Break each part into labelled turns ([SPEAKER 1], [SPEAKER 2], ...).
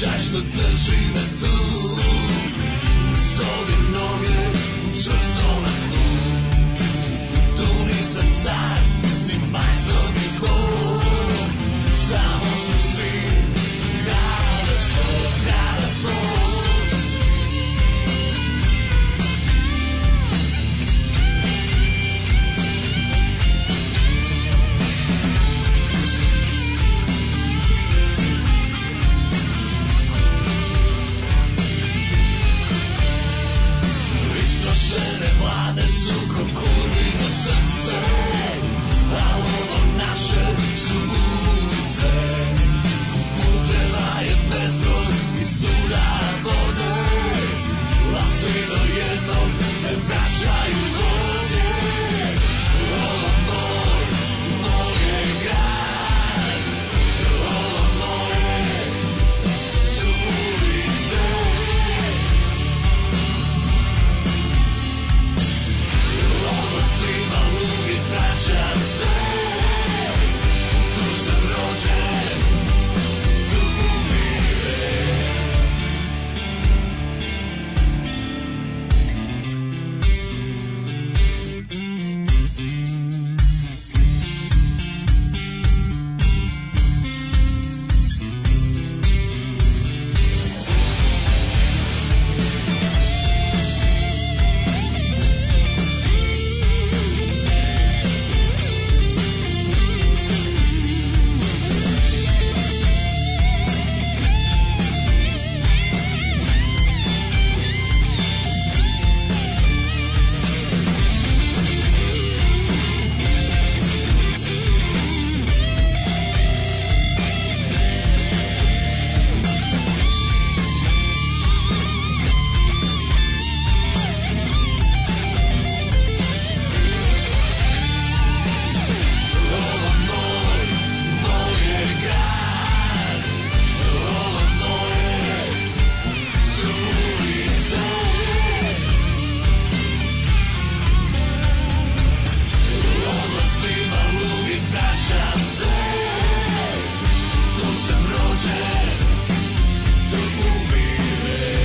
[SPEAKER 1] Şaşlı težine tu Soli noge Čvrsto na tlu Tu nisam car Ni majstor ni ko Samo sam sin Grada svog Grada svog Istrošene vlade su ko kurvino srce A ono naše su ulice Puteva je bezbroj i suda vode A svi do jednog se vraćaju godine Ovo moj, moj je grad Ovo moje su ulice svima lugi vraćam se Tu sam rođen, tu umirem svima lugi vraćam se Tu sam rođen, tu umirem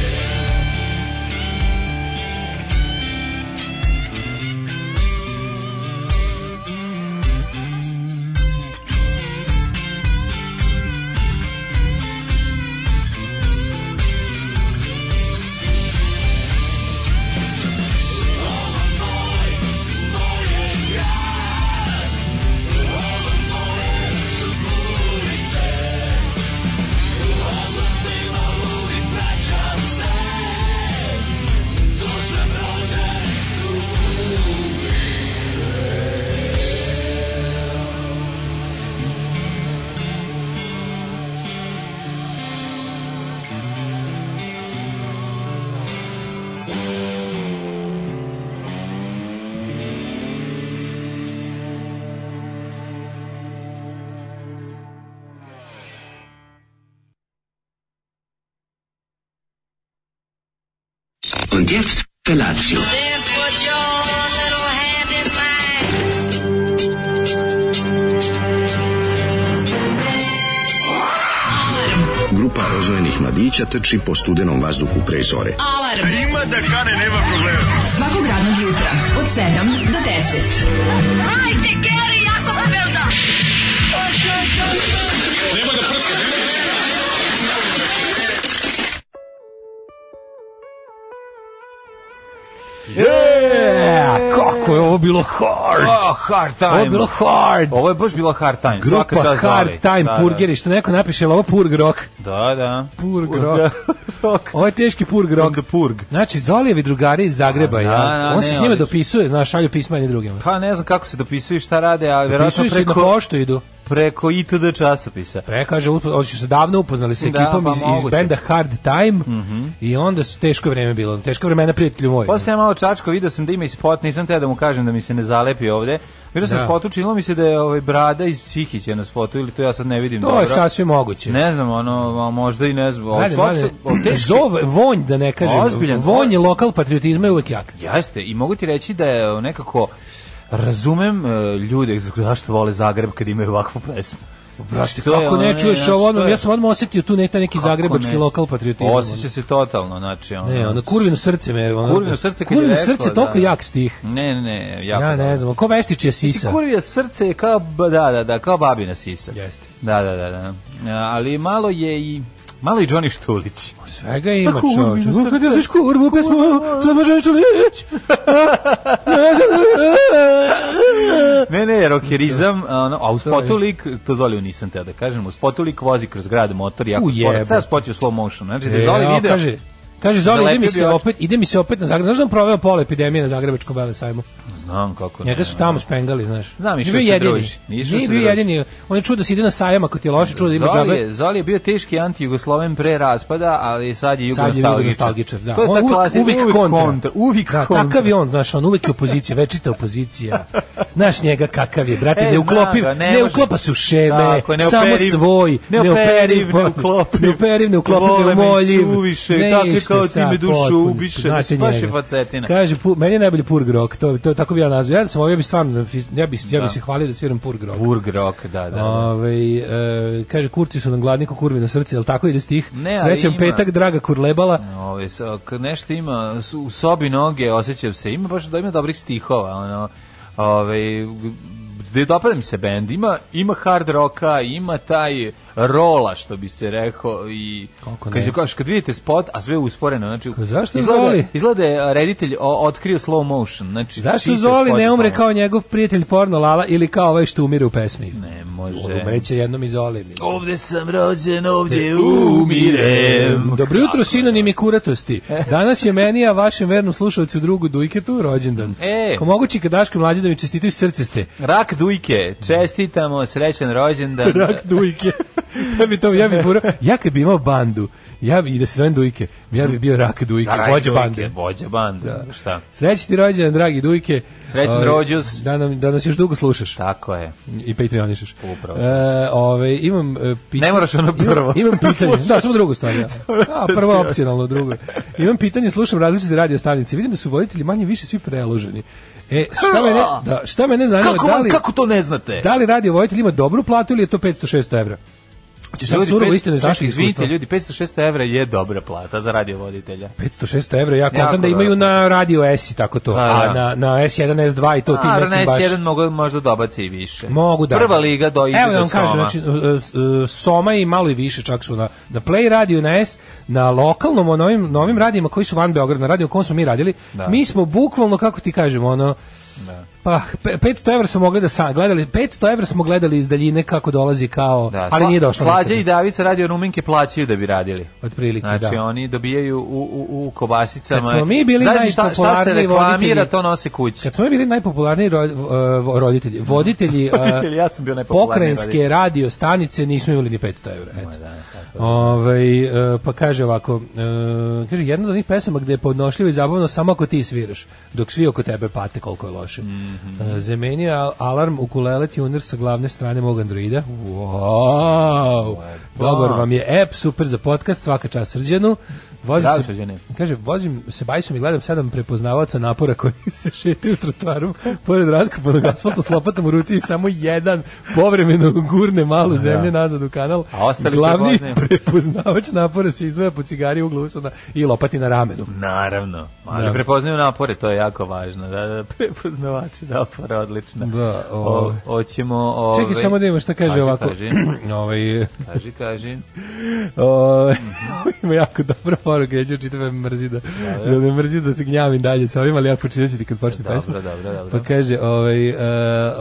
[SPEAKER 2] Und jetzt Felatio.
[SPEAKER 3] Then put your little hand in mine.
[SPEAKER 4] Grupa rozvojenih mladića trči po studenom vazduhu pre zore.
[SPEAKER 5] Alarm. Ima da kane, nema problema. Svakog radnog jutra, od 7 do 10.
[SPEAKER 3] Hajde, Geri, Jakobsfelda!
[SPEAKER 6] Yeah, kako je ovo bilo hard.
[SPEAKER 7] Oh, hard time.
[SPEAKER 6] Ovo je bilo hard.
[SPEAKER 7] Ovo je baš bilo hard time. Svaka
[SPEAKER 6] Grupa
[SPEAKER 7] čast
[SPEAKER 6] Hard
[SPEAKER 7] Zoli.
[SPEAKER 6] Time
[SPEAKER 7] da,
[SPEAKER 6] Purgeri, što neko napiše, jel ovo Purg Rock.
[SPEAKER 7] Da, da.
[SPEAKER 6] Purg Rock.
[SPEAKER 7] Rock.
[SPEAKER 6] Ovo je teški Purg Rock.
[SPEAKER 7] The Purg.
[SPEAKER 6] Znači, Zolijevi drugari iz Zagreba,
[SPEAKER 7] A, da,
[SPEAKER 6] jel?
[SPEAKER 7] da,
[SPEAKER 6] on se
[SPEAKER 7] ne,
[SPEAKER 6] s njima
[SPEAKER 7] oni su-
[SPEAKER 6] dopisuje, znaš, šalju pisma jedni drugima.
[SPEAKER 7] Pa ne znam kako se dopisuju i šta rade, ali verovatno
[SPEAKER 6] Dopisuju se i na
[SPEAKER 7] preko,
[SPEAKER 6] poštu idu.
[SPEAKER 7] preko ITD časopisa.
[SPEAKER 6] Pre kaže, upo- oni su se davno upoznali sa
[SPEAKER 7] Da,
[SPEAKER 6] ekipom
[SPEAKER 7] pa
[SPEAKER 6] iz, iz
[SPEAKER 7] moguće. Mhm.
[SPEAKER 6] benda Hard Time i onda su teško vreme bilo. Teško vremena, prijatelju moj.
[SPEAKER 7] Pa sam ja malo čačko, video sam da ima i spot, nisam te da mu kažem da mi se ne zalepi ovde. Vidio sam
[SPEAKER 6] Da.
[SPEAKER 7] spot, učinilo mi se da je ovaj brada iz Psihića na spotu, ili to ja sad ne vidim
[SPEAKER 6] to
[SPEAKER 7] dobro.
[SPEAKER 6] je sasvim moguće.
[SPEAKER 7] Ne znam, ono, a možda i ne znam. ali
[SPEAKER 6] Mlade,
[SPEAKER 7] svakako-
[SPEAKER 6] mlade,
[SPEAKER 7] o, teški-
[SPEAKER 6] zov, vonj da ne kažem,
[SPEAKER 7] Ozbiljan.
[SPEAKER 6] vonj je lokal patriotizma je uvek jak.
[SPEAKER 7] Jeste, i mogu ti reći da je nekako razumem e, ljude zašto vole Zagreb kad imaju ovakvu pesmu.
[SPEAKER 6] Oprosti,
[SPEAKER 7] Što je
[SPEAKER 6] Znači, kako ne
[SPEAKER 7] ono,
[SPEAKER 6] čuješ
[SPEAKER 7] znaš,
[SPEAKER 6] ovo,
[SPEAKER 7] što
[SPEAKER 6] ono,
[SPEAKER 7] je-
[SPEAKER 6] ja sam odmah osetio tu ne, taj neki
[SPEAKER 7] Kako
[SPEAKER 6] zagrebački
[SPEAKER 7] ne?
[SPEAKER 6] lokal patriotizam.
[SPEAKER 7] Osjeća se totalno, znači ono.
[SPEAKER 6] ono. Ne, ono, kurvino srce me... Ono,
[SPEAKER 7] Kurvino srce kad je
[SPEAKER 6] kurvino
[SPEAKER 7] rekla,
[SPEAKER 6] srce,
[SPEAKER 7] da.
[SPEAKER 6] toliko jak stih.
[SPEAKER 7] Ne, ne, ne, jako.
[SPEAKER 6] Ja ne
[SPEAKER 7] dobro.
[SPEAKER 6] znam, ko veštić je
[SPEAKER 7] Mislim,
[SPEAKER 6] sisa?
[SPEAKER 7] kurvija srce je kao, ba- da, da, da, kao babina sisa.
[SPEAKER 6] Jeste.
[SPEAKER 7] Da, da, da, da. A, Ali malo je i, malo i Johnny Štulić.
[SPEAKER 6] Svega ima
[SPEAKER 7] Tako
[SPEAKER 6] čovječ.
[SPEAKER 7] urvino
[SPEAKER 6] Kada
[SPEAKER 7] srce.
[SPEAKER 6] znaš kurvu pesmu, to može što lić.
[SPEAKER 7] Ne, ne, rokerizam, a, ono, a u
[SPEAKER 6] je.
[SPEAKER 7] spotu lik, to Zoliju nisam teo da kažem, u spotu lik vozi kroz grad motor, jako
[SPEAKER 6] Ujebe.
[SPEAKER 7] sport, sad spot je u slow motion, znači da je
[SPEAKER 6] E,
[SPEAKER 7] Zoli
[SPEAKER 6] a,
[SPEAKER 7] video,
[SPEAKER 6] Kaže, kaže Zoli, ide
[SPEAKER 7] Zalepio
[SPEAKER 6] mi
[SPEAKER 7] bi
[SPEAKER 6] se
[SPEAKER 7] oči.
[SPEAKER 6] opet, ide mi se opet na Zagreb. Znaš da on proveo pola epidemije na Zagrebačkom Vele sajmu?
[SPEAKER 7] znam kako
[SPEAKER 6] Njega su tamo spengali, znaš.
[SPEAKER 7] Znam,
[SPEAKER 6] Nije
[SPEAKER 7] išao
[SPEAKER 6] bio
[SPEAKER 7] se
[SPEAKER 6] jedini.
[SPEAKER 7] druži. Išao
[SPEAKER 6] Nije
[SPEAKER 7] se
[SPEAKER 6] bio
[SPEAKER 7] druži.
[SPEAKER 6] jedini. On je čuo da se ide na sajam ako ti je loše, čuo da ima
[SPEAKER 7] Zoli
[SPEAKER 6] džabe.
[SPEAKER 7] je, Zoli je bio teški anti-Jugosloven pre raspada, ali sad je
[SPEAKER 6] Sad je
[SPEAKER 7] jugonostalgičar.
[SPEAKER 6] jugonostalgičar, da.
[SPEAKER 7] To je
[SPEAKER 6] On
[SPEAKER 7] ta
[SPEAKER 6] uvek-
[SPEAKER 7] klasa,
[SPEAKER 6] uvek kontra.
[SPEAKER 7] Uvijek
[SPEAKER 6] Da,
[SPEAKER 7] kontra.
[SPEAKER 6] takav je on, znaš, on uvek je opozicija, večita opozicija. Znaš njega kakav je, brate,
[SPEAKER 7] E,
[SPEAKER 6] ne uklopiv,
[SPEAKER 7] znam ga, ne
[SPEAKER 6] ne,
[SPEAKER 7] može.
[SPEAKER 6] uklopa se u šeme,
[SPEAKER 7] Tako je,
[SPEAKER 6] samo
[SPEAKER 7] neoperiv,
[SPEAKER 6] svoj,
[SPEAKER 7] neoperiv,
[SPEAKER 6] neoperiv,
[SPEAKER 7] neuklopiv,
[SPEAKER 6] neoperiv, neuklopiv,
[SPEAKER 7] vole me
[SPEAKER 6] neumoljiv.
[SPEAKER 7] suviše,
[SPEAKER 6] Ne
[SPEAKER 7] tako je
[SPEAKER 6] ište
[SPEAKER 7] kao ti
[SPEAKER 6] sad,
[SPEAKER 7] me dušo
[SPEAKER 6] potpuno,
[SPEAKER 7] ubiše,
[SPEAKER 6] znate
[SPEAKER 7] baš je
[SPEAKER 6] njega.
[SPEAKER 7] facetina.
[SPEAKER 6] Kaže, pu- meni je najbolji purg rock, to, to tako bi ja nazvao. Ja da sam ovo, ja bi stvarno, ja bi, ja bi se hvalio da sviram purg rock.
[SPEAKER 7] Burg rock, da, da.
[SPEAKER 6] Ovaj, e, kaže, kurci su nam gladni ko kurvi na srce, jel tako ide stih?
[SPEAKER 7] Ne, ali
[SPEAKER 6] Srećan
[SPEAKER 7] ima.
[SPEAKER 6] petak, draga kurlebala.
[SPEAKER 7] Ove, s- k- Ovaj, nešto ima s- u sobi noge, osjećam se, ima baš da ima dobrih stihova, ono, ove, g- gde dopada mi se bend, ima, ima hard roka, ima taj rola, što bi se rekao, i
[SPEAKER 6] Kako ne?
[SPEAKER 7] kad, je- kaš, kad vidite spot, a sve je usporeno, znači,
[SPEAKER 6] Ka- zašto
[SPEAKER 7] izgleda,
[SPEAKER 6] Zoli?
[SPEAKER 7] izgleda je a, reditelj o- otkrio slow motion, znači,
[SPEAKER 6] Zašto
[SPEAKER 7] čitav
[SPEAKER 6] Zoli
[SPEAKER 7] spot je
[SPEAKER 6] ne umre
[SPEAKER 7] slow
[SPEAKER 6] kao njegov prijatelj porno Lala ili kao ovaj što umire u pesmi?
[SPEAKER 7] motion. Ne, može.
[SPEAKER 6] Umreće jednom i Zoli. mislim.
[SPEAKER 7] Ovde sam rođen, ovde umirem.
[SPEAKER 6] Dobro jutro, sinonimi kuratosti. Danas je meni, a vašem vernom slušalcu drugu Dujketu, rođendan.
[SPEAKER 7] E.
[SPEAKER 6] Ko mogući kad Daško i mlađe da mi čestitaju srce ste.
[SPEAKER 7] Rak Dujke, čestitamo, srećan rođendan.
[SPEAKER 6] Rak Dujke. ja bi to, ja bi pura, ja kad bi imao bandu, ja bi, i da se zovem Dujke, ja bi bio Rak Dujke,
[SPEAKER 7] Rak
[SPEAKER 6] vođa
[SPEAKER 7] Hm. Dujke,
[SPEAKER 6] bande. Da.
[SPEAKER 7] Vođa bande, šta?
[SPEAKER 6] Sreći ti rođendan, dragi Dujke.
[SPEAKER 7] Srećan
[SPEAKER 6] Ovaj,
[SPEAKER 7] rođus.
[SPEAKER 6] Da, nam, da nas još dugo slušaš.
[SPEAKER 7] Tako je.
[SPEAKER 6] i Patreonišeš.
[SPEAKER 7] Upravo.
[SPEAKER 6] E, ove, imam e, pitanje.
[SPEAKER 7] Ne moraš ono prvo.
[SPEAKER 6] Imam, imam pitanje. da, samo drugu stvar. Ja. A, prvo
[SPEAKER 7] Patreon.
[SPEAKER 6] opcionalno, drugo. Imam pitanje, slušam različite radio stanice. Vidim da su voditelji manje više svi preloženi. E, šta mene, da, šta mene zanima,
[SPEAKER 7] Kako,
[SPEAKER 6] da li,
[SPEAKER 7] kako to ne znate?
[SPEAKER 6] da li radio voditelj ima dobru platu ili je to 500-600 evra? Hoćeš sad surovo
[SPEAKER 7] da pet-
[SPEAKER 6] istine iz naših
[SPEAKER 7] čekaj, izvinite,
[SPEAKER 6] iskustva.
[SPEAKER 7] ljudi, 506 evra je dobra plata za radiovoditelja.
[SPEAKER 6] 500-600 evra, ja
[SPEAKER 7] Jako
[SPEAKER 6] kontam da imaju
[SPEAKER 7] dobro.
[SPEAKER 6] na radio S i tako to,
[SPEAKER 7] Pa,
[SPEAKER 6] a
[SPEAKER 7] da.
[SPEAKER 6] na, na S1, S2 i to ti
[SPEAKER 7] A,
[SPEAKER 6] nekim baš...
[SPEAKER 7] RNS1 mogu, možda dobaci i više.
[SPEAKER 6] Mogu da.
[SPEAKER 7] Prva liga do ide
[SPEAKER 6] Evo da
[SPEAKER 7] do
[SPEAKER 6] vam
[SPEAKER 7] Soma.
[SPEAKER 6] kažem, znači, e, e, Soma i malo i više čak su na, na Play radiju, na S, na lokalnom, o novim, novim radijima koji su van Beograda, na radiju u kom smo mi radili,
[SPEAKER 7] Da.
[SPEAKER 6] mi smo bukvalno, kako ti kažem, ono, Pa, pe- 500 evra smo mogli da sa, gledali, 500 evra smo gledali iz daljine kako dolazi kao,
[SPEAKER 7] Da,
[SPEAKER 6] ali
[SPEAKER 7] Sla-
[SPEAKER 6] nije došlo.
[SPEAKER 7] Slađa
[SPEAKER 6] nikad.
[SPEAKER 7] i Davica radio Ruminke plaćaju da bi radili.
[SPEAKER 6] Otprilike,
[SPEAKER 7] Znači,
[SPEAKER 6] da.
[SPEAKER 7] oni dobijaju u, u, u kobasicama.
[SPEAKER 6] Kad smo mi bili
[SPEAKER 7] znači, šta, šta se
[SPEAKER 6] najpopularniji
[SPEAKER 7] reklamira,
[SPEAKER 6] voditelji-
[SPEAKER 7] to nose kući.
[SPEAKER 6] Kad smo mi bili najpopularniji ro, e, roditelji, voditelji, e,
[SPEAKER 7] Da. Roditelji, ja sam bio najpopularniji
[SPEAKER 6] pokrajinske
[SPEAKER 7] roditelj. da,
[SPEAKER 6] radio stanice, nismo imali ni 500 evra. Eto. Ovaj, e, pa kaže ovako, e, kaže, jedna od onih pesama gde je podnošljivo i zabavno samo ako ti sviraš, dok svi oko tebe pate koliko je loše. Mm
[SPEAKER 7] Mhm.
[SPEAKER 6] alarm ukulele tuner sa glavne strane mog Androida. Wow! Dobar vam je app, super za podcast, svaka čast srđanu. Vozi
[SPEAKER 7] Bravo,
[SPEAKER 6] se-
[SPEAKER 7] Srđane.
[SPEAKER 6] Kaže, vozim se bajsom i gledam sedam prepoznavaoca napora koji se šetaju trotoarom pored raskopanog asfalta s lopatom u ruci i samo jedan povremeno gurne malu zemlje nazad u kanal.
[SPEAKER 7] Da. A ostali
[SPEAKER 6] Glavni
[SPEAKER 7] prepoznaju.
[SPEAKER 6] prepoznavač napora se izdvaja po cigari u glusana i lopati na ramenu.
[SPEAKER 7] Naravno, ali
[SPEAKER 6] Da.
[SPEAKER 7] prepoznaju napore, to je jako važno. Da, da, prepoznavači napore, odlično.
[SPEAKER 6] Da,
[SPEAKER 7] o,
[SPEAKER 6] ovaj.
[SPEAKER 7] hoćemo... Ove,
[SPEAKER 6] Čekaj samo da vidimo šta kaže
[SPEAKER 7] Kaži,
[SPEAKER 6] ovako.
[SPEAKER 7] kaži.
[SPEAKER 6] ovaj,
[SPEAKER 7] Kaži, kaži.
[SPEAKER 6] O, ima jako dobra poruka, ja ću čitave mrzi da, da me mrzi da se gnjavim dalje sa ovim, ali ja počinjat ću ti kad počne
[SPEAKER 7] Dobro,
[SPEAKER 6] pesma.
[SPEAKER 7] dobro, dobro.
[SPEAKER 6] Pa kaže, ovaj, e,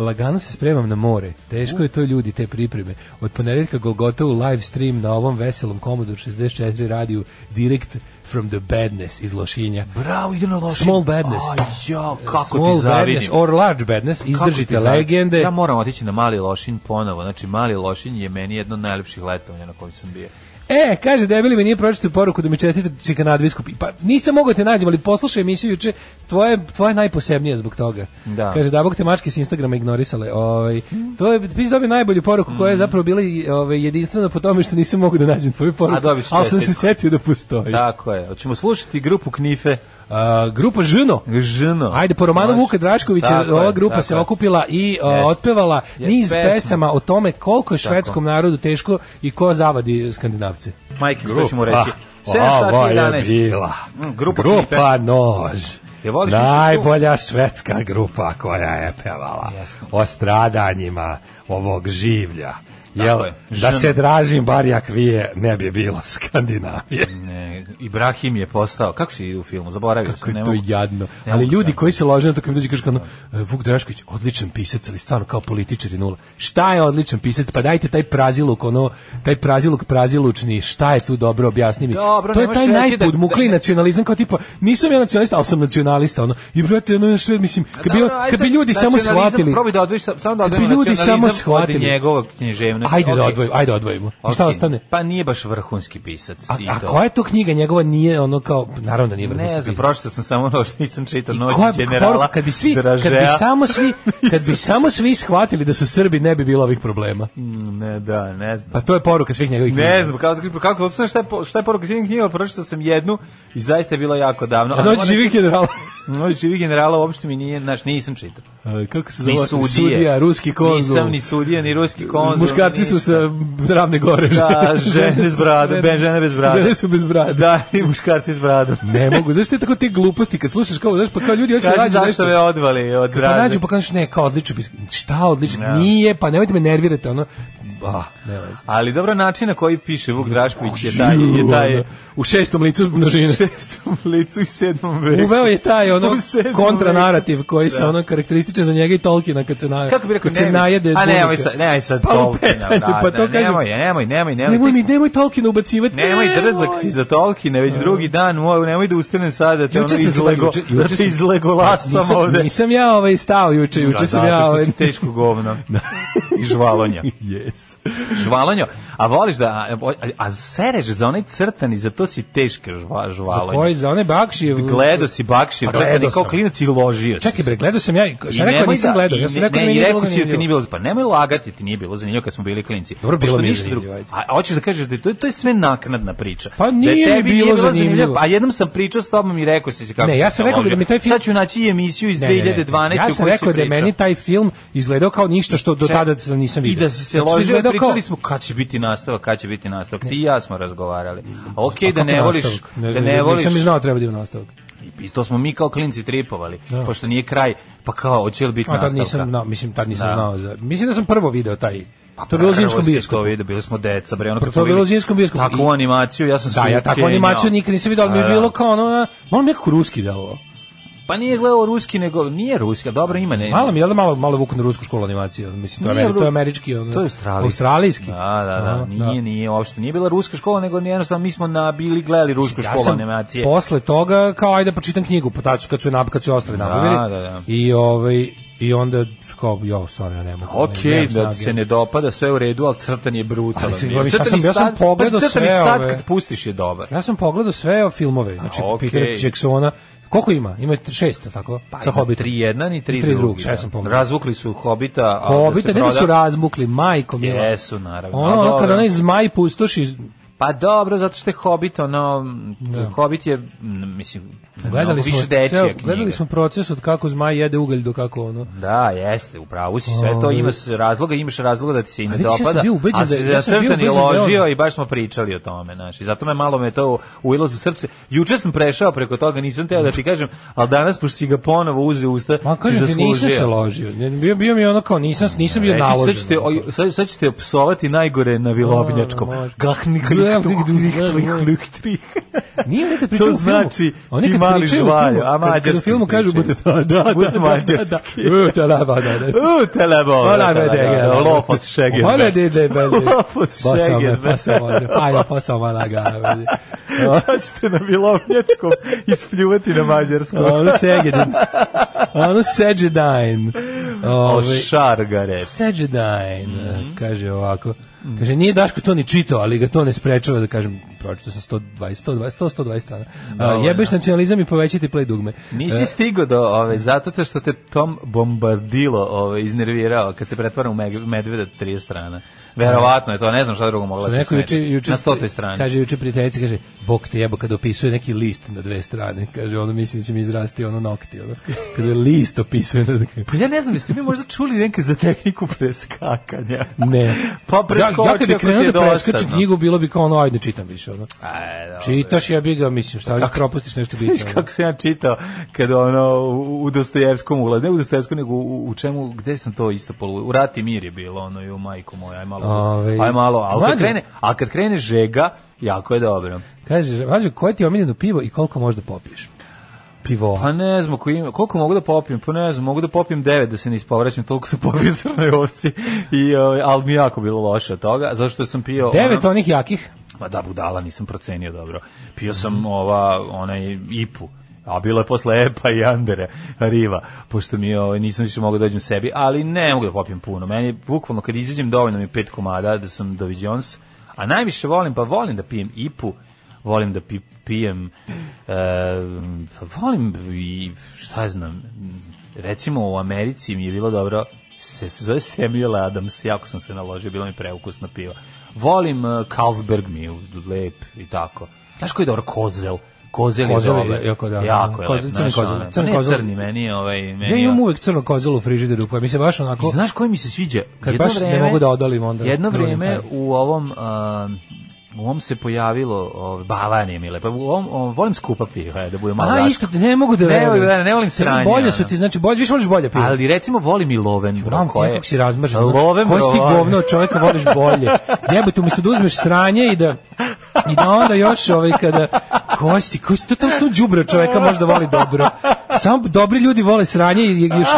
[SPEAKER 6] lagano se spremam na more, teško je to ljudi, te pripreme. Od ponedeljka Golgota u live stream na ovom veselom Commodore 64 radiju direct from the badness iz Lošinja.
[SPEAKER 7] Bravo, ide na loši.
[SPEAKER 6] Small badness.
[SPEAKER 7] Aj, ja, kako
[SPEAKER 6] Small
[SPEAKER 7] ti zavidim.
[SPEAKER 6] badness or large badness,
[SPEAKER 7] Kako ti
[SPEAKER 6] izdržite
[SPEAKER 7] zavidim.
[SPEAKER 6] legende.
[SPEAKER 7] Ja moram otići na Mali Lošinj ponovo. Znači, Mali Lošinj je meni jedno od najlepših letovanja na kojem sam bio.
[SPEAKER 6] E, kaže, debeli mi nije pročitao poruku da mi čestite čekanadvisku. Pa nisam mogao te nađem, ali poslušaj emisiju juče, tvoje, tvoje najposebnije zbog toga.
[SPEAKER 7] Da.
[SPEAKER 6] Kaže, da bog te mačke s Instagrama ignorisale. Ovaj, to je, ti si dobio najbolju poruku
[SPEAKER 7] Mm.
[SPEAKER 6] koja je zapravo bila i, ovaj, jedinstvena po tome što nisam mogao da nađem tvoju poruku.
[SPEAKER 7] A dobiš
[SPEAKER 6] ali sam se
[SPEAKER 7] čestitku.
[SPEAKER 6] setio da postoji.
[SPEAKER 7] Tako je. Hoćemo slušati grupu Knife.
[SPEAKER 6] Uh, grupa Žino.
[SPEAKER 7] Žino.
[SPEAKER 6] Ajde, po romanu
[SPEAKER 7] Može.
[SPEAKER 6] Vuka Draškovića
[SPEAKER 7] Tako je,
[SPEAKER 6] ova grupa
[SPEAKER 7] tako
[SPEAKER 6] se
[SPEAKER 7] je.
[SPEAKER 6] okupila i uh,
[SPEAKER 7] Jeste.
[SPEAKER 6] otpevala
[SPEAKER 7] Jeste,
[SPEAKER 6] niz
[SPEAKER 7] pesma.
[SPEAKER 6] pesama o tome koliko je švedskom narodu teško i ko zavadi Skandinavce.
[SPEAKER 7] Majke, to ćemo reći. 7 sati
[SPEAKER 6] Ovo
[SPEAKER 7] i
[SPEAKER 6] Ah, je
[SPEAKER 7] 11.
[SPEAKER 6] bila
[SPEAKER 7] Mm, grupa
[SPEAKER 6] grupa,
[SPEAKER 7] Pipe.
[SPEAKER 6] Nož.
[SPEAKER 7] Ja voliš više tu?
[SPEAKER 6] Najbolja švedska grupa koja je pevala o stradanjima ovog življa. Jel,
[SPEAKER 7] je.
[SPEAKER 6] da
[SPEAKER 7] Žn.
[SPEAKER 6] se dražim bar jakvije ne bi bilo Skandinavije.
[SPEAKER 7] Ne, Ibrahim je postao. Kako si u filmu? Zaboravio
[SPEAKER 6] Kako
[SPEAKER 7] sam.
[SPEAKER 6] je
[SPEAKER 7] ne
[SPEAKER 6] to
[SPEAKER 7] mogu.
[SPEAKER 6] jadno.
[SPEAKER 7] Ne
[SPEAKER 6] Ali
[SPEAKER 7] mogu
[SPEAKER 6] ljudi
[SPEAKER 7] tako.
[SPEAKER 6] koji se lože na to kad mi dođe kažu kao ono, e, Vuk Drašković, odličan pisac, ali stvarno kao političar je nula. Šta je odličan pisac? Pa dajte taj praziluk, ono, taj praziluk prazilučni, šta je tu dobro, objasni mi.
[SPEAKER 7] Dobro,
[SPEAKER 6] to
[SPEAKER 7] ne
[SPEAKER 6] je taj
[SPEAKER 7] možeš reći da-
[SPEAKER 6] najpodmukli
[SPEAKER 7] da-
[SPEAKER 6] nacionalizam kao tipa, nisam ja nacionalista, ali sam nacionalista, ono. I brate, ono sve, mislim, kad bi,
[SPEAKER 7] Pa Dobro, ajde
[SPEAKER 6] kad bi
[SPEAKER 7] sad
[SPEAKER 6] ljudi samo
[SPEAKER 7] nacionalizam,
[SPEAKER 6] shvatili.
[SPEAKER 7] Probaj da odvojiš, sa- samo da
[SPEAKER 6] Kad bi
[SPEAKER 7] odvojimo
[SPEAKER 6] ljudi samo
[SPEAKER 7] nacionalizam od
[SPEAKER 6] shvatili.
[SPEAKER 7] njegovog književnosti.
[SPEAKER 6] Ajde da
[SPEAKER 7] Okej.
[SPEAKER 6] odvojimo, ajde da odvojimo. I šta
[SPEAKER 7] Okej.
[SPEAKER 6] ostane?
[SPEAKER 7] Pa nije baš vrhunski pisac.
[SPEAKER 6] A,
[SPEAKER 7] i
[SPEAKER 6] a
[SPEAKER 7] to.
[SPEAKER 6] koja je to knjiga njegova nije ono kao, naravno da nije vrhunski
[SPEAKER 7] Ne znam,
[SPEAKER 6] pisac.
[SPEAKER 7] pročito sam samo ono što nisam čitao
[SPEAKER 6] I
[SPEAKER 7] noć
[SPEAKER 6] koja-
[SPEAKER 7] generala.
[SPEAKER 6] poruka, kad bi svi kad bi
[SPEAKER 7] Dražea.
[SPEAKER 6] samo svi kad bi samo svi shvatili da su Srbi ne bi bilo ovih problema.
[SPEAKER 7] Ne, da, ne znam.
[SPEAKER 6] Pa to je poruka svih njegovih
[SPEAKER 7] Ne
[SPEAKER 6] knjiga.
[SPEAKER 7] znam, kako, kako, kako, šta je, po- šta je poruka iz jednih knjiga, pročitao sam jednu i zaista je bila jako davno.
[SPEAKER 6] A noć živih generala.
[SPEAKER 7] Noć živih generala uopšte mi nije, znaš, nisam čitao.
[SPEAKER 6] E, Kako se
[SPEAKER 7] Ni
[SPEAKER 6] zove?
[SPEAKER 7] sudije.
[SPEAKER 6] Sudija, ruski konzul.
[SPEAKER 7] Nisam ni sudija, ni ruski konzul.
[SPEAKER 6] Muškarci su
[SPEAKER 7] ništa.
[SPEAKER 6] sa ravne gore.
[SPEAKER 7] Da,
[SPEAKER 6] su
[SPEAKER 7] žene s bradom,
[SPEAKER 6] sve-
[SPEAKER 7] ben, žene bez brade.
[SPEAKER 6] Žene su bez brade.
[SPEAKER 7] Da, i muškarci s bradom.
[SPEAKER 6] Ne mogu, znaš te tako te gluposti kad slušaš kao, znaš pa kao ljudi hoće
[SPEAKER 7] Kaži
[SPEAKER 6] nađu
[SPEAKER 7] zašto
[SPEAKER 6] nešto.
[SPEAKER 7] me odvali od
[SPEAKER 6] Pa
[SPEAKER 7] brade.
[SPEAKER 6] nađu pa kažeš ne, kao odlično, pis- šta odlično,
[SPEAKER 7] Ja.
[SPEAKER 6] nije, pa nemojte me nervirate, ono, ah, ne veze.
[SPEAKER 7] Ali dobro način na koji piše Vuk Drašković je taj, je taj
[SPEAKER 6] U šestom licu množine.
[SPEAKER 7] u šestom licu i sedmom veku.
[SPEAKER 6] Uveo je taj ono
[SPEAKER 7] U sedmom
[SPEAKER 6] kontranarativ koji se
[SPEAKER 7] Da.
[SPEAKER 6] ono karakterističan za njega i Tolkiena kad se na
[SPEAKER 7] Kako bi rekao,
[SPEAKER 6] kad se
[SPEAKER 7] ne,
[SPEAKER 6] najede.
[SPEAKER 7] A nemoj
[SPEAKER 6] Tolkiena.
[SPEAKER 7] sad, nemoj sad
[SPEAKER 6] Pa
[SPEAKER 7] Tolkiena,
[SPEAKER 6] lupetanju, pa
[SPEAKER 7] brate,
[SPEAKER 6] to kažem.
[SPEAKER 7] Nemoj, nemoj, nemoj, nemoj.
[SPEAKER 6] Nemoj
[SPEAKER 7] ti
[SPEAKER 6] mi
[SPEAKER 7] si-
[SPEAKER 6] nemoj Tolkiena ubacivati.
[SPEAKER 7] Nemoj drzak si za Tolkiena, već drugi dan, moj, nemoj da ustanem sada, te ono
[SPEAKER 6] Juče sam se pa-
[SPEAKER 7] izlego,
[SPEAKER 6] juče-
[SPEAKER 7] da
[SPEAKER 6] juče
[SPEAKER 7] te
[SPEAKER 6] sam- Pa,
[SPEAKER 7] izlego lasam
[SPEAKER 6] nisam,
[SPEAKER 7] ovde.
[SPEAKER 6] Nisam ja ovaj stao juče, juče sam
[SPEAKER 7] Da, zato
[SPEAKER 6] ja
[SPEAKER 7] što
[SPEAKER 6] ovaj... Da.
[SPEAKER 7] si teško govno. I žvalonja.
[SPEAKER 6] Yes.
[SPEAKER 7] Žvalonjo, a voliš da, a, a- a sereš za onaj crtan i za to si teška žva,
[SPEAKER 6] Za
[SPEAKER 7] žvalonja.
[SPEAKER 6] koji za one bakšije...
[SPEAKER 7] Gledao si Bakši,
[SPEAKER 6] Pa
[SPEAKER 7] gledao
[SPEAKER 6] gledao
[SPEAKER 7] kao
[SPEAKER 6] sam.
[SPEAKER 7] klinac i ložio si.
[SPEAKER 6] Čekaj bre, gledao sam ja, i-
[SPEAKER 7] I
[SPEAKER 6] sam rekao
[SPEAKER 7] nemoj
[SPEAKER 6] nisam
[SPEAKER 7] da-
[SPEAKER 6] gledao,
[SPEAKER 7] i
[SPEAKER 6] ja sam
[SPEAKER 7] ne-
[SPEAKER 6] rekao
[SPEAKER 7] ne,
[SPEAKER 6] meni
[SPEAKER 7] i
[SPEAKER 6] nije
[SPEAKER 7] rekao
[SPEAKER 6] bilo
[SPEAKER 7] si joj ti nije
[SPEAKER 6] zanimljivo.
[SPEAKER 7] bilo, pa nemoj lagati, ti nije bilo zanimljivo kad smo bili klinci.
[SPEAKER 6] Dobro,
[SPEAKER 7] Pošto
[SPEAKER 6] bilo mi je
[SPEAKER 7] ništa
[SPEAKER 6] zanimljivo,
[SPEAKER 7] drugo-
[SPEAKER 6] ajde.
[SPEAKER 7] A hoćeš da kažeš da je to, to je sve naknadna priča.
[SPEAKER 6] Pa
[SPEAKER 7] Da
[SPEAKER 6] nije mi
[SPEAKER 7] tebi
[SPEAKER 6] bilo zanimljivo.
[SPEAKER 7] A jednom sam pričao s tobom i rekao si si kako
[SPEAKER 6] Ne,
[SPEAKER 7] si
[SPEAKER 6] ja
[SPEAKER 7] se
[SPEAKER 6] sam rekao da
[SPEAKER 7] ložio.
[SPEAKER 6] mi taj film-
[SPEAKER 7] Sad ću naći emisiju iz
[SPEAKER 6] Ne, ne, ne.
[SPEAKER 7] 2012.
[SPEAKER 6] Ja
[SPEAKER 7] u
[SPEAKER 6] sam
[SPEAKER 7] kojoj si
[SPEAKER 6] rekao da je
[SPEAKER 7] pričao.
[SPEAKER 6] meni taj film izgledao kao ništa što do
[SPEAKER 7] Ček-
[SPEAKER 6] tada sam nisam
[SPEAKER 7] I
[SPEAKER 6] vidio.
[SPEAKER 7] da si se
[SPEAKER 6] Zato što
[SPEAKER 7] ložio,
[SPEAKER 6] izgledao Znači, kao-
[SPEAKER 7] pričali smo kad će biti nastavak, kad će biti nastavak. Ti i ja smo razgovarali. A okej
[SPEAKER 6] A
[SPEAKER 7] da ne
[SPEAKER 6] kako
[SPEAKER 7] voliš,
[SPEAKER 6] nastavak?
[SPEAKER 7] da
[SPEAKER 6] znam,
[SPEAKER 7] ne voliš.
[SPEAKER 6] Nisam ni znao da treba da ima nastavak.
[SPEAKER 7] I to smo mi kao klinci tripovali,
[SPEAKER 6] Da.
[SPEAKER 7] pošto nije kraj, pa kao, hoće li biti
[SPEAKER 6] A tad
[SPEAKER 7] nastavka?
[SPEAKER 6] nisam, no, mislim, tad nisam
[SPEAKER 7] Da.
[SPEAKER 6] znao. Za, mislim da sam prvo video taj.
[SPEAKER 7] Pa
[SPEAKER 6] to je bilo u zimskom
[SPEAKER 7] prvo si
[SPEAKER 6] bioskopu.
[SPEAKER 7] To vidio, bili smo deca, bre, ono
[SPEAKER 6] Pa
[SPEAKER 7] kad
[SPEAKER 6] to
[SPEAKER 7] smo
[SPEAKER 6] je bilo
[SPEAKER 7] bili-
[SPEAKER 6] u zimskom bioskopu.
[SPEAKER 7] Takvu
[SPEAKER 6] I-
[SPEAKER 7] animaciju, ja sam
[SPEAKER 6] Da, ja takvu
[SPEAKER 7] kenjao.
[SPEAKER 6] animaciju nikad nisam vidio, ali mi je
[SPEAKER 7] A, da.
[SPEAKER 6] bilo kao ono, malo mi je nekako ruski delovao.
[SPEAKER 7] Pa nije izgledao ruski, nego nije ruska, dobro ima, ne.
[SPEAKER 6] Malo mi je, jel da malo, malo vuku na rusku školu animacije, ono, mislim, to je,
[SPEAKER 7] Nije
[SPEAKER 6] ameri, to
[SPEAKER 7] ru-
[SPEAKER 6] je američki, ono,
[SPEAKER 7] To je australijski.
[SPEAKER 6] australijski.
[SPEAKER 7] Da, da, da,
[SPEAKER 6] Aha,
[SPEAKER 7] nije, nije uopšte. Nije bila ruska škola, nego jednostavno mi smo na, bili gledali rusku
[SPEAKER 6] Ja
[SPEAKER 7] školu
[SPEAKER 6] sam
[SPEAKER 7] animacije.
[SPEAKER 6] posle toga kao ajde pročitam knjigu, pa tad su- kad su je nab- kad su je ostali nabavili.
[SPEAKER 7] da, da.
[SPEAKER 6] I ovaj i onda kao jo, stvarno ja ne mogu. ne-
[SPEAKER 7] Okej,
[SPEAKER 6] nemam
[SPEAKER 7] da
[SPEAKER 6] snage.
[SPEAKER 7] se ne dopada, sve u redu, ali crtan je brutalan.
[SPEAKER 6] Ali se
[SPEAKER 7] bio.
[SPEAKER 6] govoriš, ja
[SPEAKER 7] Crtan
[SPEAKER 6] sam-
[SPEAKER 7] i
[SPEAKER 6] ja sam
[SPEAKER 7] sad-
[SPEAKER 6] pogledao
[SPEAKER 7] pa crtan i
[SPEAKER 6] sve
[SPEAKER 7] sad
[SPEAKER 6] ove.
[SPEAKER 7] kad pustiš je dobar.
[SPEAKER 6] Ja sam pogledao sve o filmove, znači
[SPEAKER 7] okej.
[SPEAKER 6] Peter Jacksona. Koliko ima? Ima t- šest, jel tako?
[SPEAKER 7] Pa
[SPEAKER 6] sa
[SPEAKER 7] ima
[SPEAKER 6] Hobbitom.
[SPEAKER 7] Tri jedan i tri,
[SPEAKER 6] I tri drugi,
[SPEAKER 7] drugi.
[SPEAKER 6] šta
[SPEAKER 7] da.
[SPEAKER 6] sam pomogao.
[SPEAKER 7] Razvukli su Hobita. a
[SPEAKER 6] Hobita,
[SPEAKER 7] da se
[SPEAKER 6] ne da su
[SPEAKER 7] proda-
[SPEAKER 6] razmukli, majko mila.
[SPEAKER 7] Jesu, naravno.
[SPEAKER 6] Ono,
[SPEAKER 7] A
[SPEAKER 6] ono
[SPEAKER 7] dobro.
[SPEAKER 6] kada onaj zmaj pustoši,
[SPEAKER 7] Pa dobro, zato što je Hobbit, ono, Hobbit je, m, mislim,
[SPEAKER 6] Da. gledali
[SPEAKER 7] mnogo
[SPEAKER 6] smo,
[SPEAKER 7] više dečija
[SPEAKER 6] ceo-
[SPEAKER 7] knjiga.
[SPEAKER 6] gledali smo proces od kako zmaj jede ugalj do kako ono.
[SPEAKER 7] Da, jeste, u pravu si sve to,
[SPEAKER 6] Ovaj.
[SPEAKER 7] imaš razloga, imaš razloga da ti se i ne
[SPEAKER 6] A vidiš, ja sam
[SPEAKER 7] dopada,
[SPEAKER 6] bio ubeđen
[SPEAKER 7] a
[SPEAKER 6] da-
[SPEAKER 7] se
[SPEAKER 6] ja sam bio
[SPEAKER 7] crtan je
[SPEAKER 6] ubeđen da je
[SPEAKER 7] ložio
[SPEAKER 6] on-
[SPEAKER 7] i baš smo pričali o tome, znaš, i zato me malo me to ujelo za srce. Juče sam prešao preko toga, nisam teo da ti kažem, ali danas, pošto si ga ponovo uze u usta,
[SPEAKER 6] Ma kažem ti, nisam se ložio. Ne, Bio, bio mi je ono kao, nisam, nisam bio
[SPEAKER 7] Reći, ću,
[SPEAKER 6] naložen.
[SPEAKER 7] sad ćete, oj, sad, sad ćete psovati najgore na vilobnjačkom.
[SPEAKER 6] Ono, može.
[SPEAKER 7] Gahni
[SPEAKER 6] Da,
[SPEAKER 7] klik, tuk,
[SPEAKER 6] da,
[SPEAKER 7] klik,
[SPEAKER 6] da,
[SPEAKER 7] klik,
[SPEAKER 6] da.
[SPEAKER 7] klik, trik.
[SPEAKER 6] Nije nekad
[SPEAKER 7] To
[SPEAKER 6] pričao u filmu.
[SPEAKER 7] znači,
[SPEAKER 6] Oni
[SPEAKER 7] ti
[SPEAKER 6] kad
[SPEAKER 7] mali
[SPEAKER 6] pričaju u
[SPEAKER 7] žvaljo,
[SPEAKER 6] filmu,
[SPEAKER 7] a
[SPEAKER 6] kad- Kad u
[SPEAKER 7] mađarski
[SPEAKER 6] filmu kažu,
[SPEAKER 7] pričaju.
[SPEAKER 6] bude da, da, da,
[SPEAKER 7] Bude
[SPEAKER 6] da,
[SPEAKER 7] mađarski.
[SPEAKER 6] da, da. U, da, da, da, da, da.
[SPEAKER 7] U, telebol.
[SPEAKER 6] Ona me dega.
[SPEAKER 7] Lopos šeger.
[SPEAKER 6] Ona de de bele.
[SPEAKER 7] Lopos da. šeger.
[SPEAKER 6] Pa ja posao mala ga.
[SPEAKER 7] Sad ćete na vilobnjačkom ispljuvati na mađarskom.
[SPEAKER 6] Ono segedin. Ono Ovaj, seđedajn.
[SPEAKER 7] O, Mhm.
[SPEAKER 6] Ove,
[SPEAKER 7] šargare.
[SPEAKER 6] seđedajn. eh, Kaže ovako.
[SPEAKER 7] Mhm.
[SPEAKER 6] Kaže, nije Daško to ni čitao, ali ga to ne sprečava da kažem, pročito sam 120, 120, 100, 120 strana. A,
[SPEAKER 7] Dovoljno.
[SPEAKER 6] jebeš nacionalizam i povećajte play dugme.
[SPEAKER 7] da.
[SPEAKER 6] Eh,
[SPEAKER 7] Nisi stigo do ove, zato te što te Tom Bombardilo ove, iznervirao kad se pretvara u meg- medveda 30 strana. Verovatno je to, ne znam šta drugo mogla
[SPEAKER 6] Što
[SPEAKER 7] da ti
[SPEAKER 6] neko
[SPEAKER 7] smeta.
[SPEAKER 6] juče, juče,
[SPEAKER 7] Na stotoj strani.
[SPEAKER 6] Kaže, juče prijateljica, kaže, bok te jebo, kada opisuje neki list na dve strane, kaže, ono misli da će mi izrasti ono nokti, ono. Kada list opisuje na
[SPEAKER 7] Pa ja ne znam, jeste vi možda čuli nekad za tehniku preskakanja?
[SPEAKER 6] Ne.
[SPEAKER 7] Pa preskoči
[SPEAKER 6] ja, ja kad bi
[SPEAKER 7] ako ti je
[SPEAKER 6] krenuo da preskačem
[SPEAKER 7] dosadno.
[SPEAKER 6] knjigu, bilo bi kao ono, ajde, ne čitam više, ono.
[SPEAKER 7] Aj, dobro.
[SPEAKER 6] Čitaš, ja bi ga, mislim, šta, propustiš nešto
[SPEAKER 7] Viš
[SPEAKER 6] bitno. ono.
[SPEAKER 7] kako sam ja čitao kad ono u u Dostojevskom ulaz, ne u Dostojevskom nego u, u čemu, gde sam to isto polu, u Rat i mir je bilo ono i u majku moju, aj malo,
[SPEAKER 6] Ove,
[SPEAKER 7] aj malo, ali
[SPEAKER 6] mlađe.
[SPEAKER 7] kad krene, a kad krene žega, jako je dobro.
[SPEAKER 6] Kaže, važno, koje ti je omiljeno pivo i koliko možeš da popiješ? Pivo.
[SPEAKER 7] Pa ne znam, koji ima, koliko mogu da popijem? Pa ne znam, mogu da popijem 9 da se ne ispovraćam, toliko sam popio crnoj ovci. I, ovaj, ali mi je jako bilo loše od toga, zato što sam pio...
[SPEAKER 6] Devet
[SPEAKER 7] ono-
[SPEAKER 6] onih jakih.
[SPEAKER 7] Ma da, budala, nisam procenio dobro. Pio sam ova, onaj ipu, a bilo je posle epa i andere riva, pošto mi je, ovaj, nisam više mogao da dođem sebi, ali ne mogu da popijem puno. Meni je, bukvalno, kad izađem dovoljno mi je pet komada da sam doviđons, a najviše volim, pa volim da pijem ipu, volim da pi, pijem, e, pa volim i, šta ja znam, recimo u Americi mi je bilo dobro, se, se zove Samuel Adams, jako sam se naložio, bilo mi preukusno pivo. Volim uh, Carlsberg mi je lep i tako. Znaš koji je dobro kozel? Kozel,
[SPEAKER 6] Kozel je
[SPEAKER 7] je dobar.
[SPEAKER 6] jako da.
[SPEAKER 7] Jako je
[SPEAKER 6] Kozel-
[SPEAKER 7] lep.
[SPEAKER 6] crni
[SPEAKER 7] znaš,
[SPEAKER 6] kozel.
[SPEAKER 7] ono, pa
[SPEAKER 6] Crni
[SPEAKER 7] ne
[SPEAKER 6] kozel.
[SPEAKER 7] crni, meni je ovaj... Meni
[SPEAKER 6] Ja
[SPEAKER 7] je-
[SPEAKER 6] imam uvek crno kozelo u frižideru, koja mi se baš onako...
[SPEAKER 7] I Znaš koji mi se sviđa?
[SPEAKER 6] Kad baš ne mogu da odolim, onda
[SPEAKER 7] Jedno
[SPEAKER 6] grlim
[SPEAKER 7] vrijeme
[SPEAKER 6] taj.
[SPEAKER 7] u ovom... um, u ovom se pojavilo ovaj Bavanije mi je lepo. U ovom, ovom- volim skupa piva, da budem malo
[SPEAKER 6] A,
[SPEAKER 7] daško.
[SPEAKER 6] isto, ne mogu da
[SPEAKER 7] Ne
[SPEAKER 6] verujem.
[SPEAKER 7] mogu da- ne volim sranje,
[SPEAKER 6] Bolje su
[SPEAKER 7] ono.
[SPEAKER 6] ti, znači, bolje, više voliš bolje pivo.
[SPEAKER 7] Ali recimo volim i loven, bro,
[SPEAKER 6] Bram, ti
[SPEAKER 7] koje...
[SPEAKER 6] kako si razmažen.
[SPEAKER 7] Loven,
[SPEAKER 6] Koji si ti
[SPEAKER 7] bro,
[SPEAKER 6] govno od čovjeka voliš bolje? Jebote, umjesto da uzmeš sranje i da, i da onda još ovaj kada... Koji si ti, koji si to tamo su džubra čovjeka možda voli dobro? Samo dobri ljudi vole sranje i još,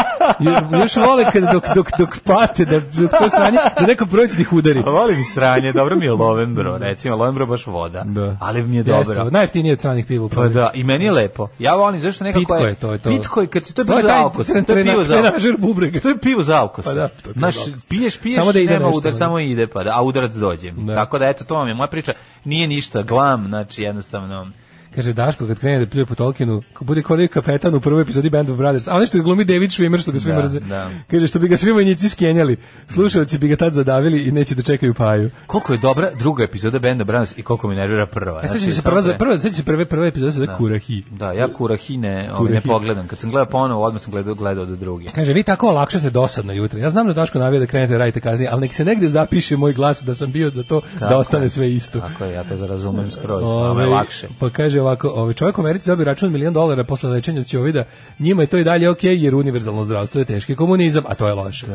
[SPEAKER 6] još vole kada dok, dok, dok pate, da, dok to sranje, da neko prođe da ih udari.
[SPEAKER 7] A volim i sranje, dobro mi je loven, bro, recimo, loven, bro, baš voda. Da. Ali mi je
[SPEAKER 6] Da. Jeste,
[SPEAKER 7] dobro.
[SPEAKER 6] Najjeftinije od stranih piva. u
[SPEAKER 7] Pa
[SPEAKER 6] prodavnici.
[SPEAKER 7] da, i meni je lepo. Ja volim, zašto nekako
[SPEAKER 6] Pitko je, to je to.
[SPEAKER 7] Pitko je, kad si, to je
[SPEAKER 6] To je
[SPEAKER 7] bilo za
[SPEAKER 6] taj
[SPEAKER 7] alkos. To je
[SPEAKER 6] trena-
[SPEAKER 7] pivo za alkos.
[SPEAKER 6] trenažer bubrega.
[SPEAKER 7] To je pivo za alkos.
[SPEAKER 6] Pa da, to je pivo
[SPEAKER 7] Znaš,
[SPEAKER 6] za alkos.
[SPEAKER 7] piješ, piješ,
[SPEAKER 6] Samo da ide
[SPEAKER 7] nema
[SPEAKER 6] nešto,
[SPEAKER 7] udar,
[SPEAKER 6] da.
[SPEAKER 7] samo ide, pa da, a udarac dođe. Tako da, eto, to vam je moja priča. Nije ništa glam, znači, jednostavno...
[SPEAKER 6] Kaže Daško kad krene da pljuje po Tolkienu, ko bude kod kapetan u prvoj epizodi Band of Brothers, a ono što glumi David Schwimmer što ga svi
[SPEAKER 7] Da,
[SPEAKER 6] mrze.
[SPEAKER 7] da.
[SPEAKER 6] Kaže što bi ga svi vojnici skenjali, slušaoci bi ga tad zadavili i neće da čekaju paju.
[SPEAKER 7] Koliko je dobra druga epizoda Benda Branos i koliko mi nervira prva.
[SPEAKER 6] A sećam
[SPEAKER 7] Znači,
[SPEAKER 6] se
[SPEAKER 7] samo
[SPEAKER 6] prva,
[SPEAKER 7] pre-
[SPEAKER 6] prva, sećam se prve prve epizode sa Kurahi.
[SPEAKER 7] Da, ja kurahine Da ovaj, ne
[SPEAKER 6] Kurahi.
[SPEAKER 7] pogledam. Kad sam gledao ponovo, odmah sam gledao, gledao do druge.
[SPEAKER 6] Kaže, vi tako olakšate dosadno jutro. Ja znam da Daško navija da krenete da radite kasnije, ali nek se negde zapiše moj glas da sam bio za to da
[SPEAKER 7] Tako
[SPEAKER 6] ostane
[SPEAKER 7] je.
[SPEAKER 6] sve isto.
[SPEAKER 7] Tako je, ja to razumem skroz, vama
[SPEAKER 6] Ovaj,
[SPEAKER 7] je lakše.
[SPEAKER 6] Pa kaže ovako, ovaj čovjek u Americi dobio račun od milion dolara posle lečenja od ćovida, njima je to i dalje okej jer univerzalno zdravstvo je teški komunizam, a to je loše.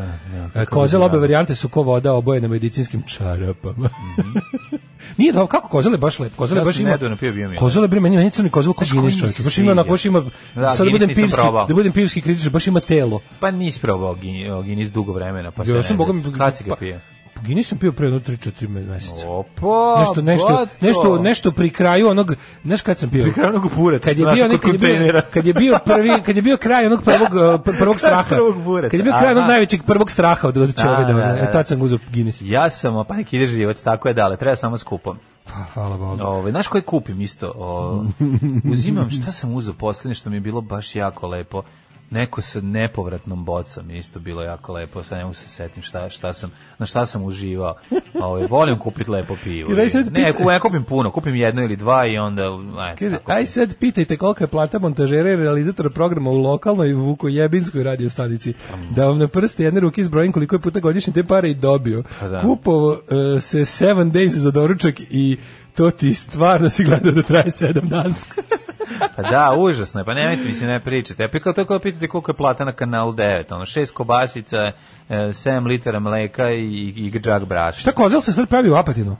[SPEAKER 6] Da, kozel obe varijante su ko voda oboje na medicinskim čarapama. Nije da, kako kozel je baš lep, kozel je
[SPEAKER 7] Mhm. Ja
[SPEAKER 6] baš
[SPEAKER 7] sam
[SPEAKER 6] ima.
[SPEAKER 7] nedavno pio, bio mi je.
[SPEAKER 6] Kozel je bre meni meni crni kozel kod
[SPEAKER 7] Znaš,
[SPEAKER 6] Guinness
[SPEAKER 7] koji
[SPEAKER 6] čovjek.
[SPEAKER 7] mi se
[SPEAKER 6] Baš ima na
[SPEAKER 7] sviđa?
[SPEAKER 6] baš ima
[SPEAKER 7] Da,
[SPEAKER 6] sad da budem
[SPEAKER 7] Guinness nisam
[SPEAKER 6] pivski,
[SPEAKER 7] probao.
[SPEAKER 6] da budem pivski kritičar, baš ima telo.
[SPEAKER 7] Pa nisi probao Gin- Guinness dugo vremena, pa se
[SPEAKER 6] Ja
[SPEAKER 7] ne
[SPEAKER 6] sam bogom
[SPEAKER 7] znaš. Kad si ga
[SPEAKER 6] pa-
[SPEAKER 7] pije?
[SPEAKER 6] Guinness sam pio pre jedno 3-4 meseca.
[SPEAKER 7] Opa,
[SPEAKER 6] Nešto, nešto,
[SPEAKER 7] bato.
[SPEAKER 6] nešto, nešto pri kraju onog, znaš kad sam pio?
[SPEAKER 7] Pri kraju onog bureta,
[SPEAKER 6] kad je
[SPEAKER 7] znaš,
[SPEAKER 6] bio
[SPEAKER 7] kod
[SPEAKER 6] nekad je bio,
[SPEAKER 7] kontejnera.
[SPEAKER 6] kad je bio prvi kad je bio kraj onog prvog uh, pr- prvog straha
[SPEAKER 7] Prvog bureta,
[SPEAKER 6] kad je bio kraj onog
[SPEAKER 7] aha.
[SPEAKER 6] najvećeg prvog straha od od
[SPEAKER 7] Da,
[SPEAKER 6] čovjeka
[SPEAKER 7] da, da,
[SPEAKER 6] da,
[SPEAKER 7] da.
[SPEAKER 6] tad sam uzeo Guinness
[SPEAKER 7] Ja sam, pa neki ide život, tako je dale, treba samo skupom.
[SPEAKER 6] pa hvala Bogu
[SPEAKER 7] Ove, znaš koje kupim isto? O, uzimam, šta sam uzeo posljednje što mi je bilo baš jako lepo? Neko sa nepovratnom bocom je isto bilo jako lepo, sad ne mogu se setim šta, šta sam, na šta sam uživao. Ove, volim kupiti lepo pivo.
[SPEAKER 6] Kaže, aj sad
[SPEAKER 7] Ne,
[SPEAKER 6] pitaj.
[SPEAKER 7] ku- ne kupim puno, kupim jedno ili dva i onda... Aj,
[SPEAKER 6] Kaže,
[SPEAKER 7] tako.
[SPEAKER 6] aj sad pitajte kolika je plata montažera i realizatora programa u lokalnoj Vukojebinskoj radiostanici. Da vam na prste jedne ruke izbrojim koliko je puta godišnje te pare i dobio.
[SPEAKER 7] Pa da.
[SPEAKER 6] Kupovo e, se 7 days za doručak i to ti stvarno si gledao da traje 7 dana.
[SPEAKER 7] Pa da, užasno je, pa nemojte mi se ne pričati. Ja pikao to kao pitate koliko je plata na kanalu 9, ono, šest kobasica, e, 7 litara mleka i, i, i džak brašna.
[SPEAKER 6] Šta kozel se sad pravi u apatinu?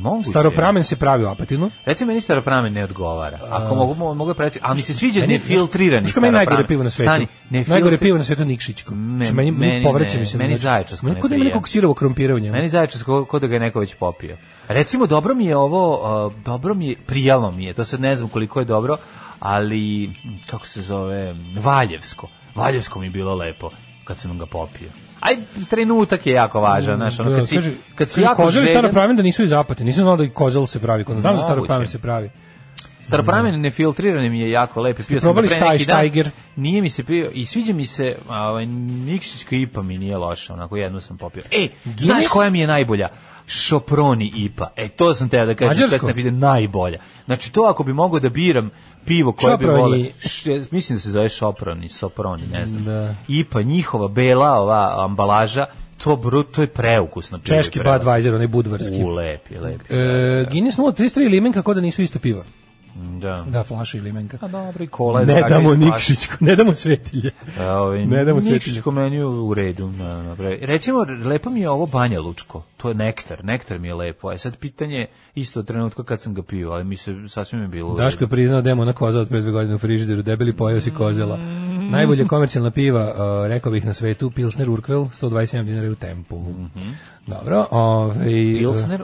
[SPEAKER 7] Moguće.
[SPEAKER 6] Staropramen se pravi u apatinu.
[SPEAKER 7] Reci meni staropramen ne odgovara. Ako mogu, mo- mogu preći, ali mi se sviđa nefiltrirani
[SPEAKER 6] Što meni najgore
[SPEAKER 7] staropramen.
[SPEAKER 6] pivo na svetu?
[SPEAKER 7] Stani, nefiltri-
[SPEAKER 6] Najgore pivo na svetu je Nikšićko.
[SPEAKER 7] Ne,
[SPEAKER 6] Znači, meni, meni
[SPEAKER 7] meni
[SPEAKER 6] povraća
[SPEAKER 7] ne,
[SPEAKER 6] mi se.
[SPEAKER 7] meni
[SPEAKER 6] znači,
[SPEAKER 7] zaječarsko
[SPEAKER 6] meni
[SPEAKER 7] ne
[SPEAKER 6] kod da ima
[SPEAKER 7] prija.
[SPEAKER 6] nekog sirovo krompira u njemu.
[SPEAKER 7] Meni zaječas ko, ko da ga je neko već popio. Recimo, dobro mi je ovo, a, dobro mi je, prijalo mi je, to sad ne znam koliko je dobro, ali, m, kako se zove, Valjevsko. Valjevsko mi je bilo lepo kad sam ga popio. Aj, trenutak je jako važan, znaš, ono, kad si,
[SPEAKER 6] Da, kaže,
[SPEAKER 7] kad si
[SPEAKER 6] kaže,
[SPEAKER 7] jako
[SPEAKER 6] Kozel je
[SPEAKER 7] željen,
[SPEAKER 6] staropramen da nisu iz Apate. Nisam znao da i kozel se pravi. kod nas. Znam da
[SPEAKER 7] Moguće.
[SPEAKER 6] staropramen se pravi.
[SPEAKER 7] staropramen nefiltrirani mi je jako lep. Pio sam
[SPEAKER 6] Mhm. probali
[SPEAKER 7] ga pre neki
[SPEAKER 6] Staj-
[SPEAKER 7] dan.
[SPEAKER 6] Steiger?
[SPEAKER 7] Nije mi se pio, i sviđa mi se, a, ovaj, Nikšićka IPA mi nije loša, onako jednu sam popio. E, znaš koja mi je najbolja? Šoproni IPA. E, to sam teo da kažem,
[SPEAKER 6] Mađarsko?
[SPEAKER 7] kad sam pitao, najbolja. Znači, to ako bi mogao da biram pivo koje
[SPEAKER 6] Šoproni.
[SPEAKER 7] bi vole, Š- ja mislim da se zove Šoproni, Soproni, ne znam.
[SPEAKER 6] Da.
[SPEAKER 7] IPA, njihova bela ova ambalaža, to, bru, to je preukusno. pivo i
[SPEAKER 6] Češki
[SPEAKER 7] preukusno.
[SPEAKER 6] Budweiser, onaj budvarski.
[SPEAKER 7] U, lep je, lep je.
[SPEAKER 6] E, Guinness 033 i limenka kao da nisu isto piva.
[SPEAKER 7] Da.
[SPEAKER 6] Da, flaša i limenka.
[SPEAKER 7] A dobro, i kola je
[SPEAKER 6] Ne
[SPEAKER 7] drugačije
[SPEAKER 6] damo
[SPEAKER 7] iz flaše.
[SPEAKER 6] Nikšićku, ne damo Svetilje.
[SPEAKER 7] Ovaj,
[SPEAKER 6] Ne damo svetinje.
[SPEAKER 7] Nikšićko meni je u redu. Na, na, bre. Recimo, lepo mi je ovo Banja Lučko. To je nektar. Nektar mi je lepo. E sad pitanje isto od trenutka kad sam ga pio, ali mi se sasvim je bilo u
[SPEAKER 6] Daško
[SPEAKER 7] redu.
[SPEAKER 6] je priznao da je ona koza od pre dve godine u frižideru, debeli pojeo si kozela.
[SPEAKER 7] Mm.
[SPEAKER 6] Najbolje komercijalna piva, e, rekao bih na svetu, Pilsner Urquell, 127 dinara je u tempu. Dobro, ovaj...
[SPEAKER 7] Mhm. Pilsner?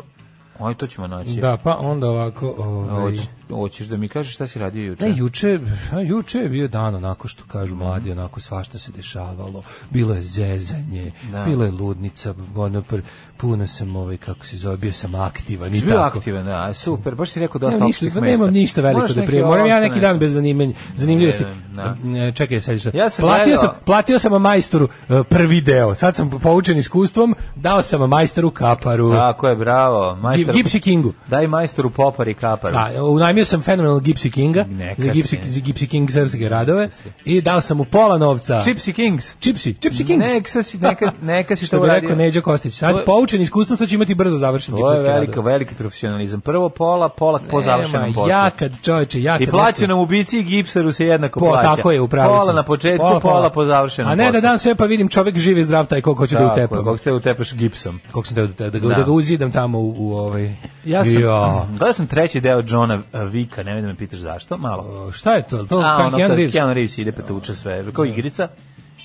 [SPEAKER 7] Oj, to ćemo naći.
[SPEAKER 6] e, Da, pa onda ovako... Ovaj,
[SPEAKER 7] Hoć- Hoćeš da mi kažeš šta si radio juče?
[SPEAKER 6] Ne, juče, a, juče je bio dan onako što kažu mladi, onako svašta se dešavalo, bilo je zezanje,
[SPEAKER 7] Da.
[SPEAKER 6] bilo je ludnica, ono, pr- puno sam, ovaj, kako se zove, bio sam aktivan i
[SPEAKER 7] Jesi bio
[SPEAKER 6] tako.
[SPEAKER 7] aktivan, da, aj, super. Baš si rekao
[SPEAKER 6] Nemam
[SPEAKER 7] dosta
[SPEAKER 6] ništa,
[SPEAKER 7] opštih mesta.
[SPEAKER 6] nemam ništa veliko
[SPEAKER 7] Moraš
[SPEAKER 6] da
[SPEAKER 7] neki
[SPEAKER 6] prijem. Moram ja
[SPEAKER 7] opšte
[SPEAKER 6] neki
[SPEAKER 7] mesta.
[SPEAKER 6] dan bez zanimanja, zanimljivosti.
[SPEAKER 7] Ne,
[SPEAKER 6] E, Čekaj, sad šta.
[SPEAKER 7] Ja sam
[SPEAKER 6] platio,
[SPEAKER 7] gledao-
[SPEAKER 6] sam, platio sam majstoru e, prvi deo. Sad sam poučen iskustvom, dao sam majstoru kaparu.
[SPEAKER 7] Tako je, bravo. Majster,
[SPEAKER 6] Gipsy Kingu.
[SPEAKER 7] Daj majstoru popar i kapar.
[SPEAKER 6] Da, unajmio sam fenomenal Gipsy Kinga
[SPEAKER 7] Neka
[SPEAKER 6] za Gipsy,
[SPEAKER 7] si.
[SPEAKER 6] za Gipsy King srpske radove i dao sam mu pola novca.
[SPEAKER 7] Gypsy Kings.
[SPEAKER 6] Chipsy, Chipsy da. Kings.
[SPEAKER 7] Neka si- neka- neka si
[SPEAKER 6] što
[SPEAKER 7] to
[SPEAKER 6] bi
[SPEAKER 7] uradio.
[SPEAKER 6] rekao Neđo Kostić. Sad
[SPEAKER 7] To je-
[SPEAKER 6] poučen iskustvom, sad ću imati brzo završen
[SPEAKER 7] To je
[SPEAKER 6] Gipsyjske
[SPEAKER 7] velika,
[SPEAKER 6] radove.
[SPEAKER 7] veliki profesionalizam. Prvo pola, pola po završenom
[SPEAKER 6] Nema,
[SPEAKER 7] poslu.
[SPEAKER 6] Ja kad čoveče, ja kad
[SPEAKER 7] I plaćenom ubici i gipsaru se jednako
[SPEAKER 6] Po,
[SPEAKER 7] plaća.
[SPEAKER 6] Pa, tako je, upravo
[SPEAKER 7] Pola
[SPEAKER 6] sam.
[SPEAKER 7] na početku, pola, po završenom
[SPEAKER 6] A ne da
[SPEAKER 7] poslu.
[SPEAKER 6] dam sve pa vidim čovek živi zdrav taj kog hoću da
[SPEAKER 7] Tako je,
[SPEAKER 6] utepam.
[SPEAKER 7] Kog ste utepaš gipsom.
[SPEAKER 6] Kog sam teo da, da, ga,
[SPEAKER 7] Da.
[SPEAKER 6] da ga uzidam tamo u, u ovaj...
[SPEAKER 7] Ja sam,
[SPEAKER 6] Jo.
[SPEAKER 7] gledao sam treći deo Johna eh, Vika, ne vidim da me pitaš zašto, malo.
[SPEAKER 6] O, Šta je to? To
[SPEAKER 7] A,
[SPEAKER 6] kao
[SPEAKER 7] ono,
[SPEAKER 6] Keanu
[SPEAKER 7] kad
[SPEAKER 6] Reeves? Da.
[SPEAKER 7] Keanu Reeves ide pa tuče sve, kao igrica,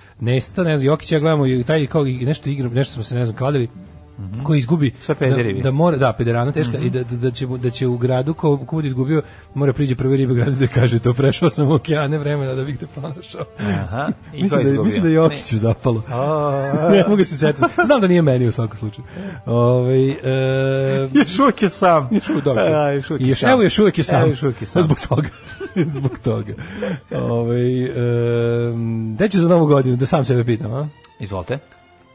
[SPEAKER 6] Nesta, ne znam, Jokića gledamo i taj kao i nešto igra, nešto smo se ne znam kladili, koji izgubi
[SPEAKER 7] Mhm. Sve
[SPEAKER 6] da,
[SPEAKER 7] Mhm. pederivi.
[SPEAKER 6] da mora da pederana teška i da, da, da će mu- da će u gradu ko ko bude izgubio mora priđe prvi ribe grada da kaže to prešao sam okeane vremena da bih te pronašao.
[SPEAKER 7] Aha, i ko
[SPEAKER 6] mislim,
[SPEAKER 7] je
[SPEAKER 6] da, je-
[SPEAKER 7] izgubio?
[SPEAKER 6] mislim da je Jokiću zapalo. ne mogu se setiti. Znam da nije meni u svakom slučaju. Ovaj e,
[SPEAKER 7] Ne. Još uvijek je sam.
[SPEAKER 6] još uvijek dobro.
[SPEAKER 7] A, još uvijek
[SPEAKER 6] I
[SPEAKER 7] je
[SPEAKER 6] još,
[SPEAKER 7] sam.
[SPEAKER 6] evo još uvijek je sam.
[SPEAKER 7] Evo još uvijek je sam.
[SPEAKER 6] Zbog toga. Zbog toga. Ovaj em, gde ću za novu godinu, da sam sebe pitam, a?
[SPEAKER 7] Izvolite.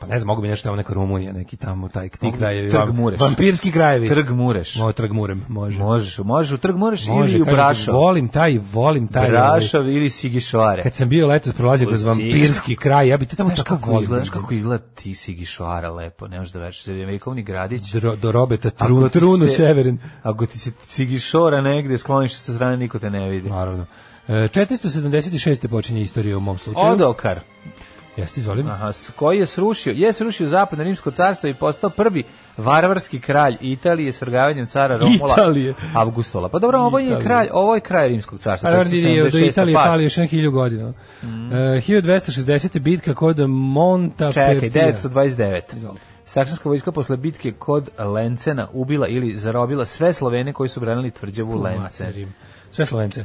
[SPEAKER 6] Pa ne znam, mogu bi nešto tamo neka Rumunija, neki tamo, taj, ti
[SPEAKER 7] Mogu-
[SPEAKER 6] krajevi.
[SPEAKER 7] Trg
[SPEAKER 6] vam-
[SPEAKER 7] Mureš.
[SPEAKER 6] Vampirski krajevi.
[SPEAKER 7] Trg Mureš.
[SPEAKER 6] Mo, trg Murem, može.
[SPEAKER 7] Možeš, možeš u Trg Mureš
[SPEAKER 6] Može,
[SPEAKER 7] ili
[SPEAKER 6] kažem
[SPEAKER 7] u
[SPEAKER 6] ti,
[SPEAKER 7] Brašov.
[SPEAKER 6] Volim taj, volim taj. ovaj,
[SPEAKER 7] Brašov ili Sigišoare.
[SPEAKER 6] Kad sam bio letos prolazio kroz
[SPEAKER 7] Uzi.
[SPEAKER 6] vampirski kraj, ja bi to tamo
[SPEAKER 7] Znaš
[SPEAKER 6] tako
[SPEAKER 7] kako
[SPEAKER 6] volim. da.
[SPEAKER 7] izgleda, znaš kako izgleda ti Sigišoara lepo, ne možeš da veš, vekovni gradić.
[SPEAKER 6] Dro- do Robeta,
[SPEAKER 7] Ako
[SPEAKER 6] trun,
[SPEAKER 7] ti
[SPEAKER 6] trunu
[SPEAKER 7] se-
[SPEAKER 6] severin.
[SPEAKER 7] Ako ti se Sigišora negde skloniš sa strane, niko te ne vidi.
[SPEAKER 6] Naravno. E, 476. počinje istorija u mom slučaju.
[SPEAKER 7] Odokar,
[SPEAKER 6] Jeste, izvolim.
[SPEAKER 7] aha, s- koji je srušio, je srušio zapadno rimsko carstvo i postao prvi varvarski kralj Italije s vrgavanjem cara Romula
[SPEAKER 6] Italije.
[SPEAKER 7] Avgustola. Pa dobro, ovo je
[SPEAKER 6] Italije.
[SPEAKER 7] kralj, ovo je kraj rimskog carstva.
[SPEAKER 6] Pa je do
[SPEAKER 7] 476,
[SPEAKER 6] Italije
[SPEAKER 7] pa-
[SPEAKER 6] fali još na hilju godina. Mm. E, 1260. bitka kod Monta
[SPEAKER 7] Čekaj, 929.
[SPEAKER 6] Izvolite.
[SPEAKER 7] Saksonska vojska posle bitke kod Lencena ubila ili zarobila sve Slovene koji su branili tvrđavu Lencen.
[SPEAKER 6] Sve slovence.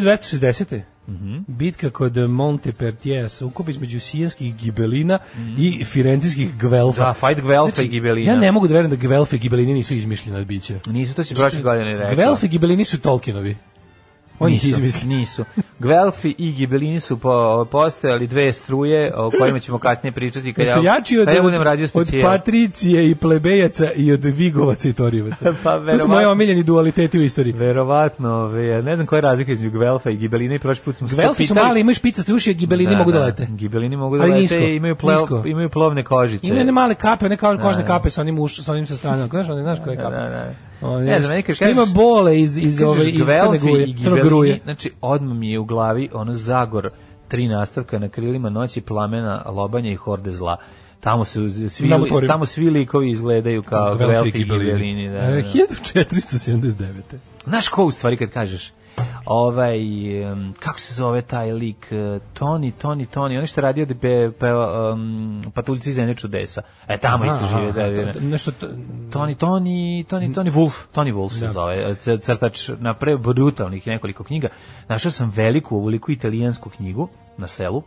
[SPEAKER 6] 1260.
[SPEAKER 7] Mhm.
[SPEAKER 6] Bitka kod Montepertije, sukob između sijanskih gibelina i firentijskih gvelfa.
[SPEAKER 7] Mhm. Da, fight Guelfa i Gibelina.
[SPEAKER 6] Ja ne mogu da verujem da gvelfe i gibelini nisu izmišljena od bića.
[SPEAKER 7] Nisu to si prošle godine rekao.
[SPEAKER 6] Gvelfe i gibelini su Tolkienovi. On ih
[SPEAKER 7] nisu,
[SPEAKER 6] izmisli.
[SPEAKER 7] Nisu. Guelfi i Gibelini su po, postojali dve struje o kojima ćemo kasnije pričati kad
[SPEAKER 6] Da
[SPEAKER 7] ja,
[SPEAKER 6] su jači od,
[SPEAKER 7] kad pa ja budem radio
[SPEAKER 6] od, od
[SPEAKER 7] specijal.
[SPEAKER 6] Patricije i Plebejaca i od Vigovaca i Torijevaca.
[SPEAKER 7] Pa,
[SPEAKER 6] to su
[SPEAKER 7] verovatno.
[SPEAKER 6] moji omiljeni dualiteti u istoriji.
[SPEAKER 7] Verovatno, ove, ja ne znam koja je razlika između Guelfa i Gibeline i prošli put smo se to
[SPEAKER 6] Velfi su
[SPEAKER 7] pitali.
[SPEAKER 6] mali, imaju špicaste uši, a gibelini
[SPEAKER 7] Da,
[SPEAKER 6] mogu da
[SPEAKER 7] da.
[SPEAKER 6] lete.
[SPEAKER 7] Gibelini mogu da
[SPEAKER 6] Ali
[SPEAKER 7] lete
[SPEAKER 6] nisko,
[SPEAKER 7] i imaju,
[SPEAKER 6] nisko.
[SPEAKER 7] pleo, imaju plovne kožice.
[SPEAKER 6] Ima one male kape, one kao kožne
[SPEAKER 7] da.
[SPEAKER 6] kape sa onim uš, sa onim sa strane, znaš, one znaš koje
[SPEAKER 7] Da,
[SPEAKER 6] kape.
[SPEAKER 7] da, da.
[SPEAKER 6] One,
[SPEAKER 7] Ne znam, meni kad
[SPEAKER 6] što ima
[SPEAKER 7] kažeš-
[SPEAKER 6] bole iz iz
[SPEAKER 7] Kažeš
[SPEAKER 6] ove iz crne
[SPEAKER 7] Guelfi
[SPEAKER 6] guje,
[SPEAKER 7] i
[SPEAKER 6] crne
[SPEAKER 7] Gibelini,
[SPEAKER 6] gruje.
[SPEAKER 7] Znači, odmah mi je u glavi ono Zagor, tri nastavka na krilima noći, plamena, lobanja i horde zla. Tamo su svi,
[SPEAKER 6] Na motorima.
[SPEAKER 7] tamo svi likovi izgledaju kao
[SPEAKER 6] Da,
[SPEAKER 7] Guelfi i Gibelini. Da, da.
[SPEAKER 6] E, 1479.
[SPEAKER 7] Znaš ko u stvari kad kažeš? Ovaj, em, kako se zove taj lik? E, Tony, Tony, Tony, on je što je radio da pe, pe, um, patuljci zemlje čudesa. E, tamo isto žive. Da,
[SPEAKER 6] to- to- Nešto to-
[SPEAKER 7] Tony, Tony, Tony, Tony Wolf, Tony Wolf
[SPEAKER 6] Da.
[SPEAKER 7] se zove, c- crtač na pre brutalnih nekoliko knjiga. Našao sam veliku, ovu veliku italijansku knjigu na selu,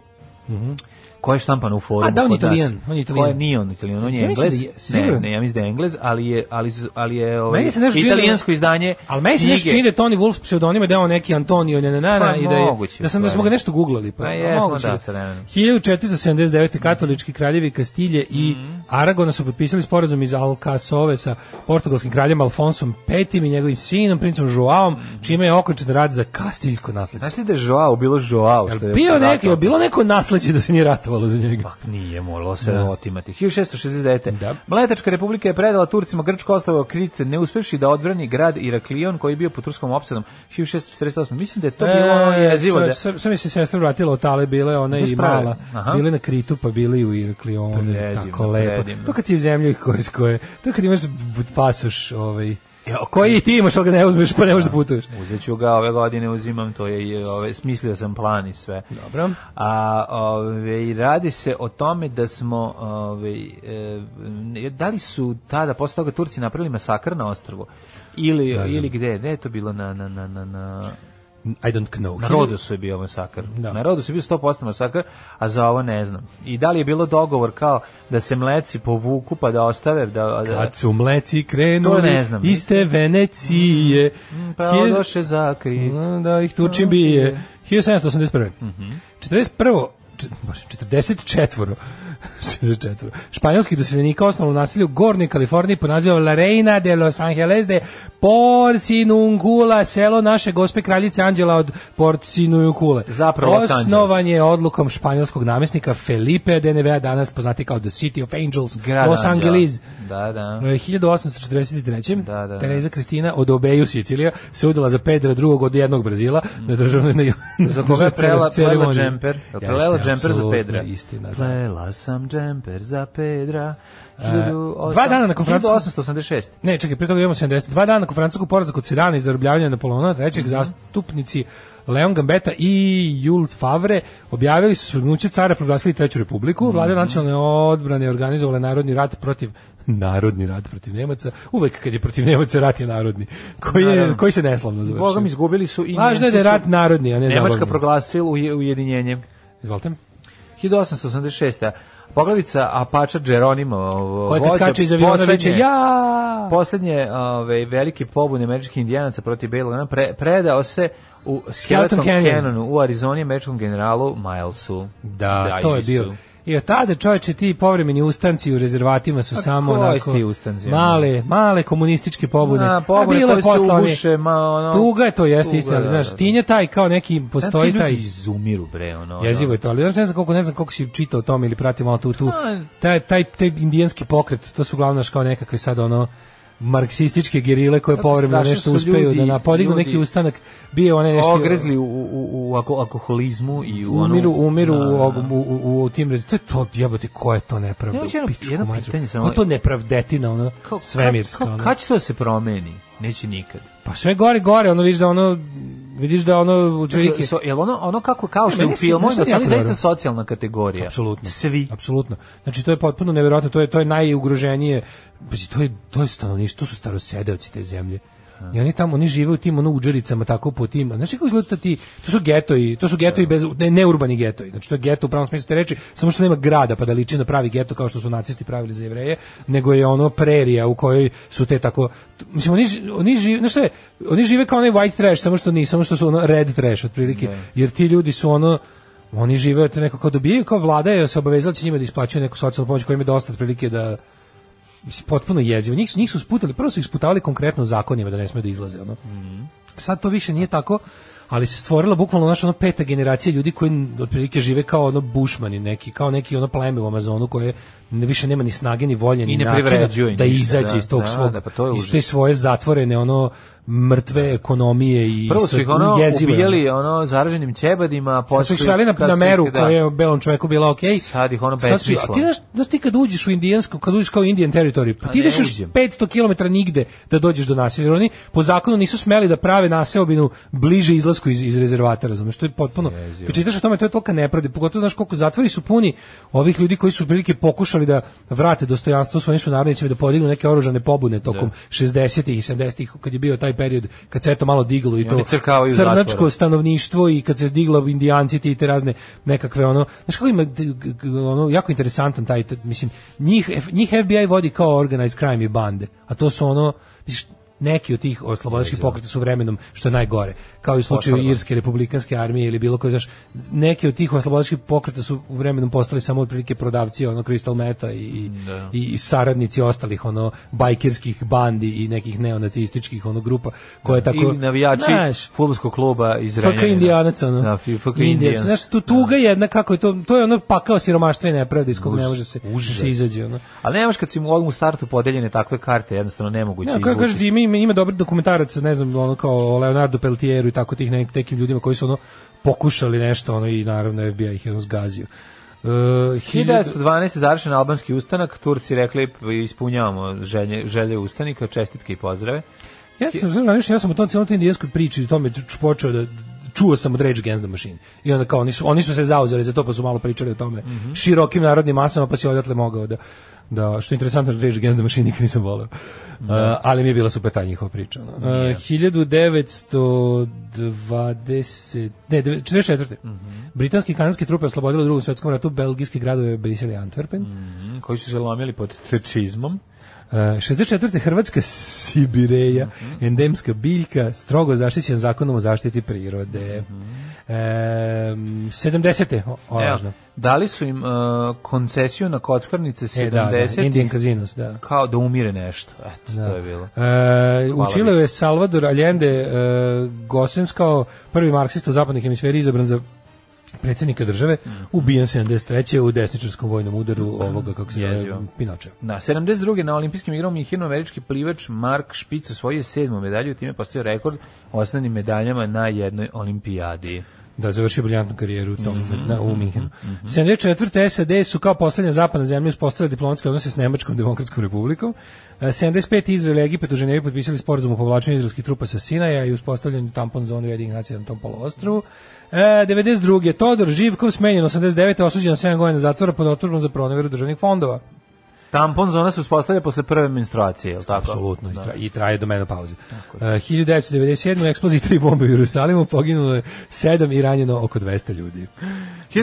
[SPEAKER 7] koja je štampana u forumu.
[SPEAKER 6] Mhm. A, da, on je
[SPEAKER 7] kod nas.
[SPEAKER 6] Italijan, on je Italijan.
[SPEAKER 7] Koja nije on italijan, on je
[SPEAKER 6] Ja mislim da
[SPEAKER 7] englez.
[SPEAKER 6] je, siguran.
[SPEAKER 7] ne, ne, ja mislim da je englez, ali je, ali, z- ali je ovaj,
[SPEAKER 6] Meni se nešto čini da-
[SPEAKER 7] italijansko izdanje
[SPEAKER 6] Ali meni se nešto
[SPEAKER 7] knjige.
[SPEAKER 6] čini da je Tony Wolf pseudonim je da je on neki Antonio ne, ne, ne,
[SPEAKER 7] Pa,
[SPEAKER 6] i da je,
[SPEAKER 7] moguće,
[SPEAKER 6] da sam da smo ga
[SPEAKER 7] stvari.
[SPEAKER 6] nešto guglali pa.
[SPEAKER 7] Pa, jesmo,
[SPEAKER 6] moguće
[SPEAKER 7] da, sa vremenom.
[SPEAKER 6] 1479. katolički kraljevi Kastilje i
[SPEAKER 7] Mhm.
[SPEAKER 6] Aragona su potpisali sporazum iz Alcasove sa portugalskim kraljem Alfonsom V i njegovim sinom, princom Joaom, čime je okončen rad za kastiljsko nasleđe.
[SPEAKER 7] Mhm. Znaš li da je Joao, bilo Joao?
[SPEAKER 6] Jel
[SPEAKER 7] što je
[SPEAKER 6] bio neki,
[SPEAKER 7] ratovao?
[SPEAKER 6] jel bilo neko nasleđe da se nije ratovalo za njega?
[SPEAKER 7] Pa nije moralo se otimati. 1669.
[SPEAKER 6] Da.
[SPEAKER 7] Mletačka republika je predala Turcima Grčko ostavo Krit, ne uspevši da odbrani grad Iraklion koji je bio pod turskom opsadom 1648. Mislim da je
[SPEAKER 6] E,
[SPEAKER 7] to bilo ono jezivo. Da...
[SPEAKER 6] čovječ, sve- sve mi se sestra vratila od Tale, bile ona
[SPEAKER 7] Bez
[SPEAKER 6] i
[SPEAKER 7] prave.
[SPEAKER 6] mala.
[SPEAKER 7] Aha. da,
[SPEAKER 6] Bile na Kritu, pa bile i u Irklionu,
[SPEAKER 7] Predivno,
[SPEAKER 6] tako lepo.
[SPEAKER 7] predivno.
[SPEAKER 6] To kad si iz zemlje koje, s koje, to kad imaš pasoš, ovaj,
[SPEAKER 7] Jo,
[SPEAKER 6] koji i ti imaš, ali ga ne uzmeš, pa ne možeš da putuješ.
[SPEAKER 7] Uzet ću ga ove godine, uzimam to, je, i, ove, smislio sam plan i sve.
[SPEAKER 6] Dobro.
[SPEAKER 7] A ove, radi se o tome da smo, ove, e, ne- da li su tada, posle toga Turci napravili masakr na ostrvu? Ili,
[SPEAKER 6] Ne znam.
[SPEAKER 7] ili gde? Gde je to bilo na, na, na, na, na...
[SPEAKER 6] I don't know.
[SPEAKER 7] Na Rodosu je bio masakr.
[SPEAKER 6] Hm. Da.
[SPEAKER 7] Na Rodosu je bio 100% masakr, a za ovo ne znam. I da li je bilo dogovor kao da se mleci povuku pa da ostave da, da
[SPEAKER 6] Kad su mleci krenuli,
[SPEAKER 7] To ne znam.
[SPEAKER 6] iste Venecije,
[SPEAKER 7] pa
[SPEAKER 6] hiljadu-
[SPEAKER 7] odoše zakrit.
[SPEAKER 6] da ih tučim bije. 1781.
[SPEAKER 7] Mhm.
[SPEAKER 6] 41. čet- bože, 44. Za četvoro. Španjolskih doseljenika osnovno naselje u Gornjoj Kaliforniji po nazivu La Reina de los Angeles de Porcinuncula, selo naše gospe kraljice Anđela od Porcinuncule.
[SPEAKER 7] Zapravo Los Angeles.
[SPEAKER 6] Osnovan je odlukom španjolskog namjesnika Felipe de Nevea, danas poznati kao The City of Angels,
[SPEAKER 7] Grad
[SPEAKER 6] Los
[SPEAKER 7] Anđela.
[SPEAKER 6] Angeles.
[SPEAKER 7] Da, da.
[SPEAKER 6] E, 1843.
[SPEAKER 7] Da, da.
[SPEAKER 6] Tereza Kristina od Obeju Sicilija se udala za Pedra drugog od jednog Brazila na državnoj na, na
[SPEAKER 7] Mhm. Za koga je prela, plela
[SPEAKER 6] ceremoniji.
[SPEAKER 7] džemper? Jel
[SPEAKER 6] Jeste,
[SPEAKER 7] Plela džemper za
[SPEAKER 6] apsolutno
[SPEAKER 7] Pedra.
[SPEAKER 6] Istina, da.
[SPEAKER 7] Plela sam džemper za Pedra.
[SPEAKER 6] E, dva dana nakon Francuske-
[SPEAKER 7] 1886.
[SPEAKER 6] Ne, čekaj, prije toga imamo 72 dana nakon francuskog poraza kod Sirana i zarobljavanja Napoleona III,
[SPEAKER 7] Mhm.
[SPEAKER 6] zastupnici Leon Gambetta i Jules Favre objavili su svrgnuće cara proglasili Treću republiku,
[SPEAKER 7] Mhm.
[SPEAKER 6] vlada nacionalne odbrane organizovala narodni rat protiv narodni rat protiv Nemaca, uvek kad je protiv Nemaca rat je narodni, koji, je,
[SPEAKER 7] Naravno.
[SPEAKER 6] koji se neslavno završio.
[SPEAKER 7] Bogom izgubili su i
[SPEAKER 6] Važno je da je
[SPEAKER 7] Nemci su-
[SPEAKER 6] rat narodni, a ne
[SPEAKER 7] Nemačka
[SPEAKER 6] zabavni.
[SPEAKER 7] proglasila uj- ujedinjenje.
[SPEAKER 6] Izvolite.
[SPEAKER 7] 1886. Poglavica Apača Geronimo. ovo,
[SPEAKER 6] Koja kad
[SPEAKER 7] vođa
[SPEAKER 6] skače iz aviona
[SPEAKER 7] poslednje-
[SPEAKER 6] viče, ja!
[SPEAKER 7] Poslednje ove, velike pobune američkih indijanaca protiv Belog pre, predao se u Skeleton
[SPEAKER 6] Canyon.
[SPEAKER 7] Canyonu u Arizoni američkom generalu Milesu.
[SPEAKER 6] Da, to je
[SPEAKER 7] Davisu.
[SPEAKER 6] bio. I od tada čoveče ti povremeni ustanci u rezervatima su samo
[SPEAKER 7] koji
[SPEAKER 6] onako
[SPEAKER 7] ti ustanci, ono?
[SPEAKER 6] male, male komunističke pobune.
[SPEAKER 7] Na,
[SPEAKER 6] A
[SPEAKER 7] pobune
[SPEAKER 6] bilo je
[SPEAKER 7] koje se
[SPEAKER 6] posla onih-
[SPEAKER 7] uguše, ma, ono-
[SPEAKER 6] Tuga je to, jeste
[SPEAKER 7] Tuga,
[SPEAKER 6] istina, ali,
[SPEAKER 7] da,
[SPEAKER 6] znaš,
[SPEAKER 7] da, da.
[SPEAKER 6] tinje taj kao neki postoji
[SPEAKER 7] Znate,
[SPEAKER 6] taj
[SPEAKER 7] ljudi izumiru, bre, ono. ono.
[SPEAKER 6] Pa jezivo je to, ali znaš, ne znam koliko, ne znam koliko si čitao o tome ili pratio malo tu, tu,
[SPEAKER 7] A-
[SPEAKER 6] taj, taj, taj indijanski pokret, to su uglavnom znaš, kao nekakve sad ono, marksističke gerile koje
[SPEAKER 7] Zato
[SPEAKER 6] povremeno
[SPEAKER 7] strašno
[SPEAKER 6] nešto
[SPEAKER 7] Pa, su
[SPEAKER 6] uspeju
[SPEAKER 7] ljudi-
[SPEAKER 6] da na- podignu neki
[SPEAKER 7] ljudi-
[SPEAKER 6] ustanak, bio one nešto...
[SPEAKER 7] Ogrezli u, u, u alko- alkoholizmu i u ono... da,
[SPEAKER 6] umiru, umiru
[SPEAKER 7] na-
[SPEAKER 6] u, og- u, u, u tim rezi. To je to, jebote, ko je to nepravda?
[SPEAKER 7] Ja imam
[SPEAKER 6] u
[SPEAKER 7] jedno-
[SPEAKER 6] pičku
[SPEAKER 7] jedno
[SPEAKER 6] materiju.
[SPEAKER 7] pitanje samo.
[SPEAKER 6] Ko je to nepravdetina, ono,
[SPEAKER 7] kao-
[SPEAKER 6] svemirska?
[SPEAKER 7] kao-
[SPEAKER 6] ono?
[SPEAKER 7] Kad će to da se promeni? Neće nikad.
[SPEAKER 6] Pa sve gore, gore, ono, vidiš da ono, vidiš da ono, u
[SPEAKER 7] Čekaj,
[SPEAKER 6] prilike...
[SPEAKER 7] so, jel ono, ono kako, kao što
[SPEAKER 6] Ne,
[SPEAKER 7] je u
[SPEAKER 6] meni se-
[SPEAKER 7] filmu,
[SPEAKER 6] meni se
[SPEAKER 7] da su
[SPEAKER 6] jako
[SPEAKER 7] oni zaista
[SPEAKER 6] dobro.
[SPEAKER 7] socijalna kategorija.
[SPEAKER 6] Apsolutno.
[SPEAKER 7] Svi.
[SPEAKER 6] Apsolutno. Znači to je potpuno neverovatno, to je to je najugroženije. Pazi, to je to je stanovništvo, to su starosedeoci te zemlje. I oni tamo, oni žive u tim ono uđericama, tako po tim. Znaš kako izgleda to ti, to su getoji, to su getoji bez, ne, ne urbani getoji. Znači to je geto u pravom smislu te reči, samo što nema grada pa da liči na pravi geto kao što su nacisti pravili za jevreje, nego je ono prerija u kojoj su te tako, mislim oni, ži- oni žive, znaš šta je, oni žive kao onaj white trash, samo što nisu, samo što su ono red trash otprilike, jer ti ljudi su ono, oni žive od neko kao dobijaju, kao vlada je se obavezala da će njima da isplaćuje neku socijalnu pomoć koja im je dosta otprilike da mislim, potpuno jezivo. Njih, su- njih su sputali, prvo su ih sputavali konkretno zakonima da ne smeju da izlaze. Ono.
[SPEAKER 7] Mhm.
[SPEAKER 6] Sad to više nije tako, ali se stvorila bukvalno naša ono peta generacija ljudi koji n- otprilike žive kao ono bušmani neki, kao neki ono pleme u Amazonu koje ne- više nema ni snage ni volje ni
[SPEAKER 7] ne
[SPEAKER 6] načina
[SPEAKER 7] privređuju
[SPEAKER 6] da
[SPEAKER 7] ništa,
[SPEAKER 6] izađe
[SPEAKER 7] da,
[SPEAKER 6] iz tog
[SPEAKER 7] da,
[SPEAKER 6] svog
[SPEAKER 7] da, pa to je
[SPEAKER 6] iz
[SPEAKER 7] užas.
[SPEAKER 6] te svoje zatvorene ono mrtve ekonomije i
[SPEAKER 7] Prvo su
[SPEAKER 6] sad
[SPEAKER 7] ih ono
[SPEAKER 6] jezivo je, ono.
[SPEAKER 7] ubijali ono zaraženim ćebadima,
[SPEAKER 6] Kad su
[SPEAKER 7] posle
[SPEAKER 6] ih sveli na,
[SPEAKER 7] kad
[SPEAKER 6] na
[SPEAKER 7] su
[SPEAKER 6] meru
[SPEAKER 7] ih, da.
[SPEAKER 6] koja je belom čoveku bila okej.
[SPEAKER 7] Sad ih ono
[SPEAKER 6] Sad su-
[SPEAKER 7] besmisla.
[SPEAKER 6] A ti znaš, znaš ti kad uđeš u indijansku, kad uđeš kao Indian Territory, pa
[SPEAKER 7] A
[SPEAKER 6] ti
[SPEAKER 7] ne
[SPEAKER 6] ideš još
[SPEAKER 7] uđem.
[SPEAKER 6] 500 km nigde da dođeš do naselja. Jer oni po zakonu nisu smeli da prave naseobinu bliže izlasku iz, iz rezervata, razumeš? To je potpuno... Kad čitaš o tome, to je tolika nepravda. Pogotovo znaš koliko zatvori su puni ovih ljudi koji su otprilike pokušali da vrate dostojanstvo svojim sunarodnicima i da podignu neke oružane pobune tokom
[SPEAKER 7] Da.
[SPEAKER 6] 60-ih i 70-ih, kad je bio taj period kad se eto malo diglo i, to
[SPEAKER 7] oni crkavaju u
[SPEAKER 6] crnačko
[SPEAKER 7] zatvoru.
[SPEAKER 6] stanovništvo i kad se digla indijanci ti te razne nekakve ono znaš kako ima d- g- g- ono jako interesantan taj t- mislim njih F- njih FBI vodi kao organized crime i bande a to su ono misliš, neki od tih oslobodilačkih
[SPEAKER 7] da.
[SPEAKER 6] pokreta su vremenom što je najgore kao i u slučaju irske republikanske armije ili bilo koji znaš neki od tih oslobodilačkih pokreta su vremenom postali samo otprilike prodavci ono crystal meta i, i,
[SPEAKER 7] Da.
[SPEAKER 6] i, i saradnici ostalih ono bajkerskih bandi i nekih neonacističkih ono grupa koje tako
[SPEAKER 7] Da. i navijači
[SPEAKER 6] Znaš,
[SPEAKER 7] fudbalskog kluba iz Renjanina.
[SPEAKER 6] FK Indijanac, ono.
[SPEAKER 7] Da, fi- FK
[SPEAKER 6] Indijac.
[SPEAKER 7] Indijanac. Da.
[SPEAKER 6] Znaš, tu tuga jedna kako je to, to je ono pakao siromaštva i nepravda iz kog ne
[SPEAKER 7] Užas,
[SPEAKER 6] može se,
[SPEAKER 7] užas.
[SPEAKER 6] se izađe. Ono.
[SPEAKER 7] Ali nemaš kad su im odmah u startu podeljene takve karte, jednostavno nemoguće
[SPEAKER 6] Ja, kako kažeš,
[SPEAKER 7] izvući.
[SPEAKER 6] ima, ima, ima dobri dokumentarac, ne znam, ono kao o Leonardo Peltieru i tako tih nek, nekim ljudima koji su ono pokušali nešto, ono i naravno FBI ih je ono zgazio. Uh,
[SPEAKER 7] 1912. je završen albanski ustanak, Turci rekli ispunjavamo želje, želje ustanika, čestitke i pozdrave.
[SPEAKER 6] Ja sam znam, znaš, ja sam u tom celom toj indijskoj priči i tome ču- počeo da čuo sam od Rage Against the Machine. I onda kao, oni su, oni su se zauzeli za to, pa su malo pričali o tome. Širokim narodnim masama, pa si odatle mogao da... da što je interesantno, Rage Against the Machine nikad nisam voleo. Uh, ali mi je bila super ta njihova priča. ono. Uh, 1920... Ne, deve- 44. Britanske i kanadske trupe oslobodile u drugom svjetskom ratu belgijske gradove Brisel i Antwerpen.
[SPEAKER 7] Mm, Koji su se lomili pod trčizmom.
[SPEAKER 6] Uh, 64. Hrvatska Sibireja,
[SPEAKER 7] Mhm.
[SPEAKER 6] endemska biljka, strogo zaštićen zakonom o zaštiti prirode. Em, 70. o- E, o,
[SPEAKER 7] Evo,
[SPEAKER 6] Pa važno.
[SPEAKER 7] dali su im uh, koncesiju na kockarnice
[SPEAKER 6] E, da,
[SPEAKER 7] 70
[SPEAKER 6] da, Indian Casinos, da.
[SPEAKER 7] kao da umire nešto. Eto, to je bilo.
[SPEAKER 6] E, u
[SPEAKER 7] Hvala
[SPEAKER 6] Čileu je Salvador Allende e, Gosens kao prvi marksista u zapadnoj hemisferi izabran za predsjednika države,
[SPEAKER 7] Mhm.
[SPEAKER 6] ubijen 73. u desničarskom vojnom udaru ovoga, kako se zove,
[SPEAKER 7] Jezivo.
[SPEAKER 6] Pinoče.
[SPEAKER 7] Na 72. Da, na olimpijskim igram u Minhenu američki plivač Mark Špic osvojio je sedmu medalju, time je postao rekord u osnovnim medaljama na jednoj olimpijadi.
[SPEAKER 6] da završi briljantnu karijeru u tom, na, u Minhenu. 74. SAD su kao poslednja zapadna zemlja uspostavila diplomatske odnose s Nemačkom demokratskom republikom. E, 75. Izrael i Egipat u Ženevi potpisali sporazum o povlačenju izraelskih trupa sa Sinaja i uspostavljanju tampon zonu jedinih nacija na tom poluostrvu. E, 92. Todor Živkov smenjen 89. osuđen na 7 godina zatvora pod optužbom za proneveru državnih fondova.
[SPEAKER 7] Tampon zona se uspostavlja posle prve menstruacije, je li tako? da.
[SPEAKER 6] Apsolutno, i, tra- i traje do menopauze. Uh, 1997. u eksploziji tri bombe u Jerusalimu poginulo je 7 i ranjeno oko 200 ljudi.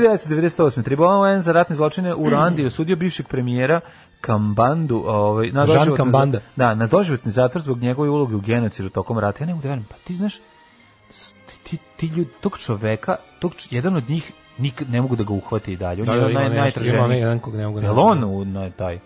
[SPEAKER 7] 1998. Tribunal UN za ratne zločine u Ruandi osudio bivšeg premijera Kambandu, ovaj, na
[SPEAKER 6] Jean
[SPEAKER 7] doživotni-
[SPEAKER 6] Kambanda.
[SPEAKER 7] Da, na doživotni zatvor zbog njegove uloge u genocidu tokom rata. Ja ne mogu da verujem, pa ti znaš, s- ti, ti ljudi, tog čoveka, tog, č- jedan od njih nik, ne mogu da ga uhvati i dalje. On je
[SPEAKER 6] Da, da,
[SPEAKER 7] jedan
[SPEAKER 6] ima
[SPEAKER 7] naj,
[SPEAKER 6] nešto, ima onaj
[SPEAKER 7] najtraženiji.
[SPEAKER 6] jedan kog ne mogu
[SPEAKER 7] Jel
[SPEAKER 6] naći.
[SPEAKER 7] on u, na, taj?
[SPEAKER 6] E,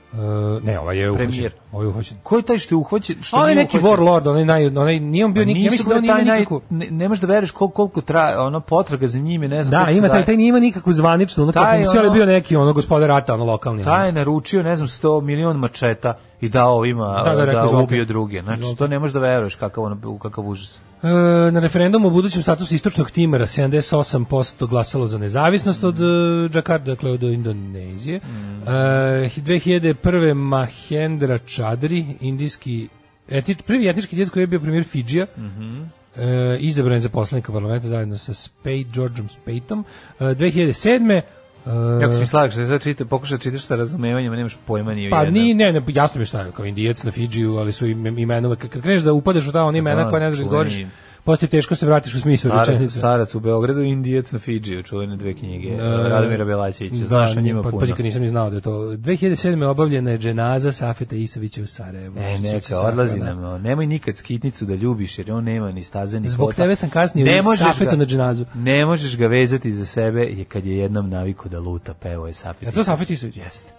[SPEAKER 6] ne, ovaj je uhoćen.
[SPEAKER 7] Premijer.
[SPEAKER 6] Ovaj je uhoćen.
[SPEAKER 7] Ko je taj što je uhvaćen? Što
[SPEAKER 6] On je
[SPEAKER 7] nije
[SPEAKER 6] neki
[SPEAKER 7] uhvaćen?
[SPEAKER 6] warlord, onaj naj, onaj nije on bio
[SPEAKER 7] Pa
[SPEAKER 6] nik, ja
[SPEAKER 7] nisu
[SPEAKER 6] mislim da on
[SPEAKER 7] bre,
[SPEAKER 6] nije
[SPEAKER 7] taj
[SPEAKER 6] imao
[SPEAKER 7] naj-
[SPEAKER 6] nikakvu.
[SPEAKER 7] Ne, ne možeš da veruješ koliko, koliko traje, ono, potraga za njime, ne znam.
[SPEAKER 6] Da,
[SPEAKER 7] koliko se
[SPEAKER 6] ima taj
[SPEAKER 7] daje.
[SPEAKER 6] taj nije imao nikakvu zvaničnu, ono kao
[SPEAKER 7] Taj,
[SPEAKER 6] funkciju, ali je
[SPEAKER 7] ono-
[SPEAKER 6] bio neki ono gospodar rata, ono lokalni. ono.
[SPEAKER 7] Taj je naručio, ne znam, 100 milion mačeta i dao ovima
[SPEAKER 6] Da,
[SPEAKER 7] da,
[SPEAKER 6] da, rekao, izvolite.
[SPEAKER 7] ubio druge. Znači,
[SPEAKER 6] Izvolite.
[SPEAKER 7] to ne možeš da veruješ kakav, ono, u kakav užas.
[SPEAKER 6] E, na referendumu o budućem statusu istočnog Timora 78% glasalo za nezavisnost od e, Džakarta, dakle od Indonezije.
[SPEAKER 7] Mm.
[SPEAKER 6] E, 2001. Mahendra Čadri, indijski etič, prvi etnički djec koji je bio premijer Fidžija,
[SPEAKER 7] Mm-hmm.
[SPEAKER 6] e, izabran je za poslanika parlamenta zajedno sa Spade, Georgeom Spateom. E, 2007. Uh,
[SPEAKER 7] Jako si mi slagaš, da sad čita, pokušaj da čitaš sa razumevanjem, a nemaš pojma ni o
[SPEAKER 6] Pa
[SPEAKER 7] jednom.
[SPEAKER 6] ni, ne, ne, jasno mi je šta je, kao indijac na Fidžiju, ali su im- imena, uvek- kad kreneš da upadaš u ta ona imena
[SPEAKER 7] Da,
[SPEAKER 6] koja ne znaš da izgovoriš,
[SPEAKER 7] čuveni.
[SPEAKER 6] postoji teško se vratiš u smislu
[SPEAKER 7] Stara,
[SPEAKER 6] rečenice.
[SPEAKER 7] starac u Beogradu, Indijac na Fidžiju, čuvene dve knjige, uh, Radomira Belačića, znaš o njima
[SPEAKER 6] E. pa,
[SPEAKER 7] puno.
[SPEAKER 6] Pazi, kad nisam ni znao da je to. 2007. je obavljena je dženaza Safeta Isavića u Sarajevu. Znači,
[SPEAKER 7] E, neka,
[SPEAKER 6] Sahrana.
[SPEAKER 7] odlazi nam. o, Nemoj nikad skitnicu da ljubiš, jer on nema ni staze, ni
[SPEAKER 6] Zbog
[SPEAKER 7] kota.
[SPEAKER 6] tebe sam kasnije u
[SPEAKER 7] možeš
[SPEAKER 6] Safetu na dženazu.
[SPEAKER 7] Ne možeš ga vezati za sebe, je kad je jednom naviku da luta, pevo je Safet.
[SPEAKER 6] Je to Safet Isavić? Jeste.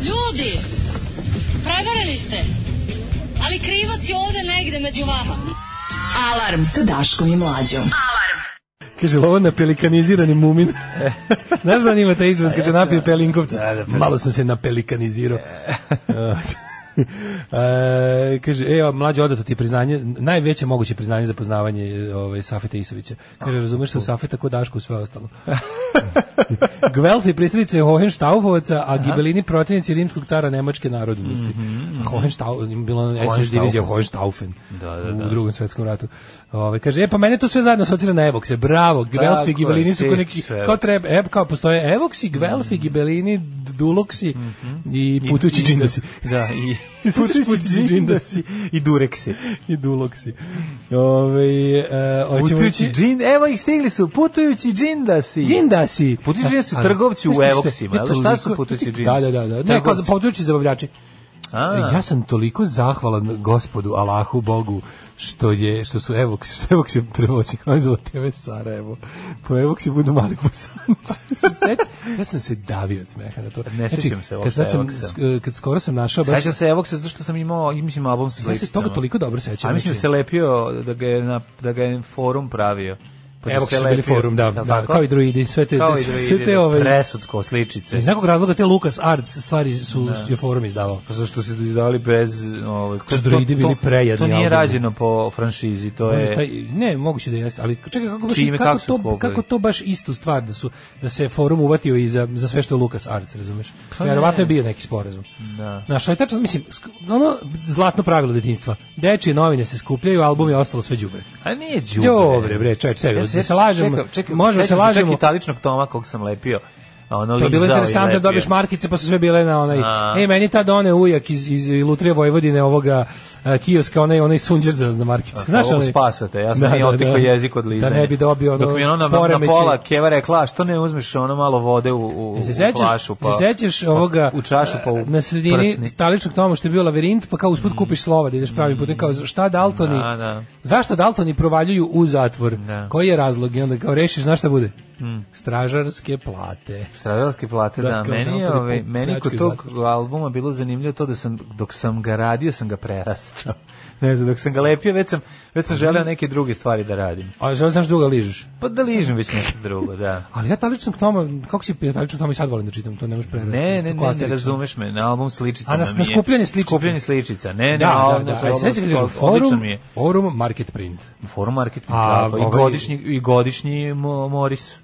[SPEAKER 8] Ljudi, prevarili ste. Ali krivac je ovde negde među vama.
[SPEAKER 5] Alarm sa Daškom i Mlađom.
[SPEAKER 6] Kaže, lovo na pelikanizirani mumin. Znaš da nima ta izraz kad se napije pelinkovca?
[SPEAKER 7] E. Da, da, peli-
[SPEAKER 6] Malo sam se napelikanizirao. e, kaže, evo, mlađe odato ti priznanje, najveće moguće priznanje za poznavanje e, ovaj, Safeta Isovića. Kaže, razumeš se u Safeta ko Dašku sve ostalo. Gvelf je pristrice Hohenstaufovaca, a gibelini protivnici rimskog cara Nemačke narodnosti.
[SPEAKER 7] Mhm,
[SPEAKER 6] Mm -hmm. Hohenstaufen, bilo SS divizija Hohenstaufen
[SPEAKER 7] Da, da, da.
[SPEAKER 6] u drugom svetskom ratu. Ove, kaže, e, pa mene to sve zajedno asocira na Evokse, bravo, Gvelf
[SPEAKER 7] Tako
[SPEAKER 6] i
[SPEAKER 7] je,
[SPEAKER 6] Gibelini su
[SPEAKER 7] ti
[SPEAKER 6] kao neki,
[SPEAKER 7] sve Mhm.
[SPEAKER 6] kao
[SPEAKER 7] Evoksi.
[SPEAKER 6] treba, ev, kao postoje Evoksi, Gvelfi, Gibelini, Duloksi i putući džindosi.
[SPEAKER 7] Mhm. Da, i
[SPEAKER 6] Putući
[SPEAKER 7] putući
[SPEAKER 6] džindasi.
[SPEAKER 7] džindasi i dureksi.
[SPEAKER 6] I Duloksi. Ove, e, hoćemo
[SPEAKER 7] Putujući
[SPEAKER 6] ići-
[SPEAKER 7] džin, evo ih stigli su, putujući džindasi.
[SPEAKER 6] Džindasi.
[SPEAKER 7] Putujući džindasi su
[SPEAKER 6] Ali,
[SPEAKER 7] trgovci u
[SPEAKER 6] znaš ti šta-
[SPEAKER 7] Evoksima,
[SPEAKER 6] ne,
[SPEAKER 7] ali šta
[SPEAKER 6] toliko-
[SPEAKER 7] su putujući
[SPEAKER 6] znaš ti-
[SPEAKER 7] džindasi?
[SPEAKER 6] Da, da, da. da. Ne, kao
[SPEAKER 7] Trgovci.
[SPEAKER 6] za putujući zabavljači.
[SPEAKER 7] A.
[SPEAKER 6] Ja sam toliko zahvalan gospodu Allahu Bogu što je što su Evox što Evox je prvo sinhronizovao TV Sarajevo. Po Evox budu mali bosanci. Se sjeća- ja sam se davio od smeha na to. Znači,
[SPEAKER 7] Ne sjećam se uopšte
[SPEAKER 6] kad, sad sam,
[SPEAKER 7] Evoxa.
[SPEAKER 6] sk- kad skoro sam našao baš
[SPEAKER 7] Sećam se Evoksa zato što sam imao, mislim, album sa
[SPEAKER 6] Ja se
[SPEAKER 7] sličicama.
[SPEAKER 6] toga toliko dobro sećam.
[SPEAKER 7] A mislim da
[SPEAKER 6] znači-
[SPEAKER 7] se lepio, da ga je, na, da ga je forum pravio. Pa da
[SPEAKER 6] Evo
[SPEAKER 7] se
[SPEAKER 6] su bili
[SPEAKER 7] lepio.
[SPEAKER 6] forum, da,
[SPEAKER 7] Jel
[SPEAKER 6] da,
[SPEAKER 7] tako?
[SPEAKER 6] kao i druidi, sve te,
[SPEAKER 7] Kao i
[SPEAKER 6] sve
[SPEAKER 7] druidi,
[SPEAKER 6] te
[SPEAKER 7] da,
[SPEAKER 6] ove,
[SPEAKER 7] presudsko sličice.
[SPEAKER 6] iz nekog razloga te Lucas Arts stvari su, je forum izdavao.
[SPEAKER 7] Pa zašto se izdali bez... Ovaj,
[SPEAKER 6] su druidi bili prejedni
[SPEAKER 7] To nije
[SPEAKER 6] albumi.
[SPEAKER 7] rađeno po franšizi, to
[SPEAKER 6] Može
[SPEAKER 7] je...
[SPEAKER 6] taj, ne, moguće da jeste, ali čekaj kako baš
[SPEAKER 7] Čime,
[SPEAKER 6] kako,
[SPEAKER 7] kako su
[SPEAKER 6] to
[SPEAKER 7] sklopili?
[SPEAKER 6] kako to baš istu stvar da su da se forum uvatio i za, za sve što je Lukas Arts, razumeš?
[SPEAKER 7] Pa
[SPEAKER 6] Verovatno je bio neki sporazum. Da. Znaš, ali tačno, mislim, sk- ono zlatno pravilo detinjstva. Dečije novine se skupljaju, album je ostalo sve đubre.
[SPEAKER 7] A nije đubre.
[SPEAKER 6] Đubre, bre, čovječ, sebi, da se
[SPEAKER 7] sjećam-
[SPEAKER 6] lažemo,
[SPEAKER 7] čekam- čekam,
[SPEAKER 6] možemo da se
[SPEAKER 7] sjećam čak
[SPEAKER 6] lažemo.
[SPEAKER 7] i taličnog toma kog sam lepio. a Ono,
[SPEAKER 6] To je bilo
[SPEAKER 7] lizao i
[SPEAKER 6] interesantno da
[SPEAKER 7] lepio.
[SPEAKER 6] dobiješ markice, pa su sve bile na onaj.
[SPEAKER 7] A.
[SPEAKER 6] E, meni tad one ujak iz, iz Lutrije Vojvodine ovoga a, kioska, onaj, onaj sunđer za za markice. Znaš,
[SPEAKER 7] Ovo
[SPEAKER 6] onaj-
[SPEAKER 7] spasate, ja sam da, nije otikao jezik od lizanja.
[SPEAKER 6] Da ne bi dobio ono
[SPEAKER 7] Dok mi ono na, na
[SPEAKER 6] poremećaj.
[SPEAKER 7] pola keva rekla, "A što ne uzmeš ono malo vode u, u,
[SPEAKER 6] Jel se
[SPEAKER 7] u
[SPEAKER 6] sećaš,
[SPEAKER 7] flašu, pa...
[SPEAKER 6] se sećaš ovoga
[SPEAKER 7] U čašu, pa u
[SPEAKER 6] na sredini
[SPEAKER 7] prsni.
[SPEAKER 6] staličnog toma što je bio lavirint, pa kao usput kupiš slova da ideš pravim putem, kao šta Daltoni,
[SPEAKER 7] Mm. Da, da.
[SPEAKER 6] zašto Daltoni provaljuju u zatvor,
[SPEAKER 7] Da. Mm.
[SPEAKER 6] koji je razlog i onda kao rešiš, znaš šta bude? Stražarske plate.
[SPEAKER 7] Stražarske plate, da,
[SPEAKER 6] Dakle,
[SPEAKER 7] meni je,
[SPEAKER 6] autori
[SPEAKER 7] ovaj,
[SPEAKER 6] po-
[SPEAKER 7] meni kod
[SPEAKER 6] pljačkaju
[SPEAKER 7] tog albuma bilo zanimljivo to da sam, dok sam ga radio, sam ga prerastao. ne znam, dok sam ga lepio, već sam, već sam
[SPEAKER 6] Mhm.
[SPEAKER 7] želeo neke druge stvari da radim.
[SPEAKER 6] A želiš znaš druga ližeš?
[SPEAKER 7] Pa da ližem već nešto drugo, da.
[SPEAKER 6] Ali ja taličnog toma, kako si ja taličnog toma i sad volim da čitam, to ne možeš prerasti.
[SPEAKER 7] Ne, ne,
[SPEAKER 6] Ko
[SPEAKER 7] ne, ne
[SPEAKER 6] Asterix.
[SPEAKER 7] razumeš me, na album sličica
[SPEAKER 6] A na- na skupljanje sličica.
[SPEAKER 7] Skupljanje sličica, ne, ne,
[SPEAKER 6] Da,
[SPEAKER 7] album
[SPEAKER 6] da, da.
[SPEAKER 7] sa
[SPEAKER 6] A
[SPEAKER 7] album-
[SPEAKER 6] sećaš kad kažu
[SPEAKER 7] odličan
[SPEAKER 6] forum,
[SPEAKER 7] mi je.
[SPEAKER 6] forum market print.
[SPEAKER 7] Forum market,
[SPEAKER 6] A,
[SPEAKER 7] tako, i
[SPEAKER 6] ovaj-
[SPEAKER 7] godišnji, i godišnji Mo- Moris.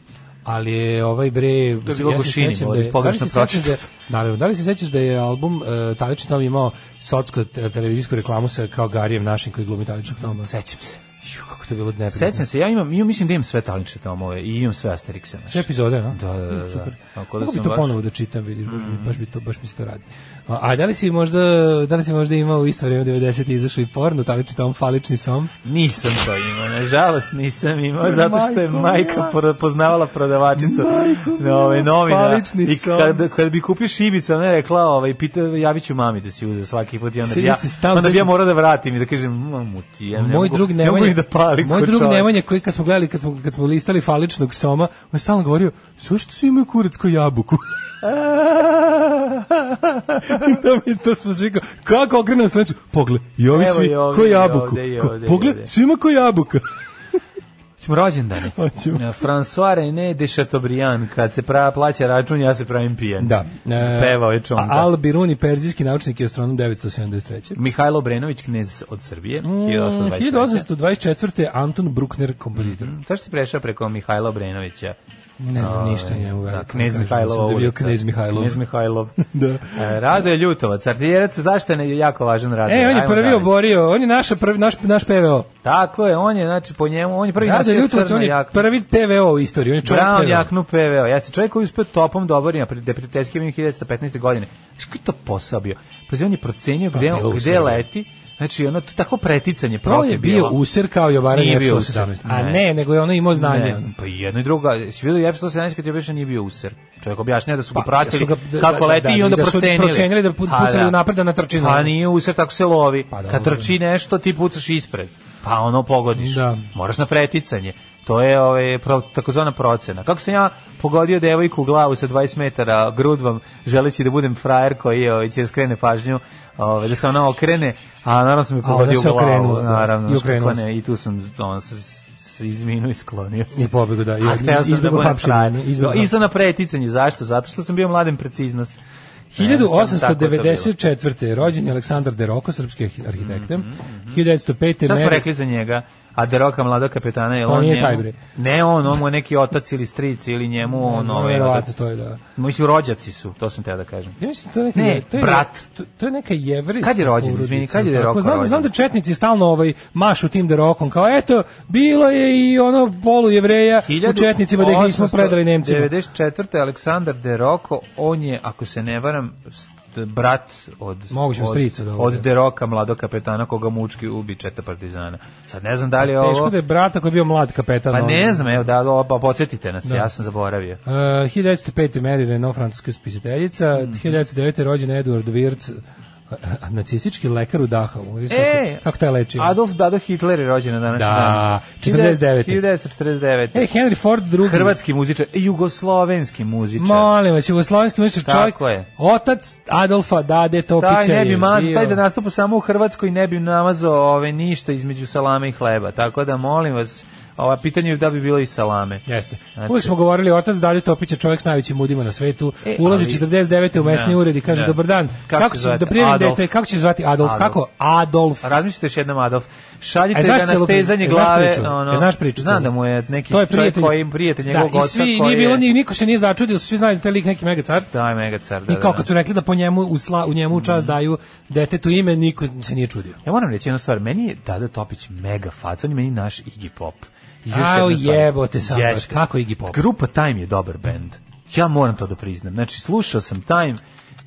[SPEAKER 6] ali je ovaj bre
[SPEAKER 7] To je bilo Gušini, Boris, pogrešno
[SPEAKER 6] da, li se sećaš da je,
[SPEAKER 7] pročitan.
[SPEAKER 6] naravno, da li se sećaš da je album uh, Talični Tom imao socsko te- televizijsku reklamu sa kao Garijem našim koji glumi Taličnog Toma
[SPEAKER 7] Sećam se.
[SPEAKER 6] Ju, kako to je bilo neprijatno
[SPEAKER 7] Sećam se, ja imam, ja mislim da imam sve talniče tomove i imam sve Asterixe. naše.
[SPEAKER 6] sve epizode, no?
[SPEAKER 7] Da, da, da, da.
[SPEAKER 6] Super.
[SPEAKER 7] Tako da
[SPEAKER 6] Mogu bi
[SPEAKER 7] sam
[SPEAKER 6] to
[SPEAKER 7] baš- Mm.
[SPEAKER 6] ponovo da čitam, vidiš, baš, bi- baš, bi to, baš mi se to radi. A, a da li si možda, da li si možda imao u isto vreme 90 izašao i porno, Talični Tom, Falični Som?
[SPEAKER 7] Nisam to imao, nažalost nisam imao, zato što je majka pro- poznavala prodavačicu na ove novina.
[SPEAKER 6] palični
[SPEAKER 7] I
[SPEAKER 6] sam.
[SPEAKER 7] kad, kad bi kupio šibicu, ona je rekla, ovaj, pita, javit ću mami da si uze svaki put i onda bi
[SPEAKER 6] Sjedio
[SPEAKER 7] ja,
[SPEAKER 6] si stalno,
[SPEAKER 7] onda bi ja
[SPEAKER 6] znači-
[SPEAKER 7] morao da vratim i da kažem, mamu ti, ja ne
[SPEAKER 6] moj
[SPEAKER 7] mogu,
[SPEAKER 6] drug
[SPEAKER 7] ne mogu
[SPEAKER 6] Nemanja,
[SPEAKER 7] i da palim
[SPEAKER 6] moj
[SPEAKER 7] ko
[SPEAKER 6] drug
[SPEAKER 7] čovjek.
[SPEAKER 6] Nemanja koji kad smo gledali kad smo kad smo listali faličnog soma, on je stalno govorio: "Zašto svi imaju kuracku jabuku?" I to mi to smo svi kao, kako okrenem stranicu, pogled, i ovi
[SPEAKER 7] Evo
[SPEAKER 6] svi,
[SPEAKER 7] i ovdje,
[SPEAKER 6] ko
[SPEAKER 7] i
[SPEAKER 6] jabuku,
[SPEAKER 7] ovdje, i
[SPEAKER 6] Kao,
[SPEAKER 7] ovdje, i
[SPEAKER 6] pogled,
[SPEAKER 7] ovdje.
[SPEAKER 6] svima ko jabuka.
[SPEAKER 7] Ćemo rođendane.
[SPEAKER 6] Hoćemo.
[SPEAKER 7] François René de Chateaubriand, kad se pra, plaća račun, ja se pravim pijen.
[SPEAKER 6] Da.
[SPEAKER 7] E, Pevao je čonka.
[SPEAKER 6] Al Biruni, perzijski naučnik i astronom 973.
[SPEAKER 7] Mihajlo Brenović, knez od Srbije,
[SPEAKER 6] Mm,
[SPEAKER 7] 1823.
[SPEAKER 6] 1824. Anton Bruckner, kompozitor.
[SPEAKER 7] Zašto si prešao preko Mihajla Obrenovića?
[SPEAKER 6] Ne znam ništa o njemu.
[SPEAKER 7] Da,
[SPEAKER 6] veliko,
[SPEAKER 7] knez
[SPEAKER 6] kažem, mislim
[SPEAKER 7] Mihajlova
[SPEAKER 6] Da je bio
[SPEAKER 7] ulica.
[SPEAKER 6] knez Mihajlov.
[SPEAKER 7] Knez Mihajlov.
[SPEAKER 6] Da.
[SPEAKER 7] E, Rado je Ljutovac, artiljerac, zašto je jako važan Rado?
[SPEAKER 6] E, on je
[SPEAKER 7] Ajmo
[SPEAKER 6] prvi
[SPEAKER 7] dalje.
[SPEAKER 6] oborio, on je naša prvi, naš, naš PVO.
[SPEAKER 7] Tako je, on je, znači, po njemu, on je prvi
[SPEAKER 6] Rado Vlada
[SPEAKER 7] nosio
[SPEAKER 6] Ljutovac, on
[SPEAKER 7] crnu
[SPEAKER 6] je
[SPEAKER 7] jaknu.
[SPEAKER 6] prvi PVO u istoriji, on je čovjek
[SPEAKER 7] Brown
[SPEAKER 6] PVO.
[SPEAKER 7] jaknu PVO. Jeste čovjek koji je uspio topom dobarima pred depriteljskim 1915. godine. Znaš koji je to posao bio? Pazi, on je procenio gde,
[SPEAKER 6] Pa, bio u
[SPEAKER 7] gde
[SPEAKER 6] Srbiji.
[SPEAKER 7] leti. Znači, ono, to je tako preticanje.
[SPEAKER 6] To
[SPEAKER 7] profi
[SPEAKER 6] Pa je bio user kao Jovara
[SPEAKER 7] Nije bio
[SPEAKER 6] F-117.
[SPEAKER 7] user,
[SPEAKER 6] A
[SPEAKER 7] ne.
[SPEAKER 6] ne, nego je ono imao znanje.
[SPEAKER 7] Ne, pa i jedno i drugo. Si vidio F-117 kad je više nije bio user. Čovjek objašnja da su ga
[SPEAKER 6] Pa,
[SPEAKER 7] pratili
[SPEAKER 6] da su ga- da-
[SPEAKER 7] kako
[SPEAKER 6] da-
[SPEAKER 7] leti
[SPEAKER 6] da,
[SPEAKER 7] i onda
[SPEAKER 6] da su
[SPEAKER 7] procenili.
[SPEAKER 6] procenili da pu-
[SPEAKER 7] Pa
[SPEAKER 6] pucali unapred, da na trčinu.
[SPEAKER 7] Pa nije user, tako se lovi.
[SPEAKER 6] Pa dobro.
[SPEAKER 7] Kad trči nešto, ti pucaš ispred. Pa ono pogodiš.
[SPEAKER 6] Da.
[SPEAKER 7] Moraš na preticanje. To je ovaj, pro, takozvana procena. Kako sam ja pogodio devojku u glavu sa 20 metara grudvom, želeći da budem frajer koji ovaj, će da skrene pažnju, ovaj, da se ona okrene, a naravno sam je
[SPEAKER 6] A ona
[SPEAKER 7] pogodio u
[SPEAKER 6] se
[SPEAKER 7] glavu.
[SPEAKER 6] okrenula, da.
[SPEAKER 7] naravno,
[SPEAKER 6] I
[SPEAKER 7] znaš kako
[SPEAKER 6] okrenula se.
[SPEAKER 7] ne, i tu sam on, s, s, izminu i sklonio se.
[SPEAKER 6] I pobegu, da.
[SPEAKER 7] A hteo sam da
[SPEAKER 6] Izbjegao
[SPEAKER 7] budem
[SPEAKER 6] hapšenje,
[SPEAKER 7] frajer.
[SPEAKER 6] izbjegao
[SPEAKER 7] No, Isto na preticanje, zašto? Zato što sam bio mladen preciznost. Ne, jednostavno tako je to bilo.
[SPEAKER 6] 1894. rođen je Aleksandar Deroko, srpski arhitekte. 1905.
[SPEAKER 7] Mhm, Šta smo
[SPEAKER 6] Mary-
[SPEAKER 7] rekli za njega? A Deroka mlada kapetana je
[SPEAKER 6] On
[SPEAKER 7] on
[SPEAKER 6] nije
[SPEAKER 7] njemu-
[SPEAKER 6] taj, bre.
[SPEAKER 7] Ne on, on mu je neki otac ili stric ili njemu on
[SPEAKER 6] No,
[SPEAKER 7] ovaj.
[SPEAKER 6] verovatno, to je da.
[SPEAKER 7] Mislim rođaci su, to sam te da kažem.
[SPEAKER 6] Ja mislim to je neka
[SPEAKER 7] Ne,
[SPEAKER 6] to je,
[SPEAKER 7] brat.
[SPEAKER 6] To, to je neka jevrijska.
[SPEAKER 7] Kad je rođen,
[SPEAKER 6] porodica,
[SPEAKER 7] izvini, kad je
[SPEAKER 6] tako.
[SPEAKER 7] Deroko
[SPEAKER 6] znam,
[SPEAKER 7] rođen?
[SPEAKER 6] znam da četnici stalno ovaj mašu tim derokom kao eto bilo je i ono polu jevreja u četnicima da ih nismo predali Nemcima.
[SPEAKER 7] 94. Aleksandar Deroko, on je, ako se ne varam, st- brat od
[SPEAKER 6] Moguće,
[SPEAKER 7] od,
[SPEAKER 6] strica, da,
[SPEAKER 7] od
[SPEAKER 6] da.
[SPEAKER 7] Deroka, mladog kapetana koga mučki ubi četa partizana. Sad ne znam da li je ovo...
[SPEAKER 6] Teško da je brata koji je bio mlad kapetan.
[SPEAKER 7] Pa
[SPEAKER 6] ono.
[SPEAKER 7] ne znam, evo da, da, pa podsjetite nas, ja sam zaboravio.
[SPEAKER 6] Uh, 1905. Mary Renault, francuska spisateljica.
[SPEAKER 7] Mhm.
[SPEAKER 6] 1909. rođen Edward Wirtz, a- a- nacistički lekar u Dachau. Vidiš
[SPEAKER 7] E,
[SPEAKER 6] kako, kako taj leči?
[SPEAKER 7] Adolf Dado Hitler je rođen na današnji
[SPEAKER 6] Da,
[SPEAKER 7] dan.
[SPEAKER 6] 49..
[SPEAKER 7] 1949.
[SPEAKER 6] E, Henry Ford drugi.
[SPEAKER 7] Hrvatski muzičar, e, jugoslovenski muzičar.
[SPEAKER 6] Molim vas, jugoslovenski muzičar čovjek.
[SPEAKER 7] Tako je.
[SPEAKER 6] Otac Adolfa Dade Topića.
[SPEAKER 7] taj ne bi
[SPEAKER 6] je
[SPEAKER 7] maz,
[SPEAKER 6] bio-
[SPEAKER 7] taj da nastupa samo u Hrvatskoj ne bi namazao ove ništa između salame i hleba. Tako da molim vas, ova pitanje je da bi bilo i salame.
[SPEAKER 6] Jeste.
[SPEAKER 7] Znači-
[SPEAKER 6] Uvijek smo govorili otac Dade Topića, čovjek s najvećim udima na svetu.
[SPEAKER 7] E,
[SPEAKER 6] Ulazi
[SPEAKER 7] ali-
[SPEAKER 6] 49. u mesni
[SPEAKER 7] Da,
[SPEAKER 6] ured i kaže
[SPEAKER 7] da.
[SPEAKER 6] dobar dan.
[SPEAKER 7] Kako
[SPEAKER 6] Kako,
[SPEAKER 7] se
[SPEAKER 6] će
[SPEAKER 7] zove?
[SPEAKER 6] da prijavim
[SPEAKER 7] Adolf.
[SPEAKER 6] dete? Kako će se zvati Adolf?
[SPEAKER 7] Adolf.
[SPEAKER 6] Kako? Adolf.
[SPEAKER 7] Razmislite još jednom Adolf. Šaljite
[SPEAKER 6] E,
[SPEAKER 7] ga
[SPEAKER 6] znaš
[SPEAKER 7] na
[SPEAKER 6] celu priču?
[SPEAKER 7] stezanje
[SPEAKER 6] E, znaš
[SPEAKER 7] glave.
[SPEAKER 6] priču?
[SPEAKER 7] ono,
[SPEAKER 6] E, znaš priču
[SPEAKER 7] Znam
[SPEAKER 6] celu?
[SPEAKER 7] da mu je neki
[SPEAKER 6] To je
[SPEAKER 7] čovjek
[SPEAKER 6] prijatelj,
[SPEAKER 7] koji prijatelj njegovog
[SPEAKER 6] da, i
[SPEAKER 7] oca
[SPEAKER 6] svi,
[SPEAKER 7] koji
[SPEAKER 6] nije bilo,
[SPEAKER 7] je-
[SPEAKER 6] ni, niko se nije začudio, svi znali da taj lik neki megacar.
[SPEAKER 7] Da, je mega car. Da,
[SPEAKER 6] I kao
[SPEAKER 7] da, Mhm.
[SPEAKER 6] kad su rekli da po njemu u, sla, u njemu u čas daju detetu ime, niko se nije čudio.
[SPEAKER 7] Ja moram reći jednu stvar, meni je Dada Topić mega faca, on je meni naš Iggy Pop. I još
[SPEAKER 6] Ao,
[SPEAKER 7] jedna stvar.
[SPEAKER 6] jebote sad, znaš,
[SPEAKER 7] Jeste.
[SPEAKER 6] kako Iggy Pop?
[SPEAKER 7] Grupa Time je dobar bend. Ja moram to da priznam. Znači, slušao sam Time,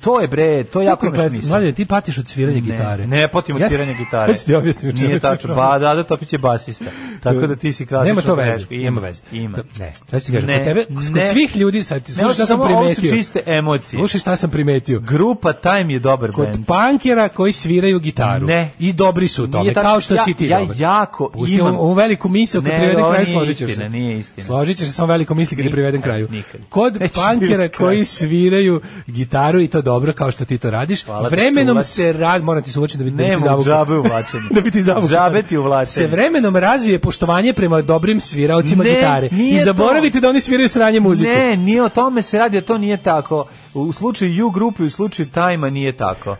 [SPEAKER 7] to je bre, to je jako me
[SPEAKER 6] Prokletstvo.
[SPEAKER 7] smisla.
[SPEAKER 6] Mlađe, ti patiš od sviranja gitare.
[SPEAKER 7] Ne, ne potim od
[SPEAKER 6] Ja-
[SPEAKER 7] sviranja gitare.
[SPEAKER 6] Sad ću ti objasnim o čemu
[SPEAKER 7] Nije
[SPEAKER 6] je to
[SPEAKER 7] tačno.
[SPEAKER 6] problem.
[SPEAKER 7] Ba, da, Dada Topić je basista. Tako da ti si klasično.
[SPEAKER 6] Nema to veze,
[SPEAKER 7] greška. Ima,
[SPEAKER 6] nema veze.
[SPEAKER 7] Ima.
[SPEAKER 6] To- Ne, sad ću ti kažem,
[SPEAKER 7] Ne,
[SPEAKER 6] kod tebe,
[SPEAKER 7] ne.
[SPEAKER 6] kod svih ljudi, sad ti
[SPEAKER 7] Ne, ovo
[SPEAKER 6] slušaj šta sam
[SPEAKER 7] samo- ovo su
[SPEAKER 6] primetio.
[SPEAKER 7] čiste emocije.
[SPEAKER 6] Slušaj šta sam primetio.
[SPEAKER 7] Grupa Time je dobar
[SPEAKER 6] Kod
[SPEAKER 7] bend.
[SPEAKER 6] punkera koji sviraju gitaru.
[SPEAKER 7] Ne.
[SPEAKER 6] I dobri su u tome,
[SPEAKER 7] Nije tačno,
[SPEAKER 6] kao što
[SPEAKER 7] ja-
[SPEAKER 6] si ti
[SPEAKER 7] ja
[SPEAKER 6] dobar.
[SPEAKER 7] jako
[SPEAKER 6] Pusti
[SPEAKER 7] imam-
[SPEAKER 6] ovu- ovu veliku misao kad
[SPEAKER 7] Ne,
[SPEAKER 6] privedem
[SPEAKER 7] ovo
[SPEAKER 6] kraju,
[SPEAKER 7] nije
[SPEAKER 6] složit ćeš se.
[SPEAKER 7] istina, nije istina.
[SPEAKER 6] Složit ćeš se samo veliko misli kad je
[SPEAKER 7] Nikad,
[SPEAKER 6] privedem kraju.
[SPEAKER 7] nikad.
[SPEAKER 6] Kod
[SPEAKER 7] Nećeš
[SPEAKER 6] punkera
[SPEAKER 7] privesti kraju.
[SPEAKER 6] koji sviraju gitaru i to dobro kao što ti to radiš,
[SPEAKER 7] Hvala ti,
[SPEAKER 6] vremenom
[SPEAKER 7] suvlači.
[SPEAKER 6] se rad, moram ti se uvačiti da bi da bi ti
[SPEAKER 7] Nema u
[SPEAKER 6] zavukao.
[SPEAKER 7] džabe uvlačenje.
[SPEAKER 6] da bi ti zavukao.
[SPEAKER 7] Džabe ti uvlačenje.
[SPEAKER 6] Se vremenom razvije poštovanje prema dobrim sviraocima
[SPEAKER 7] Ne,
[SPEAKER 6] gitare.
[SPEAKER 7] nije
[SPEAKER 6] I zaboravite da oni sviraju sranje muziku.
[SPEAKER 7] Ne, nije o tome se radi, a to nije tako. U slučaju U grupi, u slučaju Tajma nije tako.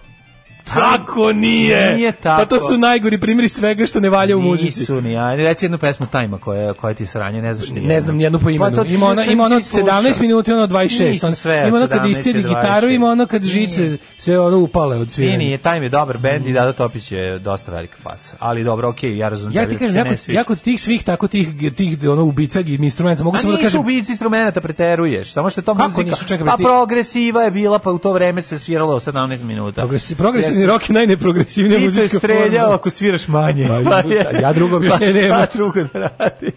[SPEAKER 6] Tako nije.
[SPEAKER 7] Nije tako.
[SPEAKER 6] Pa to su najgori primjeri svega što ne valja u muzici.
[SPEAKER 7] Nisu ni, ajde, reci jednu pesmu Tajma koja, koja ti sranje, ne znaš ni Pa
[SPEAKER 6] Ne znam nijednu po imenu.
[SPEAKER 7] to ti
[SPEAKER 6] ima ona,
[SPEAKER 7] ključno
[SPEAKER 6] ima ono
[SPEAKER 7] nisi slušao.
[SPEAKER 6] 17 minuta i ono 26.
[SPEAKER 7] Nisu
[SPEAKER 6] Ono-
[SPEAKER 7] sve od
[SPEAKER 6] ima ono kad
[SPEAKER 7] 17
[SPEAKER 6] iscedi
[SPEAKER 7] do
[SPEAKER 6] gitaru,
[SPEAKER 7] 26.
[SPEAKER 6] ima ono kad žice sve ono upale od
[SPEAKER 7] Nije,
[SPEAKER 6] sviranja.
[SPEAKER 7] nije, Time je dobar bend i Dada Topić je dosta velika faca. Ali dobro, okej, ja razumem.
[SPEAKER 6] Ja
[SPEAKER 7] tebi
[SPEAKER 6] ti
[SPEAKER 7] da
[SPEAKER 6] kažem,
[SPEAKER 7] se
[SPEAKER 6] ja
[SPEAKER 7] ne
[SPEAKER 6] kod,
[SPEAKER 7] sviđa.
[SPEAKER 6] ja kod tih svih tako tih, tih ono, ubica i instrumenta mogu
[SPEAKER 7] A
[SPEAKER 6] samo da
[SPEAKER 7] nisu
[SPEAKER 6] kažem...
[SPEAKER 7] ubici instrumenta, preteruješ. Samo što je to
[SPEAKER 6] Kako
[SPEAKER 7] muzika.
[SPEAKER 6] nisu? Čekaj, bre,
[SPEAKER 7] pa
[SPEAKER 6] ti-
[SPEAKER 7] progresiva je bila, pa u to vreme se sviralo 17 minuta.
[SPEAKER 6] Progresi- Progresivni rock je najneprogresivnija
[SPEAKER 7] Ti
[SPEAKER 6] muzička
[SPEAKER 7] te
[SPEAKER 6] forma.
[SPEAKER 7] streljao ako sviraš manje.
[SPEAKER 6] Ma,
[SPEAKER 7] Pa je-
[SPEAKER 6] ja drugo objašnjenje
[SPEAKER 7] Pa
[SPEAKER 6] nemam.
[SPEAKER 7] Šta drugo da radiš?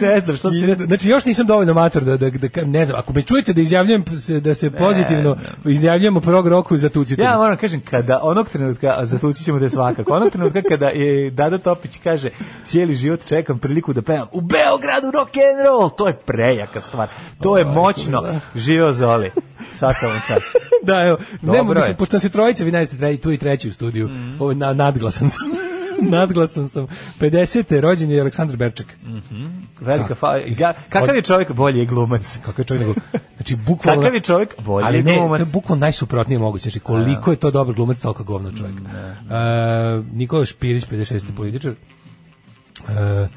[SPEAKER 7] Ne znam, što si...
[SPEAKER 6] I, znači još nisam dovoljno mator da, da, da ka- ne znam, ako me čujete da izjavljujem se- da se pozitivno izjavljujem o prog roku za tucite.
[SPEAKER 7] Ja moram da kažem, kada onog trenutka, a zatući ćemo da je svakako, onog trenutka kada je Dada Topić kaže cijeli život čekam priliku da pevam u Beogradu rock and roll, to je prejaka stvar, to je moćno, živeo Zoli, svaka vam čast.
[SPEAKER 6] da, evo, nema,
[SPEAKER 7] Dobro je. Mhm.
[SPEAKER 6] mislim, pošto se trojica, vi najste treći, tu i treći u studiju, ovo, na, nadglasan sam. nadglasan sam. 50. rođen je Aleksandar Berček.
[SPEAKER 7] Mhm.
[SPEAKER 6] Da.
[SPEAKER 7] Velika fa... ga- Kakav je čovjek bolji je glumac?
[SPEAKER 6] Kakav je čovjek nego... Znači, bukvalno...
[SPEAKER 7] Kakav je čovjek? Bolji
[SPEAKER 6] Ali ne,
[SPEAKER 7] glumac.
[SPEAKER 6] to je bukvalno najsuprotnije moguće. Znači,
[SPEAKER 7] Da.
[SPEAKER 6] koliko je to dobar glumac, toliko
[SPEAKER 7] Mm,
[SPEAKER 6] govno čovjek. E, Nikola Špirić, 56.
[SPEAKER 7] Mhm.
[SPEAKER 6] političar. E,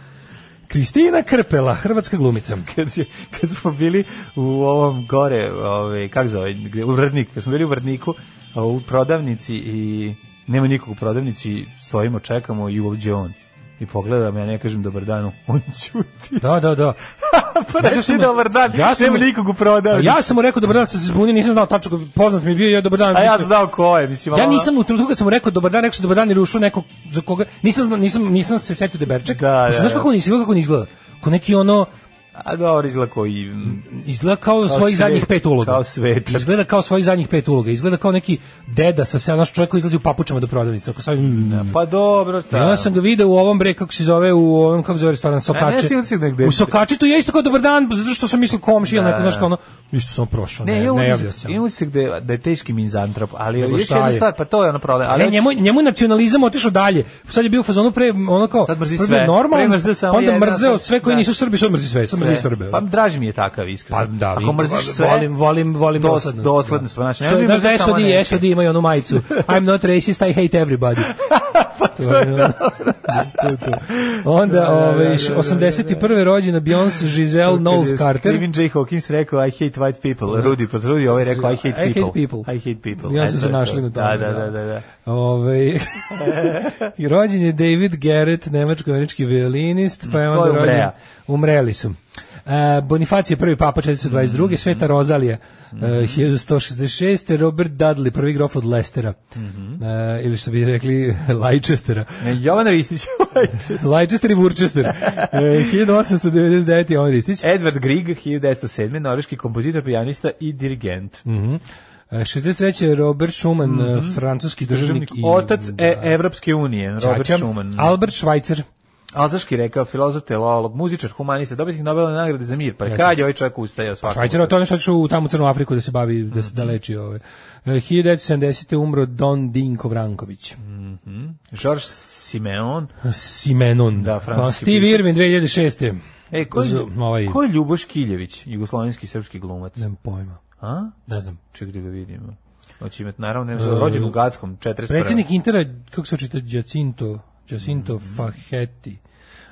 [SPEAKER 6] Kristina Krpela, hrvatska glumica.
[SPEAKER 7] kad, je- kad smo bili u ovom gore, ovaj kako zove, gde- u Vrdniku, kad smo bili u Vrdniku, a, u prodavnici i nema nikog u prodavnici, stojimo, čekamo i uđe on. i pogleda me, ja ne kažem dobar dan, on ćuti.
[SPEAKER 6] Da, da, da.
[SPEAKER 7] pa
[SPEAKER 6] Znači,
[SPEAKER 7] reći
[SPEAKER 6] sam-
[SPEAKER 7] dobar dan,
[SPEAKER 6] ja sam-
[SPEAKER 7] nema nikog u prodavnici.
[SPEAKER 6] Ja sam mu rekao dobar dan, sam se zbunio, nisam znao tačno, poznat mi je bio, ja dobar dan.
[SPEAKER 7] A ja
[SPEAKER 6] mislim-
[SPEAKER 7] znao ko je, mislim.
[SPEAKER 6] Ja
[SPEAKER 7] Pa ono-
[SPEAKER 6] nisam u trenutku kad sam mu rekao dobar dan, rekao sam dobar dan jer je ušao neko za koga nisam zna- nisam nisam se setio da je Berček.
[SPEAKER 7] Da, da,
[SPEAKER 6] Znaš
[SPEAKER 7] da.
[SPEAKER 6] kako on izgleda, kako on izgleda? Ko neki ono
[SPEAKER 7] A dobro, izgleda koji... mm,
[SPEAKER 6] izgleda kao,
[SPEAKER 7] Kao
[SPEAKER 6] svojih
[SPEAKER 7] svet-
[SPEAKER 6] zadnjih pet uloga.
[SPEAKER 7] kao svetac.
[SPEAKER 6] Izgleda kao svojih zadnjih pet uloga. Izgleda kao neki deda sa sela, naš čovjek koji izlazi u papučama do prodavnice. Ako sad,
[SPEAKER 7] Pa dobro, ta.
[SPEAKER 6] Ja sam ga video u ovom bre kako se zove u ovom kako se zove restoran
[SPEAKER 7] A E, ne,
[SPEAKER 6] Sokače.
[SPEAKER 7] siguran si negde.
[SPEAKER 6] u Sokači tu je isto kao dobar dan zato što sam mislio komšija
[SPEAKER 7] Da,
[SPEAKER 6] onako znaš
[SPEAKER 7] da.
[SPEAKER 6] kao ono isto sam prošao ne,
[SPEAKER 7] Ne,
[SPEAKER 6] ne,
[SPEAKER 7] imam
[SPEAKER 6] javlja
[SPEAKER 7] utisak,
[SPEAKER 6] se.
[SPEAKER 7] imam utisak da, je- da je teški mizantrop, ali
[SPEAKER 6] Nego
[SPEAKER 7] još
[SPEAKER 6] šta
[SPEAKER 7] jedna
[SPEAKER 6] je?
[SPEAKER 7] stvar, pa to je ono problem. Ali
[SPEAKER 6] Ne, njemu, njemu je nacionalizam otišao dalje. Sad je bio u fazonu pre, ono kao,
[SPEAKER 7] Sad mrzi
[SPEAKER 6] prvo je
[SPEAKER 7] sve.
[SPEAKER 6] normalan,
[SPEAKER 7] Pre mrzeo samo
[SPEAKER 6] pa onda
[SPEAKER 7] jedan,
[SPEAKER 6] mrzeo
[SPEAKER 7] sad-
[SPEAKER 6] sve koji
[SPEAKER 7] da.
[SPEAKER 6] nisu Srbi, sad mrzi sve, sad mrzi Srbe. da.
[SPEAKER 7] Pa draži mi je takav,
[SPEAKER 6] Pa
[SPEAKER 7] iskreno.
[SPEAKER 6] da,
[SPEAKER 7] Ako
[SPEAKER 6] i-
[SPEAKER 7] mrziš sve,
[SPEAKER 6] volim, volim, volim
[SPEAKER 7] dos-
[SPEAKER 6] doslednost.
[SPEAKER 7] doslednost, pa
[SPEAKER 6] da.
[SPEAKER 7] znaš,
[SPEAKER 6] Što
[SPEAKER 7] ne bi
[SPEAKER 6] je, znaš da
[SPEAKER 7] mrzio samo
[SPEAKER 6] SOD,
[SPEAKER 7] neke.
[SPEAKER 6] SOD imaju onu majicu. I'm not racist, I hate everybody. pa to je to je to. Onda, ovaj, 81. rođena Beyoncé Giselle Knowles Carter.
[SPEAKER 7] Stephen J. Hawkins rekao I hate white people. Rudy Rudy ovaj rekao I hate
[SPEAKER 6] Da. I hate
[SPEAKER 7] people.
[SPEAKER 6] people.
[SPEAKER 7] I hate people.
[SPEAKER 6] Ja sam
[SPEAKER 7] E,
[SPEAKER 6] se
[SPEAKER 7] to je
[SPEAKER 6] našli
[SPEAKER 7] to.
[SPEAKER 6] na tome,
[SPEAKER 7] Da, da,
[SPEAKER 6] da.
[SPEAKER 7] da, da. da.
[SPEAKER 6] Ove, Ovaj, I rođen je David Garrett, nemačko-američki violinist, pa je
[SPEAKER 7] Ko
[SPEAKER 6] onda
[SPEAKER 7] je
[SPEAKER 6] rođen...
[SPEAKER 7] umreja?
[SPEAKER 6] Umreli su. E, Bonifacije prvi papa
[SPEAKER 7] Mhm,
[SPEAKER 6] 422. Sveta Rozalija e, 1166. Robert Dudley, prvi grof od Lestera.
[SPEAKER 7] Mhm.
[SPEAKER 6] E, ili što bi rekli Leicestera.
[SPEAKER 7] E, Jovana Ristić.
[SPEAKER 6] Leicester i Worcester. E, 1899. on Ristić.
[SPEAKER 7] Edward Grieg, 1907. Norveški kompozitor, pijanista i dirigent.
[SPEAKER 6] E, 63. Robert Schumann, e, francuski državnik. i-
[SPEAKER 7] Mhm.
[SPEAKER 6] da.
[SPEAKER 7] Otac e, Evropske unije, Robert
[SPEAKER 6] Čača.
[SPEAKER 7] Schumann.
[SPEAKER 6] Albert Schweitzer.
[SPEAKER 7] Alzaški rekao, filozof, teolog, muzičar, humanista, dobitnik Nobelove nagrade za mir. Pa
[SPEAKER 6] Jeste.
[SPEAKER 7] kad je ovaj čovjek ustajao svakom?
[SPEAKER 6] Švajcar je to nešto što u tamo u Crnu Afriku da se bavi, da se da leči ove. E, 1970. umro Don Dinko Vranković.
[SPEAKER 7] Georges Simeon.
[SPEAKER 6] Simenon.
[SPEAKER 7] Da, francuski
[SPEAKER 6] Pa, Steve
[SPEAKER 7] pisac.
[SPEAKER 6] Irwin 2006.
[SPEAKER 7] E, ko je,
[SPEAKER 6] Z- ovaj-
[SPEAKER 7] ko je Ljuboš Kiljević, jugoslovenski srpski glumac?
[SPEAKER 6] Nemam pojma.
[SPEAKER 7] A?
[SPEAKER 6] Ne znam.
[SPEAKER 7] Ček da ga vidimo. Hoće imati, naravno, ne znam, rođen u Gackom, 41.
[SPEAKER 6] E, Predsjednik Intera, kako se očita, Jacinto,
[SPEAKER 7] Mm.
[SPEAKER 6] Jacinto Faheti.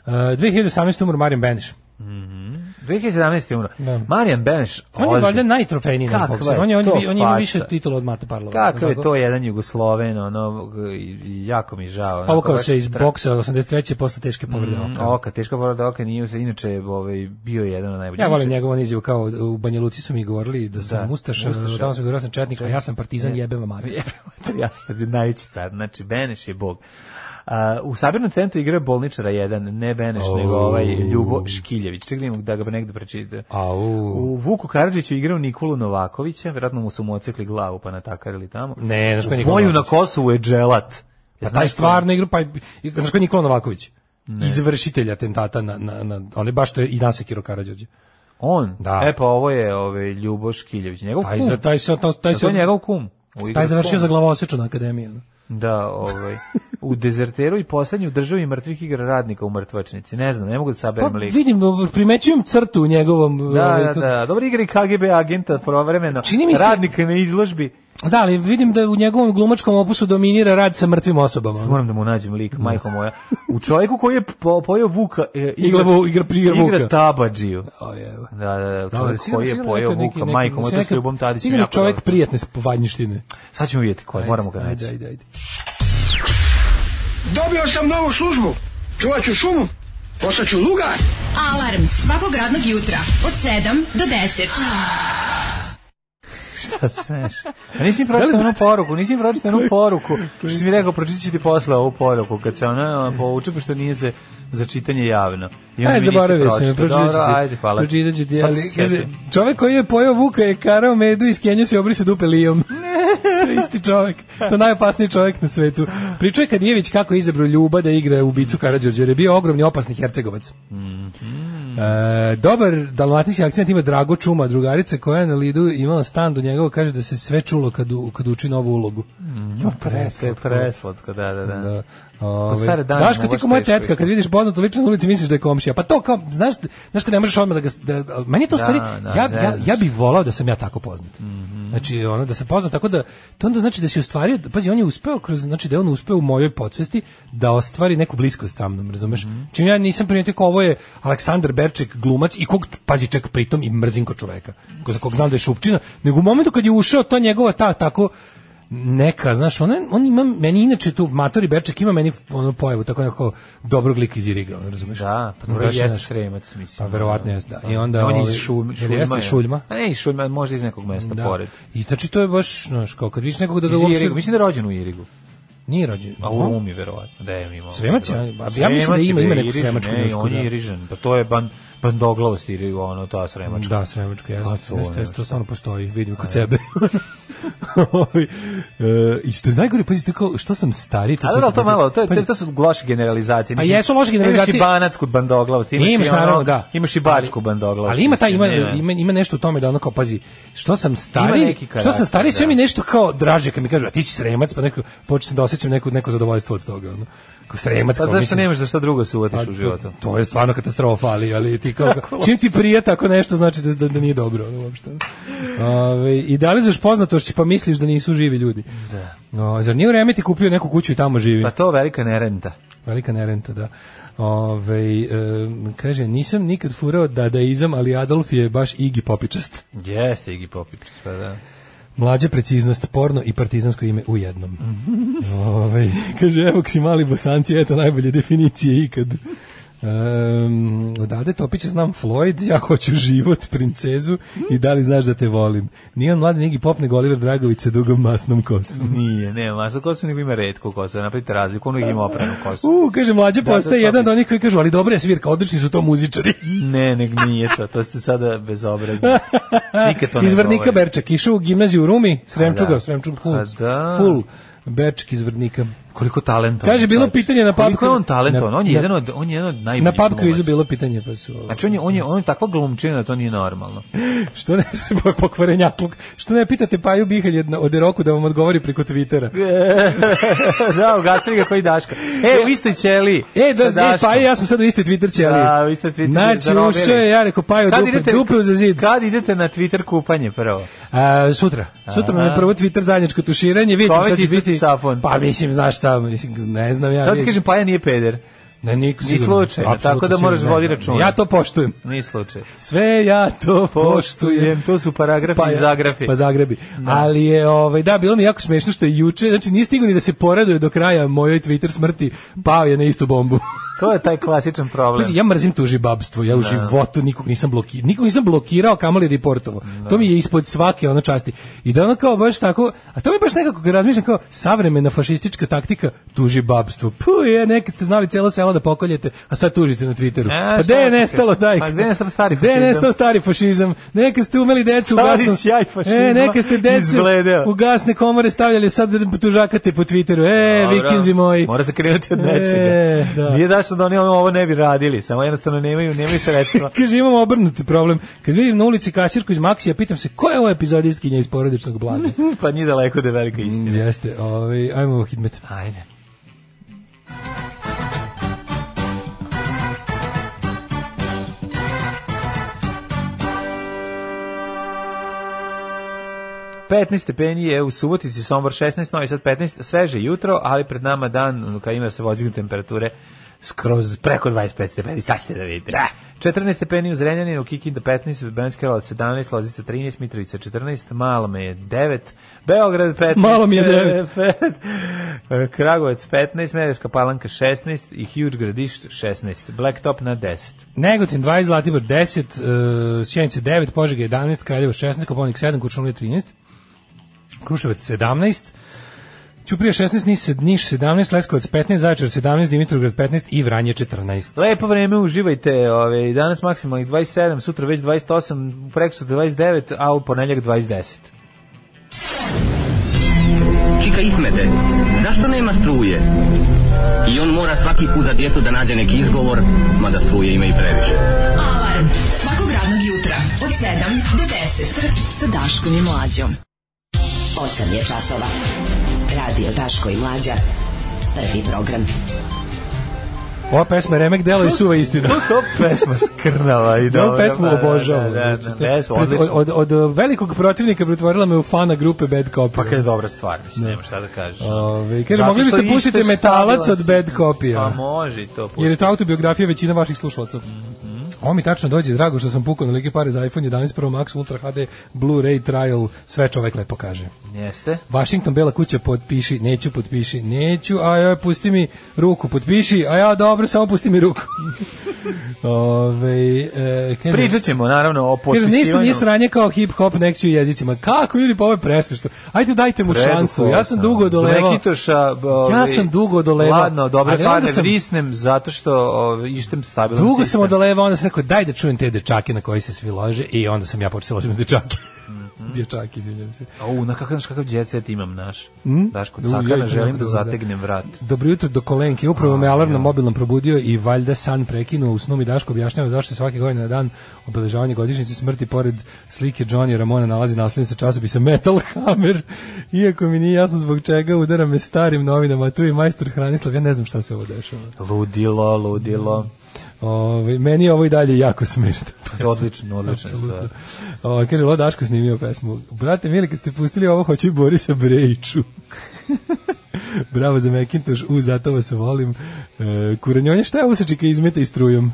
[SPEAKER 6] E, 2018. umro Marijan Beniš.
[SPEAKER 7] 2017. je umro.
[SPEAKER 6] Da.
[SPEAKER 7] Marijan Beneš.
[SPEAKER 6] On je valjda najtrofejniji naš
[SPEAKER 7] Kakva
[SPEAKER 6] bokser.
[SPEAKER 7] je
[SPEAKER 6] On je, on je,
[SPEAKER 7] to
[SPEAKER 6] bi- on je ima više
[SPEAKER 7] faca?
[SPEAKER 6] titula od Mate Parlova.
[SPEAKER 7] Kakav je
[SPEAKER 6] Tako?
[SPEAKER 7] to jedan Jugosloven, ono, i- jako mi žao.
[SPEAKER 6] Pa Povukao
[SPEAKER 7] onako,
[SPEAKER 6] se
[SPEAKER 7] baš
[SPEAKER 6] iz
[SPEAKER 7] tra-
[SPEAKER 6] boksa 83. posle teške povrede
[SPEAKER 7] Mm,
[SPEAKER 6] oka.
[SPEAKER 7] Oka, teška povreda oka nije se, inače ovaj, bio je jedan od najboljih.
[SPEAKER 6] Ja volim njegovu izjavu kao u Banja Luci su mi govorili da sam
[SPEAKER 7] Da,
[SPEAKER 6] ustaša,
[SPEAKER 7] ustaša.
[SPEAKER 6] tamo sam govorio da sam četnik, a ja sam partizan, jebem vam mater.
[SPEAKER 7] Jebote, ja sam ovdje najveći car, znači Beneš je bog. A, u sabirnom centru igra bolničara jedan, ne Beneš, nego ovaj Ljubo Škiljević. Čekaj da imam da ga negde pročita.
[SPEAKER 6] Au.
[SPEAKER 7] U Vuku Karadžiću igrao Nikolu Novakovića, vjerojatno mu su mu ocekli glavu pa natakarili tamo.
[SPEAKER 6] Ne, znaš ko je
[SPEAKER 7] U
[SPEAKER 6] Nikola
[SPEAKER 7] boju na
[SPEAKER 6] Novaković?
[SPEAKER 7] Kosovu je dželat.
[SPEAKER 6] Pa
[SPEAKER 7] Znaš
[SPEAKER 6] taj
[SPEAKER 7] ko-
[SPEAKER 6] stvarno igra, pa i- znaš ko je Nikola Novaković? Izvršitelj atentata na, na, na, on je baš što je i Nasekiro Karadžođe.
[SPEAKER 7] On?
[SPEAKER 6] Da.
[SPEAKER 7] E pa ovo je ovaj, Ljubo Škiljević. Njegov
[SPEAKER 6] Taj,
[SPEAKER 7] kum.
[SPEAKER 6] za, taj, se, taj, taj,
[SPEAKER 7] Jel to je
[SPEAKER 6] se,
[SPEAKER 7] njegov kum. U igri
[SPEAKER 6] taj je završio
[SPEAKER 7] kum.
[SPEAKER 6] za glavoseču na akademiji. ono.
[SPEAKER 7] Da, ovaj. U dezerteru i poslednju državi mrtvih igra radnika u mrtvačnici. Ne znam, ne mogu da
[SPEAKER 6] Pa
[SPEAKER 7] saberem lik.
[SPEAKER 6] vidim, primećujem crtu u njegovom... ovaj,
[SPEAKER 7] Da,
[SPEAKER 6] kako-
[SPEAKER 7] da, da. Dobro igra i KGB agenta provremeno.
[SPEAKER 6] Čini mi se-
[SPEAKER 7] Radnika na izložbi.
[SPEAKER 6] Da, ali vidim da u njegovom glumačkom opusu dominira rad sa mrtvim osobama.
[SPEAKER 7] Moram da mu nađem lik, majko moja. U čovjeku koji je po, pojeo Vuka... E, igra,
[SPEAKER 6] Igra Vu- igra pri- igra Vuka.
[SPEAKER 7] Igra Tabađiju.
[SPEAKER 6] O, jebe.
[SPEAKER 7] Da, da, da,
[SPEAKER 6] Dobar,
[SPEAKER 7] čovjek koji je pojeo
[SPEAKER 6] neki-
[SPEAKER 7] Vuka,
[SPEAKER 6] neki-
[SPEAKER 7] majko moja, to
[SPEAKER 6] sigurno
[SPEAKER 7] s Ljubom Tadićem.
[SPEAKER 6] Sigurno
[SPEAKER 7] jako
[SPEAKER 6] čovjek
[SPEAKER 7] dobro.
[SPEAKER 6] prijatne s- vanjštine.
[SPEAKER 7] Sad ćemo vidjeti koje, moramo ga
[SPEAKER 6] Ajde,
[SPEAKER 7] naći.
[SPEAKER 6] ajde, ajde.
[SPEAKER 2] Dobio sam novu službu. Čuvat ću šumu. Postaću lugar.
[SPEAKER 5] Alarm svakog radnog jutra od 7 do 10.
[SPEAKER 7] Šta smeš? A Da, Pa nisi mi
[SPEAKER 6] Da
[SPEAKER 7] pročitao onu poruku, nisi mi pročitao onu poruku. Što si mi rekao, pročitat ću ti posle ovu poruku, kad se ona ona povuče, pošto nije za, za čitanje javno. I onda
[SPEAKER 6] Aj,
[SPEAKER 7] mi nisi
[SPEAKER 6] zaboravio sam, je,
[SPEAKER 7] pročitao.
[SPEAKER 6] pročitat ću
[SPEAKER 7] Dobro,
[SPEAKER 6] ti.
[SPEAKER 7] ajde, hvala. Pa
[SPEAKER 6] Pročitat ću ti,
[SPEAKER 7] Sad
[SPEAKER 6] ali
[SPEAKER 7] se
[SPEAKER 6] kaže,
[SPEAKER 7] setim.
[SPEAKER 6] čovek koji je pojao vuka je karao medu i skenio se i obrisao dupe lijom. to je isti čovek. To je najopasniji čovek na svetu. Pričao je Kadijević kako je izabrao Ljuba da igra u bicu Karadžođe, jer je bio ogromni opasni hercegovac.
[SPEAKER 7] Mhm.
[SPEAKER 6] E, dobar dalmatinski akcent ima Drago Čuma, drugarica koja je na Lidu imala stand u njegovo, kaže da se sve čulo kad, u- kad uči novu ulogu.
[SPEAKER 7] Mhm.
[SPEAKER 6] Jo,
[SPEAKER 7] Preslatko, preslatko, da, da, da.
[SPEAKER 6] Da.
[SPEAKER 7] Po stare
[SPEAKER 6] Ove,
[SPEAKER 7] dane
[SPEAKER 6] Daško, ti
[SPEAKER 7] mogu
[SPEAKER 6] kao moja
[SPEAKER 7] teško
[SPEAKER 6] tetka, kad vidiš poznatu ličnost na ulici, misliš da je komšija. Pa to kao, znaš, znaš kad ne možeš odmah da ga... s- Da, da- meni je to u
[SPEAKER 7] Da,
[SPEAKER 6] stvari,
[SPEAKER 7] da,
[SPEAKER 6] ja, ja,
[SPEAKER 7] zezaš
[SPEAKER 6] ja bih volao da sam ja tako poznat.
[SPEAKER 7] Mhm.
[SPEAKER 6] Znači, ono, da sam poznat tako da... To onda znači da si ostvario... Pazi, on je uspeo kroz... Znači, da je on uspeo u mojoj podsvesti da ostvari neku bliskost sa mnom, razumeš?
[SPEAKER 7] Mhm.
[SPEAKER 6] Čim ja nisam primetio kao ovo je Aleksandar Berček glumac i kog, pazi, čak pritom i mrzim ko čoveka. Ko, za kog znam da je šupčina. Nego u momentu kad je ušao, to njegova ta tako neka, znaš, on, on ima, meni inače tu, Matori Berček ima meni ono pojavu, tako nekako dobrog lika iz Iriga, on razumeš?
[SPEAKER 7] Da, pa dobro
[SPEAKER 6] Baš,
[SPEAKER 7] jeste
[SPEAKER 6] znaš,
[SPEAKER 7] sremac, mislim.
[SPEAKER 6] Pa verovatno jeste, da. I onda
[SPEAKER 7] on je
[SPEAKER 6] ovaj,
[SPEAKER 7] iz šum,
[SPEAKER 6] jel
[SPEAKER 7] šuljma.
[SPEAKER 6] jeste
[SPEAKER 7] je?
[SPEAKER 6] Šuljma?
[SPEAKER 7] A ne iz šuljma, možda iz nekog mesta
[SPEAKER 6] Da.
[SPEAKER 7] pored.
[SPEAKER 6] I znači to je baš, znaš, kao kad vidiš nekog da
[SPEAKER 7] Iz
[SPEAKER 6] ga uopšte...
[SPEAKER 7] Irigu, mislim da je rođen u Irigu.
[SPEAKER 6] Nije rođen.
[SPEAKER 7] A u Rumi, verovatno. Da je imao.
[SPEAKER 6] Sremac Pa je, a ja mislim da ima- ima neku sremačku
[SPEAKER 7] Ne,
[SPEAKER 6] njušku,
[SPEAKER 7] on je
[SPEAKER 6] da.
[SPEAKER 7] Irižan. Pa to je ban, bandoglavost ili ono, ta sremačka.
[SPEAKER 6] Da, sremačka, jeste.
[SPEAKER 7] Pa to,
[SPEAKER 6] to, jeste, jeste,
[SPEAKER 7] nešto.
[SPEAKER 6] to stvarno postoji, vidim kod sebe. Ovaj, e, I što je najgore, pazite, kao, što sam stari, to
[SPEAKER 7] A
[SPEAKER 6] sam...
[SPEAKER 7] da, da, to
[SPEAKER 6] stari.
[SPEAKER 7] malo, to, je,
[SPEAKER 6] Pa
[SPEAKER 7] to,
[SPEAKER 6] Pazi,
[SPEAKER 7] to su loše generalizacije.
[SPEAKER 6] Pa
[SPEAKER 7] Mislim,
[SPEAKER 6] jesu loše
[SPEAKER 7] Imaš i
[SPEAKER 6] generalizacije.
[SPEAKER 7] banac kod bandoglavosti. Imaš,
[SPEAKER 6] imaš
[SPEAKER 7] i ono,
[SPEAKER 6] naravno, da.
[SPEAKER 7] Imaš i bačku
[SPEAKER 6] Ali-
[SPEAKER 7] bandoglavost.
[SPEAKER 6] Ali ima taj ima,
[SPEAKER 7] mislim, ne, ne.
[SPEAKER 6] ima ima nešto u tome da ono kao pazi, što sam stari,
[SPEAKER 7] Ima neki
[SPEAKER 6] što
[SPEAKER 7] karakter,
[SPEAKER 6] sam stari sve
[SPEAKER 7] da.
[SPEAKER 6] mi nešto kao draže kad mi kažu a ti si sremac, pa neko počnem da osjećam neko neko zadovoljstvo od toga, ono. Kao sremac,
[SPEAKER 7] Pa
[SPEAKER 6] kao,
[SPEAKER 7] zašto
[SPEAKER 6] mislim,
[SPEAKER 7] nemaš za šta drugo se uvatiš
[SPEAKER 6] pa,
[SPEAKER 7] u životu?
[SPEAKER 6] To, to je stvarno katastrofa, ali, ali ti kao, čim ti prije tako nešto znači da, da, da nije dobro ono, uopšte. Ove, da idealizuješ poznatošći pa misliš da nisu živi ljudi. Da. No, zar nije u Remeti kupio neku kuću i tamo živi?
[SPEAKER 7] Pa to velika nerenta.
[SPEAKER 6] Velika nerenta, da. Ove, e, kaže, nisam nikad furao dadaizam, ali Adolf je baš igi popičast.
[SPEAKER 7] Jeste, Iggy Pop i pa da.
[SPEAKER 6] Mlađa preciznost, porno i partizansko ime u jednom. Ove, kaže, evo ksimali bosanci, eto najbolje definicije ikad. Um, odade Topića znam Floyd, ja hoću život, princezu i da li znaš da te volim. Nije on mladi Nigi Pop, nego Oliver Dragović sa dugom masnom kosom.
[SPEAKER 7] Nije, nema, masa kosu nego ima redku kosu, da napravite razliku, ono ih ima opranu kosu.
[SPEAKER 6] U, kaže, mlađe postaje
[SPEAKER 7] da,
[SPEAKER 6] jedan od onih koji kažu, ali dobra je svirka, odlični su to muzičari.
[SPEAKER 7] Ne, nek nije to, to ste sada bezobrazni. Nikad to ne
[SPEAKER 6] iz Vrnika
[SPEAKER 7] govorim.
[SPEAKER 6] Berčak, išao u gimnaziju u Rumi, Sremčuga,
[SPEAKER 7] da.
[SPEAKER 6] da. Sremčug full,
[SPEAKER 7] A da.
[SPEAKER 6] full Berčak iz Vrnika.
[SPEAKER 7] Koliko talenta.
[SPEAKER 6] Kaže, bilo pitanje na
[SPEAKER 7] Koliko je
[SPEAKER 6] papku-
[SPEAKER 7] on talentovan,
[SPEAKER 6] na-
[SPEAKER 7] on je
[SPEAKER 6] na-
[SPEAKER 7] jedan od, on je jedan od najboljih
[SPEAKER 6] Na pub kvizu
[SPEAKER 7] glumaca.
[SPEAKER 6] bilo pitanje, pa su...
[SPEAKER 7] Znači, on je, on je, on je takva glumčina da to nije normalno.
[SPEAKER 6] Što ne, pokvarenjakluk, što ne pitate Paju Bihalj od- od Eroku da vam odgovori preko Twittera?
[SPEAKER 7] E, da, ugasili ga koji Daška. E, u istoj ćeli.
[SPEAKER 6] E, da,
[SPEAKER 7] sa
[SPEAKER 6] e,
[SPEAKER 7] Daškom.
[SPEAKER 6] pa ja sam sad u istoj Twitter ćeli.
[SPEAKER 7] Da, vi ste Twitter
[SPEAKER 6] Znači, ušao je, ja rekao, Paju, dupe, dupe za zid.
[SPEAKER 7] Kad idete na Twitter kupanje prvo?
[SPEAKER 6] A, sutra. Sutra nam je prvo Twitter zajedničko tuširanje, vidjet ćemo šta
[SPEAKER 7] Kome će
[SPEAKER 6] će
[SPEAKER 7] ispasti
[SPEAKER 6] biti.
[SPEAKER 7] sapun?
[SPEAKER 6] Pa mislim, znaš šta, mislim, ne znam ja.
[SPEAKER 7] Sad ti
[SPEAKER 6] vidim.
[SPEAKER 7] kažem, Paja nije peder.
[SPEAKER 6] Ne, niko
[SPEAKER 7] Ni
[SPEAKER 6] sigurno.
[SPEAKER 7] slučajno,
[SPEAKER 6] Apsolutno
[SPEAKER 7] tako da moraš
[SPEAKER 6] sigurno,
[SPEAKER 7] vodi
[SPEAKER 6] ne.
[SPEAKER 7] računa.
[SPEAKER 6] Ja to poštujem.
[SPEAKER 7] Ni slučaj.
[SPEAKER 6] Sve ja to poštujem.
[SPEAKER 7] Poštujem, to su paragrafi i
[SPEAKER 6] ja-
[SPEAKER 7] zagrafi.
[SPEAKER 6] Pa zagrebi. Ali je, ovaj, da, bilo mi jako smešno što je juče, znači nije stigao ni da se poraduje do kraja mojoj Twitter smrti, pao je na istu bombu.
[SPEAKER 7] To je taj klasičan problem.
[SPEAKER 6] Pazi, ja mrzim tuži babstvo, ja u životu nikog nisam blokirao, nikog nisam blokirao, kamoli reportovao. To mi je ispod svake ono časti. I da ono kao baš tako, a to mi baš nekako kad razmišljam kao savremena fašistička taktika tuži babstvo. Puh, je, nekad ste znali celo selo da pokoljete, a sad tužite na Twitteru.
[SPEAKER 7] E,
[SPEAKER 6] pa
[SPEAKER 7] šta
[SPEAKER 6] gde je
[SPEAKER 7] hoćete?
[SPEAKER 6] nestalo, daj.
[SPEAKER 7] Pa gde je nestao stari
[SPEAKER 6] Gde je
[SPEAKER 7] fašizam?
[SPEAKER 6] nestao stari fašizam? Nekad ste umeli decu u
[SPEAKER 7] Stari
[SPEAKER 6] gasnu.
[SPEAKER 7] sjaj fašizma
[SPEAKER 6] E, nekad ste decu
[SPEAKER 7] izbledeo.
[SPEAKER 6] u gasne komore stavljali, sad tužakate po Twitteru. E,
[SPEAKER 7] Dobro.
[SPEAKER 6] vikinzi moji.
[SPEAKER 7] Mora se krenuti od
[SPEAKER 6] E,
[SPEAKER 7] nečega.
[SPEAKER 6] da.
[SPEAKER 7] Nije dašno da oni ovo ne bi radili, samo jednostavno nemaju, nemaju sredstva.
[SPEAKER 6] Kaže, imam obrnuti problem. Kad vidim na ulici kasirku iz Maksija, pitam se, ko je ovo epizodistkinja iz porodičnog blata?
[SPEAKER 7] pa nije daleko da je velika istina.
[SPEAKER 6] Jeste, ovaj, ajmo u hitmet.
[SPEAKER 7] Ajde. petnaest stepeni je u Subotici, Sombor 16, Novi Sad 15, sveže jutro, ali pred nama dan kada ima da se vozigne temperature skroz preko 25 stepeni, sad ste da vidite. 14 stepeni u Zrenjaninu, Kikinda 15, Benska Karlovac 17, Lozica 13, Mitrovica 14, Malome je 9, Beograd 15,
[SPEAKER 6] Malom je devet.
[SPEAKER 7] Kragovac 15, Medeska palanka 16 i Huge Gradišt 16, Blacktop na 10.
[SPEAKER 6] Negotin 20, Zlatibor 10, uh, Sjenica 9, Požega 11, Kraljevo 16, Koponik 7, Kuršumlija 13, Kruševac 17, Ćuprija 16, Niš sed- Niš 17, Leskovac 15, Zaječar 17, Dimitrovgrad 15 i Vranje 14.
[SPEAKER 7] Lepo vreme, uživajte.
[SPEAKER 6] ovaj,
[SPEAKER 7] Ove, danas maksimalnih 27, sutra već 28, preko sutra 29, a u ponedljak 20.
[SPEAKER 9] Čika Ismete, zašto nema struje? I on mora svaki put za djecu da nađe neki izgovor, mada struje ima i previše.
[SPEAKER 5] Alarm svakog radnog jutra od 7 do 10 sa Daškom i Mlađom.
[SPEAKER 10] 8 je časova. Radio Daško i Mlađa. Prvi program.
[SPEAKER 6] Ova pesma je remek delo i suva istina.
[SPEAKER 7] To pesma skrnava i
[SPEAKER 6] Ja
[SPEAKER 7] dobro.
[SPEAKER 6] ovu pesmu
[SPEAKER 7] pa,
[SPEAKER 6] obožavam.
[SPEAKER 7] Da, da, da,
[SPEAKER 6] Da, znači,
[SPEAKER 7] da,
[SPEAKER 6] te-
[SPEAKER 7] pesma,
[SPEAKER 6] pret-
[SPEAKER 7] odlično.
[SPEAKER 6] od, od, od velikog protivnika pretvorila me u fana grupe Bad Copy.
[SPEAKER 7] Pa kad je dobra stvar, mislim, nema šta da kažeš.
[SPEAKER 6] Ove, kaže,
[SPEAKER 7] Zato
[SPEAKER 6] mogli
[SPEAKER 7] što
[SPEAKER 6] biste
[SPEAKER 7] isto
[SPEAKER 6] pustiti
[SPEAKER 7] je
[SPEAKER 6] metalac
[SPEAKER 7] stabilan
[SPEAKER 6] od Bad
[SPEAKER 7] si.
[SPEAKER 6] Copy-a.
[SPEAKER 7] Pa može i to pustiti. Mhm.
[SPEAKER 6] Jer je to autobiografija većina vaših slušalaca. Ovo mi tačno dođe, drago što sam pukao na like pare za iPhone 11 Pro Max Ultra HD Blu-ray trial, sve čovek lepo kaže.
[SPEAKER 7] Jeste.
[SPEAKER 6] Washington, Bela kuća, potpiši, neću, potpiši, neću, a ja, pusti mi ruku, potpiši, a ja, dobro, samo pusti mi ruku. Ove, e, kaže-
[SPEAKER 7] Pričat ćemo, naravno, o
[SPEAKER 6] Kaže,
[SPEAKER 7] počestivanju.
[SPEAKER 6] ništa nije sranje kao hip-hop next u jezicima. Kako ljudi, pa ovo je presmešno. Ajde, dajte mu šansu. Ja sam dugo odolevao.
[SPEAKER 7] Zvekitoša,
[SPEAKER 6] Ja sam dugo odolevao.
[SPEAKER 7] Ladno, dobro,
[SPEAKER 6] Ali onda
[SPEAKER 7] kada
[SPEAKER 6] sam-
[SPEAKER 7] vrisnem, zato što ovaj, ištem stabilan
[SPEAKER 6] Dugo sam
[SPEAKER 7] sistem.
[SPEAKER 6] odolevao, onda sam rekao, daj da čujem te dečake na koji se svi lože. I onda sam ja počeo ložiti na dečake. Dječaki, izvinjam se.
[SPEAKER 7] Au, na kakav, znaš kakav jet set imam naš.
[SPEAKER 6] Mm?
[SPEAKER 7] Daško,
[SPEAKER 6] U,
[SPEAKER 7] cakana,
[SPEAKER 6] joj,
[SPEAKER 7] želim da
[SPEAKER 6] dobro, da.
[SPEAKER 7] zategnem vrat.
[SPEAKER 6] Dobro jutro do kolenke. Upravo me alarm na mobilnom probudio i valjda san prekinuo. U snu mi Daško objašnjava zašto se svake godine na dan obeležavanja godišnjice smrti pored slike Johnny Ramona nalazi naslednica časopisa Metal Hammer. Iako mi nije jasno zbog čega udara me starim novinama. Tu je majstor Hranislav. Ja ne znam šta se ovo dešava.
[SPEAKER 7] Ludilo,
[SPEAKER 6] Mm.
[SPEAKER 7] ludilo.
[SPEAKER 6] Ove, meni je ovo i dalje jako smešno.
[SPEAKER 7] Odlično, odlično.
[SPEAKER 6] Apsolutno. O, kaže, Lo Daško snimio pesmu. Brate, mili, kad ste pustili ovo, hoću i Borisa Brejiću. Bravo za Mekintoš, u, zato vas volim. E, kuranjonje, šta je ovo sa čika izmeta i strujom?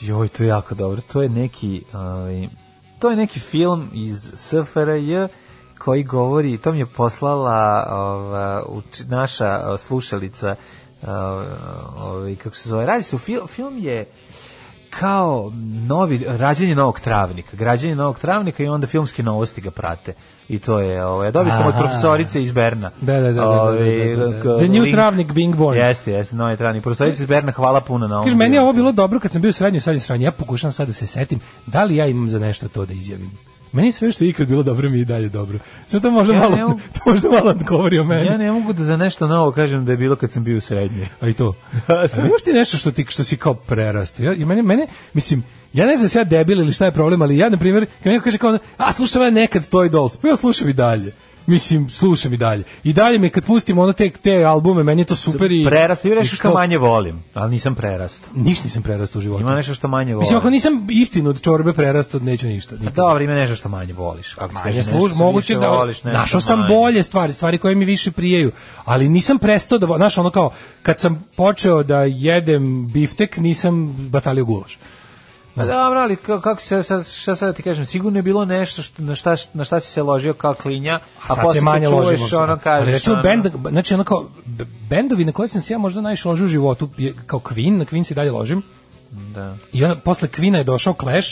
[SPEAKER 7] Joj, to je jako dobro. To je neki, ovaj, to je neki film iz SFRJ koji govori, to mi je poslala ova, uč- naša o, slušalica, o, ovaj, kako se zove, radi se, u fil- film je kao novi, rađenje novog travnika, građenje novog travnika i onda filmske novosti ga prate. I to je, ovaj, dobio sam od
[SPEAKER 6] Aha.
[SPEAKER 7] profesorice iz Berna.
[SPEAKER 6] Da, da, da, da, da,
[SPEAKER 7] Ovaj,
[SPEAKER 6] da, da, da.
[SPEAKER 7] k-
[SPEAKER 6] The new
[SPEAKER 7] link-
[SPEAKER 6] travnik being born.
[SPEAKER 7] Jeste, jeste, novi travnik. Profesorica iz Berna, hvala puno na ovom.
[SPEAKER 6] Kaže, meni je
[SPEAKER 7] dijelu.
[SPEAKER 6] ovo bilo dobro kad sam bio u srednjoj, sad je sranje. Ja pokušam sad da se setim, da li ja imam za nešto to da izjavim. Meni sve što je ikad bilo dobro mi je i dalje dobro. Sve to možda
[SPEAKER 7] Ja
[SPEAKER 6] malo,
[SPEAKER 7] ne mogu-
[SPEAKER 6] to možda malo govori o meni.
[SPEAKER 7] Ja ne mogu da za nešto novo kažem da je bilo kad sam bio u srednjoj.
[SPEAKER 6] A i to. Ali imaš ti nešto što ti što si kao prerastao? Ja, i mene, mene, mislim, ja ne znam se ja debil ili šta je problem, ali ja, na primjer, kad neko kaže kao, a slušam ja nekad Toy Dolls, pa ja slušam i dalje. Mislim, slušam i dalje. I dalje mi kad pustim ono te, te albume, meni je to super i...
[SPEAKER 7] Prerastao i
[SPEAKER 6] i
[SPEAKER 7] nešto što
[SPEAKER 6] kao-
[SPEAKER 7] manje volim, ali nisam prerastao.
[SPEAKER 6] Ništa nisam prerastao u životu.
[SPEAKER 7] Ima nešto što manje volim.
[SPEAKER 6] Mislim, ako nisam istinu od čorbe prerastao, neću ništa.
[SPEAKER 7] Pa
[SPEAKER 6] nikad.
[SPEAKER 7] Dobro, ima nešto što manje voliš. Ako ti kažem
[SPEAKER 6] Manje
[SPEAKER 7] nešto
[SPEAKER 6] služ,
[SPEAKER 7] što
[SPEAKER 6] moguće
[SPEAKER 7] više
[SPEAKER 6] da
[SPEAKER 7] voliš, nešto
[SPEAKER 6] našao sam
[SPEAKER 7] manje.
[SPEAKER 6] bolje stvari, stvari koje mi više prijeju, ali nisam prestao da, vo- znaš, ono kao, kad sam počeo da jedem biftek, nisam batalio gulaš.
[SPEAKER 7] Pa dobro, ali ka- kako se sad šta sad da ti kažem, sigurno je bilo nešto što na šta na šta si se ložio kao klinja, a,
[SPEAKER 6] a sad
[SPEAKER 7] posle
[SPEAKER 6] se
[SPEAKER 7] kad
[SPEAKER 6] manje
[SPEAKER 7] čuješ
[SPEAKER 6] ložimo.
[SPEAKER 7] ono kažeš.
[SPEAKER 6] ali recimo
[SPEAKER 7] ono-
[SPEAKER 6] bend, znači ono kao, b- bendovi na koje sam se ja možda najviše ložio u životu, je kao Queen, na Queen se i dalje ložim,
[SPEAKER 7] Da.
[SPEAKER 6] i onda posle Queena je došao Clash,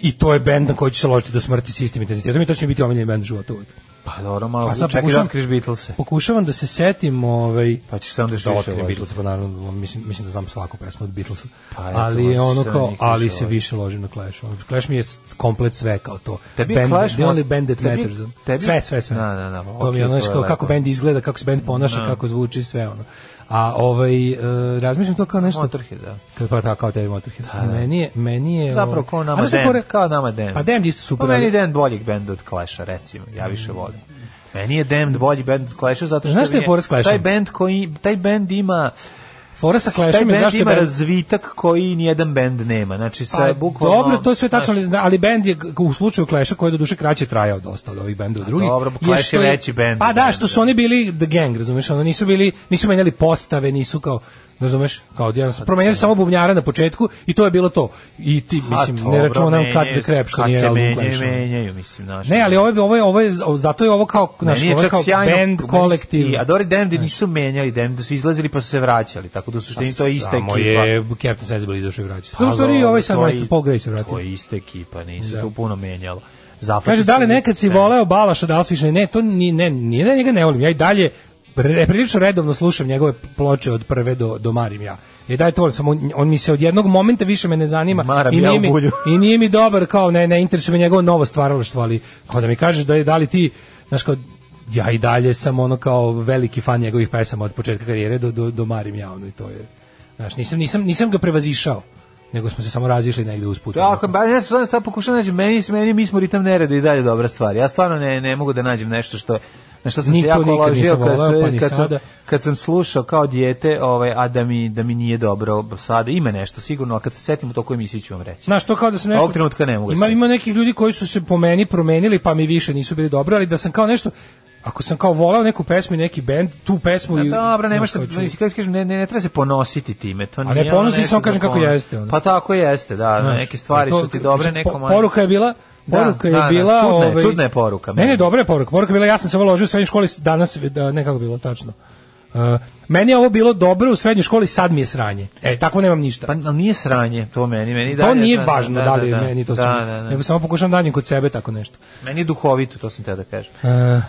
[SPEAKER 6] i to je bend na koji ću se ložiti do smrti s istim intenzitetom i to će mi biti omiljeni bend života uvijek.
[SPEAKER 7] Pa dobro, malo
[SPEAKER 6] Pa sad
[SPEAKER 7] čekaj da
[SPEAKER 6] pokušam-
[SPEAKER 7] otkriš Beatlese.
[SPEAKER 6] Pokušavam da se setim ovaj,
[SPEAKER 7] Pa ćeš se onda još
[SPEAKER 6] da
[SPEAKER 7] više
[SPEAKER 6] otkrijem
[SPEAKER 7] ložiti.
[SPEAKER 6] Beatlesa, pa naravno, mislim, mislim da znam svaku pesmu od Beatlesa.
[SPEAKER 7] Pa eto,
[SPEAKER 6] ali
[SPEAKER 7] možda
[SPEAKER 6] je ono
[SPEAKER 7] se na
[SPEAKER 6] kao,
[SPEAKER 7] njih
[SPEAKER 6] ali
[SPEAKER 7] više
[SPEAKER 6] se
[SPEAKER 7] loži.
[SPEAKER 6] više loži na Clash. Ono, Clash mi je s- komplet sve kao to.
[SPEAKER 7] Tebi je Clash
[SPEAKER 6] the
[SPEAKER 7] mo-
[SPEAKER 6] only band that
[SPEAKER 7] tebi-
[SPEAKER 6] matters.
[SPEAKER 7] tebi-
[SPEAKER 6] Sve, sve, sve.
[SPEAKER 7] Da, da, da,
[SPEAKER 6] to mi
[SPEAKER 7] okej,
[SPEAKER 6] je ono,
[SPEAKER 7] to
[SPEAKER 6] znaš,
[SPEAKER 7] je
[SPEAKER 6] kao,
[SPEAKER 7] lepo.
[SPEAKER 6] kako band izgleda, kako se band ponaša, kako zvuči, sve ono. A ovaj, e, razmišljam to kao nešto...
[SPEAKER 7] Motorhead, da.
[SPEAKER 6] Kao- Pa tako, kao tebi Motorhead. Meni je, meni je...
[SPEAKER 7] Zapravo
[SPEAKER 6] ovaj-
[SPEAKER 7] kao
[SPEAKER 6] A
[SPEAKER 7] nama
[SPEAKER 6] znaš šta je
[SPEAKER 7] Damned,
[SPEAKER 6] fora?
[SPEAKER 7] kao nama Damned.
[SPEAKER 6] Pa Damned isto super.
[SPEAKER 7] Pa meni
[SPEAKER 6] ali-
[SPEAKER 7] je Damned boljeg bend od Clash-a, recimo. Ja više volim. Meni je Damned bolji bend od Clash-a zato što
[SPEAKER 6] Znaš šta je
[SPEAKER 7] mi
[SPEAKER 6] fora s Clash-om?
[SPEAKER 7] Taj bend koji taj bend ima
[SPEAKER 6] Fora sa
[SPEAKER 7] taj
[SPEAKER 6] Clashom je
[SPEAKER 7] bend
[SPEAKER 6] zašto je
[SPEAKER 7] ima
[SPEAKER 6] band-
[SPEAKER 7] razvitak koji nijedan bend nema. Znači sa
[SPEAKER 6] Pa,
[SPEAKER 7] bukvalno
[SPEAKER 6] dobro, to je sve tačno,
[SPEAKER 7] znaš,
[SPEAKER 6] ali, ali bend je g- u slučaju Clash-a koji je do duše kraće trajao dosta od ovih bendova drugih.
[SPEAKER 7] Pa, dobro, Clash je
[SPEAKER 6] što
[SPEAKER 7] veći bend
[SPEAKER 6] Pa
[SPEAKER 7] od
[SPEAKER 6] da,
[SPEAKER 7] benda.
[SPEAKER 6] što su oni bili The Gang, razumeš, ono nisu bili, nisu menjali postave, nisu kao razumeš, kao jedan
[SPEAKER 7] Pa,
[SPEAKER 6] su promenjali
[SPEAKER 7] da.
[SPEAKER 6] samo bubnjara na početku i to je bilo to. I ti
[SPEAKER 7] a
[SPEAKER 6] mislim
[SPEAKER 7] Pa, dobro,
[SPEAKER 6] ne računam kad
[SPEAKER 7] menjaju
[SPEAKER 6] the
[SPEAKER 7] se,
[SPEAKER 6] crap što
[SPEAKER 7] kad
[SPEAKER 6] nije
[SPEAKER 7] se
[SPEAKER 6] album
[SPEAKER 7] menjaju,
[SPEAKER 6] Clash.
[SPEAKER 7] menjaju, mislim, znaš.
[SPEAKER 6] Ne, ali ovo je, ovo je, ovo je, zato je ovo kao, znaš,
[SPEAKER 7] Meni je
[SPEAKER 6] ovo je
[SPEAKER 7] čak
[SPEAKER 6] kao
[SPEAKER 7] sjajno-
[SPEAKER 6] band,
[SPEAKER 7] meni-
[SPEAKER 6] kolektiv.
[SPEAKER 7] I, a Dori Damned nisu menjali, Damned su izlazili pa su se vraćali, tako da su suštini to je ista ekipa.
[SPEAKER 6] Pa Samo je Captain Sensible izašao i vraćao.
[SPEAKER 7] Pa
[SPEAKER 6] Dobro, u stvari i
[SPEAKER 7] dobro,
[SPEAKER 6] ovaj sam
[SPEAKER 7] to je-
[SPEAKER 6] majstor Paul Gray se
[SPEAKER 7] To
[SPEAKER 6] vratio.
[SPEAKER 7] je ista ekipa, nisu
[SPEAKER 6] Da.
[SPEAKER 7] tu puno menjalo. Zafači
[SPEAKER 6] Kaže, da li
[SPEAKER 7] su-
[SPEAKER 6] nekad si
[SPEAKER 7] ne.
[SPEAKER 6] voleo Balaša da više? Ne, to ni, ne, nije da njega ne volim. Ja i dalje pre- prilično redovno slušam njegove ploče od prve do, do Marim ja. I dalje to volim, samo on, on mi se od jednog momenta više me ne zanima.
[SPEAKER 7] Maram
[SPEAKER 6] i,
[SPEAKER 7] ja
[SPEAKER 6] nije
[SPEAKER 7] u
[SPEAKER 6] mi,
[SPEAKER 7] bulju.
[SPEAKER 6] I nije mi dobar, kao ne, ne interesuje me njegovo novo stvaralaštvo, ali kao da mi kažeš da je da li ti, znaš kao, ja i dalje sam ono kao veliki fan njegovih pesama od početka karijere do, do, do Marim ja, ono i to je. Znaš, nisam, nisam, nisam ga prevazišao, nego smo se samo razišli negde usput.
[SPEAKER 7] Tako, ba, ja sam sad pokušao naći, meni, meni mi smo ritam nereda i dalje dobra stvar. Ja stvarno ne, ne mogu da nađem nešto što na što sam
[SPEAKER 6] Ni
[SPEAKER 7] se
[SPEAKER 6] to
[SPEAKER 7] jako
[SPEAKER 6] nikad
[SPEAKER 7] ložio
[SPEAKER 6] nisam
[SPEAKER 7] kad,
[SPEAKER 6] voleo,
[SPEAKER 7] sve-
[SPEAKER 6] pa ni
[SPEAKER 7] kad, sam,
[SPEAKER 6] sada.
[SPEAKER 7] kad sam slušao kao dijete, ovaj, a da mi, da mi nije dobro sada. Ima nešto sigurno, ali kad se setim u toku emisiji ću vam reći.
[SPEAKER 6] Znaš, to kao da sam nešto...
[SPEAKER 7] Ovog trenutka ne mogu da
[SPEAKER 6] Ima,
[SPEAKER 7] se-
[SPEAKER 6] ima nekih ljudi koji su se po meni promenili, pa mi više nisu bili dobro, ali da sam kao nešto... ako sam kao volao neku pesmu i neki bend, tu pesmu
[SPEAKER 7] Pa
[SPEAKER 6] i...
[SPEAKER 7] dobro, nema
[SPEAKER 6] znaš
[SPEAKER 7] šta,
[SPEAKER 6] kao ću-
[SPEAKER 7] mislim, kako ti kažem, ne, ne, ne treba se ponositi time. To
[SPEAKER 6] A ne ponosi
[SPEAKER 7] nije
[SPEAKER 6] se,
[SPEAKER 7] ono nešto
[SPEAKER 6] samo kažem
[SPEAKER 7] za
[SPEAKER 6] kako
[SPEAKER 7] ponos.
[SPEAKER 6] jeste, ono.
[SPEAKER 7] Pa tako jeste, da,
[SPEAKER 6] Znaš, e
[SPEAKER 7] neke stvari
[SPEAKER 6] to-
[SPEAKER 7] su ti dobre,
[SPEAKER 6] mislim,
[SPEAKER 7] neko
[SPEAKER 6] po-
[SPEAKER 7] manje.
[SPEAKER 6] Poruka je bila
[SPEAKER 7] Da,
[SPEAKER 6] Poruka
[SPEAKER 7] da,
[SPEAKER 6] je
[SPEAKER 7] da,
[SPEAKER 6] bila...
[SPEAKER 7] čudna je-
[SPEAKER 6] ovaj,
[SPEAKER 7] čudna je poruka,
[SPEAKER 6] Ne, ne,
[SPEAKER 7] meni.
[SPEAKER 6] dobra je poruka. Poruka je bila, ja sam se ovo ložio u srednjoj školi, danas, da, nekako je bilo, tačno. Uh, meni je ovo bilo dobro u srednjoj školi, sad mi je sranje. E, tako nemam ništa.
[SPEAKER 7] Pa ali nije sranje, to meni, meni
[SPEAKER 6] to
[SPEAKER 7] dalje-
[SPEAKER 6] nije važno da, li je meni to
[SPEAKER 7] da,
[SPEAKER 6] sranje,
[SPEAKER 7] da, da.
[SPEAKER 6] nego samo pokušam da nađem kod sebe tako nešto.
[SPEAKER 7] Meni je duhovito, to sam te da kažem.
[SPEAKER 6] E,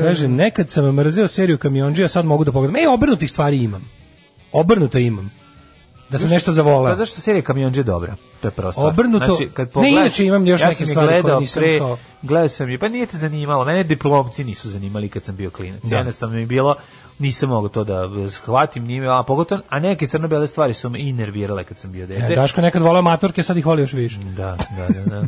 [SPEAKER 6] kaže, nekad sam mrzeo seriju kamionđija, sad mogu da pogledam. E, obrnutih stvari imam. Obrnuto imam. Da sam nešto
[SPEAKER 7] Pa
[SPEAKER 6] zavoleo.
[SPEAKER 7] zašto serija Kamionđe dobra? To je prosto.
[SPEAKER 6] Obrnuto. Ne, inače imam još
[SPEAKER 7] ja
[SPEAKER 6] neke
[SPEAKER 7] sam je
[SPEAKER 6] stvari koje
[SPEAKER 7] gledao
[SPEAKER 6] nisam
[SPEAKER 7] pre,
[SPEAKER 6] kao-
[SPEAKER 7] Gledao sam je, pa nije te zanimalo. Mene diplomci nisu zanimali kad sam bio klinac.
[SPEAKER 6] Da.
[SPEAKER 7] Jednostavno mi je bilo nisam mogao to da shvatim njime, a pogotovo, a neke crno-bele stvari su me i nervirale kad sam bio dete.
[SPEAKER 6] E, Daško je nekad voleo matorke, sad ih voli još više.
[SPEAKER 7] Da, da, da, da.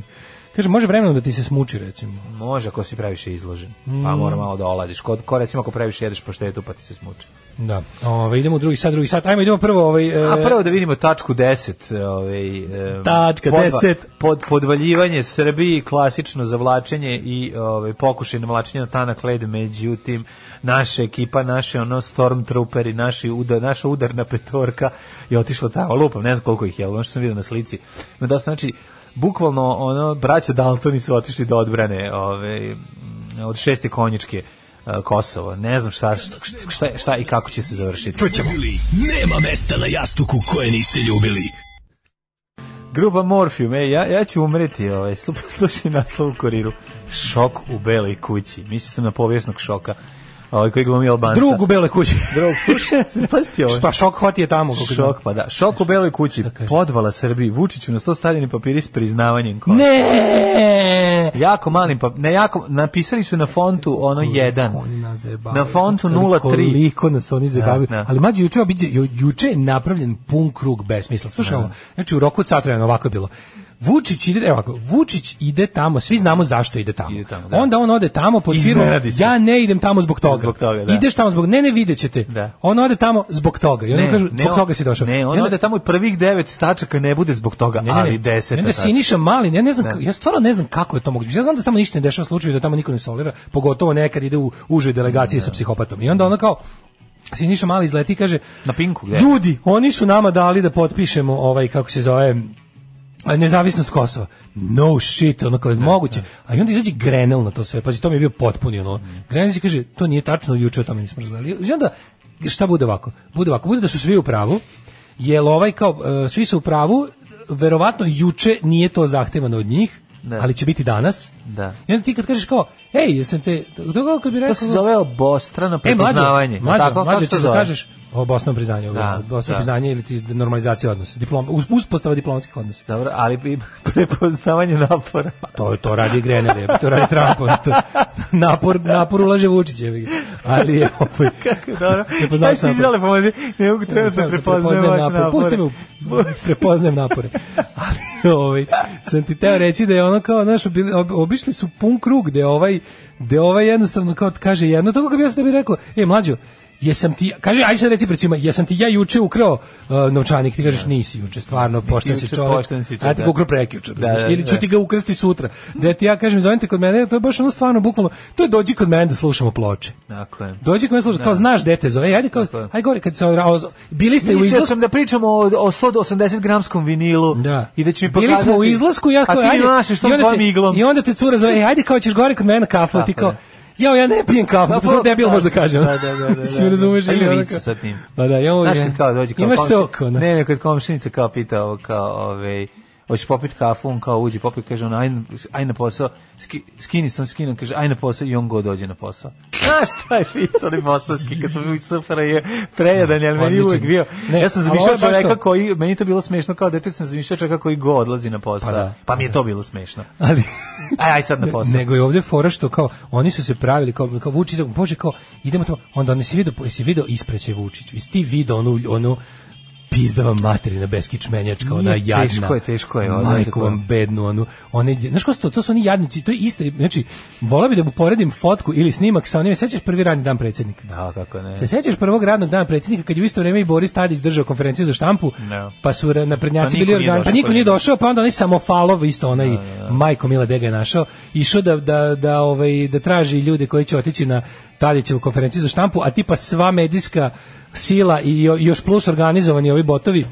[SPEAKER 6] Kaže, može vremenom da ti se smuči, recimo.
[SPEAKER 7] Može ako si previše izložen.
[SPEAKER 6] Mm.
[SPEAKER 7] Pa mora malo da oladiš. Ko, ko recimo ako previše jedeš paštetu pa ti se smuči.
[SPEAKER 6] Da. Ove, idemo u drugi sat, drugi sat. Ajmo, idemo prvo ovaj...
[SPEAKER 7] A
[SPEAKER 6] e,
[SPEAKER 7] prvo da vidimo tačku 10. Ovaj, e,
[SPEAKER 6] Tačka 10.
[SPEAKER 7] Pod, podvaljivanje Srbiji, klasično zavlačenje i ovaj, pokušaj namlačenja na tanak led. Međutim, naša ekipa, naše ono stormtrooperi, naši uda, naša udarna petorka je otišla tamo. Lupam, ne znam koliko ih je, ali ono što sam vidio na slici. Ima dosta, znači, bukvalno ono, braća Daltoni su otišli do odbrane ovaj, m, od šeste konjičke e, Kosova. Ne znam šta, šta, šta, šta i kako će se završiti. Čućemo.
[SPEAKER 1] Nema mesta na jastuku koje niste ljubili.
[SPEAKER 7] Grupa Morfium, ej, e, ja, ja ću umreti, ovaj, slu- slušaj naslov u kuriru. Šok u beloj kući. Mislio sam na povijesnog šoka, ovaj, koji glumi Albanca.
[SPEAKER 6] Drug u bele kući.
[SPEAKER 7] Drug, slušaj, pazite ovo.
[SPEAKER 6] Pa šok hvati je tamo. koliko znam.
[SPEAKER 7] Šok, pa da. Šok u beloj kući, podvala Srbiji, Vučiću na sto stavljeni papiri s priznavanjem kola.
[SPEAKER 6] Ne!
[SPEAKER 7] Jako malim, pa, ne jako, napisali su na fontu ono jedan.
[SPEAKER 6] Oni nas zajebavaju.
[SPEAKER 7] Na fontu
[SPEAKER 6] Koliko-
[SPEAKER 7] 03.
[SPEAKER 6] Koliko nas oni zajebavaju.
[SPEAKER 7] Da, da.
[SPEAKER 6] Ali mađe, juče, obiđe, ju- juče je napravljen pun krug besmisla.
[SPEAKER 7] Da,
[SPEAKER 6] Slušaj ovo, znači u roku od sat vremena ovako je bilo. Vučić ide, evo ovako, Vučić ide tamo, svi znamo zašto ide tamo.
[SPEAKER 7] Ide tamo, da.
[SPEAKER 6] Onda on ode tamo pod firmom,
[SPEAKER 7] Iznenadi se.
[SPEAKER 6] ja ne idem tamo zbog toga.
[SPEAKER 7] Zbog toga, da.
[SPEAKER 6] Ideš tamo zbog, ne, ne, vidjet ćete.
[SPEAKER 7] Da.
[SPEAKER 6] On ode tamo zbog toga. I onda mu kažu, zbog
[SPEAKER 7] on-
[SPEAKER 6] toga si došao.
[SPEAKER 7] Ne,
[SPEAKER 6] I
[SPEAKER 7] on
[SPEAKER 6] onda-
[SPEAKER 7] ode tamo i prvih devet stačaka ne bude zbog toga,
[SPEAKER 6] ne, ne, ne.
[SPEAKER 7] ali Da. deset.
[SPEAKER 6] I Onda Siniša Malin, ja ne znam, ka- ja stvarno ne znam kako je to moguće. Ja znam da se tamo ništa ne dešava slučaju da tamo niko ne solira, pogotovo nekad ide u užoj delegaciji
[SPEAKER 7] Da.
[SPEAKER 6] sa psihopatom. I onda ona kao Siniša Mali izleti i kaže
[SPEAKER 7] Na pinku, gde?
[SPEAKER 6] Ljudi, oni su nama dali da potpišemo ovaj kako se zove a, nezavisnost Kosova. No shit, ono
[SPEAKER 7] Da,
[SPEAKER 6] kao je moguće. A i onda izađe Grenell na to sve. Pazi, to mi je bio potpuni
[SPEAKER 7] Mm.
[SPEAKER 6] ono. Grenell se kaže, to nije tačno, juče o tome nismo razgovarali. I onda, šta bude ovako? Bude ovako, bude da su svi u pravu, jel ovaj kao, e, svi su u pravu, verovatno juče nije to zahtevano od njih,
[SPEAKER 7] Da.
[SPEAKER 6] ali će biti danas.
[SPEAKER 7] Da.
[SPEAKER 6] I onda ti kad kažeš kao, ej, jesam te, to kao kad bi rekao...
[SPEAKER 7] To se zove obostrano
[SPEAKER 6] E, mlađe,
[SPEAKER 7] prepoznavanje.
[SPEAKER 6] mlađe,
[SPEAKER 7] Tako, kako
[SPEAKER 6] mlađe
[SPEAKER 7] se to
[SPEAKER 6] ćeš da
[SPEAKER 7] zove?
[SPEAKER 6] kažeš obostrano priznanje, da,
[SPEAKER 7] Da,
[SPEAKER 6] obostrano
[SPEAKER 7] da.
[SPEAKER 6] priznanje ili ti normalizacija odnosa, diplom, us- uspostava diplomatskih odnosa.
[SPEAKER 7] Dobro, ali i prepoznavanje napora.
[SPEAKER 6] Pa to to radi Grenell, je, to radi Trump, on to, napor napor ulaže Vučić, je bi ga. ali je ovaj,
[SPEAKER 7] Dobro.
[SPEAKER 6] Prepoznao
[SPEAKER 7] Daj
[SPEAKER 6] sam
[SPEAKER 7] si izjale pomozi. Ne mogu trenutno da prepoznajem vaš napor.
[SPEAKER 6] Pusti me, u- prepoznajem napore. Ali ovaj sam ti teo reći da je ono kao naš obišli su pun krug gde ovaj gde ovaj jednostavno kao kaže jedno tako kako bi ja sad bi rekao, ej mlađo, jesam ti, kaže, aj sad reci pred svima, jesam ti ja juče ukrao uh, novčanik, ti kažeš nisi juče, stvarno, pošten si
[SPEAKER 7] Da. juče,
[SPEAKER 6] čovjek,
[SPEAKER 7] pošten si čovjek,
[SPEAKER 6] a ti ga
[SPEAKER 7] da.
[SPEAKER 6] ukrao prekjuče,
[SPEAKER 7] Da, da,
[SPEAKER 6] ili ću
[SPEAKER 7] da.
[SPEAKER 6] ti ga ukrsti sutra, da ti ja kažem, zovem te kod mene, to je baš ono stvarno, bukvalno, to je dođi kod mene da slušamo ploče.
[SPEAKER 7] Tako je.
[SPEAKER 6] Dođi kod mene slušati,
[SPEAKER 7] Da.
[SPEAKER 6] kao znaš dete zove, ej, ajde kao,
[SPEAKER 7] Tako je.
[SPEAKER 6] aj gore, kad se odra- bili ste u
[SPEAKER 7] Mislio
[SPEAKER 6] izlasku,
[SPEAKER 7] Pa. sam da pričamo o, o 180 gramskom vinilu
[SPEAKER 6] da.
[SPEAKER 7] i da će mi pokazati...
[SPEAKER 6] Bili smo u izlasku, ja kao,
[SPEAKER 7] A ti mi mašeš
[SPEAKER 6] i
[SPEAKER 7] tom
[SPEAKER 6] onda
[SPEAKER 7] tvojom
[SPEAKER 6] te,
[SPEAKER 7] iglom.
[SPEAKER 6] I onda te cura zove, "E, ajde kao ćeš gore kod mene kafu, ti
[SPEAKER 7] Tako
[SPEAKER 6] kao,
[SPEAKER 7] je.
[SPEAKER 6] Jao, ja ne pijem kafu,
[SPEAKER 7] Da,
[SPEAKER 6] to sam
[SPEAKER 7] pa,
[SPEAKER 6] debil
[SPEAKER 7] da,
[SPEAKER 6] možda kažem.
[SPEAKER 7] da, da, da, da,
[SPEAKER 6] Svi
[SPEAKER 7] da.
[SPEAKER 6] razumeš
[SPEAKER 7] Pa ima
[SPEAKER 6] ono
[SPEAKER 7] vica
[SPEAKER 6] kao-
[SPEAKER 7] sa tim.
[SPEAKER 6] Pa da, ja ovo
[SPEAKER 7] Znaš
[SPEAKER 6] je-
[SPEAKER 7] kad kao dođe kao
[SPEAKER 6] Imaš
[SPEAKER 7] komšin-
[SPEAKER 6] sok, ono.
[SPEAKER 7] Ne, ne, kad komšinica kao pita, ovo, kao, ovaj, hoćeš popit kafu, on kao uđe, popit, kaže on, aj, na- aj na posao, ski, skini sam skinu, kaže, aj na posao i on go dođe na posao. Znaš taj ficali bosanski, kad smo bili u SFRJ, prejedan, je, ali meni je
[SPEAKER 6] Odličan.
[SPEAKER 7] uvek bio.
[SPEAKER 6] Ne,
[SPEAKER 7] ja sam
[SPEAKER 6] ali
[SPEAKER 7] zamišljao
[SPEAKER 6] ovo je baš
[SPEAKER 7] čoveka
[SPEAKER 6] to.
[SPEAKER 7] koji, meni je to bilo smešno, kao dete sam zamišljao čoveka koji go odlazi na posao.
[SPEAKER 6] Pa
[SPEAKER 7] Pa,
[SPEAKER 6] da.
[SPEAKER 7] mi je to bilo smešno.
[SPEAKER 6] Ali,
[SPEAKER 7] Aj, aj sad na posao.
[SPEAKER 6] nego je ovdje fora što kao oni su se pravili kao kao Vučić bože kao idemo tamo onda oni se video se video ispraće Vučiću i ti video onu onu pizda vam materina beskičmenjačka, ona
[SPEAKER 7] Nije,
[SPEAKER 6] jadna.
[SPEAKER 7] teško je, teško je, ono,
[SPEAKER 6] Majku
[SPEAKER 7] tako.
[SPEAKER 6] vam bednu, onu, one, znaš ko su to, to su oni jadnici, to je isto, znači, volao bi da mu poredim fotku ili snimak sa onim, sećaš prvi radni dan predsjednika?
[SPEAKER 7] Da, kako ne.
[SPEAKER 6] Se sećaš prvog radnog dana predsjednika kad je u isto vrijeme i Boris Tadić držao konferenciju za štampu,
[SPEAKER 7] Da.
[SPEAKER 6] pa su ra- naprednjaci
[SPEAKER 7] Pa niko
[SPEAKER 6] bili
[SPEAKER 7] nije
[SPEAKER 6] organi, pa
[SPEAKER 7] došao, Da,
[SPEAKER 6] niko
[SPEAKER 7] pa
[SPEAKER 6] nije
[SPEAKER 7] nije.
[SPEAKER 6] došao, pa onda onaj samofalov isto onaj Majko Mila Dega je našao, išao da, da, da, ovaj, da traži ljude koji će otići na Tadićevu konferenciju za štampu, a tipa sva medijska sila i jo- još plus organizovani ovi botovi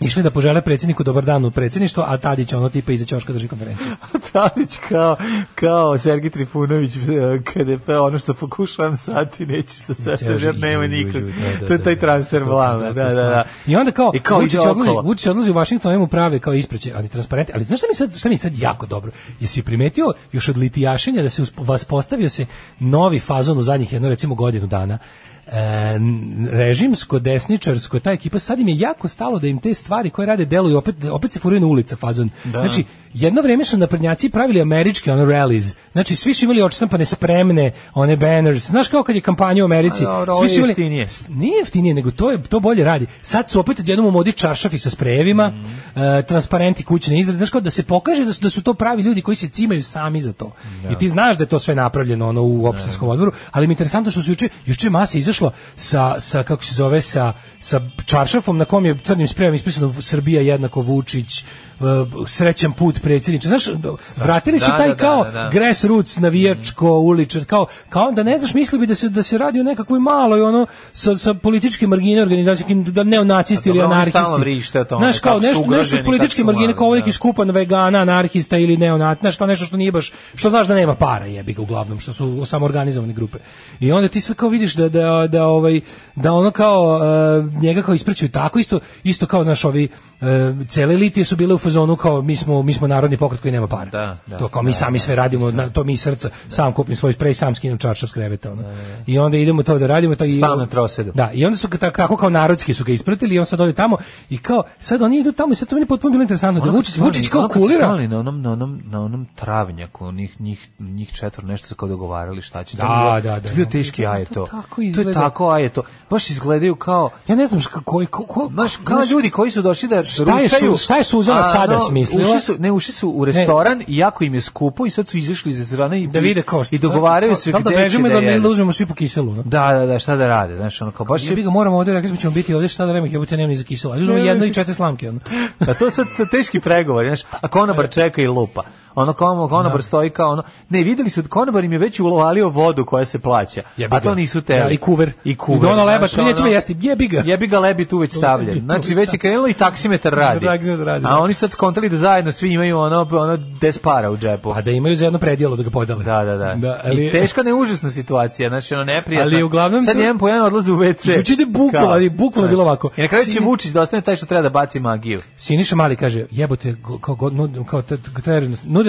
[SPEAKER 6] išli da požele predsjedniku dobar dan u predsjedništvo, a Tadić ono tipa iza ćoška drži konferenciju.
[SPEAKER 7] Tadić kao, kao Sergi Trifunović e, kada je peo ono što pokušavam sad i neće sa
[SPEAKER 6] Kaže,
[SPEAKER 7] sasvim, jer nema
[SPEAKER 6] "Ju, ju, ju,
[SPEAKER 7] nikog.
[SPEAKER 6] da, da,
[SPEAKER 7] To je
[SPEAKER 6] da,
[SPEAKER 7] taj
[SPEAKER 6] da,
[SPEAKER 7] transfer
[SPEAKER 6] to-
[SPEAKER 7] vlada, da,
[SPEAKER 6] tako
[SPEAKER 7] da,
[SPEAKER 6] stvar.
[SPEAKER 7] da.
[SPEAKER 6] I onda kao,
[SPEAKER 7] I kao
[SPEAKER 6] Vučić,
[SPEAKER 7] ide
[SPEAKER 6] odlazi,
[SPEAKER 7] okolo.
[SPEAKER 6] Vučić odlazi u Washington, mu prave kao ispreće, ali transparente. Ali znaš šta mi sad, šta mi je sad jako dobro? Jesi primetio još od litijašenja da se usp- vas postavio se novi fazon u zadnjih jedno recimo godinu dana? E, n- režimsko, desničarsko, ta ekipa, sad im je jako stalo da im te stvari koje rade deluju, opet, opet se furaju na ulica fazon.
[SPEAKER 7] Da.
[SPEAKER 6] Znači, jedno vrijeme su naprednjaci pravili američke ono rallies. Znači, svi su imali očestampane spremne, one banners. Znaš kao kad je kampanja u Americi,
[SPEAKER 7] A dobro, ovo
[SPEAKER 6] svi
[SPEAKER 7] je
[SPEAKER 6] su imali...
[SPEAKER 7] jeftinije.
[SPEAKER 6] S- Nije jeftinije, nego to, je, to bolje radi. Sad su opet odjednom u modi čaršafi sa sprejevima,
[SPEAKER 7] Mhm.
[SPEAKER 6] e, transparenti kućne izrade, znaš kao da se pokaže da su, da su to pravi ljudi koji se cimaju sami za to. I ti znaš da je to sve napravljeno ono u opštinskom
[SPEAKER 7] Da.
[SPEAKER 6] odboru, ali mi je interesantno što su juče, juče je masa izašla sa, sa, kako se zove, sa, sa čaršafom na kom je crnim sprejem ispisano Srbija jednako Vučić, e, srećan put predsjedniče. Znaš, vratili su
[SPEAKER 7] Da,
[SPEAKER 6] taj
[SPEAKER 7] da, da,
[SPEAKER 6] kao
[SPEAKER 7] da, da.
[SPEAKER 6] grassroots navijačko
[SPEAKER 7] Mm.
[SPEAKER 6] uličar kao kao da ne znaš mislio bi da se da se radi o nekakvoj maloj ono sa sa političke margine organizacije kim- da neonacisti
[SPEAKER 7] A
[SPEAKER 6] ili
[SPEAKER 7] dobro, oni
[SPEAKER 6] anarhisti
[SPEAKER 7] stalno vrište o tome
[SPEAKER 6] znaš kao
[SPEAKER 7] kako su
[SPEAKER 6] nešto nešto
[SPEAKER 7] ugroženi,
[SPEAKER 6] s političke
[SPEAKER 7] kako su
[SPEAKER 6] margine kao
[SPEAKER 7] mali,
[SPEAKER 6] neki
[SPEAKER 7] da.
[SPEAKER 6] skupan vegana anarhista ili neonat znaš kao nešto što nije baš što znaš da nema para jebi ga uglavnom što su samoorganizovane grupe i onda ti sad kao vidiš da da da ovaj da ono kao e, njega kao ispričaju tako isto isto kao znaš ovi uh, cele elite su bile u fazonu kao mi smo mi smo narodni pokret koji nema para
[SPEAKER 7] Da, da.
[SPEAKER 6] to kao mi sami sve radimo, na, to mi iz srca, sam kupim svoj sprej, sam skinem čaršav s kreveta. Ono. I onda idemo to da radimo. Taj,
[SPEAKER 7] Da, Stalno na trosedu.
[SPEAKER 6] Da, i onda su ga ta- tako kao narodski su ga ispratili i on sad ode tamo i kao, sad oni idu tamo i sad to meni je potpuno bilo interesantno. Da
[SPEAKER 7] Ono kad
[SPEAKER 6] Vučić,
[SPEAKER 7] stali-
[SPEAKER 6] Vučić kao
[SPEAKER 7] ono kad
[SPEAKER 6] kulira.
[SPEAKER 7] stali na onom, na onom, na onom travnjaku, njih, njih, njih četvr nešto se kao dogovarali šta će.
[SPEAKER 6] Da,
[SPEAKER 7] To je bilo-
[SPEAKER 6] da, da,
[SPEAKER 7] To je bio
[SPEAKER 6] da.
[SPEAKER 7] teški aje to.
[SPEAKER 6] tako
[SPEAKER 7] To je
[SPEAKER 6] izgleda.
[SPEAKER 7] tako aje to. Baš izgledaju kao,
[SPEAKER 6] Ja ne znam ška- koji, ko, ko,
[SPEAKER 7] Znaš, kao ljudi koji su došli da
[SPEAKER 6] Šta je su-
[SPEAKER 7] ručaju...
[SPEAKER 6] šta je Suzana
[SPEAKER 7] a,
[SPEAKER 6] sada smislila?
[SPEAKER 7] Ušli su, ne, ušli su u restoran i jako im je skupo i sad su izašli iz restorana i,
[SPEAKER 6] da vide kao
[SPEAKER 7] i dogovaraju se
[SPEAKER 6] da, li da
[SPEAKER 7] gde će
[SPEAKER 6] bežimo
[SPEAKER 7] da,
[SPEAKER 6] ili da, da
[SPEAKER 7] jedu.
[SPEAKER 6] uzmemo svi po kiselu. No?
[SPEAKER 7] Da, da, da, šta da rade, znaš, ono kao baš je...
[SPEAKER 6] Jebi ga moramo ovde, rekli smo ćemo biti ovde, šta da radimo, jebote nemam ni za kiselu. Ali uzmemo
[SPEAKER 7] Ne,
[SPEAKER 6] jedno
[SPEAKER 7] mislim-
[SPEAKER 6] i četiri slamke. Ono.
[SPEAKER 7] A Pa to sad to teški pregovor, znaš, a konobar čeka i lupa. Ono kao konobar
[SPEAKER 6] Da.
[SPEAKER 7] stoji kao ono, ne, videli su, konobar im je već ulovalio vodu koja se plaća,
[SPEAKER 6] Jebi
[SPEAKER 7] a to
[SPEAKER 6] ga.
[SPEAKER 7] nisu te.
[SPEAKER 6] Da, i kuver.
[SPEAKER 7] I kuver.
[SPEAKER 6] I da ono
[SPEAKER 7] znaš,
[SPEAKER 6] lebac, mi nećemo jesti, jebi ga.
[SPEAKER 7] Jebi ga lebi tu već stavljen. Znači, već je krenulo i taksimetar radi.
[SPEAKER 6] Taksimetar radi, da.
[SPEAKER 7] A oni su sad skontali da zajedno svi imaju ono, ono des para u džepu.
[SPEAKER 6] Pa da imaju za jedno predjelo da ga podele.
[SPEAKER 7] Da, da, da.
[SPEAKER 6] ali,
[SPEAKER 7] I teška ne užasna situacija, znači ono neprijatno.
[SPEAKER 6] Ali uglavnom
[SPEAKER 7] sad
[SPEAKER 6] to-
[SPEAKER 7] jedan po jedan odlaze u WC.
[SPEAKER 6] Juče ide bukvalno,
[SPEAKER 7] Kao.
[SPEAKER 6] ali bukvalno je bilo ovako.
[SPEAKER 7] I na kraju će
[SPEAKER 6] Sin-
[SPEAKER 7] Vučić da ostane taj što treba da baci magiju.
[SPEAKER 6] Siniša Mali kaže, jebote, go- kao, god- nud- kao, t- t- treba nas- nudi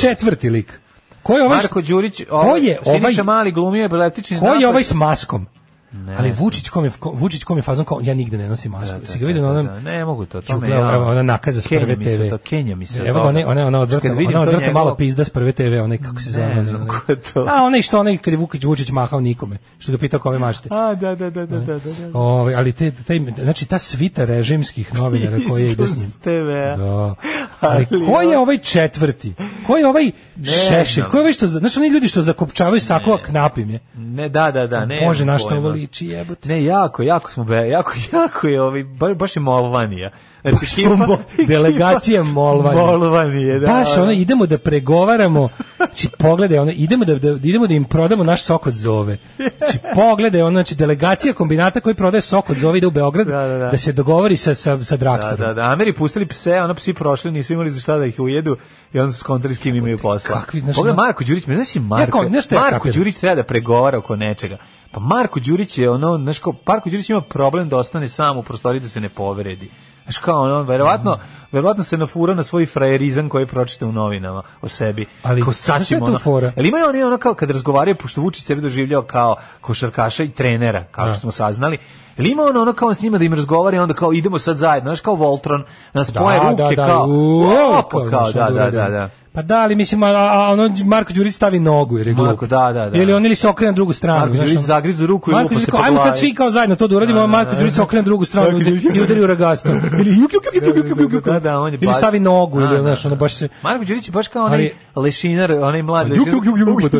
[SPEAKER 6] četvrti lik? Ko je ovaj...
[SPEAKER 7] Marko Đurić,
[SPEAKER 6] Ko je ovaj...
[SPEAKER 7] Siniša Mali glumio epileptični
[SPEAKER 6] Ko
[SPEAKER 7] napad.
[SPEAKER 6] je ovaj s maskom?
[SPEAKER 7] Ne
[SPEAKER 6] Ali
[SPEAKER 7] znam.
[SPEAKER 6] Vučić kom je ko- Vučić kom je fazon kao ja nigde ne nosim masku. Da, si ga vidio na onom
[SPEAKER 7] Da, ne mogu to, to
[SPEAKER 6] Ju,
[SPEAKER 7] me
[SPEAKER 6] gle,
[SPEAKER 7] ja-
[SPEAKER 6] ona- ona nakaza s
[SPEAKER 7] Kenja
[SPEAKER 6] prve
[SPEAKER 7] mi se
[SPEAKER 6] TV.
[SPEAKER 7] To, Kenja mi se
[SPEAKER 6] Evo
[SPEAKER 7] to-
[SPEAKER 6] ga, ona ona ona odvrtna,
[SPEAKER 7] Kad vidim
[SPEAKER 6] ona
[SPEAKER 7] to
[SPEAKER 6] odvrtna
[SPEAKER 7] njegovo-
[SPEAKER 6] mala pizda s prve TV, onaj kako se zove.
[SPEAKER 7] Ne znam
[SPEAKER 6] onaj-
[SPEAKER 7] ko je to.
[SPEAKER 6] A onaj što onaj kad je Vukić Vučić mahao nikome, što ga pitao kome mašte.
[SPEAKER 7] A, da, da, da, da, da, da. da.
[SPEAKER 6] Ovaj, ali te, taj, znači ta svita režimskih novinara koje ide s njim.
[SPEAKER 7] TV.
[SPEAKER 6] Da. Ali ko je ovaj četvrti? Ko je ovaj šešir?
[SPEAKER 7] znam.
[SPEAKER 6] Ko je ovaj što, za- znaš oni ljudi što zakopčavaju sakova knapim je?
[SPEAKER 7] Ne, da, da, da, ne.
[SPEAKER 6] Bože,
[SPEAKER 7] znam
[SPEAKER 6] na što
[SPEAKER 7] pojma.
[SPEAKER 6] ovo liči jebote.
[SPEAKER 7] Ne, jako, jako smo, be, jako, jako je, ovaj, ba- baš je Molvanija. Znači,
[SPEAKER 6] Baš smo mo-
[SPEAKER 7] ekipa-
[SPEAKER 6] delegacija Molvanije.
[SPEAKER 7] Molvanije, da.
[SPEAKER 6] Baš ono, idemo da pregovaramo, znači pogledaj, ono, idemo da, da, idemo da im prodamo naš sok od zove. Znači pogledaj, ono, znači delegacija kombinata koji prodaje sok od zove ide u Beograd
[SPEAKER 7] Da, da, da.
[SPEAKER 6] se dogovori sa, sa, sa
[SPEAKER 7] Da,
[SPEAKER 6] Dragstorom.
[SPEAKER 7] da, da. Ameri pustili pse, ono psi prošli, nisu imali za šta da ih ujedu i onda su skontali s kim imaju posla.
[SPEAKER 6] kakvi, znaš,
[SPEAKER 7] Pogledaj
[SPEAKER 6] ono-
[SPEAKER 7] Marko Đurić, me znaš i Marko,
[SPEAKER 6] kao, znaš šta ja
[SPEAKER 7] Marko
[SPEAKER 6] kapiram?
[SPEAKER 7] Đurić treba da pregovara oko nečega. Pa Marko Đurić je ono, znaš kao, Marko Đurić ima problem da ostane sam u prostoriji da se ne povredi. Znaš kao ono, verovatno, verovatno se nafura na svoj frajerizam koji pročita u novinama o sebi.
[SPEAKER 6] Ali,
[SPEAKER 7] kao
[SPEAKER 6] znaš šta je
[SPEAKER 7] saćim
[SPEAKER 6] tu
[SPEAKER 7] ono.
[SPEAKER 6] fora?
[SPEAKER 7] Ali imaju oni ono kao kad razgovaraju, pošto Vučić sebe doživljao kao košarkaša i trenera, kao
[SPEAKER 6] Da.
[SPEAKER 7] što smo saznali, ili ima ono, ono kao s njima da im razgovara i onda kao idemo sad zajedno, znaš kao Voltron, nas spoje ruke kao,
[SPEAKER 6] uo,
[SPEAKER 7] opa,
[SPEAKER 6] kao,
[SPEAKER 7] kao,
[SPEAKER 6] znaš,
[SPEAKER 7] da,
[SPEAKER 6] onda
[SPEAKER 7] da,
[SPEAKER 6] uradi.
[SPEAKER 7] da, da.
[SPEAKER 6] Pa da, ali mislim, a, a ono Marko Đurić stavi nogu, jer je glup.
[SPEAKER 7] Marko, da, da, da.
[SPEAKER 6] Ili on ili se okrene na drugu stranu.
[SPEAKER 7] Marko
[SPEAKER 6] znaš,
[SPEAKER 7] Đurić
[SPEAKER 6] ono-
[SPEAKER 7] zagrize ruku i
[SPEAKER 6] Marko
[SPEAKER 7] lupa
[SPEAKER 6] Đurić
[SPEAKER 7] se
[SPEAKER 6] kao,
[SPEAKER 7] po
[SPEAKER 6] ajmo sad
[SPEAKER 7] glavi."
[SPEAKER 6] svi kao zajedno to da uradimo, a Marko Đurić se okrene na drugu stranu
[SPEAKER 7] Marko
[SPEAKER 6] i
[SPEAKER 7] Đurić-
[SPEAKER 6] udari- i udari u ragasto. Ili juk, juk, juk, juk, juk, juk, juk, juk.
[SPEAKER 7] Da, da, on je
[SPEAKER 6] Ili
[SPEAKER 7] baš-
[SPEAKER 6] stavi nogu,
[SPEAKER 7] Da,
[SPEAKER 6] ili
[SPEAKER 7] da,
[SPEAKER 6] znaš, ono baš se...
[SPEAKER 7] Marko Đurić je baš kao onaj lešinar, onaj mlad
[SPEAKER 6] Juk,
[SPEAKER 7] lešinar.
[SPEAKER 6] juk, juk, juk, to je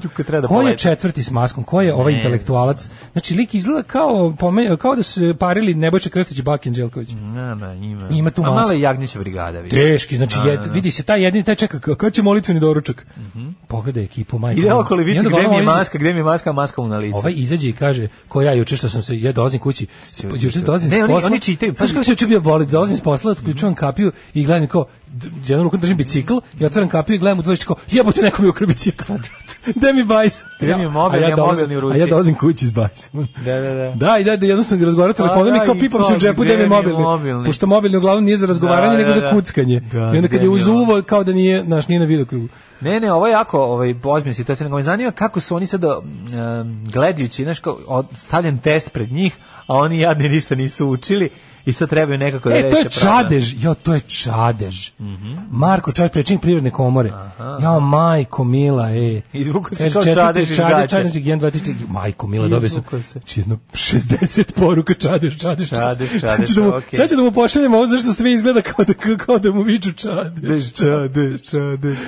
[SPEAKER 6] to.
[SPEAKER 7] kad treba da
[SPEAKER 6] Ko je
[SPEAKER 7] poleti.
[SPEAKER 6] četvrti s maskom? Ko je ovaj
[SPEAKER 7] Ne.
[SPEAKER 6] intelektualac? Znači, lik izgleda kao, pome- kao da su se parili Nebojša Krstić i Bakin Đelković.
[SPEAKER 7] Na, na, ima.
[SPEAKER 6] Ima tu
[SPEAKER 7] A
[SPEAKER 6] masku.
[SPEAKER 7] mala je Jagnjića brigada. vidi.
[SPEAKER 6] Teški, znači
[SPEAKER 7] Da,
[SPEAKER 6] jed,
[SPEAKER 7] da, da.
[SPEAKER 6] vidi se taj jedini taj čeka k- kad će molitveni doručak. Pogledaj ekipu majka.
[SPEAKER 7] Ide
[SPEAKER 6] moja.
[SPEAKER 7] okolo i
[SPEAKER 6] I
[SPEAKER 7] viče
[SPEAKER 6] onda
[SPEAKER 7] gde mi
[SPEAKER 6] ovaj
[SPEAKER 7] je
[SPEAKER 6] iza-
[SPEAKER 7] maska, gde mi je maska, maska mu na lice.
[SPEAKER 6] Ovaj izađe i kaže, ko ja juče što sam se, ja dolazim kući, s-
[SPEAKER 7] Svi-
[SPEAKER 6] juče dolazim
[SPEAKER 7] Ne,
[SPEAKER 6] s
[SPEAKER 7] oni-
[SPEAKER 6] posla.
[SPEAKER 7] oni čitaju,
[SPEAKER 6] Znaš
[SPEAKER 7] pazi. Mhm.
[SPEAKER 6] kako se juče bio boli, dolazim s posla, otključujem kapiju i gledam kao, d- jednom rukom držim bicikl, ja otvaram kapiju i gledam u dvorište kao, jebote, neko mi ukrao bicikl. Gde mi bajs?
[SPEAKER 7] Gde mi je mobil,
[SPEAKER 6] A
[SPEAKER 7] ja
[SPEAKER 6] dolazim-
[SPEAKER 7] mobilni u ruci.
[SPEAKER 6] A ja dolazim kući s bajsom.
[SPEAKER 7] Da, da, da.
[SPEAKER 6] Da, i da, da jednom sam razgovarao telefonom
[SPEAKER 7] A,
[SPEAKER 6] i
[SPEAKER 7] da,
[SPEAKER 6] kao
[SPEAKER 7] i
[SPEAKER 6] pipam se u
[SPEAKER 7] kao,
[SPEAKER 6] džepu
[SPEAKER 7] gde
[SPEAKER 6] da mi je
[SPEAKER 7] mi je
[SPEAKER 6] mobilni.
[SPEAKER 7] mobilni?
[SPEAKER 6] Pošto mobilni uglavnom nije za razgovaranje,
[SPEAKER 7] Da,
[SPEAKER 6] nego
[SPEAKER 7] da,
[SPEAKER 6] za
[SPEAKER 7] da.
[SPEAKER 6] kuckanje.
[SPEAKER 7] Da,
[SPEAKER 6] I onda kad
[SPEAKER 7] gde
[SPEAKER 6] je
[SPEAKER 7] mi je
[SPEAKER 6] uzuvo, kao da nije, znaš, nije na videokrugu.
[SPEAKER 7] Ne, ne, ovo je jako ovaj, ozbiljna situacija. Nego me zanima kako su oni sada, um, gledajući, znaš, kao, od- stavljen test pred njih, a oni jadni ništa nisu učili i sad trebaju nekako da
[SPEAKER 6] E,
[SPEAKER 7] reše
[SPEAKER 6] to je
[SPEAKER 7] problem.
[SPEAKER 6] čadež, jo, to je čadež.
[SPEAKER 7] Mhm.
[SPEAKER 6] Marko Čadež, predsjednik privredne komore. Ja, majko mila, e.
[SPEAKER 7] Izvukao se
[SPEAKER 6] Kaže,
[SPEAKER 7] kao
[SPEAKER 6] četvrti
[SPEAKER 7] čadež iz gaća.
[SPEAKER 6] Čadež, 1, 2, 3, majko mila, dobio sam.
[SPEAKER 7] Izvukao se.
[SPEAKER 6] Znači, jedno 60 poruka čadež, čadež,
[SPEAKER 7] Čadež,
[SPEAKER 6] Sad ću
[SPEAKER 7] čadež,
[SPEAKER 6] da mu,
[SPEAKER 7] okej.
[SPEAKER 6] sad ću da mu pošaljem ovo, zašto sve izgleda kao da, kao da mu viču čadež.
[SPEAKER 7] Čadež, čadež, čadež.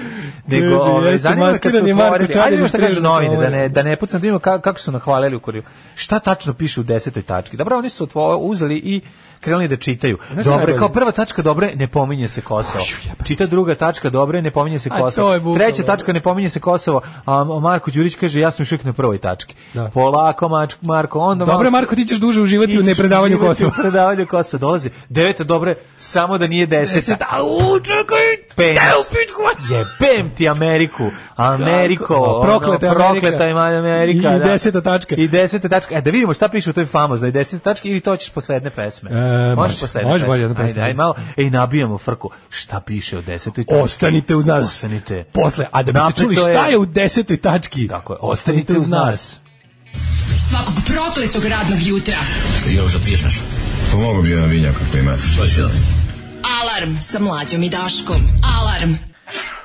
[SPEAKER 7] Nego,
[SPEAKER 6] Kaže,
[SPEAKER 7] ovaj,
[SPEAKER 6] jeste
[SPEAKER 7] zanima me kad su
[SPEAKER 6] maskirani Marko ovaj. Čadež
[SPEAKER 7] otvorili. Ajde vidimo šta
[SPEAKER 6] iz
[SPEAKER 7] kažu novine, da
[SPEAKER 6] Prirodne
[SPEAKER 7] ne, da ne pucam, da vidimo ka- kako su nahvalili u kuriju. Šta tačno piše u desetoj tački? Dobro, oni su otvo- uzeli i krenuli da čitaju.
[SPEAKER 6] Znaš šta je
[SPEAKER 7] Dobre,
[SPEAKER 6] najbolje?
[SPEAKER 7] kao prva tačka dobre, ne pominje se Kosovo. Čita druga tačka dobre, ne pominje se
[SPEAKER 6] A to je
[SPEAKER 7] Kosovo.
[SPEAKER 6] bukvalno.
[SPEAKER 7] Treća tačka ne pominje se Kosovo, a Marko Đurić kaže ja sam još uvijek na prvoj tački.
[SPEAKER 6] Da.
[SPEAKER 7] Polako Mač- Marko, onda
[SPEAKER 6] Dobro,
[SPEAKER 7] malo-
[SPEAKER 6] Marko, ti ćeš duže uživati u
[SPEAKER 7] Ići
[SPEAKER 6] nepredavanju
[SPEAKER 7] uživati u
[SPEAKER 6] Kosova.
[SPEAKER 7] predavanju Kosova dolazi. Deveta dobre, samo da nije deseta.
[SPEAKER 6] A, u, čekaj,
[SPEAKER 7] Penis.
[SPEAKER 6] da je u pičku, ma-
[SPEAKER 7] Jebem ti Ameriku. Ameriko.
[SPEAKER 6] Kako?
[SPEAKER 7] ono,
[SPEAKER 6] Prokleta Amerika.
[SPEAKER 7] prokleta ima Amerika.
[SPEAKER 6] I
[SPEAKER 7] da.
[SPEAKER 6] deseta tačka.
[SPEAKER 7] I deseta tačka. E, da vidimo šta piše u toj famoznoj deseta tački ili to ćeš posle jedne pesme.
[SPEAKER 6] E,
[SPEAKER 7] Možeš
[SPEAKER 6] može.
[SPEAKER 7] posle jedne
[SPEAKER 6] Može
[SPEAKER 7] pesme.
[SPEAKER 6] bolje jednu pesmu.
[SPEAKER 7] Ajde, ajde malo. Ej, nabijamo frku. Šta piše o desetoj tački?
[SPEAKER 6] Ostanite uz nas.
[SPEAKER 7] Ostanite.
[SPEAKER 6] Posle, a da biste
[SPEAKER 7] Napeto
[SPEAKER 6] čuli šta
[SPEAKER 7] je-
[SPEAKER 6] je u desetoj tački.
[SPEAKER 7] Tako je,
[SPEAKER 6] Ostanite uz nas.
[SPEAKER 5] Svakog prokletog radnog jutra.
[SPEAKER 1] Još da piješ nešto?
[SPEAKER 4] Pomogu bi jedan vinjak ako imate.
[SPEAKER 1] Pa će da.
[SPEAKER 5] Alarm sa mlađom i Daškom. Alarm.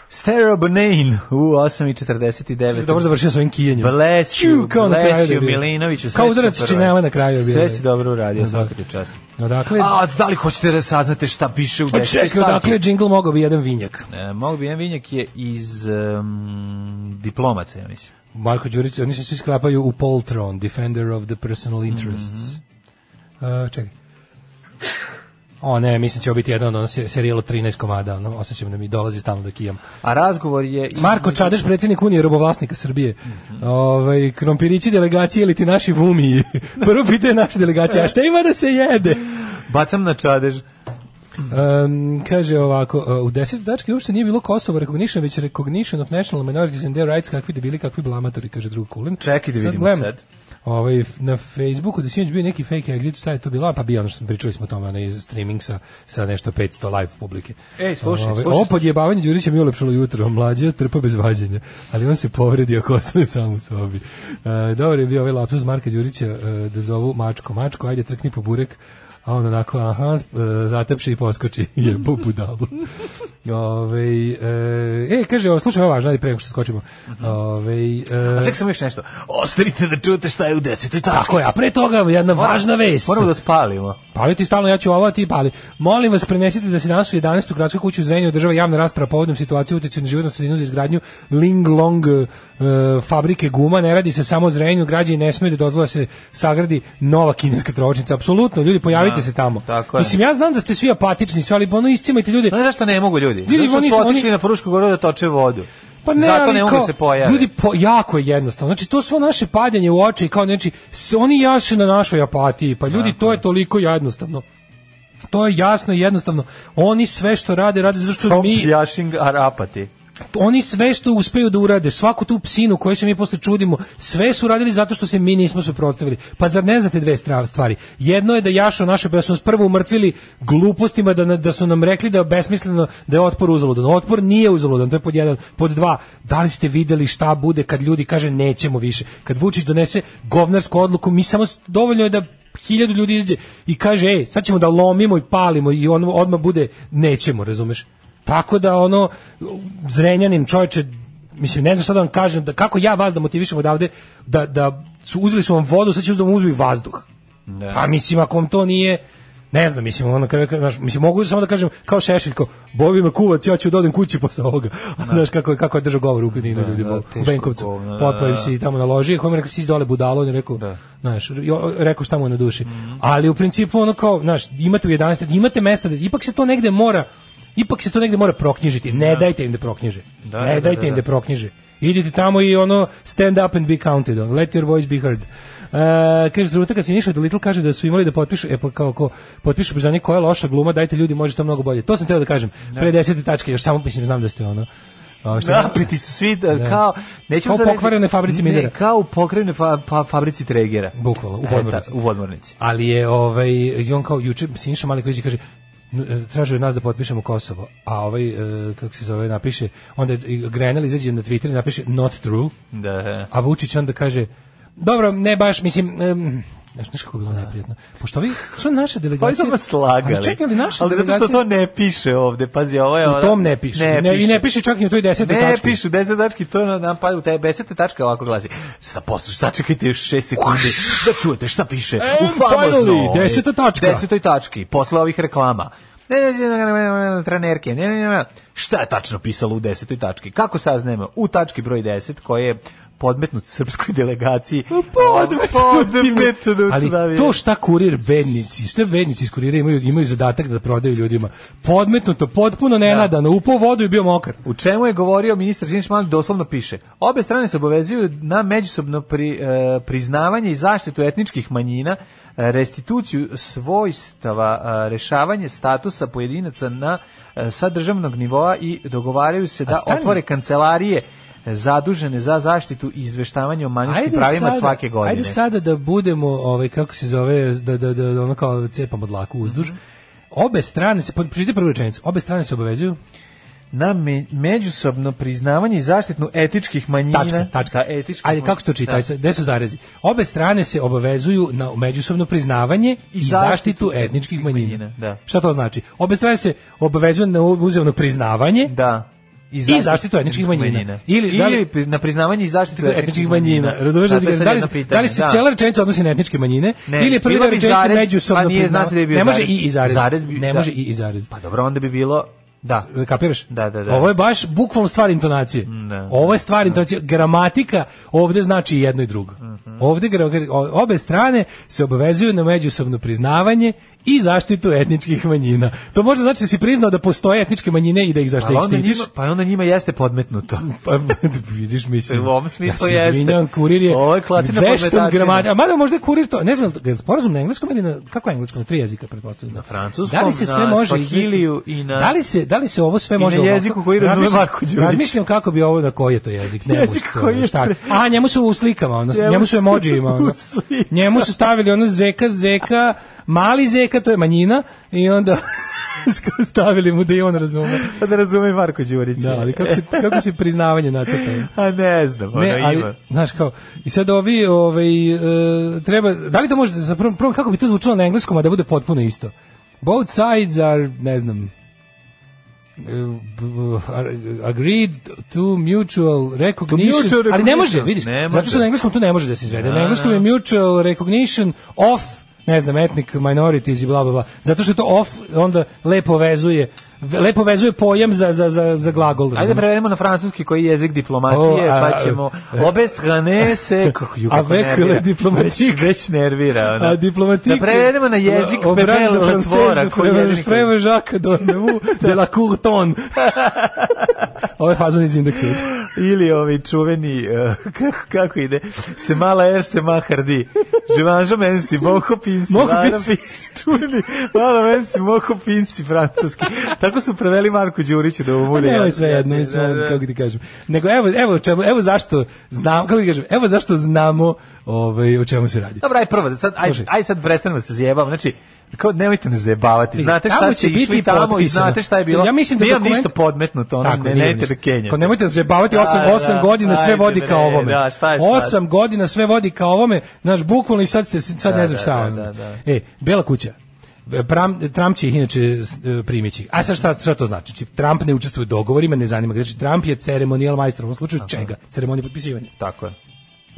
[SPEAKER 7] Stereo Bonane u 8.49.
[SPEAKER 6] da Dobro završio sa ovim kijanjem.
[SPEAKER 7] Bless you,
[SPEAKER 6] Ću, kao na kraju
[SPEAKER 7] bless
[SPEAKER 6] da
[SPEAKER 7] you,
[SPEAKER 6] bio.
[SPEAKER 7] Milinoviću. sve
[SPEAKER 6] Kao
[SPEAKER 7] si
[SPEAKER 6] udarac
[SPEAKER 7] super
[SPEAKER 6] činele na kraju je bio.
[SPEAKER 7] Sve si dobro uradio,
[SPEAKER 6] Da.
[SPEAKER 7] svaka ti čast.
[SPEAKER 6] Odakle?
[SPEAKER 7] A, da li hoćete da saznate šta piše u
[SPEAKER 6] A
[SPEAKER 7] desetoj
[SPEAKER 6] Pa čekaj,
[SPEAKER 7] stavki?
[SPEAKER 6] odakle je džingl mogao bi jedan vinjak.
[SPEAKER 7] E, mogu bi jedan vinjak je iz um, diplomaca, ja mislim.
[SPEAKER 6] Marko Đurić, oni se svi sklapaju u Poltron, Defender of the Personal
[SPEAKER 7] Mhm.
[SPEAKER 6] Interests. E, čekaj. O ne, mislim će ovo biti jedan od ono se- serijela 13 komada, ono, osjećam da mi dolazi stalno da kijam.
[SPEAKER 7] A razgovor je...
[SPEAKER 6] Marko Čadeš, predsjednik Unije robovlasnika Srbije.
[SPEAKER 7] Mhm.
[SPEAKER 6] Ovaj krompirići delegacije ili ti naši vumi. Prvo pitanje naše delegacije, a šta ima da se jede?
[SPEAKER 7] Bacam na čadež.
[SPEAKER 6] Um, kaže ovako, uh, u deset tački uopšte nije bilo Kosovo recognition, već recognition of national minorities and their rights, kakvi debili, kakvi blamatori, kaže drug Kulin.
[SPEAKER 7] Čekaj da vidimo
[SPEAKER 6] gledam,
[SPEAKER 7] sad.
[SPEAKER 6] Ovaj, na Facebooku da sinoć bio neki fake exit, šta je to bilo? A, Pa bio ono što smo pričali smo o tome, onaj streaming sa, sa nešto 500 live publike.
[SPEAKER 7] Ej, slušaj,
[SPEAKER 6] Ovaj,
[SPEAKER 7] slušaj.
[SPEAKER 6] Ovo podjebavanje Đurića mi je ulepšalo jutro, mlađe trpa bez vađenja, ali on se povredio ako ostane sam u sobi. E, dobro je bio ovaj lapsus Marka Đurića e, da zovu mačko, mačko, ajde trkni po burek, a on onako, aha, e, zatepše i poskoči, je bubu dabu. Ove, e, e, kaže, o, slušaj, ovo je važno, ajde pre nego što skočimo. Ove, e,
[SPEAKER 7] A čekaj sam još nešto. Ostavite da čujete šta je u desetoj tački.
[SPEAKER 6] tako je, a pre toga jedna
[SPEAKER 7] Mora-
[SPEAKER 6] važna vest.
[SPEAKER 7] Moramo da spalimo.
[SPEAKER 6] Pali ti stalno, ja ću ovo, a ti pali. Molim vas, prenesite da se danas u 11. u gradskoj kući u Zrenju održava javna rasprava povodom situacije utjecaju na životnu sredinu za izgradnju Ling Long e, fabrike guma. Ne radi se samo o Zrenju, građani ne smeju da dozvole da se sagradi nova kineska trovačnica. Apsolutno, ljudi, pojavite
[SPEAKER 7] Da,
[SPEAKER 6] se tamo.
[SPEAKER 7] tako je.
[SPEAKER 6] Mislim, ja znam da ste svi apatični, sve, ali ono iscimajte ljude.
[SPEAKER 7] Pa Znaš zašto ne mogu ljudi?
[SPEAKER 6] Ljudi,
[SPEAKER 7] Zato što
[SPEAKER 6] oni
[SPEAKER 7] su
[SPEAKER 6] su-
[SPEAKER 7] otišli
[SPEAKER 6] oni-
[SPEAKER 7] na Frušku goru da toče vodu.
[SPEAKER 6] Pa ne,
[SPEAKER 7] Zato
[SPEAKER 6] ali
[SPEAKER 7] ne mogu
[SPEAKER 6] kao,
[SPEAKER 7] da se pojave.
[SPEAKER 6] Ljudi, po, jako je jednostavno. Znači, to svo naše padanje u oči, kao znači, s- oni jaše na našoj apatiji. Pa ljudi, to je toliko jednostavno. To je jasno i jednostavno. Oni sve što rade, rade zato što
[SPEAKER 7] Tom
[SPEAKER 6] mi...
[SPEAKER 7] Pljašing Arapati.
[SPEAKER 6] oni sve što uspeju da urade, svaku tu psinu koju se mi posle čudimo, sve su radili zato što se mi nismo suprotstavili. Pa zar ne znate dve stra- stvari? Jedno je da Jašo naše da su nas prvo umrtvili glupostima da, na- da su nam rekli da je besmisleno da je otpor uzaludan. Otpor nije uzaludan, to je pod jedan. Pod dva, da li ste videli šta bude kad ljudi kaže nećemo više. Kad Vučić donese govnarsku odluku, mi samo s- dovoljno je da hiljadu ljudi izađe i kaže, ej, sad ćemo da lomimo i palimo i on odmah bude, nećemo, razumeš? Tako da ono, zrenjanin čovječe, mislim, ne znam šta da vam kažem, da, kako ja vas da motivišem odavde, da, da su, uzeli su vam vodu, sad će da vam uzmu i vazduh.
[SPEAKER 7] Da.
[SPEAKER 6] A mislim, ako vam to nije, ne znam, mislim, ono, kada, znaš, mislim, mogu samo da kažem, kao šešiljko, bovi me kuvac, ja ću da odem kući posle ovoga. Znaš, kako je, kako je držao govor u knjinu
[SPEAKER 7] Da,
[SPEAKER 6] ljudima
[SPEAKER 7] da,
[SPEAKER 6] u- u
[SPEAKER 7] teško
[SPEAKER 6] Benkovcu.
[SPEAKER 7] govno, da,
[SPEAKER 6] Potpao im
[SPEAKER 7] da,
[SPEAKER 6] se i tamo naložio, kom je rekao, si iz dole budalo, on je rekao, znaš, jo- rekao šta mu je na duši.
[SPEAKER 7] Mhm.
[SPEAKER 6] Ali u principu, ono kao, znaš, imate u 11, imate mesta, da, ipak se to negde mora, ipak se to negde mora proknjižiti. Ne dajte im da proknjiže.
[SPEAKER 7] Da,
[SPEAKER 6] ne
[SPEAKER 7] da,
[SPEAKER 6] dajte
[SPEAKER 7] da,
[SPEAKER 6] im
[SPEAKER 7] da.
[SPEAKER 6] da proknjiže. Idite tamo i ono stand up and be counted on. Let your voice be heard. Uh, kaže trenutak kad se ništa do Little kaže da su imali da potpišu e pa kao ko potpišu priznanje koja je loša gluma dajte ljudi može to mnogo bolje to sam teo da kažem pre 10. tačke još samo mislim znam da ste ono a, šta-
[SPEAKER 7] Napiti su svi da, kao... Nećemo
[SPEAKER 6] Kao
[SPEAKER 7] sad reći-
[SPEAKER 6] pokvarenoj fabrici
[SPEAKER 7] Ne,
[SPEAKER 6] Midera.
[SPEAKER 7] kao u pokvarenoj fa, pa, fabrici Tregera.
[SPEAKER 6] Bukvalno, u
[SPEAKER 7] E,
[SPEAKER 6] podmornici.
[SPEAKER 7] ta- u podmornici.
[SPEAKER 6] Ali je ovaj i on kao juče Siniša Maliković kaže "N- e, tražio od nas da potpišemo Kosovo, a ovaj e, kako se zove napiše, onda je i Grenell izađe na Twitter i napiše not true,
[SPEAKER 7] Da, da.
[SPEAKER 6] a Vučić onda kaže dobro, ne baš, mislim em, Znaš, znaš kako je bilo neprijatno? Pošto ovi, što naše
[SPEAKER 7] Ovi
[SPEAKER 6] delegacije...
[SPEAKER 7] su vas lagali.
[SPEAKER 6] Znači, Ali čekaj, ali naše
[SPEAKER 7] Pa Ali zato
[SPEAKER 6] delegacije...
[SPEAKER 7] što to ne piše ovde, pazi, ovo je...
[SPEAKER 6] U
[SPEAKER 7] ona-
[SPEAKER 6] tom ne piše. Ne, I ne piše čak ni u toj desetoj
[SPEAKER 7] Ne
[SPEAKER 6] tački.
[SPEAKER 7] pišu, deset tački, to nam- nam pada u te desete tačka ovako glasi. Sa poslu, sačekajte još šest sekundi da čujete šta piše.
[SPEAKER 6] And
[SPEAKER 7] u famoznoj.
[SPEAKER 6] finally, deseta tačka.
[SPEAKER 7] Desetoj tački, posle ovih reklama. Ne, ne, ne, ne, ne, ne, trenerke, ne, ne, ne, ne. Šta je tačno pisalo u desetoj tački? Kako saznajemo? U tački broj 10 koje je podmetnut srpskoj delegaciji. Podmetnut. da
[SPEAKER 6] Ali to šta kurir bednici, šta bednici iz kurira imaju, imaju zadatak da prodaju ljudima. Podmetnuto, potpuno nenadano, upao u vodu i bio mokar.
[SPEAKER 7] U čemu je govorio ministar Siniš Mali doslovno piše. Obe strane se obavezuju na međusobno pri, e, priznavanje i zaštitu etničkih manjina, e, restituciju svojstava, e, rešavanje statusa pojedinaca na e, sa državnog nivoa i dogovaraju se da
[SPEAKER 6] stani.
[SPEAKER 7] otvore kancelarije zadužene za zaštitu i izveštavanje o manjinskim Znači, pravima svake godine.
[SPEAKER 6] Ajde sada da budemo, ovaj, kako se zove, da, da, da, da ono kao cepamo dlaku uzduž.
[SPEAKER 7] Mhm.
[SPEAKER 6] Obe strane se, pa pročitajte prvu rečenicu, obe strane se obavezuju
[SPEAKER 7] Na me- međusobno priznavanje i zaštitnu etičkih manjina.
[SPEAKER 6] Tačka, tačka.
[SPEAKER 7] Da, etičkih
[SPEAKER 6] Ajde, kako se to
[SPEAKER 7] manjina.
[SPEAKER 6] čita? Gde su zarezi? Obe strane se obavezuju na međusobno priznavanje i, zaštitu, etničkih manjina.
[SPEAKER 7] da.
[SPEAKER 6] Šta to znači? Obe strane se obavezuju na uzajamno priznavanje
[SPEAKER 7] Da.
[SPEAKER 6] I zaštitu etničkih manjina.
[SPEAKER 7] Ili,
[SPEAKER 6] Ili- da li-
[SPEAKER 7] pri- na priznavanje i zaštitu
[SPEAKER 6] etničkih manjina. Razumeš da
[SPEAKER 7] da
[SPEAKER 6] ti kažem, da li, da li se cijela rečenica odnosi na etničke manjine
[SPEAKER 7] Ne,
[SPEAKER 6] ili je prvi
[SPEAKER 7] bilo bi
[SPEAKER 6] rečenica
[SPEAKER 7] zarez,
[SPEAKER 6] međusobno
[SPEAKER 7] pa nije, zna se da je bio
[SPEAKER 6] ne može
[SPEAKER 7] zarez.
[SPEAKER 6] i i zarez.
[SPEAKER 7] Zarez bi-
[SPEAKER 6] ne
[SPEAKER 7] da.
[SPEAKER 6] može i i zarez.
[SPEAKER 7] Pa dobro, onda bi bilo... Da.
[SPEAKER 6] Kapiraš?
[SPEAKER 7] Da, da, da.
[SPEAKER 6] Ovo je baš bukvalno stvar intonacije.
[SPEAKER 7] Da.
[SPEAKER 6] Ovo je stvar intonacije. Gramatika ovde znači i jedno i drugo.
[SPEAKER 7] Mhm.
[SPEAKER 6] Ovde gra- o- obe strane se obavezuju na međusobno priznavanje i zaštitu etničkih manjina. To možda znači da si priznao da postoje etničke manjine i da ih zašto
[SPEAKER 7] Pa
[SPEAKER 6] ih
[SPEAKER 7] onda, njima,
[SPEAKER 6] štitiš.
[SPEAKER 7] pa onda njima jeste podmetnuto.
[SPEAKER 6] Pa, vidiš, mislim.
[SPEAKER 7] U ovom smislu
[SPEAKER 6] ja se
[SPEAKER 7] jeste.
[SPEAKER 6] izvinjavam, kurir je
[SPEAKER 7] Ovo je klasična
[SPEAKER 6] veštom
[SPEAKER 7] podmetačina.
[SPEAKER 6] gramatika. A mada možda je kurir to, ne znam, je li sporazum na engleskom ili na, kako je engleskom, na tri jezika, pretpostavljam. Na
[SPEAKER 7] francuskom,
[SPEAKER 6] da li se sve
[SPEAKER 7] na
[SPEAKER 6] može izvesti?
[SPEAKER 7] swahiliju i na-
[SPEAKER 6] Da li se, da li se ovo sve
[SPEAKER 7] I na
[SPEAKER 6] može... ovako?
[SPEAKER 7] jeziku koji razume
[SPEAKER 6] Razmišljam-
[SPEAKER 7] Marko Đurić.
[SPEAKER 6] Razmišljam kako bi ovo, na koji je to jezik, ne
[SPEAKER 7] Jezik
[SPEAKER 6] može to,
[SPEAKER 7] koji je
[SPEAKER 6] šta.
[SPEAKER 7] pre-
[SPEAKER 6] A, njemu su u slikama, ono,
[SPEAKER 7] Njemu
[SPEAKER 6] njemu su
[SPEAKER 7] su
[SPEAKER 6] emojijima, ono.
[SPEAKER 7] u slikama.
[SPEAKER 6] Njemu su stavili ono zeka, zeka, mali zeka, to je manjina, i onda stavili mu da i on razume.
[SPEAKER 7] Pa da razume Marko Đurić.
[SPEAKER 6] Da, ali kako se, kako se priznavanje nacrtalo?
[SPEAKER 7] A ne znam, ono
[SPEAKER 6] Ne, ali,
[SPEAKER 7] da, pa ima.
[SPEAKER 6] znaš kao, i sad ovi, ovaj, e, treba, da li to može, za prvo, prvo kako bi to zvučalo na engleskom, a da bude potpuno isto? Both sides are, ne znam, e, b- are agreed to mutual recognition,
[SPEAKER 7] mutual
[SPEAKER 6] ali ne
[SPEAKER 7] recognition.
[SPEAKER 6] može, vidiš,
[SPEAKER 7] Ne
[SPEAKER 6] zato što
[SPEAKER 7] može.
[SPEAKER 6] na engleskom to ne može da se izvede.
[SPEAKER 7] Da,
[SPEAKER 6] Na engleskom je mutual recognition of, ne znam, ethnic minorities i bla, bla, bla. Zato što to off onda lepo vezuje, lepo vezuje pojam za, za, za, za glagol.
[SPEAKER 7] Ajde
[SPEAKER 6] razumeš?
[SPEAKER 7] da prevedemo na francuski koji je jezik diplomatije,
[SPEAKER 6] O, a- e.
[SPEAKER 7] pa ćemo obe strane se... Kako, ju, kako
[SPEAKER 6] Avec
[SPEAKER 7] nervira.
[SPEAKER 6] le diplomatique.
[SPEAKER 7] Već, već nervira. Ona.
[SPEAKER 6] A diplomatique.
[SPEAKER 7] Da prevedemo na jezik
[SPEAKER 6] O- obrani
[SPEAKER 7] Pepele
[SPEAKER 6] la française,
[SPEAKER 7] Letvora. koji je
[SPEAKER 6] frère-
[SPEAKER 7] jedini koji-
[SPEAKER 6] frère Jacques d'Ormevou de la Courton. Ovo je fazon iz indeksa.
[SPEAKER 7] Pa Ili ovi čuveni, eh, kako, kako ide, se mala er, se mahardi. Živanžo Mensi, Moko Pinsi,
[SPEAKER 6] Moko
[SPEAKER 7] Lara
[SPEAKER 6] Pinsi.
[SPEAKER 7] Čuli, Lara Mensi, Moko Pinsi, francuski. Tako su preveli Marku Đuriću da ovo bude.
[SPEAKER 6] Pa Ne, ovo je
[SPEAKER 7] jasno.
[SPEAKER 6] sve jedno, mislim,
[SPEAKER 7] da.
[SPEAKER 6] kako ti kažem. Nego evo, evo, čemu, evo zašto znam, kako ti kažem, evo zašto znamo ovaj, o čemu se radi.
[SPEAKER 7] Dobra, aj prvo, da sad, aj,
[SPEAKER 6] Slušaj.
[SPEAKER 7] aj sad prestanemo da se zjebamo. Znači, kao nemojte nas zajebavati. Znate šta
[SPEAKER 6] Tamo
[SPEAKER 7] ste išli tamo i
[SPEAKER 6] potpisano.
[SPEAKER 7] znate šta je bilo.
[SPEAKER 6] Ja mislim da
[SPEAKER 7] Nije vam
[SPEAKER 6] dokument-
[SPEAKER 7] ništa podmetnuto, ono,
[SPEAKER 6] Tako,
[SPEAKER 7] ne,
[SPEAKER 6] nije vam
[SPEAKER 7] nemojte
[SPEAKER 6] ništa.
[SPEAKER 7] da kenjate.
[SPEAKER 6] Kao nemojte da zajebavati 8
[SPEAKER 7] Da,
[SPEAKER 6] 8
[SPEAKER 7] da,
[SPEAKER 6] godina sve
[SPEAKER 7] ajde,
[SPEAKER 6] vodi
[SPEAKER 7] bre,
[SPEAKER 6] ka ovome.
[SPEAKER 7] da, šta je sad?
[SPEAKER 6] 8 godina sve vodi ka ovome. Naš bukvalno i sad ste sad
[SPEAKER 7] Da,
[SPEAKER 6] ne znam
[SPEAKER 7] da,
[SPEAKER 6] šta.
[SPEAKER 7] da,
[SPEAKER 6] ono.
[SPEAKER 7] da, da.
[SPEAKER 6] E, bela kuća. Pram, Trump će ih inače s- e, primići. A sad šta, šta to znači? Znači, Trump ne učestvuje u dogovorima, ne zanima ga. Znači, Trump je ceremonijal majstor. U ovom slučaju čega? Ceremonije potpisivanja.
[SPEAKER 7] Tako je.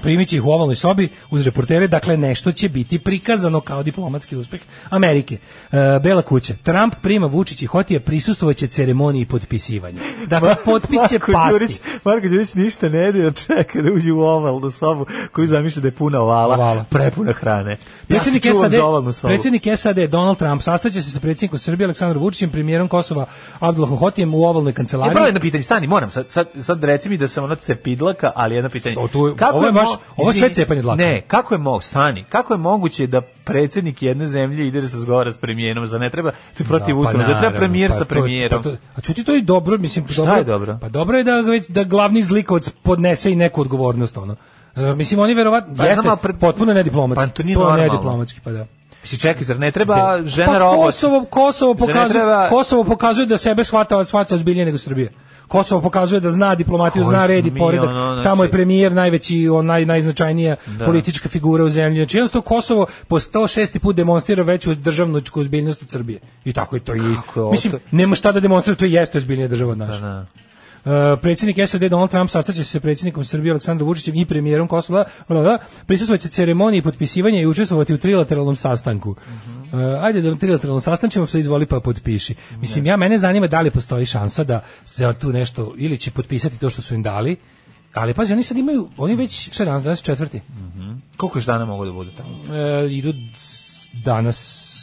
[SPEAKER 6] Primit će ih u ovalnoj sobi uz reportere, dakle nešto će biti prikazano kao diplomatski uspeh Amerike. E, Bela kuća. Trump prima Vučić i Hotija, prisustvovaće ceremoniji potpisivanja. Dakle, potpis će
[SPEAKER 7] Marko Đurić,
[SPEAKER 6] pasti.
[SPEAKER 7] Marko Đurić ništa ne jede, čeka da uđe u ovalnu sobu koju zamišlja da je puna ovala,
[SPEAKER 6] Ovala.
[SPEAKER 7] prepuna hrane. Ja se
[SPEAKER 6] Predsjednik
[SPEAKER 7] čuvam
[SPEAKER 6] SAD,
[SPEAKER 7] za ovalnu sobu.
[SPEAKER 6] predsjednik SAD Donald Trump sastaće se sa predsjednikom Srbije Aleksandrom Vučićem, premijerom Kosova Abdullahom Hotijem u ovalnoj
[SPEAKER 7] Ja
[SPEAKER 6] kancelariji.
[SPEAKER 7] pravo jedno pitanje, stani, moram, sad, sad, sad reci mi da sam ono cepidlaka, ali jedno pitanje.
[SPEAKER 6] O, tu je- ovo je baš- ovo je sve
[SPEAKER 7] izvini,
[SPEAKER 6] cepanje dlaka.
[SPEAKER 7] Ne, kako je mog, stani, kako je moguće da predsjednik jedne zemlje ide da se razgovara s premijerom, za ne treba, to je protiv ustava, za treba
[SPEAKER 6] Da, naravno,
[SPEAKER 7] premijer
[SPEAKER 6] pa
[SPEAKER 7] sa
[SPEAKER 6] to je-
[SPEAKER 7] premijerom.
[SPEAKER 6] Pa to, a čuti, to je dobro, mislim,
[SPEAKER 7] Šta
[SPEAKER 6] dobro,
[SPEAKER 7] je dobro?
[SPEAKER 6] Pa dobro je da, ga već- da glavni zlikovac podnese i neku odgovornost, ono. Znaš, Mislim, oni verovatno,
[SPEAKER 7] Pa
[SPEAKER 6] jeste,
[SPEAKER 7] znam, ali pre-
[SPEAKER 6] potpuno nediplomatski.
[SPEAKER 7] Pa to nije
[SPEAKER 6] je
[SPEAKER 7] normalno.
[SPEAKER 6] nediplomatski, pa da.
[SPEAKER 7] Mislim, čekaj, zar ne treba žena
[SPEAKER 6] pa
[SPEAKER 7] robot?
[SPEAKER 6] Kosovo, Kosovo,
[SPEAKER 7] Zar ne
[SPEAKER 6] pokazuje,
[SPEAKER 7] treba-
[SPEAKER 6] Kosovo pokazuje da sebe shvata, shvata ozbiljnije nego Srbije. Kosovo pokazuje da zna diplomatiju,
[SPEAKER 7] Koji
[SPEAKER 6] zna
[SPEAKER 7] smo
[SPEAKER 6] red i
[SPEAKER 7] mi,
[SPEAKER 6] poredak.
[SPEAKER 7] ono, znači- Da.
[SPEAKER 6] Tamo je premijer najveći, on, naj, najznačajnija politička figura u zemlji. Znači, jednostavno Kosovo po 106. put demonstrira veću državničku ozbiljnost od Srbije. I tako je to i...
[SPEAKER 7] Kako je ovo
[SPEAKER 6] mislim,
[SPEAKER 7] to-
[SPEAKER 6] nema šta da demonstrira, to i jeste ozbiljnija država od naše.
[SPEAKER 7] Da.
[SPEAKER 6] Uh, predsjednik SAD Donald Trump sastaće se sa predsjednikom Srbije Aleksandrom Vučićem i premijerom Kosova, bla, bla, prisustvovaće ceremoniji potpisivanja i učestvovati u trilateralnom sastanku.
[SPEAKER 7] Mhm.
[SPEAKER 6] Uh, ajde da trilateralnom sastančimo, se izvoli pa potpiši. Mislim, ja mene zanima da li postoji šansa da se tu nešto, ili će potpisati to što su im dali, ali pazi, oni sad imaju, oni već, šta je danas, danas je četvrti,
[SPEAKER 7] Mhm. Koliko još dana mogu da bude tamo?
[SPEAKER 6] E, idu d- danas,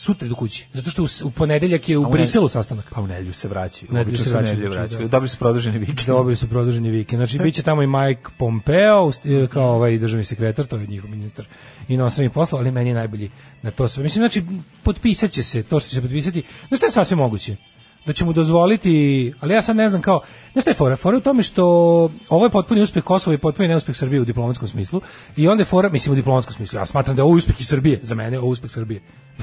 [SPEAKER 6] sutra do kući, zato što u, s- u ponedeljak je u Briselu sastanak.
[SPEAKER 7] Pa u nedlju se vraćaju.
[SPEAKER 6] U nedjelju
[SPEAKER 7] Obično
[SPEAKER 6] se
[SPEAKER 7] u
[SPEAKER 6] vraćaju,
[SPEAKER 7] nedjelju
[SPEAKER 6] znači,
[SPEAKER 7] vraćaju.
[SPEAKER 6] da.
[SPEAKER 7] Dobri su produženi vikend.
[SPEAKER 6] Dobili da su produženi vikend. Znači, bit će tamo i Mike Pompeo,
[SPEAKER 7] Mhm.
[SPEAKER 6] st- kao ovaj državni sekretar, to je njihov ministar inostranih poslova, ali meni je najbolji na to sve. Mislim, znači, potpisat će se to što će se potpisati. Znaš šta je sasvim moguće? Da će mu dozvoliti, ali ja sad ne znam kao, znaš šta je fora? Fora je u tome što ovo je potpuni uspeh Kosova i potpuni neuspeh Srbije u diplomatskom smislu i onda je fora, mislim u diplomatskom smislu, ja smatram da je ovo uspeh i Srbije, za mene je ovo uspeh Srbije.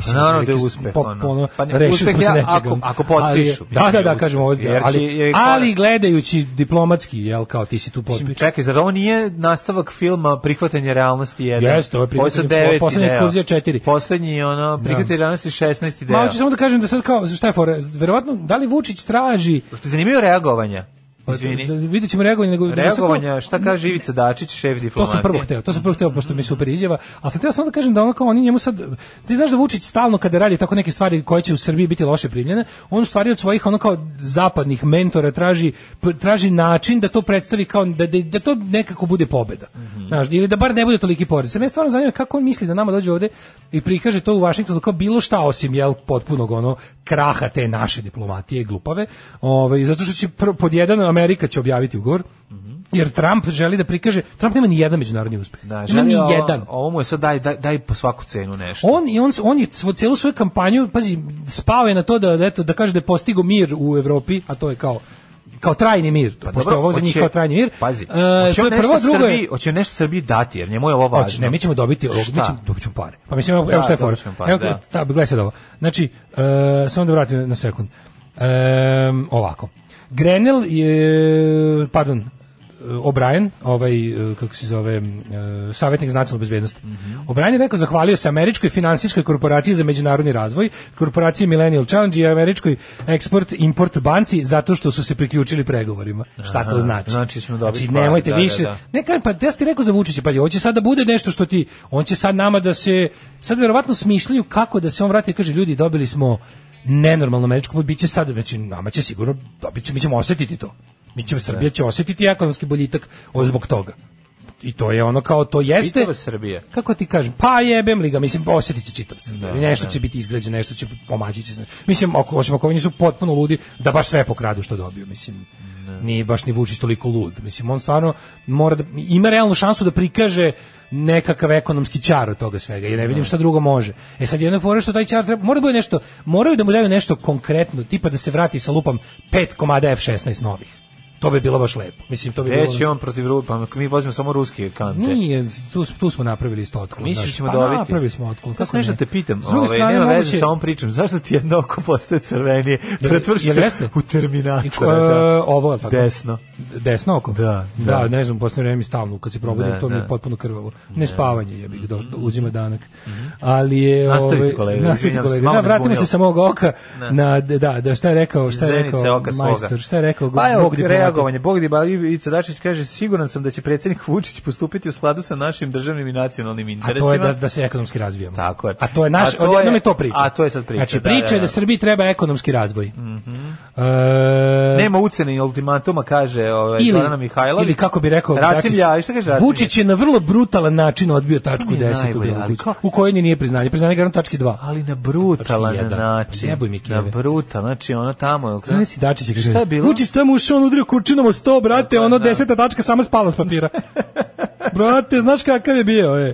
[SPEAKER 7] Pa naravno da je
[SPEAKER 6] neki
[SPEAKER 7] uspeh,
[SPEAKER 6] pop-
[SPEAKER 7] ono.
[SPEAKER 6] ono,
[SPEAKER 7] Pa ne,
[SPEAKER 6] rešili
[SPEAKER 7] uspeh
[SPEAKER 6] smo se
[SPEAKER 7] je
[SPEAKER 6] nečega.
[SPEAKER 7] ako- ako potpišu.
[SPEAKER 6] Ali, da, da, da,
[SPEAKER 7] Jer
[SPEAKER 6] kažem ovo,
[SPEAKER 7] će-
[SPEAKER 6] ali,
[SPEAKER 7] jer-
[SPEAKER 6] ali gledajući diplomatski, jel, kao ti si tu
[SPEAKER 7] Mislim,
[SPEAKER 6] potpiš.
[SPEAKER 7] čekaj, zar ovo nije nastavak filma Prihvatanje realnosti 1?
[SPEAKER 6] Jeste, ovo je prihvatanje- poslednji kurs je četiri. Da.
[SPEAKER 7] Poslednji, ono, Prihvatanje realnosti 16. deo.
[SPEAKER 6] Ma, hoću samo da kažem da sad kao, šta je fora, verovatno, da li Vučić traži,
[SPEAKER 7] Zanimljivo reagovanja.
[SPEAKER 6] Pa, za-
[SPEAKER 7] Izvini.
[SPEAKER 6] vidjet ćemo reagovanje, nego... da nego sad kao-
[SPEAKER 7] Reagovanja, šta kaže Ivica Dačić, šef
[SPEAKER 6] To
[SPEAKER 7] diplomatije?
[SPEAKER 6] sam prvo hteo, to sam prvo hteo pošto mi je super izjava, a sam hteo samo da kažem da ono kao oni njemu sad ti znaš da Vučić stalno kada radi tako neke stvari koje će u Srbiji biti loše primljene, on u stvari od svojih ono kao zapadnih mentora traži p- traži način da to predstavi kao da da, da to nekako bude pobeda. Znaš, ili da bar ne bude toliki porez. Mene stvarno zanima kako on misli da nama dođe ovde i prikaže to u Vašingtonu kao bilo šta osim jel potpunog ono kraha te naše diplomatije glupave. Ovaj zato što će prvo pod jedan Amerika će objaviti ugovor. Jer Trump želi da prikaže, Trump nema ni jedan međunarodni uspeh.
[SPEAKER 7] Da,
[SPEAKER 6] nema ni
[SPEAKER 7] želi, ovo-
[SPEAKER 6] jedan.
[SPEAKER 7] Ovo mu je sad daj, daj, daj po svaku cenu nešto.
[SPEAKER 6] On i on on je svo- celu svoju kampanju, pazi, spao je na to da da eto da kaže da je postigao mir u Evropi, a to je kao kao trajni mir,
[SPEAKER 7] Pa
[SPEAKER 6] pošto
[SPEAKER 7] dobro,
[SPEAKER 6] je ovo za njih
[SPEAKER 7] hoće-
[SPEAKER 6] kao trajni mir.
[SPEAKER 7] Pazi,
[SPEAKER 6] E,
[SPEAKER 7] hoće
[SPEAKER 6] to
[SPEAKER 7] on
[SPEAKER 6] je prvo,
[SPEAKER 7] nešto
[SPEAKER 6] drugo je,
[SPEAKER 7] Srbiji, hoće on nešto Srbiji dati, jer njemu je ovo važno.
[SPEAKER 6] Hoće, ne, mi ćemo dobiti, ovog, mi
[SPEAKER 7] Šta?
[SPEAKER 6] ćemo, dobit ćemo pare. Pa mislim, evo,
[SPEAKER 7] Da,
[SPEAKER 6] evo šta je fora.
[SPEAKER 7] dobit ćemo pare,
[SPEAKER 6] Evo,
[SPEAKER 7] da.
[SPEAKER 6] ta, gledaj sad ovo. Znači, e, samo da vratim na sekund. E, ovako. Grenell je, pardon, e, O'Brien, ovaj, e, kako se zove, e, savjetnik za nacionalnu bezbednost.
[SPEAKER 7] Mhm.
[SPEAKER 6] O'Brien je rekao, zahvalio se američkoj finansijskoj korporaciji za međunarodni razvoj, korporaciji Millennial Challenge i američkoj eksport-import banci zato što su se priključili pregovorima. Šta to znači?
[SPEAKER 7] znači ćemo dobiti
[SPEAKER 6] Znači,
[SPEAKER 7] pare,
[SPEAKER 6] nemojte
[SPEAKER 7] da, da,
[SPEAKER 6] više,
[SPEAKER 7] da.
[SPEAKER 6] ne, kažem, pa ja sam ti rekao za Vučića, pa hoće sad da bude nešto što ti, on će sad nama da se, sad verovatno smišljaju kako da se on vrati i kaže, ljudi, dobili smo nenormalno američko, pa bit će sad, znači nama će sigurno, dobit će, mi ćemo osjetiti to. Mi ćemo, Srbija će osjetiti ekonomski boljitak od- zbog toga. I to je ono kao, to jeste...
[SPEAKER 7] Pitava Srbije.
[SPEAKER 6] Kako ti kažem? Pa jebem li ga, mislim, osjetit će čitav Srbija.
[SPEAKER 7] Da,
[SPEAKER 6] nešto
[SPEAKER 7] da.
[SPEAKER 6] će biti izgrađeno, nešto će pomaći će se. Mislim, ako, osim ako oni su potpuno ludi da baš sve pokradu što dobiju, mislim. Nije baš ni Vučić toliko lud. Mislim, on stvarno mora da, ima realnu šansu da prikaže nekakav ekonomski čar od toga svega. Ja ne
[SPEAKER 7] Da.
[SPEAKER 6] vidim šta drugo može. E sad jedna fora je što taj čar treba, mora da bude nešto, moraju da mu daju nešto konkretno, tipa da se vrati sa lupom pet komada F16 novih. To bi bilo baš lepo. Mislim, to bi bilo...
[SPEAKER 7] Gde će on protiv Rupa, mi vozimo samo ruske kante.
[SPEAKER 6] Nije, tu, s- tu smo napravili isto otklon.
[SPEAKER 7] Misliš
[SPEAKER 6] znaš.
[SPEAKER 7] da ćemo
[SPEAKER 6] Pa
[SPEAKER 7] dobiti?
[SPEAKER 6] Napravili smo otklon.
[SPEAKER 7] Kako
[SPEAKER 6] Kako
[SPEAKER 7] nešto
[SPEAKER 6] ne?
[SPEAKER 7] te pitam,
[SPEAKER 6] S druge
[SPEAKER 7] ovaj,
[SPEAKER 6] strane,
[SPEAKER 7] nema
[SPEAKER 6] moguće-
[SPEAKER 7] veze sa ovom pričom, zašto ti jedno oko postaje crvenije, pretvoriš
[SPEAKER 6] jel
[SPEAKER 7] se
[SPEAKER 6] jeste?
[SPEAKER 7] u
[SPEAKER 6] I ko-
[SPEAKER 7] Terminatora,
[SPEAKER 6] e,
[SPEAKER 7] da.
[SPEAKER 6] ovo je tako.
[SPEAKER 7] Desno.
[SPEAKER 6] Desno oko?
[SPEAKER 7] Da,
[SPEAKER 6] da.
[SPEAKER 7] da.
[SPEAKER 6] ne znam, u posljednje vreme mi stalno, kad se probudim,
[SPEAKER 7] Da,
[SPEAKER 6] to mi
[SPEAKER 7] da. Mhm.
[SPEAKER 6] je potpuno krvavo. Ne spavanje, je bih, uzima danak. Ali je...
[SPEAKER 7] Nastavite,
[SPEAKER 6] ovaj,
[SPEAKER 7] kolega,
[SPEAKER 6] Nastavite,
[SPEAKER 7] izvinjam se,
[SPEAKER 6] kolega.
[SPEAKER 7] malo
[SPEAKER 6] Da,
[SPEAKER 7] me
[SPEAKER 6] vratimo se
[SPEAKER 7] zbunilo.
[SPEAKER 6] sa mog oka.
[SPEAKER 7] Ne.
[SPEAKER 6] Na, da, da, šta je rekao, šta je
[SPEAKER 7] Zenice
[SPEAKER 6] rekao
[SPEAKER 7] oka svoga.
[SPEAKER 6] majstor, šta je rekao
[SPEAKER 7] Pa evo,
[SPEAKER 6] Bog diplomata?
[SPEAKER 7] reagovanje. Bog Dibali i Cadačić kaže, siguran sam da će predsjednik Vučić postupiti u skladu sa našim državnim i nacionalnim
[SPEAKER 6] A
[SPEAKER 7] interesima.
[SPEAKER 6] to je da, da se ekonomski razvijamo.
[SPEAKER 7] Tako je.
[SPEAKER 6] A to je naš,
[SPEAKER 7] A to je-
[SPEAKER 6] odjednom je to priča.
[SPEAKER 7] a to je sad priča,
[SPEAKER 6] Znači,
[SPEAKER 7] da,
[SPEAKER 6] priča
[SPEAKER 7] da,
[SPEAKER 6] je
[SPEAKER 7] da. Mhm.
[SPEAKER 6] da Srbiji treba ekonomski razvoj. E,
[SPEAKER 7] Nema ucene i ultimatuma, kaže ovaj,
[SPEAKER 6] ili,
[SPEAKER 7] Zorana Mihajlović.
[SPEAKER 6] ili kako bi rekao
[SPEAKER 7] Rasim
[SPEAKER 6] Dačić,
[SPEAKER 7] Ljajić, šta kaže Rasim
[SPEAKER 6] Vučić je na vrlo brutalan način odbio tačku
[SPEAKER 7] mi
[SPEAKER 6] 10
[SPEAKER 7] je
[SPEAKER 6] u
[SPEAKER 7] najbolje, ali
[SPEAKER 6] Bjelovuću,
[SPEAKER 7] kao-
[SPEAKER 6] u kojoj ni nije priznanje, priznanje garan tački 2.
[SPEAKER 7] ali na brutalan
[SPEAKER 6] Tački jedan.
[SPEAKER 7] način.
[SPEAKER 6] Jebuj mi
[SPEAKER 7] na
[SPEAKER 6] keve.
[SPEAKER 7] brutal, znači ono tamo...
[SPEAKER 6] Znaš si Dačić je kaže,
[SPEAKER 7] Šta je bilo? E pa da.
[SPEAKER 6] Vučić tamo ušao, on udrio kurčinom o 100, brate, ono deseta tačka sama spala s papira. brate, znaš kakav je bio, e.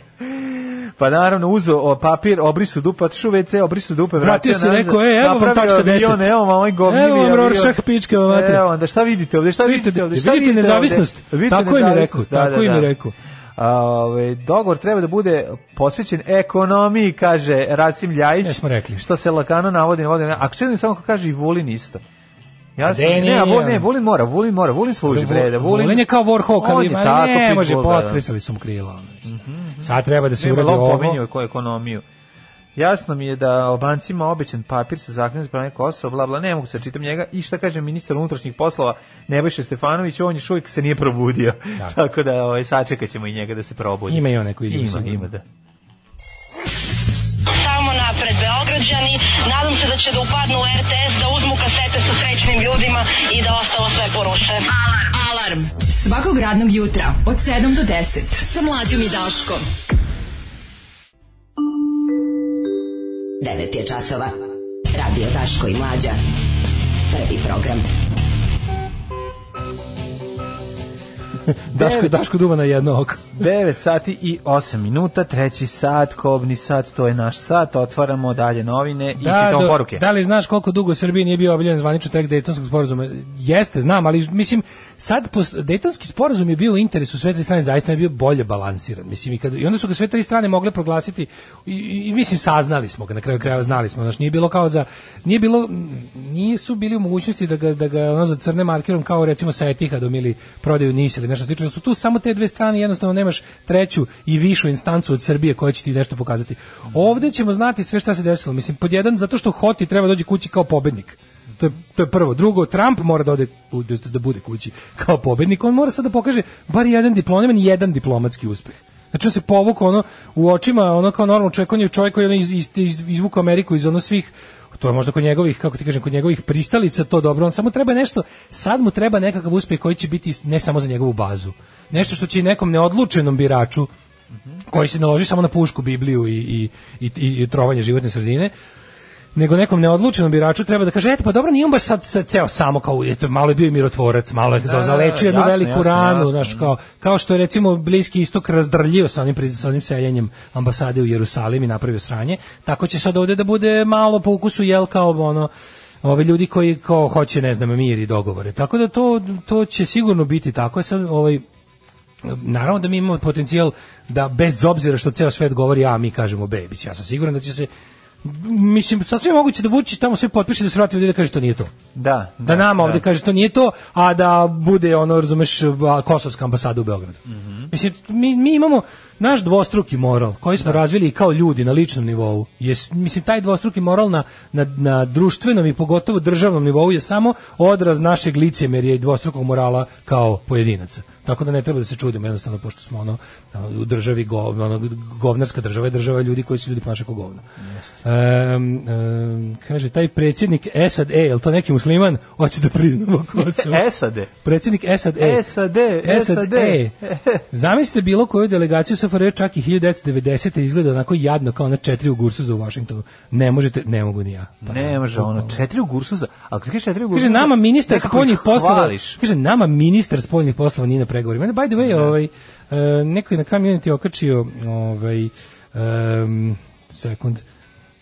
[SPEAKER 7] Pa naravno, uzo o, papir, obrisu dupe, pa otišu u WC, obrisu dupe,
[SPEAKER 6] Vratio
[SPEAKER 7] vratio,
[SPEAKER 6] se,
[SPEAKER 7] nazad,
[SPEAKER 6] rekao, e, evo vam
[SPEAKER 7] napravio
[SPEAKER 6] tačka
[SPEAKER 7] avion,
[SPEAKER 6] 10.
[SPEAKER 7] Evo vam ovaj govnjivi
[SPEAKER 6] Evo vam
[SPEAKER 7] avion.
[SPEAKER 6] Rorschach pička, ovo, vatre.
[SPEAKER 7] Evo, onda šta vidite ovde, šta
[SPEAKER 6] Vidite,
[SPEAKER 7] vidite ovde, šta
[SPEAKER 6] vidite
[SPEAKER 7] vidite ovde?
[SPEAKER 6] nezavisnost.
[SPEAKER 7] Vidite
[SPEAKER 6] Tako im je
[SPEAKER 7] nezavisnost,
[SPEAKER 6] rekao,
[SPEAKER 7] da,
[SPEAKER 6] tako
[SPEAKER 7] da,
[SPEAKER 6] im je
[SPEAKER 7] da.
[SPEAKER 6] rekao.
[SPEAKER 7] A, ovaj, dogovor treba da bude posvećen ekonomiji, kaže Rasim Ljajić.
[SPEAKER 6] Ja smo rekli.
[SPEAKER 7] Što se lakano navodi, navodi. A čekaj samo ko kaže i Vulin isto. Ja sam,
[SPEAKER 6] de,
[SPEAKER 7] ne,
[SPEAKER 6] nije,
[SPEAKER 7] a Vulin, ne,
[SPEAKER 6] ono.
[SPEAKER 7] Vulin mora, Vulin mora, Vulin služi, bre, da Vulin...
[SPEAKER 6] Volen je kao Warhawk,
[SPEAKER 7] On
[SPEAKER 6] ali
[SPEAKER 7] je
[SPEAKER 6] ima,
[SPEAKER 7] tako
[SPEAKER 6] ne, može,
[SPEAKER 7] pitbull, da, da.
[SPEAKER 6] potresali su mu krila. ono, znaš. Sad treba da se
[SPEAKER 7] Nema
[SPEAKER 6] uradi
[SPEAKER 7] lom
[SPEAKER 6] ovo.
[SPEAKER 7] pominjao je ko ekonomiju. Jasno mi je da Albancima obećan papir sa zakljenom za pranje Kosova, bla, bla, ne mogu se čitam njega. I šta kaže ministar unutrašnjih poslova Nebojša Stefanović, on još uvijek se nije probudio.
[SPEAKER 6] Da.
[SPEAKER 7] Tako da ovaj, sačekat ćemo i njega da se probudi.
[SPEAKER 6] Ima i on neku izjavu
[SPEAKER 7] Ima,
[SPEAKER 6] sigurno.
[SPEAKER 7] ima, da.
[SPEAKER 3] Samo napred Beograđani, nadam se da će da upadnu u RTS, da uzmu kasete sa srećnim ljudima i da ostalo sve poruše.
[SPEAKER 5] Alarm. Alarm. Svakog radnog jutra od 7 do 10.
[SPEAKER 10] Sa mlađom i Daškom. 9 je časova. Radio Daško i Mlađa. Prvi program.
[SPEAKER 6] Daško,
[SPEAKER 7] Devet.
[SPEAKER 6] Daško duva na jedno oko.
[SPEAKER 7] 9 sati i 8 minuta, treći sat, kobni sat, to je naš sat, otvaramo dalje novine i čitamo
[SPEAKER 6] do-
[SPEAKER 7] poruke.
[SPEAKER 6] Da li znaš koliko dugo u Srbiji nije bio objavljen zvanični tekst Dejtonskog sporazuma? Jeste, znam, ali mislim sad pos, Dejtonski sporazum je bio u interesu sve tri strane, zaista je bio bolje balansiran. Mislim i kad i onda su ga sve tri strane mogle proglasiti i, i- i mislim saznali smo ga na kraju krajeva znali smo, znači nije bilo kao za nije bilo nisu bili u mogućnosti da ga da ga ono za crne markirom kao recimo sa Etihadom ili prodaju Nis ili nešto slično. Da su tu samo te dve strane, jednostavno nemaš treću i višu instancu od Srbije koja će ti nešto pokazati. Ovde ćemo znati sve šta se desilo. Mislim, pod jedan, zato što Hoti treba dođe kući kao pobednik. To je, to je prvo. Drugo, Trump mora da, ode, u- da- da bude kući kao pobednik. On mora sad da pokaže bar jedan diplomat, jedan diplomatski uspeh. Znači on se povukao ono, u očima, ono kao normalno čovjek, on je čovjek koji je ono iz, iz, iz- izvukao Ameriku iz ono svih to je možda kod njegovih, kako ti kažem, kod njegovih pristalica to dobro, on samo treba nešto, sad mu treba nekakav uspjeh koji će biti ne samo za njegovu bazu, nešto što će i nekom neodlučenom biraču koji se naloži samo na pušku, Bibliju i, i, i, i, i trovanje životne sredine, nego nekom neodlučenom biraču treba da kaže, eto pa dobro, nije on baš sad, sad ceo samo kao, eto, malo je bio i mirotvorac, malo je za-
[SPEAKER 7] da,
[SPEAKER 6] zalečio jednu
[SPEAKER 7] jasno,
[SPEAKER 6] veliku
[SPEAKER 7] jasno,
[SPEAKER 6] ranu,
[SPEAKER 7] jasno.
[SPEAKER 6] znaš, kao, kao što je recimo Bliski istok razdrljio sa onim, priz- sa onim seljenjem ambasade u Jerusalim i napravio sranje, tako će sad ovdje da bude malo po ukusu, jel, kao ono, ovi ljudi koji kao hoće, ne znam, mir i dogovore. Tako da to, to će sigurno biti tako. Sad, ovaj, naravno da mi imamo potencijal da bez obzira što ceo svet govori A, mi kažemo B. Mislim, Ja sam siguran da će se mislim, sasvim je moguće da Vučić tamo sve potpiše da se vrati ovdje i da kaže to nije to.
[SPEAKER 7] Da,
[SPEAKER 6] Da, nama ovdje kaže to nije to, a da bude ono, razumeš, a, kosovska ambasada u Beogradu. Mislim, mi, mi imamo naš dvostruki moral koji smo razvili i kao ljudi na ličnom nivou. Je, s- mislim, taj dvostruki moral na, na, na društvenom i pogotovo državnom nivou je samo odraz našeg licemjerja i dvostrukog morala kao pojedinaca. Tako da ne treba da se čudimo jednostavno pošto smo ono ono, u državi govna, ono, govnarska država je država ljudi koji se ljudi ponašaju kao govna. Em, em, kaže taj predsjednik Esad E, jel to neki musliman? Hoće da priznamo ko su.
[SPEAKER 7] E SAD.
[SPEAKER 6] Predsjednik Esad E.
[SPEAKER 7] SAD, SAD.
[SPEAKER 6] E. Zamislite bilo koju delegaciju SFRJ čak i 1990. izgleda onako jadno kao na četiri u Gursuza u Vašingtonu. Ne možete, ne mogu ni ja. Pa,
[SPEAKER 7] Ne može ono, četiri u Gursuza, a kad kažeš četiri u Gursuza,
[SPEAKER 6] Kaže nama ministar
[SPEAKER 7] nekako
[SPEAKER 6] spoljnih
[SPEAKER 7] ih
[SPEAKER 6] poslova.
[SPEAKER 7] hvališ.
[SPEAKER 6] Kaže nama ministar spoljnih poslova nije na pregovorima. Ne, By the way, ovaj e, neko je na community okačio ovaj em, sekund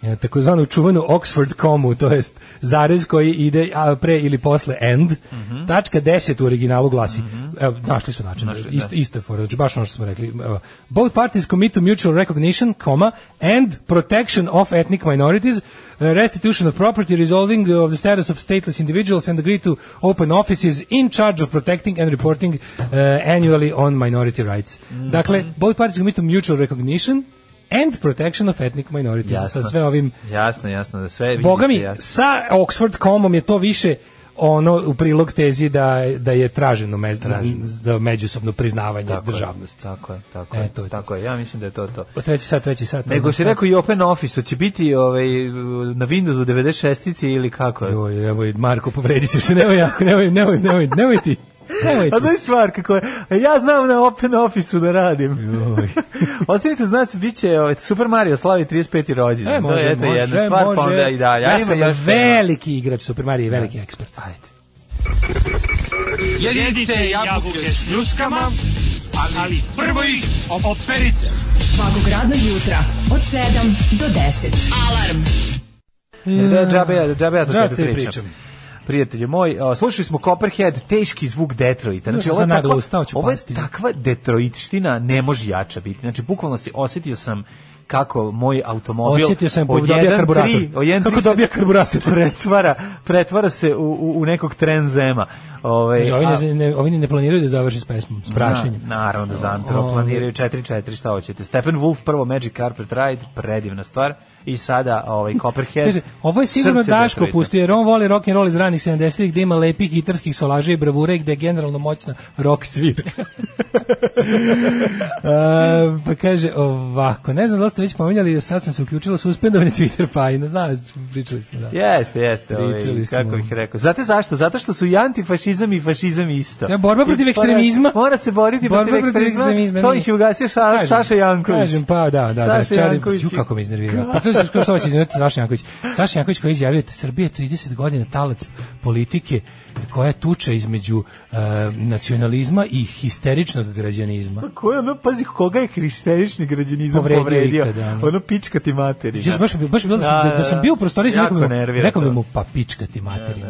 [SPEAKER 6] e, takozvanu čuvenu Oxford komu, to jest zarez koji ide a, pre ili posle end.
[SPEAKER 7] Mhm.
[SPEAKER 6] Tačka 10 u originalu glasi. Evo, našli su način. isto,
[SPEAKER 7] da.
[SPEAKER 6] isto je fora, znači baš ono što smo rekli. Evo, Both parties commit to mutual recognition, comma, and protection of ethnic minorities, uh, restitution of property, resolving of the status of stateless individuals, and agree to open offices in charge of protecting and reporting uh, annually on minority rights.
[SPEAKER 7] Mm-hmm.
[SPEAKER 6] Dakle, both parties commit to mutual recognition and protection of ethnic minorities.
[SPEAKER 7] Jasno.
[SPEAKER 6] Sa sve ovim
[SPEAKER 7] Jasno, jasno, da sve vidi
[SPEAKER 6] Boga
[SPEAKER 7] se
[SPEAKER 6] mi,
[SPEAKER 7] jasno.
[SPEAKER 6] sa Oxford komom je to više ono u prilog tezi da, da je traženo mez, da međusobno priznavanje
[SPEAKER 7] Tako je,
[SPEAKER 6] državnosti.
[SPEAKER 7] Tako je, tako
[SPEAKER 6] E,
[SPEAKER 7] je,
[SPEAKER 6] to je to.
[SPEAKER 7] tako je. Ja mislim da je to to.
[SPEAKER 6] O, Pa Treći sat, treći sat.
[SPEAKER 7] Nego
[SPEAKER 6] ono
[SPEAKER 7] si
[SPEAKER 6] sat.
[SPEAKER 7] rekao i Open Office, će biti ovaj, na Windowsu 96-ici ili kako je?
[SPEAKER 6] Joj, evo, Marko, povredi se, nemoj jako, nemoj, nemoj, nemoj, nemoj ti. Nemoj
[SPEAKER 7] A
[SPEAKER 6] ti.
[SPEAKER 7] znaš stvar kako je? E, Ja znam na Open Office-u da radim.
[SPEAKER 6] Joj.
[SPEAKER 7] Ostanite uz nas, bit će ovaj, Super Mario slavi 35. rođendan.
[SPEAKER 6] E,
[SPEAKER 7] to
[SPEAKER 6] može,
[SPEAKER 7] je eto
[SPEAKER 6] može,
[SPEAKER 7] jedna stvar,
[SPEAKER 6] može.
[SPEAKER 7] pa onda i dalje. A
[SPEAKER 6] Ja
[SPEAKER 7] ima
[SPEAKER 6] sam
[SPEAKER 7] još tema.
[SPEAKER 6] veliki igrač Super Mario i
[SPEAKER 7] Da.
[SPEAKER 6] veliki ekspert. Ajde.
[SPEAKER 1] Jedite jabuke s pljuskama, ali prvo ih operite.
[SPEAKER 5] Svakog radnog jutra od 7 do 10.
[SPEAKER 10] Alarm.
[SPEAKER 7] Da, džabe, ja- džabe ja to
[SPEAKER 6] Džabe
[SPEAKER 7] tebi
[SPEAKER 6] ti
[SPEAKER 7] pričam.
[SPEAKER 6] pričam.
[SPEAKER 7] Prijatelju moj, a, slušali smo Copperhead, teški zvuk Detroita. Znači,
[SPEAKER 6] Znaš,
[SPEAKER 7] ovo je,
[SPEAKER 6] sad naglo
[SPEAKER 7] takva-
[SPEAKER 6] ustao ću
[SPEAKER 7] ovo je
[SPEAKER 6] pasti.
[SPEAKER 7] takva Detroitština, ne može jača biti. Znači, bukvalno si, osjetio sam kako moj automobil
[SPEAKER 6] Osjetio sam
[SPEAKER 7] od
[SPEAKER 6] dobija
[SPEAKER 7] 1.3
[SPEAKER 6] karburator.
[SPEAKER 7] od 1.3
[SPEAKER 6] Kako
[SPEAKER 7] se-
[SPEAKER 6] dobija karburator.
[SPEAKER 7] se pretvara, pretvara se u, u, u nekog trenzema. Ovaj,
[SPEAKER 6] Kaže, Znači, Ovi ne,
[SPEAKER 7] a-
[SPEAKER 6] ne, ovi ni ne planiraju da završi s pesmom, s prašenjem.
[SPEAKER 7] Na, naravno da znam, to
[SPEAKER 6] Ove.
[SPEAKER 7] planiraju 4-4, šta hoćete. Stephen Wolf, prvo Magic Carpet Ride, predivna stvar. I sada ovaj Copperhead.
[SPEAKER 6] Kaže, ovo je sigurno
[SPEAKER 7] srce
[SPEAKER 6] Daško
[SPEAKER 7] Detroita.
[SPEAKER 6] pustio, jer on voli rock and roll iz ranih 70-ih, gde ima lepih gitarskih solaža i bravura i gde je generalno moćna rock svira. E, pa kaže ovako, ne znam da li ste već pominjali, sad sam se uključila suspendovanje Twitter pajina, znaš, pričali smo da.
[SPEAKER 7] Jeste, jeste, ovaj,
[SPEAKER 6] Pričali smo.
[SPEAKER 7] kako bih rekao. Znate zašto? Zato što su i antifašizam i fašizam isto.
[SPEAKER 6] Ja, borba protiv
[SPEAKER 7] I mora-
[SPEAKER 6] ekstremizma.
[SPEAKER 7] Mora se boriti
[SPEAKER 6] Borba
[SPEAKER 7] protiv
[SPEAKER 6] protiv
[SPEAKER 7] ekstremizma.
[SPEAKER 6] ekstremizma,
[SPEAKER 7] To
[SPEAKER 6] nije.
[SPEAKER 7] ih je ugasio Ša-
[SPEAKER 6] Kažem,
[SPEAKER 7] Saša Janković.
[SPEAKER 6] Kažem, pa da, da, da,
[SPEAKER 7] Saša
[SPEAKER 6] čari-
[SPEAKER 7] Janković.
[SPEAKER 6] Ju, kako me iznervirao. Pa to je što što vas iznervirate, Saša Janković. Saša Janković koji je izjavio da Srbija je 30 godina talac politike koja je tuča između e, nacionalizma i histeričnog građanizma.
[SPEAKER 7] Ko je ono, pazi, koga je hristerični građanizam povredio?
[SPEAKER 6] Povredio ikada, ono.
[SPEAKER 7] ono, pička ti materi.
[SPEAKER 6] Ja sam da. baš, baš bilo da, sam, da, da sam bio u prostoriji sa
[SPEAKER 7] Jako
[SPEAKER 6] nekom,
[SPEAKER 7] nervira
[SPEAKER 6] rekao bi
[SPEAKER 7] to. Da,
[SPEAKER 6] mu pa pičkati materinu.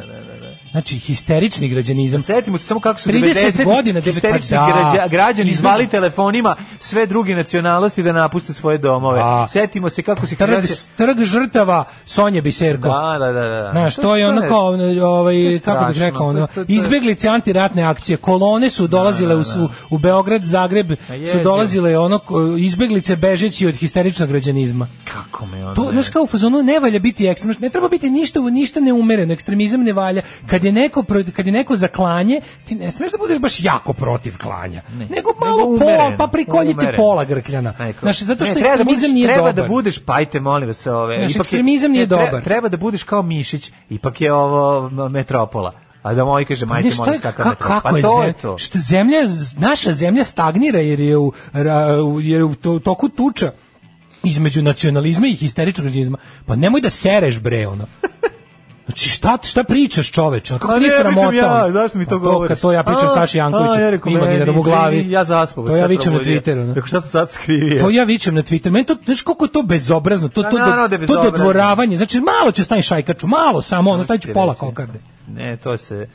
[SPEAKER 6] Znači, histerični građanizam.
[SPEAKER 7] Setimo se samo kako su
[SPEAKER 6] 30
[SPEAKER 7] 90
[SPEAKER 6] godina, devet-
[SPEAKER 7] histerični
[SPEAKER 6] pa da.
[SPEAKER 7] građa- građani
[SPEAKER 6] Izgleda-
[SPEAKER 7] zvali telefonima sve druge nacionalnosti da napuste svoje domove.
[SPEAKER 6] Da.
[SPEAKER 7] Setimo se kako se
[SPEAKER 6] Trg,
[SPEAKER 7] hrvatske-
[SPEAKER 6] trg žrtava Sonje Biserko.
[SPEAKER 7] Da, da, da, da.
[SPEAKER 6] Znaš, to je ono kao,
[SPEAKER 7] to
[SPEAKER 6] ovaj,
[SPEAKER 7] je
[SPEAKER 6] kako bih
[SPEAKER 7] strašno,
[SPEAKER 6] rekao,
[SPEAKER 7] to-
[SPEAKER 6] ono,
[SPEAKER 7] to- to je- Da,
[SPEAKER 6] izbeglice antiratne akcije, kolone su dolazile u, su- u Beograd, Zagreb, su
[SPEAKER 7] Pa jezivo.
[SPEAKER 6] dolazile ono, ko- izbeglice bežeći od histeričnog građanizma.
[SPEAKER 7] Kako me ono...
[SPEAKER 6] To, znaš, kao u fazonu ne valja biti ekstrem, znaš, ne treba biti ništa, ništa neumereno, ekstremizam ne valja. Kad je neko, pro- kad je neko za klanje, ti ne smeš da budeš baš jako protiv klanja, nego malo
[SPEAKER 7] Nego
[SPEAKER 6] pola,
[SPEAKER 7] umereno,
[SPEAKER 6] pa prikoljiti
[SPEAKER 7] umereno.
[SPEAKER 6] pola grkljana.
[SPEAKER 7] Neko-
[SPEAKER 6] Znaš, zato
[SPEAKER 7] Ne,
[SPEAKER 6] što
[SPEAKER 7] treba da
[SPEAKER 6] ekstremizam
[SPEAKER 7] budeš-
[SPEAKER 6] nije
[SPEAKER 7] treba
[SPEAKER 6] dobar.
[SPEAKER 7] da budeš, pajte, molim vas, ove...
[SPEAKER 6] Znaš,
[SPEAKER 7] ipak je-
[SPEAKER 6] ekstremizam nije
[SPEAKER 7] ne, treba-
[SPEAKER 6] dobar.
[SPEAKER 7] Treba da budeš kao Mišić, ipak je ovo m, metropola. A da moj kaže,
[SPEAKER 6] Pa
[SPEAKER 7] majte,
[SPEAKER 6] ne, šta
[SPEAKER 7] molim
[SPEAKER 6] je-
[SPEAKER 7] vas, kakav
[SPEAKER 6] ka-
[SPEAKER 7] metropola.
[SPEAKER 6] kako
[SPEAKER 7] Pa
[SPEAKER 6] je
[SPEAKER 7] to je
[SPEAKER 6] zem-
[SPEAKER 7] to.
[SPEAKER 6] šta zemlja, naša zemlja stagnira jer je u, ra- u- jer je u to- toku tuča između nacionalizma i histeričnog građanizma. Pa nemoj da sereš bre ono. Znači šta, šta pričaš čoveče? Ono, Kako
[SPEAKER 7] Ma
[SPEAKER 6] ti nije
[SPEAKER 7] Pa ne, pričam
[SPEAKER 6] sramota?
[SPEAKER 7] ja,
[SPEAKER 6] ono?
[SPEAKER 7] zašto mi to
[SPEAKER 6] Pa
[SPEAKER 7] govoriš?
[SPEAKER 6] kad to ja pričam
[SPEAKER 7] A,
[SPEAKER 6] Saši Jankoviću,
[SPEAKER 7] a, ja rekao,
[SPEAKER 6] imaginarom
[SPEAKER 7] meni,
[SPEAKER 6] u glavi.
[SPEAKER 7] izvini, Ja zaspavu.
[SPEAKER 6] To ja
[SPEAKER 7] sad
[SPEAKER 6] vičem na
[SPEAKER 7] probudio.
[SPEAKER 6] Twitteru. ono.
[SPEAKER 7] Rekao, šta sam sad skrivio?
[SPEAKER 6] To ja vičem na Twitter. Meni to, znaš koliko je to bezobrazno, to,
[SPEAKER 7] Pa
[SPEAKER 6] to,
[SPEAKER 7] naravno
[SPEAKER 6] do-
[SPEAKER 7] da je
[SPEAKER 6] to
[SPEAKER 7] bezobrazno.
[SPEAKER 6] dodvoravanje. Znači, malo ću staviti šajkaču, malo samo, ono, stavit ću
[SPEAKER 7] Ti
[SPEAKER 6] pola
[SPEAKER 7] reći.
[SPEAKER 6] kokarde.
[SPEAKER 7] Ne, to se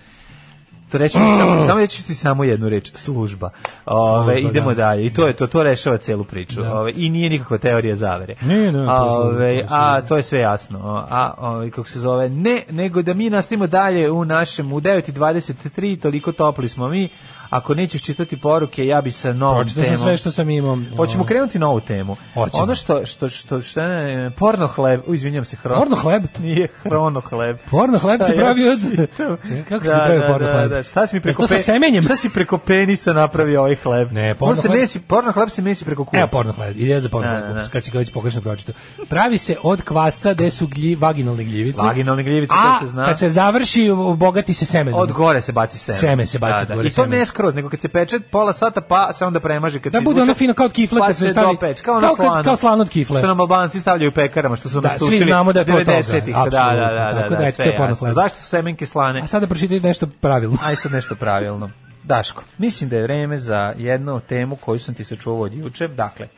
[SPEAKER 7] to reći ću ti samo samo reći ću ti samo jednu reč služba. Ove
[SPEAKER 6] Služba,
[SPEAKER 7] idemo
[SPEAKER 6] da.
[SPEAKER 7] dalje i to je to to rešava celu priču. Ove i nije nikakva teorija zavere.
[SPEAKER 6] Nije, ne, to je služba, to
[SPEAKER 7] Ove
[SPEAKER 6] je
[SPEAKER 7] a to je sve jasno. O, A ove, kako se zove ne nego da mi nastavimo dalje u našem u 9:23 toliko topli smo mi. Ako nećeš čitati poruke, ja bi sa novom
[SPEAKER 6] Pročitao sam
[SPEAKER 7] temom.
[SPEAKER 6] sve što sam imao.
[SPEAKER 7] Hoćemo krenuti novu temu.
[SPEAKER 6] Hoćemo.
[SPEAKER 7] Ono što što što što ne, porno hleb, u izvinjavam se, hron.
[SPEAKER 6] Porno hleb?
[SPEAKER 7] Nije hrono hleb.
[SPEAKER 6] Porno hleb
[SPEAKER 7] Šta
[SPEAKER 6] se
[SPEAKER 7] ja
[SPEAKER 6] pravi od-
[SPEAKER 7] čitam?
[SPEAKER 6] Čekaj, kako
[SPEAKER 7] da,
[SPEAKER 6] se pravi
[SPEAKER 7] da,
[SPEAKER 6] porno
[SPEAKER 7] da,
[SPEAKER 6] hleb?
[SPEAKER 7] Da, šta si mi
[SPEAKER 6] Jel
[SPEAKER 7] preko
[SPEAKER 6] to sa
[SPEAKER 7] pe-
[SPEAKER 6] semenjem?
[SPEAKER 7] Šta si preko penisa napravio ovaj hleb?
[SPEAKER 6] Ne, porno
[SPEAKER 7] porno se
[SPEAKER 6] hleb-
[SPEAKER 7] mesi, porno hleb se mesi preko kurca.
[SPEAKER 6] Evo porno hleb, ide za porno
[SPEAKER 7] Da,
[SPEAKER 6] hleb,
[SPEAKER 7] da, da.
[SPEAKER 6] kad si ga već pogrešno pročitao. Pravi se od kvasca gde su glji, vaginalne gljivice.
[SPEAKER 7] Vaginalne gljivice,
[SPEAKER 6] A
[SPEAKER 7] to se zna.
[SPEAKER 6] kad se završi, obogati se semenom.
[SPEAKER 7] Od gore se baci seme.
[SPEAKER 6] Seme se baci
[SPEAKER 7] Da,
[SPEAKER 6] od
[SPEAKER 7] da.
[SPEAKER 6] gore,
[SPEAKER 7] I to
[SPEAKER 6] seme.
[SPEAKER 7] ne skroz, nego kad se peče pola sata, pa se onda premaže. Kad
[SPEAKER 6] Da
[SPEAKER 7] se
[SPEAKER 6] bude
[SPEAKER 7] izvuče,
[SPEAKER 6] ono fino kao od kifle,
[SPEAKER 7] pa
[SPEAKER 6] kad se
[SPEAKER 7] se
[SPEAKER 6] stavi-
[SPEAKER 7] dopeče, kao, ono
[SPEAKER 6] kao kad-
[SPEAKER 7] slano.
[SPEAKER 6] kao slano od kifle.
[SPEAKER 7] Što nam albanci stavljaju u pekarama, što su
[SPEAKER 6] Da,
[SPEAKER 7] nas
[SPEAKER 6] svi
[SPEAKER 7] učili
[SPEAKER 6] znamo da je to od toga,
[SPEAKER 7] 90-ih. Da, da,
[SPEAKER 6] apsolutno.
[SPEAKER 7] da, da,
[SPEAKER 6] Tako da,
[SPEAKER 7] da,
[SPEAKER 6] eto,
[SPEAKER 7] sve
[SPEAKER 6] to je porno
[SPEAKER 7] jasno.
[SPEAKER 6] hleb.
[SPEAKER 7] Zašto su semenke slane?
[SPEAKER 6] A sada pročitaj nešto pravilno.
[SPEAKER 7] Aj sad nešto pravilno. Daško, mislim da je vreme za jednu temu koju sam ti sačuvao od juče. Dakle,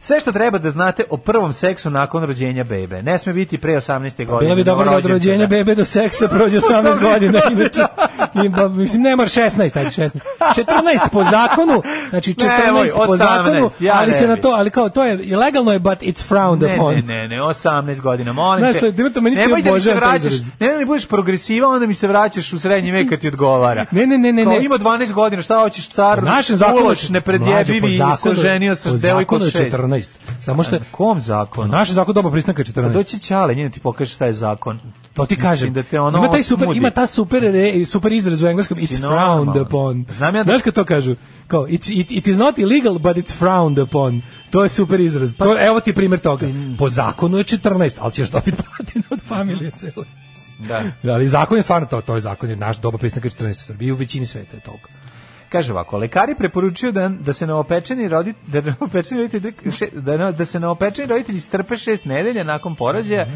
[SPEAKER 7] sve što treba da znate o prvom seksu nakon rođenja bebe. Ne sme biti pre 18. godine.
[SPEAKER 6] Bilo bi dobro da od
[SPEAKER 7] novorođenčeta.
[SPEAKER 6] rođenja bebe do seksa prođe 18 godina, inače, i, ba, mislim, ne mora 16, ajde 16, 14 po zakonu, znači 14
[SPEAKER 7] Nemoj,
[SPEAKER 6] po
[SPEAKER 7] 18,
[SPEAKER 6] zakonu,
[SPEAKER 7] ja
[SPEAKER 6] ali
[SPEAKER 7] ne
[SPEAKER 6] se na
[SPEAKER 7] bi.
[SPEAKER 6] to, ali kao, to je, ilegalno je, but it's frowned
[SPEAKER 7] Ne,
[SPEAKER 6] upon.
[SPEAKER 7] ne, ne, ne, 18 godina, molim
[SPEAKER 6] Znaš
[SPEAKER 7] te.
[SPEAKER 6] šta, Dima, to meni ti
[SPEAKER 7] nemoj da mi se
[SPEAKER 6] obožavam taj
[SPEAKER 7] vraćaš,
[SPEAKER 6] izraz.
[SPEAKER 7] nemoj da mi budeš progresiva, onda mi se vraćaš u srednji vek kad ti odgovara.
[SPEAKER 6] Ne, ne, ne, ne,
[SPEAKER 7] Kao,
[SPEAKER 6] ne.
[SPEAKER 7] ima 12 godina, šta hoćeš, car,
[SPEAKER 6] Po našem zakonu
[SPEAKER 7] uloš, nepredjebivi, i
[SPEAKER 6] mlađe, po
[SPEAKER 7] se
[SPEAKER 6] zakonu-
[SPEAKER 7] ženio sa
[SPEAKER 6] po
[SPEAKER 7] devojkom
[SPEAKER 6] zakonu
[SPEAKER 7] od
[SPEAKER 6] je
[SPEAKER 7] 6.
[SPEAKER 6] 14. Samo što je-
[SPEAKER 7] Na kom zakonu?
[SPEAKER 6] naš zakon doba pristanka je 14.
[SPEAKER 7] Doći će Ale, njene ti pokaže šta je zakon.
[SPEAKER 6] To ti
[SPEAKER 7] Mislim
[SPEAKER 6] kažem.
[SPEAKER 7] Da te ono
[SPEAKER 6] ima taj super,
[SPEAKER 7] osmudi.
[SPEAKER 6] ima ta super re- super izraz u engleskom it's
[SPEAKER 7] normalan.
[SPEAKER 6] frowned upon.
[SPEAKER 7] Znam ja da-
[SPEAKER 6] Znaš kad to kažu? Kao it's, it, it is not illegal but it's frowned upon. To je super izraz.
[SPEAKER 7] Pa-
[SPEAKER 6] To, evo ti primjer toga.
[SPEAKER 7] Mm.
[SPEAKER 6] Po zakonu je 14, ali ćeš dobiti platinu od familije
[SPEAKER 7] Mm.
[SPEAKER 6] cele.
[SPEAKER 7] Da.
[SPEAKER 6] Da, ali zakon je stvarno to, to je zakon, je naš doba pristanka je 14 u Srbiji, u većini sveta je toliko.
[SPEAKER 7] Kaže ovako, lekari preporučuju da, da se neopečeni roditelji da neopečeni roditelji še- da, ne- da se neopečeni roditelji strpe šest nedelja nakon porođaja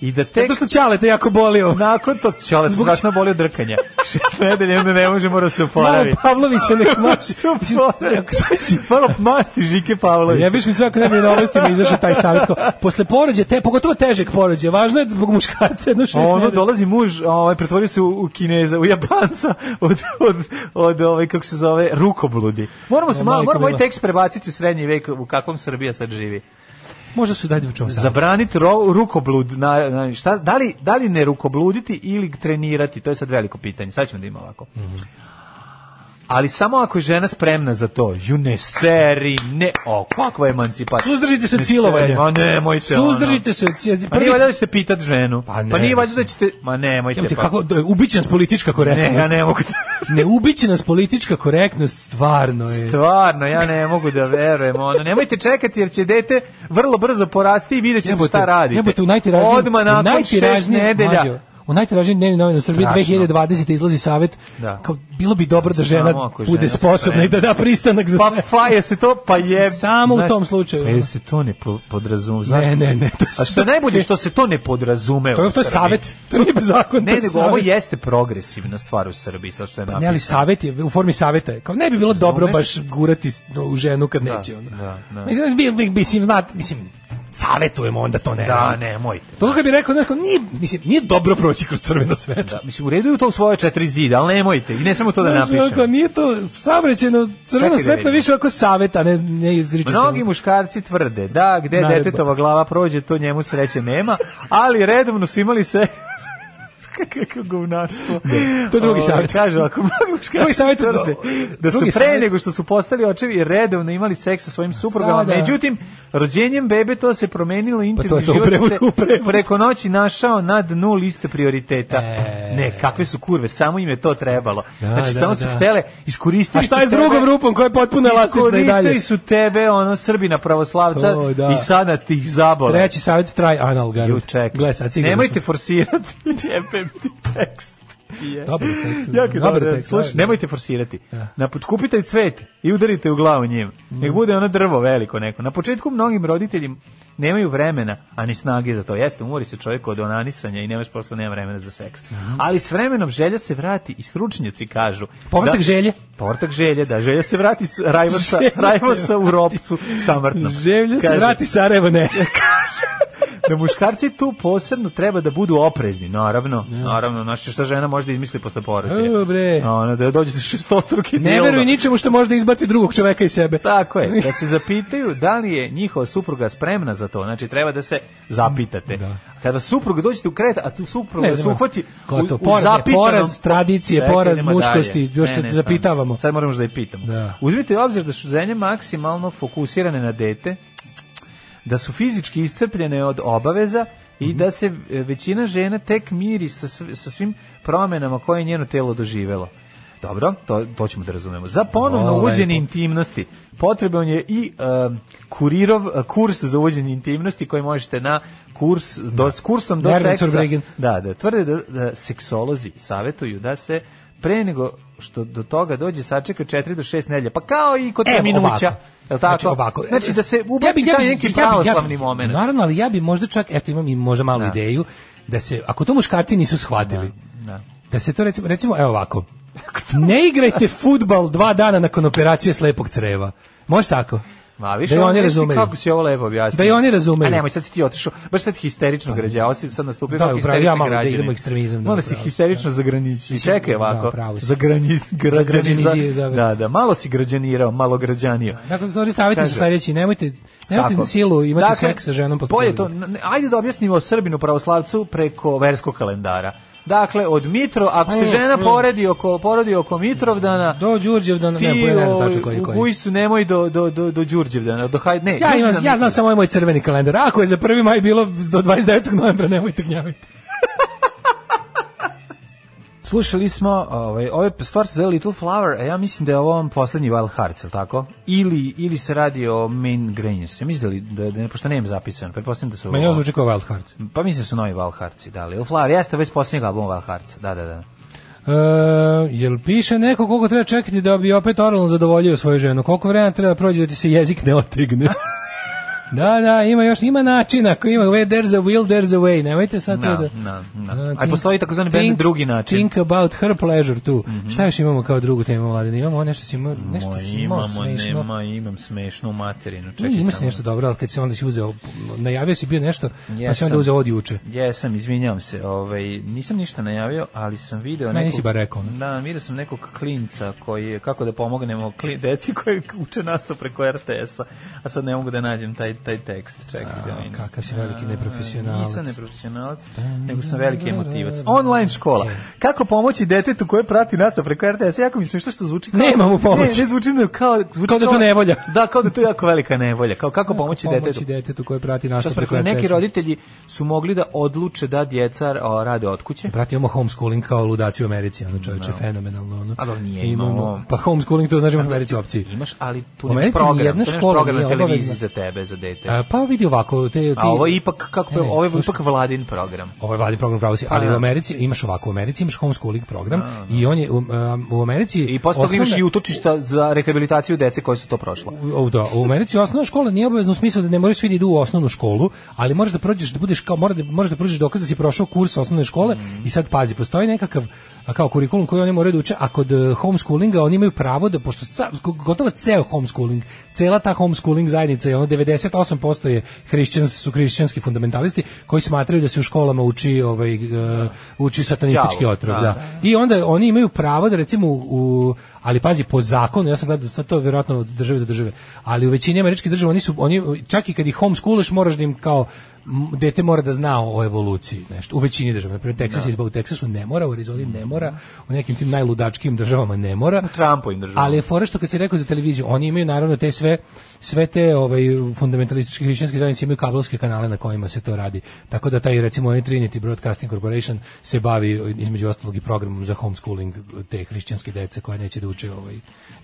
[SPEAKER 7] i da tek
[SPEAKER 6] Zato što ćale te jako ovaj. bolio.
[SPEAKER 7] Nakon tog ćola se
[SPEAKER 6] Zbog
[SPEAKER 7] strašno boli od drkanja. Šest nedelja onda ne možemo da se
[SPEAKER 6] Malo
[SPEAKER 7] oporavi.
[SPEAKER 6] Pavlovića nek može. Mislim,
[SPEAKER 7] oporavi.
[SPEAKER 6] ako sam pa- si-
[SPEAKER 7] Malo masti Žike Pavlović.
[SPEAKER 6] Ja biš mi sve ako ne bi na ovostima izašao taj savjet. kao, Posle porođaja, te, pogotovo težeg porođaja, važno je zbog muškarca jedno šest
[SPEAKER 7] A ono
[SPEAKER 6] nedelja.
[SPEAKER 7] dolazi muž, ovaj pretvori se u, u Kineza, u Japanca od od od ovaj kako se zove rukobludi. Moramo se
[SPEAKER 6] O,
[SPEAKER 7] malo
[SPEAKER 6] majko
[SPEAKER 7] moramo ovaj
[SPEAKER 6] mila.
[SPEAKER 7] tekst prebaciti u srednji vek u kakvom Srbija sad živi.
[SPEAKER 6] Možda su dajde u čemu sam.
[SPEAKER 7] Zabraniti ro, rukoblud, na, na, šta, da, li, da li ne rukobluditi ili trenirati, to je sad veliko pitanje, sad ćemo da ima ovako.
[SPEAKER 6] Mhm.
[SPEAKER 7] Ali samo ako je žena spremna za to, ju ne seri, ne, o, kakva emancipacija.
[SPEAKER 6] Suzdržite se od
[SPEAKER 7] Ne seri,
[SPEAKER 6] silovanja.
[SPEAKER 7] Ma nemojte, ono.
[SPEAKER 6] Suzdržite se od silovanja.
[SPEAKER 7] Pa nije valjda da ćete pitat ženu.
[SPEAKER 6] Pa
[SPEAKER 7] Pa,
[SPEAKER 6] ne,
[SPEAKER 7] nije valjda da ćete... Ma nemojte.
[SPEAKER 6] Jebote,
[SPEAKER 7] pa.
[SPEAKER 6] kako, da, ubiće nas politička korektnost.
[SPEAKER 7] Ne, ja ne mogu. da-
[SPEAKER 6] ne ubiće nas politička korektnost, stvarno je.
[SPEAKER 7] Stvarno, ja ne mogu da verujem. Ono. Nemojte čekati jer će dete vrlo brzo porasti i vidjet ćete
[SPEAKER 6] Jebote,
[SPEAKER 7] šta radite.
[SPEAKER 6] Jebote, u najtiražnijem,
[SPEAKER 7] Odmah
[SPEAKER 6] u
[SPEAKER 7] nakon šest
[SPEAKER 6] najtiražnijem,
[SPEAKER 7] nedelja.
[SPEAKER 6] mlađo, u najtiražnijem dnevnim novinama Srbije
[SPEAKER 7] Strašno.
[SPEAKER 6] 2020. izlazi savet
[SPEAKER 7] Da.
[SPEAKER 6] kao bilo bi dobro da
[SPEAKER 7] Samo
[SPEAKER 6] žena
[SPEAKER 7] ako je
[SPEAKER 6] bude
[SPEAKER 7] žena
[SPEAKER 6] sposobna
[SPEAKER 7] spremna.
[SPEAKER 6] i da da pristanak za
[SPEAKER 7] Pa
[SPEAKER 6] sve.
[SPEAKER 7] fa, je se to, pa je...
[SPEAKER 6] Samo u tom slučaju.
[SPEAKER 7] Pa je se to ne po, podrazumeva. Znaš,
[SPEAKER 6] Ne, ne, ne. To je,
[SPEAKER 7] A što je najbolje što se to ne podrazumeva.
[SPEAKER 6] to je,
[SPEAKER 7] u
[SPEAKER 6] to je
[SPEAKER 7] Srbiji.
[SPEAKER 6] savet, to nije zakon. to
[SPEAKER 7] Ne,
[SPEAKER 6] je
[SPEAKER 7] nego ovo
[SPEAKER 6] savet.
[SPEAKER 7] jeste progresivna stvar u Srbiji, sad što je
[SPEAKER 6] Pa ne, ali
[SPEAKER 7] napisano.
[SPEAKER 6] savjet je, u formi savjeta je. Kao ne bi bilo dobro baš
[SPEAKER 7] Razumeš?
[SPEAKER 6] gurati s- u ženu kad neće. Ono.
[SPEAKER 7] da, da.
[SPEAKER 6] Mislim, bi, bi, mislim, znat, mislim, savjetujemo onda to ne.
[SPEAKER 7] Da,
[SPEAKER 6] radimo.
[SPEAKER 7] nemojte.
[SPEAKER 6] To kad bi rekao, znaš, kao, nije, mislim, nije dobro proći kroz crveno svetlo.
[SPEAKER 7] Da, mislim, u redu je to u svoje četiri zida, ali nemojte. I ne samo to da
[SPEAKER 6] Znaš,
[SPEAKER 7] napišem.
[SPEAKER 6] Ako nije to sabrećeno
[SPEAKER 7] Čekaj
[SPEAKER 6] crveno
[SPEAKER 7] da
[SPEAKER 6] svetlo
[SPEAKER 7] vidim.
[SPEAKER 6] više ako saveta, ne, ne izričite.
[SPEAKER 7] Mnogi muškarci tvrde da gde
[SPEAKER 6] Naredba.
[SPEAKER 7] detetova glava prođe, to njemu sreće nema, ali redovno su imali se kako govnarstvo.
[SPEAKER 6] to je drugi
[SPEAKER 7] Ovaj,
[SPEAKER 6] savjet.
[SPEAKER 7] Kaže, ako mnogi muškarci
[SPEAKER 6] Drugi savjet,
[SPEAKER 7] tvrde da su
[SPEAKER 6] drugi
[SPEAKER 7] pre
[SPEAKER 6] savjet.
[SPEAKER 7] nego što su postali očevi redovno imali seks sa svojim suprugama,
[SPEAKER 6] Sada. Pa
[SPEAKER 7] međutim, rođenjem bebe to se promenilo, intimni
[SPEAKER 6] to je to, u
[SPEAKER 7] život
[SPEAKER 6] prevodu,
[SPEAKER 7] se
[SPEAKER 6] u prevodu.
[SPEAKER 7] preko noći našao na dnu liste prioriteta.
[SPEAKER 6] E.
[SPEAKER 7] Ne, kakve su kurve, samo im je to trebalo.
[SPEAKER 6] Da,
[SPEAKER 7] znači,
[SPEAKER 6] da,
[SPEAKER 7] samo
[SPEAKER 6] da.
[SPEAKER 7] su htele iskoristiti
[SPEAKER 6] A šta je s drugom rupom koja je potpuno elastična i dalje?
[SPEAKER 7] Iskoristili su tebe, ono, Srbina pravoslavca
[SPEAKER 6] To, da.
[SPEAKER 7] i sada ti ih zabole.
[SPEAKER 6] Treći savjet, try anal,
[SPEAKER 7] Ju,
[SPEAKER 6] garant.
[SPEAKER 7] čekaj.
[SPEAKER 6] Gle, sad sigurno
[SPEAKER 7] Nemojte
[SPEAKER 6] sam-
[SPEAKER 7] forsirati, jebem ti tekst. Je.
[SPEAKER 6] Dobar tekst,
[SPEAKER 7] Jako je
[SPEAKER 6] dobar
[SPEAKER 7] dobar,
[SPEAKER 6] tekst,
[SPEAKER 7] Slušaj,
[SPEAKER 6] da. Mm.
[SPEAKER 7] nemojte forsirati. Naput, kupite cvet i udarite u glavu njim. Nek bude ono drvo veliko neko. Na početku mnogim roditeljima nemaju vremena, a ni snage za to. Jeste, umori se čovjek od onanisanja i nemaš posla, nema vremena za seks.
[SPEAKER 6] Mhm.
[SPEAKER 7] Ali s vremenom želja se vrati i stručnjaci kažu...
[SPEAKER 6] Povratak
[SPEAKER 7] da-
[SPEAKER 6] želje.
[SPEAKER 7] Povratak želje, da. Želja se vrati s Rajvosa,
[SPEAKER 6] Želja se
[SPEAKER 7] Rajvosa u ropcu samrtnom.
[SPEAKER 6] Želja se
[SPEAKER 7] Da. Kaže,
[SPEAKER 6] vrati Sarajevo, ne.
[SPEAKER 7] da muškarci tu posebno treba da budu oprezni, naravno. Naravno, znači šta žena može da izmisli posle porođaja.
[SPEAKER 6] E, Da. bre.
[SPEAKER 7] Ona da dođe sa šestostruki
[SPEAKER 6] Ne
[SPEAKER 7] dildo.
[SPEAKER 6] veruj ničemu što može da izbaci drugog čoveka iz sebe.
[SPEAKER 7] Tako je, da se zapitaju da li je njihova supruga spremna za to. Znači, treba da se zapitate. Kada supruga dođete u kret, a tu supruga
[SPEAKER 6] Da. Ne
[SPEAKER 7] se
[SPEAKER 6] znam,
[SPEAKER 7] uhvati u,
[SPEAKER 6] gotovo.
[SPEAKER 7] u
[SPEAKER 6] Poraz je,
[SPEAKER 7] zapitanom-
[SPEAKER 6] poraz tradicije,
[SPEAKER 7] Čekaj,
[SPEAKER 6] poraz
[SPEAKER 7] idemo
[SPEAKER 6] muškosti,
[SPEAKER 7] dalje.
[SPEAKER 6] još se
[SPEAKER 7] stvarno.
[SPEAKER 6] zapitavamo.
[SPEAKER 7] Sad moramo još da je pitamo.
[SPEAKER 6] Da.
[SPEAKER 7] Uzmite u obzir da su zemlje maksimalno fokusirane na dete, da su fizički iscrpljene od obaveza i da se e, većina žena tek miri sa, sv- sa svim promenama koje je njeno telo doživelo. Dobro, to, to ćemo da razumemo. Za ponovno
[SPEAKER 6] O,
[SPEAKER 7] uvođenje
[SPEAKER 6] lepo.
[SPEAKER 7] intimnosti potreban je i e, kurirov e, kurs za uvođenje intimnosti koji možete na kurs do, s kursom do
[SPEAKER 6] Werner
[SPEAKER 7] seksa.
[SPEAKER 6] Zurbriggen.
[SPEAKER 7] Da, da, tvrde da, da seksolozi savjetuju da se pre nego što do toga dođe sačeka 4 do 6 nedelja. Pa kao i kod
[SPEAKER 6] Evo,
[SPEAKER 7] minuća.
[SPEAKER 6] E, ovako.
[SPEAKER 7] Jel tako?
[SPEAKER 6] Znači, ovako.
[SPEAKER 7] Znači da se ubaci taj neki
[SPEAKER 6] ja bi-
[SPEAKER 7] pravoslavni
[SPEAKER 6] ja bi-
[SPEAKER 7] moment.
[SPEAKER 6] Naravno, ali ja bi možda čak, eto imam i možda malu ideju, da se, ako to muškarci nisu shvatili,
[SPEAKER 7] Da.
[SPEAKER 6] da se to recimo, recimo, evo ovako, ne igrajte futbal dva dana nakon operacije slepog creva. Može tako?
[SPEAKER 7] Ma, više
[SPEAKER 6] da i
[SPEAKER 7] ovo
[SPEAKER 6] oni
[SPEAKER 7] nešto
[SPEAKER 6] razumeju.
[SPEAKER 7] Kako si ovo lepo objasnio.
[SPEAKER 6] Da i oni razumeju.
[SPEAKER 7] A nemoj, sad si ti otišao. Baš sad histerično građa. Ovo si sad nastupio
[SPEAKER 6] Da,
[SPEAKER 7] kao
[SPEAKER 6] upravo, ja
[SPEAKER 7] histerični
[SPEAKER 6] malo da
[SPEAKER 7] građanin.
[SPEAKER 6] idemo ekstremizam, da,
[SPEAKER 7] Malo si
[SPEAKER 6] upravo si,
[SPEAKER 7] histerično zagranići. I čekaj
[SPEAKER 6] Da,
[SPEAKER 7] ovako.
[SPEAKER 6] pravo si.
[SPEAKER 7] Zagrani, građani,
[SPEAKER 6] Zagrađanizio, da.
[SPEAKER 7] da, da, malo si građanirao, malo građanio.
[SPEAKER 6] Dakle, sorry, stavite se
[SPEAKER 7] Kaže-
[SPEAKER 6] sledeći, nemojte, nemojte
[SPEAKER 7] Tako.
[SPEAKER 6] na silu imati
[SPEAKER 7] Dakle,
[SPEAKER 6] seks sa ženom. posle
[SPEAKER 7] Bolje
[SPEAKER 6] toga.
[SPEAKER 7] to, n- ajde da objasnimo Srbinu pravoslavcu preko verskog kalendara. Dakle, od Mitro, ako se
[SPEAKER 6] Mm,
[SPEAKER 7] žena
[SPEAKER 6] mm.
[SPEAKER 7] poredi oko, porodi oko Mitrovdana,
[SPEAKER 6] Do Đurđevdana, da ne,
[SPEAKER 7] ti
[SPEAKER 6] ne znam
[SPEAKER 7] ovaj,
[SPEAKER 6] tačno koji je
[SPEAKER 7] u
[SPEAKER 6] koji.
[SPEAKER 7] Gujsu nemoj do, do, do, do Đurđevdana, do Hajde, ne.
[SPEAKER 6] Ja, imam,
[SPEAKER 7] Đurđevdan-
[SPEAKER 6] ja znam samo ovaj moj crveni kalendar. Ako je za 1. maj bilo do 29. novembra, nemojte gnjaviti.
[SPEAKER 7] Slušali smo, ovaj, ove stvar se zove Little Flower, a ja mislim da je ovo on poslednji Wild Hearts, jel tako? Ili, ili se radi o Main Grains, ja mislim da, li- da, da ne, pošto nemam zapisan, pretpostavljam da su...
[SPEAKER 6] Meni ovo zvuči kao Wild Heart.
[SPEAKER 7] Pa mislim da su novi Wild Heartsi, da, Little Flower, jeste već posljednji album Wild Hearts, da, da, da.
[SPEAKER 6] E, jel piše neko koliko treba čekati da bi opet oralno zadovoljio svoju ženu? Koliko vremena treba prođe da ti se jezik ne otegne? da, da, ima još, ima načina. Ako ima, where there's a will, there's a way. Nemojte sad
[SPEAKER 7] Na,
[SPEAKER 6] to da...
[SPEAKER 7] na, na.
[SPEAKER 6] Da,
[SPEAKER 7] A
[SPEAKER 6] think-
[SPEAKER 7] postoji takozvani bend
[SPEAKER 6] think-
[SPEAKER 7] drugi način.
[SPEAKER 6] Think about her pleasure tu. Šta još imamo kao drugu temu, Vladine? Imamo nešto si imao, nešto
[SPEAKER 7] Moj,
[SPEAKER 6] si imao
[SPEAKER 7] imamo,
[SPEAKER 6] smešno.
[SPEAKER 7] nema, imam smešnu materinu,
[SPEAKER 6] Ne,
[SPEAKER 7] čekaj
[SPEAKER 6] ima se
[SPEAKER 7] samo.
[SPEAKER 6] nešto dobro, ali kad se onda si uzeo, najavio si bio nešto, pa si
[SPEAKER 7] Jesam.
[SPEAKER 6] onda uzeo od juče.
[SPEAKER 7] Jesam, izvinjavam se. Ovaj nisam ništa najavio, ali sam video
[SPEAKER 6] Ne,
[SPEAKER 7] nekog
[SPEAKER 6] nisi bar rekao, ne?
[SPEAKER 7] Da, video sam nekog klinca koji je kako da pomognemo kli, deci koji uče nastavu preko RTS-a, a sad ne mogu da nađem taj taj tekst. Čekaj, da vidim.
[SPEAKER 6] Kakav si Da, veliki neprofesionalac.
[SPEAKER 7] E, Nisam neprofesionalac, nego sam veliki emotivac.
[SPEAKER 6] da,
[SPEAKER 7] Online škola. Kako pomoći detetu koje prati nastavu preko RTS-a? Jako mi smiješno što zvuči kao...
[SPEAKER 6] Nema mu pomoći.
[SPEAKER 7] Ne, ne zvuči nego kao... Zvuči
[SPEAKER 6] Kao da je to nevolja.
[SPEAKER 7] Da, kao da je to jako velika nevolja. Kao kako pomoći detetu?
[SPEAKER 6] Pomoći detetu koje prati
[SPEAKER 7] Što
[SPEAKER 6] nastavu
[SPEAKER 7] smo
[SPEAKER 6] preko
[SPEAKER 7] rekli, neki
[SPEAKER 6] RTS-a.
[SPEAKER 7] roditelji su mogli da odluče da djeca o, rade od kuće.
[SPEAKER 6] Brate, imamo homeschooling kao ludaci u Americi, ono čovječe, fenomenalno. Ono.
[SPEAKER 7] Da. A dobro, nije, imamo-
[SPEAKER 6] Pa homeschooling, to znači u Americi opciji.
[SPEAKER 7] Imaš, ali tu
[SPEAKER 6] U
[SPEAKER 7] nemaš
[SPEAKER 6] Americi
[SPEAKER 7] program.
[SPEAKER 6] nijedna
[SPEAKER 7] tu nemaš
[SPEAKER 6] škola
[SPEAKER 7] program na
[SPEAKER 6] nije
[SPEAKER 7] televiziji
[SPEAKER 6] obavezna.
[SPEAKER 7] za tebe, za dete.
[SPEAKER 6] A, pa vidi ovako, te, ti,
[SPEAKER 7] Da. A ovo je ipak, kako
[SPEAKER 6] Ne,
[SPEAKER 7] je,
[SPEAKER 6] ne,
[SPEAKER 7] ovo je
[SPEAKER 6] slušaj.
[SPEAKER 7] ipak vladin program.
[SPEAKER 6] Ovo je vladin program pravo si, ali
[SPEAKER 7] Pa,
[SPEAKER 6] u
[SPEAKER 7] da.
[SPEAKER 6] Americi imaš ovako, u Americi imaš homeschooling program i on je u, um, u Americi...
[SPEAKER 7] I posle toga imaš
[SPEAKER 6] osnovna-
[SPEAKER 7] i utočišta za rehabilitaciju dece koje su to prošla.
[SPEAKER 6] O, da, u Americi osnovna škola nije obavezna u smislu da ne moraš svi da idu u osnovnu školu, ali moraš da prođeš da budeš kao mora da možeš da pružiš dokaz da si prošao kurs osnovne škole i sad pazi, postoji nekakav a, kao kurikulum koji oni moraju da uče, a kod e, homeschoolinga oni imaju pravo da pošto sa- gotovo ceo homeschooling, cela ta homeschooling zajednica je ono 98% je hrišćans su hrišćanski fundamentalisti koji smatraju da se u školama uči ovaj e, uči satanistički
[SPEAKER 7] Đavo,
[SPEAKER 6] otrov,
[SPEAKER 7] da,
[SPEAKER 6] da. I onda oni imaju pravo da recimo u, u- ali pazi po zakonu, ja sam gledao sad to je vjerojatno od države do države, ali u većini američkih država oni su oni čak i kad ih homeschooluješ moraš da im kao m, dete mora da zna o evoluciji nešto u većini država na primjer Texas je zbog u Texasu ne mora u Arizoni ne mora u nekim tim najludačkim državama ne mora
[SPEAKER 7] Trumpu im država.
[SPEAKER 6] ali je fora što kad si rekao za televiziju, oni imaju naravno te sve sve te ovaj fundamentalističke hrišćanske zajednice imaju kabelske kanale na kojima se to radi. Tako da taj recimo ovaj Trinity Broadcasting Corporation se bavi između ostalog i programom za homeschooling te hrišćanske dece koja neće da uče ovaj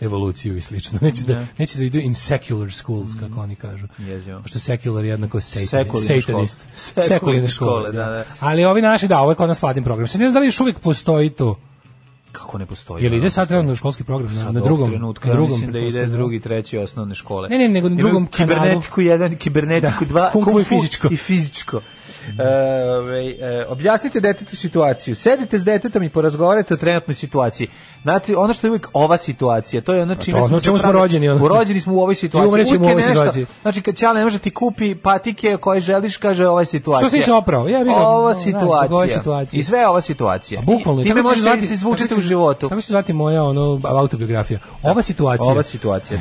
[SPEAKER 6] evoluciju i slično. Neće da neće da idu in secular schools kako oni kažu.
[SPEAKER 7] Mhm. Jezivo.
[SPEAKER 6] Što secular je jednako satani-
[SPEAKER 7] Sekularne
[SPEAKER 6] satanist.
[SPEAKER 7] škole. Sekularne škole, da, da.
[SPEAKER 6] Ali ovi naši da, ovo je kod nas vladin program. Se ne znam da li još uvijek postoji to.
[SPEAKER 7] Kako ne postoji?
[SPEAKER 6] Jel ide
[SPEAKER 7] ono?
[SPEAKER 6] sad trenutno školski program na,
[SPEAKER 7] Sad
[SPEAKER 6] na
[SPEAKER 7] ovog
[SPEAKER 6] drugom?
[SPEAKER 7] Da. Pa trenutka,
[SPEAKER 6] na
[SPEAKER 7] ja
[SPEAKER 6] drugom
[SPEAKER 7] mislim da ide
[SPEAKER 6] pretpostavljam.
[SPEAKER 7] drugi, treći osnovne škole.
[SPEAKER 6] Ne, ne, nego na
[SPEAKER 7] Imaju
[SPEAKER 6] drugom kanalu.
[SPEAKER 7] Kibernetiku 1, kibernetiku
[SPEAKER 6] Da,
[SPEAKER 7] 2,
[SPEAKER 6] kung fu i fizičko.
[SPEAKER 7] I fizičko. E, ovaj, e, objasnite detetu situaciju. Sedite s detetom i porazgovarajte o trenutnoj situaciji. Znate, ono što je uvijek ova situacija, to je ono čime
[SPEAKER 6] Pa ono čemu smo
[SPEAKER 7] pravi-
[SPEAKER 6] rođeni, ono.
[SPEAKER 7] Rođeni smo u ovoj situaciji.
[SPEAKER 6] umrećemo
[SPEAKER 7] Uvijek
[SPEAKER 6] u
[SPEAKER 7] je
[SPEAKER 6] ovoj
[SPEAKER 7] nešto-
[SPEAKER 6] situaciji.
[SPEAKER 7] Znači, kad Ćale ne može ti kupi patike koje želiš, kaže ova je situacija.
[SPEAKER 6] Što si se oprao? Ja bih ga-
[SPEAKER 7] Ova
[SPEAKER 6] znaš, zbog ove
[SPEAKER 7] situacija.
[SPEAKER 6] situacije. Pa
[SPEAKER 7] I sve je ova situacija.
[SPEAKER 6] Bukvalno,
[SPEAKER 7] I time
[SPEAKER 6] tako će se
[SPEAKER 7] možete da
[SPEAKER 6] zvati-
[SPEAKER 7] se izvučete
[SPEAKER 6] tako
[SPEAKER 7] u
[SPEAKER 6] će-
[SPEAKER 7] životu.
[SPEAKER 6] Tako će se zvati moja ono, autobiografija. Ova situacija.
[SPEAKER 7] Da. Ova situacija,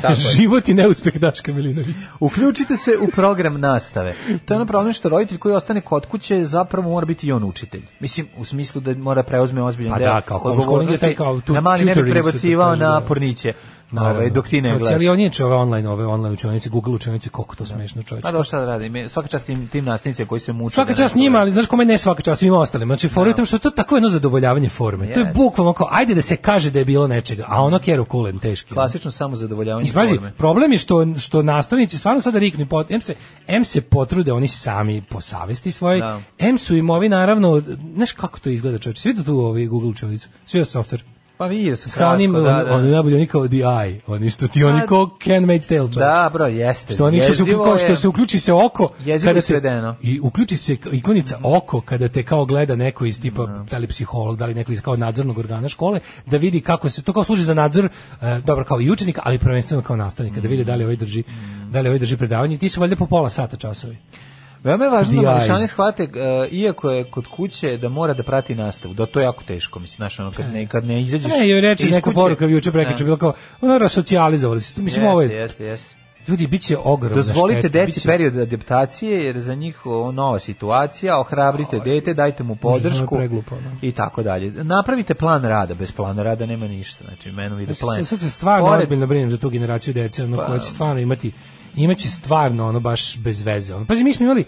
[SPEAKER 7] tako je.
[SPEAKER 6] Život i neuspeh Daška Milinovića.
[SPEAKER 7] Uključite se u program nastave. To je ono problem što roditelj koji ostane kod kuće zapravo mora biti i on učitelj. Mislim, u smislu da mora preuzme ozbiljan
[SPEAKER 6] Pa
[SPEAKER 7] deo
[SPEAKER 6] da, kao homeschooling je taj kao tu-
[SPEAKER 7] da mali ne bi
[SPEAKER 6] tutoring se to
[SPEAKER 7] prebacivao
[SPEAKER 6] kaže,
[SPEAKER 7] na
[SPEAKER 6] da.
[SPEAKER 7] porniće.
[SPEAKER 6] Naravno.
[SPEAKER 7] Ovaj, dok ti ne
[SPEAKER 6] Znači,
[SPEAKER 7] gledaš.
[SPEAKER 6] Ali on je ove online, ove online učionice, Google učionice, koliko to smešno čovječe.
[SPEAKER 7] Pa da šta da radi, me- svaka čast tim, tim nastavnicima koji se muče.
[SPEAKER 6] Svaka
[SPEAKER 7] da ne-
[SPEAKER 6] čast njima, ali znaš kome ne svaka čast svima ostalima. Znači, fora je u tome što je to tako jedno zadovoljavanje forme. To je
[SPEAKER 7] Jeste.
[SPEAKER 6] bukvalno kao, ajde da se kaže da je bilo nečega, a ono kjeru kulen teški.
[SPEAKER 7] Klasično samo zadovoljavanje
[SPEAKER 6] Mislim, pazi,
[SPEAKER 7] forme.
[SPEAKER 6] problem je što, što nastavnici stvarno sada riknu, pot, em, se, em se potrude oni sami po savesti svojoj,
[SPEAKER 7] Da.
[SPEAKER 6] em su im ovi naravno, znaš kako to izgleda čovječe, svi da tu ovi Google čovjecu, svi da software.
[SPEAKER 7] Pa vidio sam
[SPEAKER 6] Sa onim,
[SPEAKER 7] kratko,
[SPEAKER 6] on,
[SPEAKER 7] da, da.
[SPEAKER 6] oni najbolji, oni kao the eye, oni što ti, oni
[SPEAKER 7] Pa-
[SPEAKER 6] kao handmaid's tale čovječe.
[SPEAKER 7] Da, bro, jeste.
[SPEAKER 6] Što oni što se,
[SPEAKER 7] Jezivo
[SPEAKER 6] kao
[SPEAKER 7] je.
[SPEAKER 6] što se uključi se oko
[SPEAKER 7] Jezivo je
[SPEAKER 6] kada se
[SPEAKER 7] svedeno. Mhm.
[SPEAKER 6] i uključi se ikonica oko kada te kao gleda neko iz tipa da li psiholog, da li neko iz kao nadzornog organa škole da vidi kako se to kao služi za nadzor e, dobro kao i učenika, ali prvenstveno kao nastavnika da vidi da li ovaj drži
[SPEAKER 7] Mhm.
[SPEAKER 6] da li ovaj drži predavanje. Ti su valjda po pola sata časovi.
[SPEAKER 7] Veoma je važno
[SPEAKER 6] The
[SPEAKER 7] da mališani
[SPEAKER 6] eyes.
[SPEAKER 7] shvate, e, iako je kod kuće, da mora da prati nastavu. Da, to je jako teško, mislim, znaš, ono, kad ne, kad ne izađeš
[SPEAKER 6] Ne, joj reče
[SPEAKER 7] iz
[SPEAKER 6] neka
[SPEAKER 7] kuće-
[SPEAKER 6] poruka juče
[SPEAKER 7] Da.
[SPEAKER 6] prekjuče bilo kao ono rasocijalizovali se. Mislim ovo
[SPEAKER 7] Jeste,
[SPEAKER 6] je
[SPEAKER 7] jeste, jeste.
[SPEAKER 6] ljudi biće ogromna
[SPEAKER 7] Dozvolite
[SPEAKER 6] šteta,
[SPEAKER 7] deci
[SPEAKER 6] biće-
[SPEAKER 7] period adaptacije jer za njih o, nova situacija, ohrabrite dete, dajte mu podršku
[SPEAKER 6] Užasno je preglupo, da.
[SPEAKER 7] i tako dalje. Napravite plan rada, bez plana rada nema ništa. Znači menu ide plan.
[SPEAKER 6] Sad- Sad se stvarno
[SPEAKER 7] Pored- Pa, da.
[SPEAKER 6] ozbiljno brinem za tu generaciju dece, ono koja će stvarno imati imaće stvarno ono baš bez veze. Ono. Pazi, mi smo imali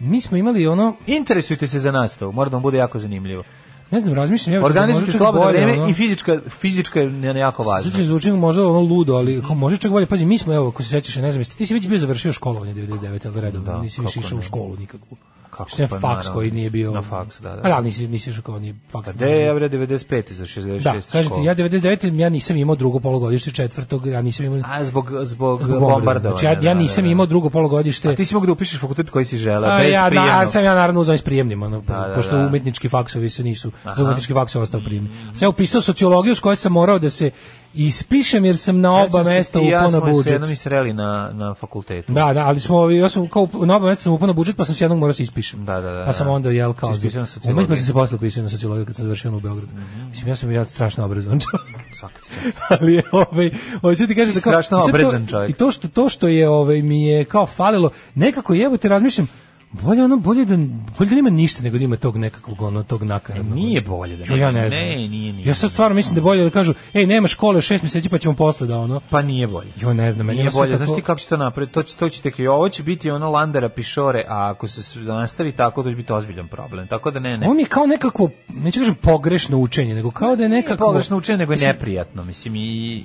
[SPEAKER 6] mi smo imali ono,
[SPEAKER 7] Interesujte se za nastavu, mora da vam bude jako zanimljivo.
[SPEAKER 6] ne znam, razmišljam, evo,
[SPEAKER 7] Organizujte
[SPEAKER 6] možda čak
[SPEAKER 7] slobodno
[SPEAKER 6] bolje,
[SPEAKER 7] vreme
[SPEAKER 6] ono.
[SPEAKER 7] i fizička fizička je ne- jako važno.
[SPEAKER 6] Zvuči, zvuči možda ono ludo, ali kao može čak bolje. Pazi, mi smo, evo, ako se sećaš, ne znam, jesi- ti si već bio završio školovanje 99, ali redovno,
[SPEAKER 7] Da,
[SPEAKER 6] nisi više
[SPEAKER 7] kako
[SPEAKER 6] išao u
[SPEAKER 7] ne.
[SPEAKER 6] školu nikakvu.
[SPEAKER 7] Kako,
[SPEAKER 6] Što je
[SPEAKER 7] pa
[SPEAKER 6] faks
[SPEAKER 7] naravno,
[SPEAKER 6] koji nije bio...
[SPEAKER 7] na faksu, da, da.
[SPEAKER 6] Pa da, ali nisi, nisi išao kao nije faks.
[SPEAKER 7] Da je ja bre 95 za 66
[SPEAKER 6] Da, kažete,
[SPEAKER 7] škola.
[SPEAKER 6] ja 99. ja nisam imao drugo polugodište, četvrtog, ja nisam imao...
[SPEAKER 7] A zbog zbog,
[SPEAKER 6] zbog bombardovanja.
[SPEAKER 7] bombardovanja.
[SPEAKER 6] Znači, ja, ja
[SPEAKER 7] da, da,
[SPEAKER 6] nisam
[SPEAKER 7] da.
[SPEAKER 6] imao drugo polugodište.
[SPEAKER 7] A ti si mogao da upišeš fakultet koji si želeo,
[SPEAKER 6] A,
[SPEAKER 7] bez
[SPEAKER 6] ja, da,
[SPEAKER 7] prijemnog.
[SPEAKER 6] ali sam ja naravno uzao i s prijemnim, ono,
[SPEAKER 7] da,
[SPEAKER 6] pošto
[SPEAKER 7] da.
[SPEAKER 6] umetnički faksovi se nisu,
[SPEAKER 7] Aha.
[SPEAKER 6] za umetnički faks je ostao prijemni. Sam ja upisao sociologiju s kojoj sam morao da se ispišem jer sam na oba
[SPEAKER 7] Sećam se,
[SPEAKER 6] mesta
[SPEAKER 7] ti i
[SPEAKER 6] upao na
[SPEAKER 7] Ja smo se
[SPEAKER 6] budžet.
[SPEAKER 7] jednom i sreli na, na fakultetu.
[SPEAKER 6] Da, da, ali smo, ja sam kao, na oba mesta sam upao na budžet, pa sam se jednog morao da se ispišem.
[SPEAKER 7] Da, da, da,
[SPEAKER 6] Pa sam
[SPEAKER 7] da.
[SPEAKER 6] onda, jel, kao,
[SPEAKER 7] Si ispisao na sociologiju. Mhm.
[SPEAKER 6] umetno sam se posle upisao na sociologiju kad sam završio ono u Beogradu. Mislim, ja sam ja strašno obrazovan čovjek.
[SPEAKER 7] Svaka ti čast.
[SPEAKER 6] ali je, ovaj hoću ti kažem
[SPEAKER 7] Ti si
[SPEAKER 6] da kao-
[SPEAKER 7] strašno
[SPEAKER 6] i sad to-
[SPEAKER 7] obrezan čovjek.
[SPEAKER 6] I to što to što je ovaj mi je kao falilo, nekako jebote razmišljam Bolje ono, bolje da, bolje da nema ništa nego da ima tog nekakvog, ono, tog nakaradnog.
[SPEAKER 7] Nije bolje da
[SPEAKER 6] Jo, ja ne znam.
[SPEAKER 7] Ne, nije, nije.
[SPEAKER 6] Ja sad stvarno mislim da je bolje da kažu, ej, nema škole šest mjeseci pa ćemo posle da ono.
[SPEAKER 7] Pa nije bolje.
[SPEAKER 6] Jo, ne znam, meni
[SPEAKER 7] Nije
[SPEAKER 6] ima sve
[SPEAKER 7] bolje,
[SPEAKER 6] tako-
[SPEAKER 7] znaš ti kako će to napraviti, to, će- to će tek i ovo će biti ono landara pišore, a ako se s- nastavi tako, to će biti ozbiljan problem, tako da ne, ne.
[SPEAKER 6] Ovo mi je kao nekako, neću kažem pogrešno učenje, nego kao da je
[SPEAKER 7] Nije
[SPEAKER 6] nekako...
[SPEAKER 7] pogrešno učenje, nego je
[SPEAKER 6] Mislim,
[SPEAKER 7] neprijatno, mislim, i,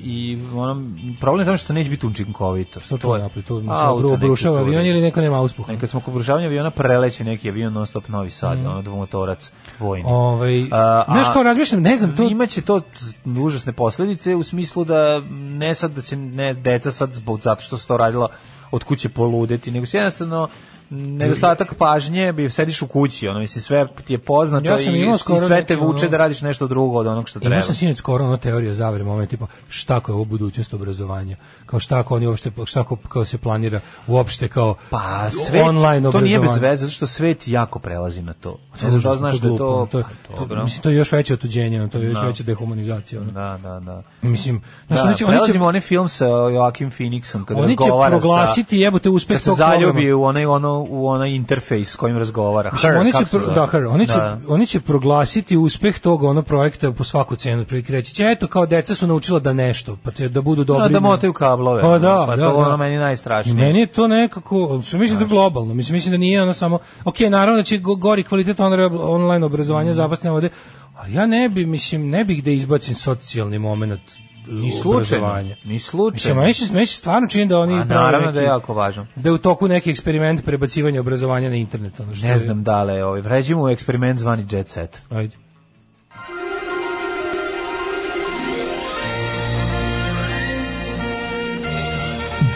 [SPEAKER 7] i ono, problem je tamo što neće biti učinkovito.
[SPEAKER 6] Što čuo napolje, to mi se
[SPEAKER 7] Auto
[SPEAKER 6] obru-
[SPEAKER 7] neki
[SPEAKER 6] obrušava
[SPEAKER 7] turi.
[SPEAKER 6] avion ili neko nema uspuha.
[SPEAKER 7] Pa Kad smo kod obrušavanja aviona, preleće neki avion non stop Novi
[SPEAKER 6] Mm.
[SPEAKER 7] Sad, ono dvomotorac vojni.
[SPEAKER 6] Ovaj,
[SPEAKER 7] A, a-
[SPEAKER 6] znaš kao razmišljam, ne znam, to,
[SPEAKER 7] imaće to z- užasne posljedice u smislu da ne sad da će ne deca sad zbog zato što se to radila od kuće poludeti, nego se jednostavno m, nedostatak pažnje, bi sediš u kući, ono mislim sve ti je poznato
[SPEAKER 6] Ja sam
[SPEAKER 7] i,
[SPEAKER 6] imao
[SPEAKER 7] i
[SPEAKER 6] skoro
[SPEAKER 7] sve te
[SPEAKER 6] neki,
[SPEAKER 7] vuče
[SPEAKER 6] ono-
[SPEAKER 7] da radiš nešto drugo od onog što treba.
[SPEAKER 6] Imao sam sinoć skoro ono teorija zavere moment tipa šta ako je ovo budućnost obrazovanja? Kao šta ako oni uopšte šta ako kao se planira uopšte kao
[SPEAKER 7] Pa sve
[SPEAKER 6] online
[SPEAKER 7] to nije
[SPEAKER 6] obrazovanje?
[SPEAKER 7] bez veze, zato što svet jako prelazi na to. Ne znam
[SPEAKER 6] Užasno,
[SPEAKER 7] da li znaš da je
[SPEAKER 6] glupo, ono,
[SPEAKER 7] to,
[SPEAKER 6] to, je-
[SPEAKER 7] Pa,
[SPEAKER 6] to,
[SPEAKER 7] dobro.
[SPEAKER 6] mislim to je još veće otuđenje, ono, to je još
[SPEAKER 7] Da.
[SPEAKER 6] veća dehumanizacija. ono.
[SPEAKER 7] da, da, da.
[SPEAKER 6] Mislim, znači
[SPEAKER 7] Da,
[SPEAKER 6] oni će, oni će,
[SPEAKER 7] prelazimo onaj film sa Joakim Phoenixom kada
[SPEAKER 6] oni će
[SPEAKER 7] razgovara sa-
[SPEAKER 6] proglasiti jebote uspeh
[SPEAKER 7] Kad se
[SPEAKER 6] tog programa.
[SPEAKER 7] zaljubi u onaj, ono, u onaj interfejs s kojim razgovara.
[SPEAKER 6] Mislim,
[SPEAKER 7] Her,
[SPEAKER 6] oni će
[SPEAKER 7] kako se
[SPEAKER 6] pro-
[SPEAKER 7] zove?
[SPEAKER 6] da, her, oni će
[SPEAKER 7] Da.
[SPEAKER 6] oni će proglasiti uspeh tog ono projekta po svaku cenu otprilike reći će eto kao deca su naučila da nešto pa te- da budu dobri
[SPEAKER 7] Da, da
[SPEAKER 6] u-
[SPEAKER 7] motaju kablove.
[SPEAKER 6] Pa da,
[SPEAKER 7] pa
[SPEAKER 6] da,
[SPEAKER 7] to
[SPEAKER 6] da.
[SPEAKER 7] ono meni najstrašnije.
[SPEAKER 6] I Meni je to nekako, su mislim da je globalno, mislim, mislim da nije ono samo, ok, naravno da će go- gori kvalitet onre- online obrazovanja
[SPEAKER 7] Mhm.
[SPEAKER 6] zapasne vode, ali ja ne bi, mislim, ne bih da izbacim socijalni moment
[SPEAKER 7] ni slučajno,
[SPEAKER 6] obrazovanja.
[SPEAKER 7] ni
[SPEAKER 6] Mislim,
[SPEAKER 7] slučajno.
[SPEAKER 6] meni se, meni se stvarno čini da oni
[SPEAKER 7] A
[SPEAKER 6] prave
[SPEAKER 7] naravno
[SPEAKER 6] neki-
[SPEAKER 7] da je jako važno.
[SPEAKER 6] da je u toku neki eksperiment prebacivanja obrazovanja na internet. Ono što
[SPEAKER 7] Ne
[SPEAKER 6] je-
[SPEAKER 7] znam da li je ovaj, vređimo u eksperiment zvani Jet Set.
[SPEAKER 6] Ajde.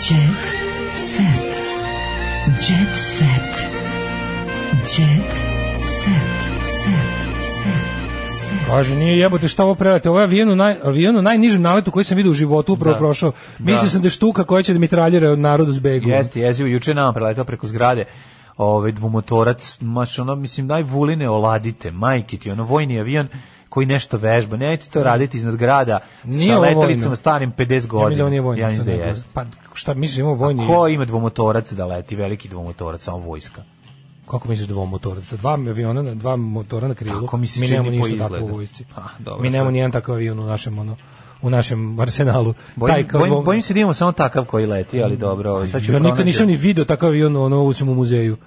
[SPEAKER 5] Jet set. Jet set. Jet set.
[SPEAKER 6] Kaže, nije jebote šta ovo prelete. Ovo je avion u, naj, avion u najnižem naletu koji sam vidio u životu upravo
[SPEAKER 7] Da.
[SPEAKER 6] prošao. Mislio
[SPEAKER 7] Da.
[SPEAKER 6] sam da je štuka koja će da mitraljira narod u zbegu.
[SPEAKER 7] Jeste, jezivo, juče nam preletao preko zgrade ovaj dvomotorac, maš ono, mislim, najvuline oladite, majke ti, ono, vojni avion koji nešto vežba, nemojte to raditi iznad grada
[SPEAKER 6] Da. Nije
[SPEAKER 7] sa
[SPEAKER 6] ovo vojno.
[SPEAKER 7] letelicama starim 50
[SPEAKER 6] Ja mislim da
[SPEAKER 7] godina.
[SPEAKER 6] ovo nije vojni.
[SPEAKER 7] Ja mislim da
[SPEAKER 6] sad nego-
[SPEAKER 7] jeste.
[SPEAKER 6] Pa šta misliš, imamo vojni?
[SPEAKER 7] Ko ima dvomotorac da leti, veliki dvomotorac, samo vojska?
[SPEAKER 6] Kako misliš da dvomotorac? Sa dva aviona, na dva motora na krilu.
[SPEAKER 7] Tako mi se
[SPEAKER 6] mi
[SPEAKER 7] čini
[SPEAKER 6] nemamo
[SPEAKER 7] po
[SPEAKER 6] ništa
[SPEAKER 7] izgledu.
[SPEAKER 6] tako u vojsci.
[SPEAKER 7] Ah, dobro,
[SPEAKER 6] mi nemamo
[SPEAKER 7] sad.
[SPEAKER 6] nijedan takav avion u našem ono u našem arsenalu.
[SPEAKER 7] Bojim,
[SPEAKER 6] kao
[SPEAKER 7] bojim,
[SPEAKER 6] dvom-
[SPEAKER 7] bojim se da imamo samo takav koji leti, ali dobro. ovaj, Sad ću
[SPEAKER 6] Ja nikad
[SPEAKER 7] pronaći.
[SPEAKER 6] nisam ni video takav avion ono u svom muzeju.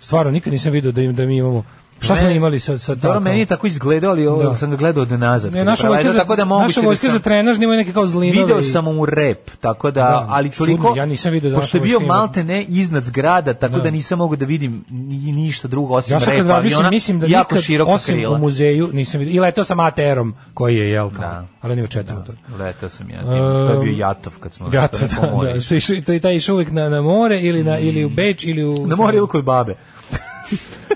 [SPEAKER 6] Stvarno nikad nisam video da im da mi imamo. Šta smo
[SPEAKER 7] Meni-
[SPEAKER 6] imali sa sa
[SPEAKER 7] Dobro,
[SPEAKER 6] tako-
[SPEAKER 7] meni je tako izgledao, ali ovo
[SPEAKER 6] Da.
[SPEAKER 7] sam ga gledao od nazad.
[SPEAKER 6] Ne, naša
[SPEAKER 7] Pa,
[SPEAKER 6] vojska
[SPEAKER 7] valjda
[SPEAKER 6] za,
[SPEAKER 7] tako da moguće
[SPEAKER 6] naša
[SPEAKER 7] da
[SPEAKER 6] vojska
[SPEAKER 7] sam-
[SPEAKER 6] za trenaž nema neke kao zlinove.
[SPEAKER 7] Video
[SPEAKER 6] i-
[SPEAKER 7] sam u rep, tako da,
[SPEAKER 6] Da,
[SPEAKER 7] ali
[SPEAKER 6] čudno,
[SPEAKER 7] čuliko...
[SPEAKER 6] ja nisam video da
[SPEAKER 7] Pošto je
[SPEAKER 6] naša
[SPEAKER 7] bio
[SPEAKER 6] vojska ima-
[SPEAKER 7] malte ne iznad zgrada, tako
[SPEAKER 6] Da.
[SPEAKER 7] da, nisam mogu da vidim ni, ništa drugo osim
[SPEAKER 6] Ja sad kad
[SPEAKER 7] repa aviona,
[SPEAKER 6] razmislim, mislim da
[SPEAKER 7] jako
[SPEAKER 6] nikad,
[SPEAKER 7] široko
[SPEAKER 6] osim
[SPEAKER 7] krila.
[SPEAKER 6] u muzeju, nisam vidio. I letao sam ATR-om, koji je, jel, kao,
[SPEAKER 7] Da.
[SPEAKER 6] ali ne u četiri motora.
[SPEAKER 7] Letao sam ja, to je bio
[SPEAKER 6] Ehm,
[SPEAKER 7] Jatov kad smo...
[SPEAKER 6] Gato,
[SPEAKER 7] što neko
[SPEAKER 6] da,
[SPEAKER 7] mori.
[SPEAKER 6] da. Što je išao- to je taj išao uvijek na, na more ili, na, ili u Beč ili u...
[SPEAKER 7] Mm. Na mori ili kod babe.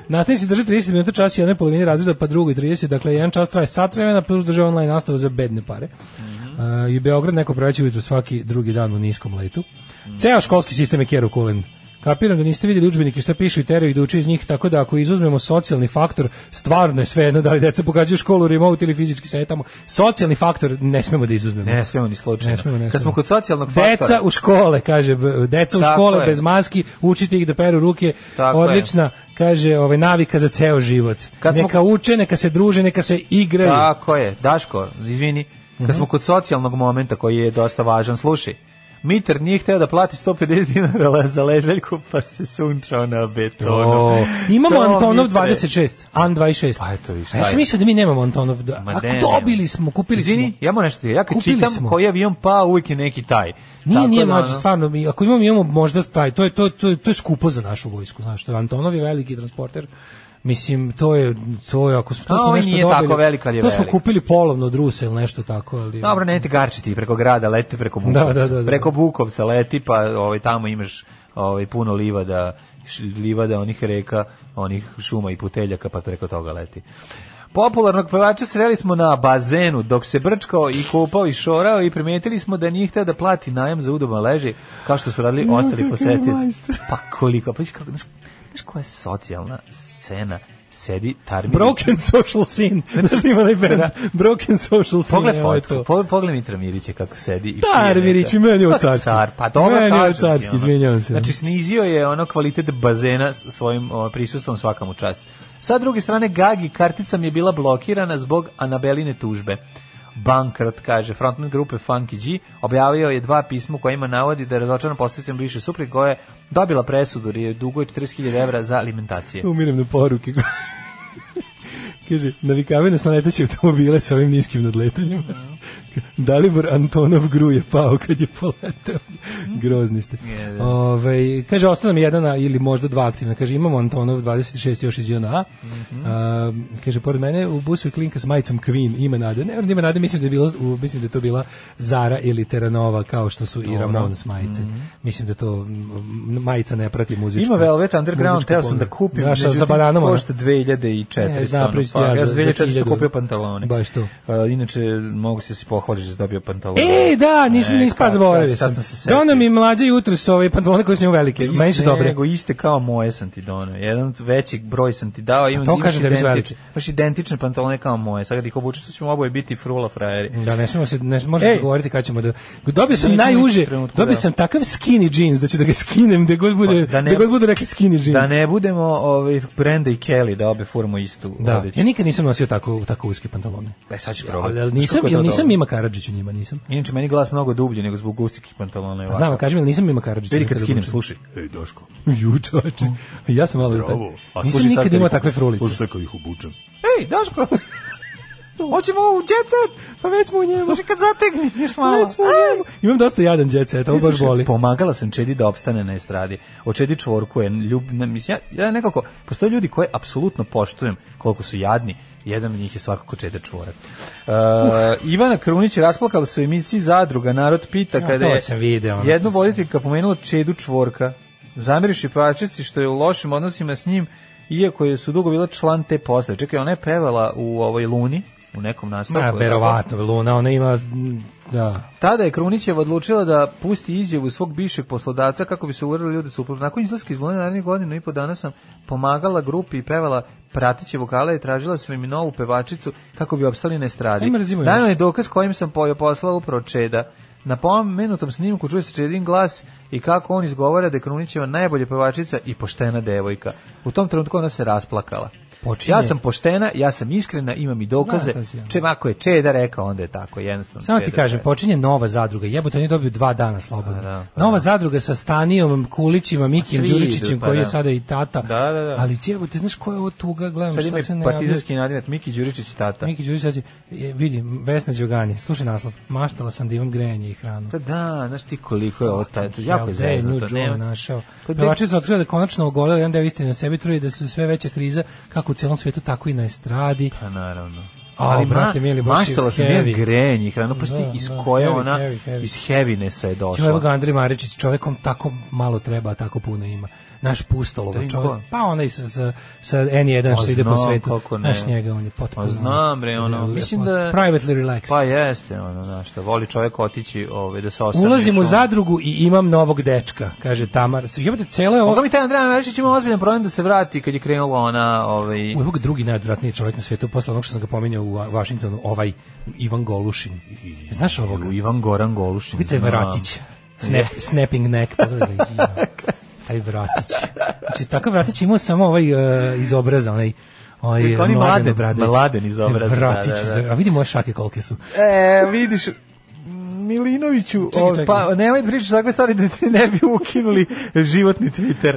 [SPEAKER 6] Nastavi se drži 30 minuta čas i jednoj polovini razreda, pa drugoj 30. Dakle, jedan čas traje sat vremena, plus drže online nastavu za bedne pare.
[SPEAKER 7] Mhm.
[SPEAKER 6] Uh, I u Beograd neko preveće ujutru svaki drugi dan u niskom letu.
[SPEAKER 7] Mhm.
[SPEAKER 6] Ceo školski sistem je kerokulen. Kapiram da niste vidjeli udžbenike šta pišu i teraju i da uče iz njih, tako da ako izuzmemo socijalni faktor, stvarno je svejedno da li deca pogađaju školu remote ili fizički se tamo. Socijalni faktor ne smemo da izuzmemo.
[SPEAKER 7] Ne smemo ni slučajno.
[SPEAKER 6] Ne smemo, ne
[SPEAKER 7] Kad
[SPEAKER 6] smemo.
[SPEAKER 7] smo kod socijalnog faktora...
[SPEAKER 6] Deca u škole, kaže, b- deca u
[SPEAKER 7] Tako
[SPEAKER 6] škole
[SPEAKER 7] je.
[SPEAKER 6] bez maski, učite ih da peru ruke,
[SPEAKER 7] Tako je.
[SPEAKER 6] odlična, kaže, ovaj, navika za ceo život.
[SPEAKER 7] Kad smo-
[SPEAKER 6] neka uče, neka se druže, neka se igraju.
[SPEAKER 7] Tako je, Daško, izvini,
[SPEAKER 6] Mhm.
[SPEAKER 7] kad smo kod socijalnog momenta koji je dosta važan, slušaj, Mitar nije hteo da plati 150 dinara za leželjku, pa se sunčao na betonu.
[SPEAKER 6] O, imamo
[SPEAKER 7] To,
[SPEAKER 6] Antonov
[SPEAKER 7] Mitre.
[SPEAKER 6] 26, An 26. Pa
[SPEAKER 7] eto vi, šta
[SPEAKER 6] ja sam
[SPEAKER 7] je?
[SPEAKER 6] mislio da mi nemamo Antonov. Da,
[SPEAKER 7] Ma
[SPEAKER 6] ako
[SPEAKER 7] ne,
[SPEAKER 6] dobili smo, kupili
[SPEAKER 7] Izvini,
[SPEAKER 6] smo.
[SPEAKER 7] ja moram nešto, ti- ja kad
[SPEAKER 6] Kupili
[SPEAKER 7] čitam
[SPEAKER 6] smo.
[SPEAKER 7] koji avion, pa uvijek je neki taj.
[SPEAKER 6] Nije,
[SPEAKER 7] Tako
[SPEAKER 6] nije
[SPEAKER 7] da,
[SPEAKER 6] mlađe,
[SPEAKER 7] ono,
[SPEAKER 6] stvarno, mi- ako imamo, imamo možda taj, to je, to, je- to, je- to je skupo za našu vojsku, znaš, to je Antonov je veliki transporter, Mislim, to je, to je, ako smo, to
[SPEAKER 7] A,
[SPEAKER 6] smo
[SPEAKER 7] ovaj
[SPEAKER 6] nešto
[SPEAKER 7] nije
[SPEAKER 6] dobili,
[SPEAKER 7] tako velik, ali je
[SPEAKER 6] to smo
[SPEAKER 7] velik.
[SPEAKER 6] kupili polovno od Rusa ili nešto tako, ali...
[SPEAKER 7] Dobro, nemojte garčiti preko grada, leti preko Bukovca.
[SPEAKER 6] Da, da, da, da.
[SPEAKER 7] Preko Bukovca leti, pa ovaj, tamo imaš ovaj, puno livada, š- livada onih reka, onih šuma i puteljaka, pa preko toga leti. Popularnog pevača sreli smo na bazenu dok se brčkao i kupao i šorao i primetili smo da nije htio da plati najam za udoban leži kao što su radili ostali posetioci. Pa koliko, pa viš kako, znaš, znaš koja je socijalna scena sedi Tarminić.
[SPEAKER 6] Broken Social Scene. Znaš li ima onaj band? Broken Social Scene. ovaj,
[SPEAKER 7] Pogled
[SPEAKER 6] evo je
[SPEAKER 7] Da. fotku, po, pogled Mitra Mirića kako sedi. i pije
[SPEAKER 6] Tar
[SPEAKER 7] neka-
[SPEAKER 6] Mirić, meni je u
[SPEAKER 7] Pa,
[SPEAKER 6] carski.
[SPEAKER 7] Car, pa dobro
[SPEAKER 6] Meni je u
[SPEAKER 7] kažem ti,
[SPEAKER 6] carski,
[SPEAKER 7] ono.
[SPEAKER 6] izvinjavam se.
[SPEAKER 7] Znači, snizio je ono kvalitet bazena s- svojim o, prisustvom svakam u čast. Sa druge strane, Gagi kartica mi je bila blokirana zbog Anabeline tužbe. Bankrot, kaže, frontman grupe Funky G, objavio je dva pisma u kojima navodi da je razočaran postavicom više supri koja je dobila presudu jer je duguje 40.000 evra za alimentacije.
[SPEAKER 6] Umirem na poruke. Kaže, navikavaju nas na leteće automobile sa ovim niskim nadletanjem.
[SPEAKER 7] Mhm.
[SPEAKER 6] Dalibor Antonov Gru je pao kad je poletao. Grozni ste.
[SPEAKER 7] Mhm. Je, da.
[SPEAKER 6] Ove, kaže, ostane mi jedna ili možda dva aktivna. Kaže, imamo Antonov 26 još iz Jona A.
[SPEAKER 7] Mhm.
[SPEAKER 6] A, kaže, pored mene u busu je klinka s majicom Queen, ima nade. Ne, ima nade, mislim da je, bilo, u, mislim da je to bila Zara ili Teranova, kao što su i Ramon s majice. Mislim da to mm, majica ne prati muzičku.
[SPEAKER 7] Mhm. Ima Velvet Underground,
[SPEAKER 6] muzičku
[SPEAKER 7] teo sam da
[SPEAKER 6] ponudu.
[SPEAKER 7] kupim,
[SPEAKER 6] Znaš, a
[SPEAKER 7] međutim,
[SPEAKER 6] za bananom, ono?
[SPEAKER 7] košta 2004.
[SPEAKER 6] E, zna,
[SPEAKER 7] stvarno,
[SPEAKER 6] pričati
[SPEAKER 7] pa,
[SPEAKER 6] ja
[SPEAKER 7] ja
[SPEAKER 6] za-
[SPEAKER 7] sam
[SPEAKER 6] za
[SPEAKER 7] 2004.
[SPEAKER 6] 1000.
[SPEAKER 7] kupio pantalone.
[SPEAKER 6] Baš to.
[SPEAKER 7] A, inače, mogu se si pohvališ da si dobio pantalone.
[SPEAKER 6] E, da, nisam
[SPEAKER 7] E,
[SPEAKER 6] nisam pa
[SPEAKER 7] kako,
[SPEAKER 6] zaboravio
[SPEAKER 7] sad
[SPEAKER 6] sam.
[SPEAKER 7] sam se setio.
[SPEAKER 6] Dono mi mlađe jutros ovaj, ove pantalone koje su njemu velike.
[SPEAKER 7] Iste
[SPEAKER 6] Meni su dobre.
[SPEAKER 7] Nego iste kao moje sam ti donio. Jedan od većih broj sam ti dao. Imam
[SPEAKER 6] to
[SPEAKER 7] imaš
[SPEAKER 6] kažem da mi su
[SPEAKER 7] identič-
[SPEAKER 6] veliki.
[SPEAKER 7] Imaš identične pantalone kao moje. Sad kad ih obučeš, sad ćemo oboje biti frula frajeri.
[SPEAKER 6] Da, ne smemo se, ne možemo
[SPEAKER 7] Ej.
[SPEAKER 6] govoriti kad ćemo da... Dobio sam
[SPEAKER 7] Nećemo
[SPEAKER 6] najuže,
[SPEAKER 7] ići trenutku,
[SPEAKER 6] dobio
[SPEAKER 7] da.
[SPEAKER 6] sam takav skinny jeans da ću da ga skinem gde god bude,
[SPEAKER 7] Pa, da ne-
[SPEAKER 6] gde god bude rekli skinny
[SPEAKER 7] Da
[SPEAKER 6] jeans.
[SPEAKER 7] ne budemo ovaj, Brenda i Kelly da obe furamo istu
[SPEAKER 6] Da,
[SPEAKER 7] odeću.
[SPEAKER 6] ja nikad nisam nosio tako, tako uske pantalone.
[SPEAKER 7] E, sad ću probati.
[SPEAKER 6] Ali, ali
[SPEAKER 7] Znaš
[SPEAKER 6] nisam,
[SPEAKER 7] kako je
[SPEAKER 6] jel
[SPEAKER 7] to
[SPEAKER 6] nisam
[SPEAKER 7] dobro?
[SPEAKER 6] ima Karadžić u njima, nisam.
[SPEAKER 7] Inače, meni glas mnogo dublji nego zbog ustikih pantalona. i
[SPEAKER 6] A
[SPEAKER 7] ovako.
[SPEAKER 6] Znam, kažem, jel nisam ima Karadžić.
[SPEAKER 7] Vidi kad skinem, slušaj. Ej, Daško,
[SPEAKER 6] Ju, čoveče. Ja sam malo...
[SPEAKER 7] Zdravo. A
[SPEAKER 6] Nisam
[SPEAKER 7] slušaj sad
[SPEAKER 6] nikad
[SPEAKER 7] kad
[SPEAKER 6] imao
[SPEAKER 7] ih-
[SPEAKER 6] takve frulice.
[SPEAKER 7] slušaj sad kad ih obučem. Ej, Daško! Hoćemo u djecet!
[SPEAKER 6] Pa već smo u njemu.
[SPEAKER 7] Slušaj kad zategneš malo.
[SPEAKER 6] Već smo u njemu. Imam dosta jadan jet set, ovo
[SPEAKER 7] Mislim, da
[SPEAKER 6] baš boli.
[SPEAKER 7] Pomagala sam Čedi da opstane na estradi. O Čedi čvorku je ljub... ne, Mislim, ja, ja nekako... Postoje ljudi koje apsolutno poštujem koliko su jadni. Jedan od njih je svakako Čeda čvorak. Uh, Ivana Krunić je rasplakala se u emisiji Zadruga. Narod pita
[SPEAKER 6] Ja,
[SPEAKER 7] kada
[SPEAKER 6] to
[SPEAKER 7] je
[SPEAKER 6] sam video, ono,
[SPEAKER 7] jednu
[SPEAKER 6] to sam-
[SPEAKER 7] voditeljka pomenula Čedu čvorka. Zamiriš i pačici što je u lošim odnosima s njim iako je su dugo bila član te postave. Čekaj, ona je pevala u ovoj Luni, u nekom nastavku.
[SPEAKER 6] Ma,
[SPEAKER 7] je li
[SPEAKER 6] verovatno, Luna, ona ima, da,
[SPEAKER 7] Tada je Krunićeva odlučila da pusti izjavu svog bivšeg poslodavca kako bi se uverili ljudi suprotno. Nakon izlaska iz Lune narednih godinu i po dana sam pomagala grupi i pevala pratiće vokale i tražila sam im novu pevačicu kako bi opstali na estradi.
[SPEAKER 6] Ajme, razimo
[SPEAKER 7] Dano
[SPEAKER 6] još.
[SPEAKER 7] je dokaz kojim sam pojo poslala upravo Čeda. Na pomenutom snimku čuje se Čedin glas i kako on izgovara da je Krunićeva najbolja pevačica i poštena devojka. U tom trenutku ona se rasplakala.
[SPEAKER 6] Počinje-
[SPEAKER 7] Ja sam poštena, ja sam iskrena, imam i dokaze.
[SPEAKER 6] Znam to sve.
[SPEAKER 7] Čem ako je Čeda rekao, onda je tako, jednostavno.
[SPEAKER 6] Samo ti
[SPEAKER 7] Čeda
[SPEAKER 6] kažem,
[SPEAKER 7] je-
[SPEAKER 6] počinje nova zadruga. Jebote, oni dobiju dva dana slobodno.
[SPEAKER 7] Da,
[SPEAKER 6] nova zadruga sa Stanijom, Kulićima, Mikim,
[SPEAKER 7] Svi
[SPEAKER 6] Đuričićem,
[SPEAKER 7] idu, pa
[SPEAKER 6] koji je
[SPEAKER 7] da.
[SPEAKER 6] sada i tata.
[SPEAKER 7] Da, da, da.
[SPEAKER 6] Ali jebote, znaš koja je ovo tuga, gledam
[SPEAKER 7] Sad
[SPEAKER 6] šta se
[SPEAKER 7] ima
[SPEAKER 6] ne
[SPEAKER 7] partizanski nadimak Miki Đuričić tata.
[SPEAKER 6] javlja. Miki Đurić sad će, e, vidi, Vesna Đogani, slušaj naslov, maštala sam da imam grejanje i hranu.
[SPEAKER 7] Da, da, znaš ti koliko je ovo taj, to jako je
[SPEAKER 6] Jel, da je nju
[SPEAKER 7] zeznuto.
[SPEAKER 6] Đole
[SPEAKER 7] nema-
[SPEAKER 6] našao.
[SPEAKER 7] Pa gde-
[SPEAKER 6] Pevači su otkrili da je konačno ogoleo jedan deo istine na sebi trudi da su sve veća kriza kako u celom svetu tako i na estradi.
[SPEAKER 7] Pa naravno.
[SPEAKER 6] A, brate, mili, baš je
[SPEAKER 7] maštala sam
[SPEAKER 6] heavy.
[SPEAKER 7] ja grenji i hranu, pa sti
[SPEAKER 6] Da,
[SPEAKER 7] iz
[SPEAKER 6] da,
[SPEAKER 7] koje
[SPEAKER 6] heavy,
[SPEAKER 7] ona,
[SPEAKER 6] heavy, heavy.
[SPEAKER 7] iz heavinessa je došla.
[SPEAKER 6] Evo ga Andrej Maričić, čovekom tako malo treba, a tako puno ima. Naš
[SPEAKER 7] Da
[SPEAKER 6] pustolova
[SPEAKER 7] im ko?
[SPEAKER 6] čovjek. Pa onaj sa, sa, sa N1 što
[SPEAKER 7] Pa
[SPEAKER 6] ide po
[SPEAKER 7] znam,
[SPEAKER 6] svetu.
[SPEAKER 7] kako ne.
[SPEAKER 6] Naš njega, on je potpuno...
[SPEAKER 7] Pa znam, bre, ono,
[SPEAKER 6] lepo-
[SPEAKER 7] mislim da-
[SPEAKER 6] Privately relaxed.
[SPEAKER 7] Pa jeste, ono, znaš, da voli čovjek otići ove, da se osam.
[SPEAKER 6] Ulazim u zadrugu i imam novog dečka, kaže Tamar. Jebate, celo je
[SPEAKER 7] Moga
[SPEAKER 6] ovo...
[SPEAKER 7] mi taj Andrej Maričić ima ozbiljan problem da se vrati kad je krenula ona, ovaj,
[SPEAKER 6] Uvijek drugi najodvratniji čovjek na svijetu, posle onog što sam ga pominjao u Washingtonu, ovaj Ivan Golušin. Znaš ovoga?
[SPEAKER 7] u Ivan Goran Golušin.
[SPEAKER 6] Vidite
[SPEAKER 7] znam.
[SPEAKER 6] Vratić. Snap, snapping neck. Pogledaj, ja, taj Vratić. Znači, takav Vratić imao samo ovaj e, iz obraza, onaj Oj,
[SPEAKER 7] Kao oni mladen-
[SPEAKER 6] Obradović.
[SPEAKER 7] mladen iz obraza,
[SPEAKER 6] Vratić,
[SPEAKER 7] da, da, da.
[SPEAKER 6] A vidi moje šake kolike su.
[SPEAKER 7] E, vidiš, Milinoviću,
[SPEAKER 6] Čekaj,
[SPEAKER 7] o,
[SPEAKER 6] čekaj.
[SPEAKER 7] pa nemoj da pričaš takve stvari da ti ne bi ukinuli životni Twitter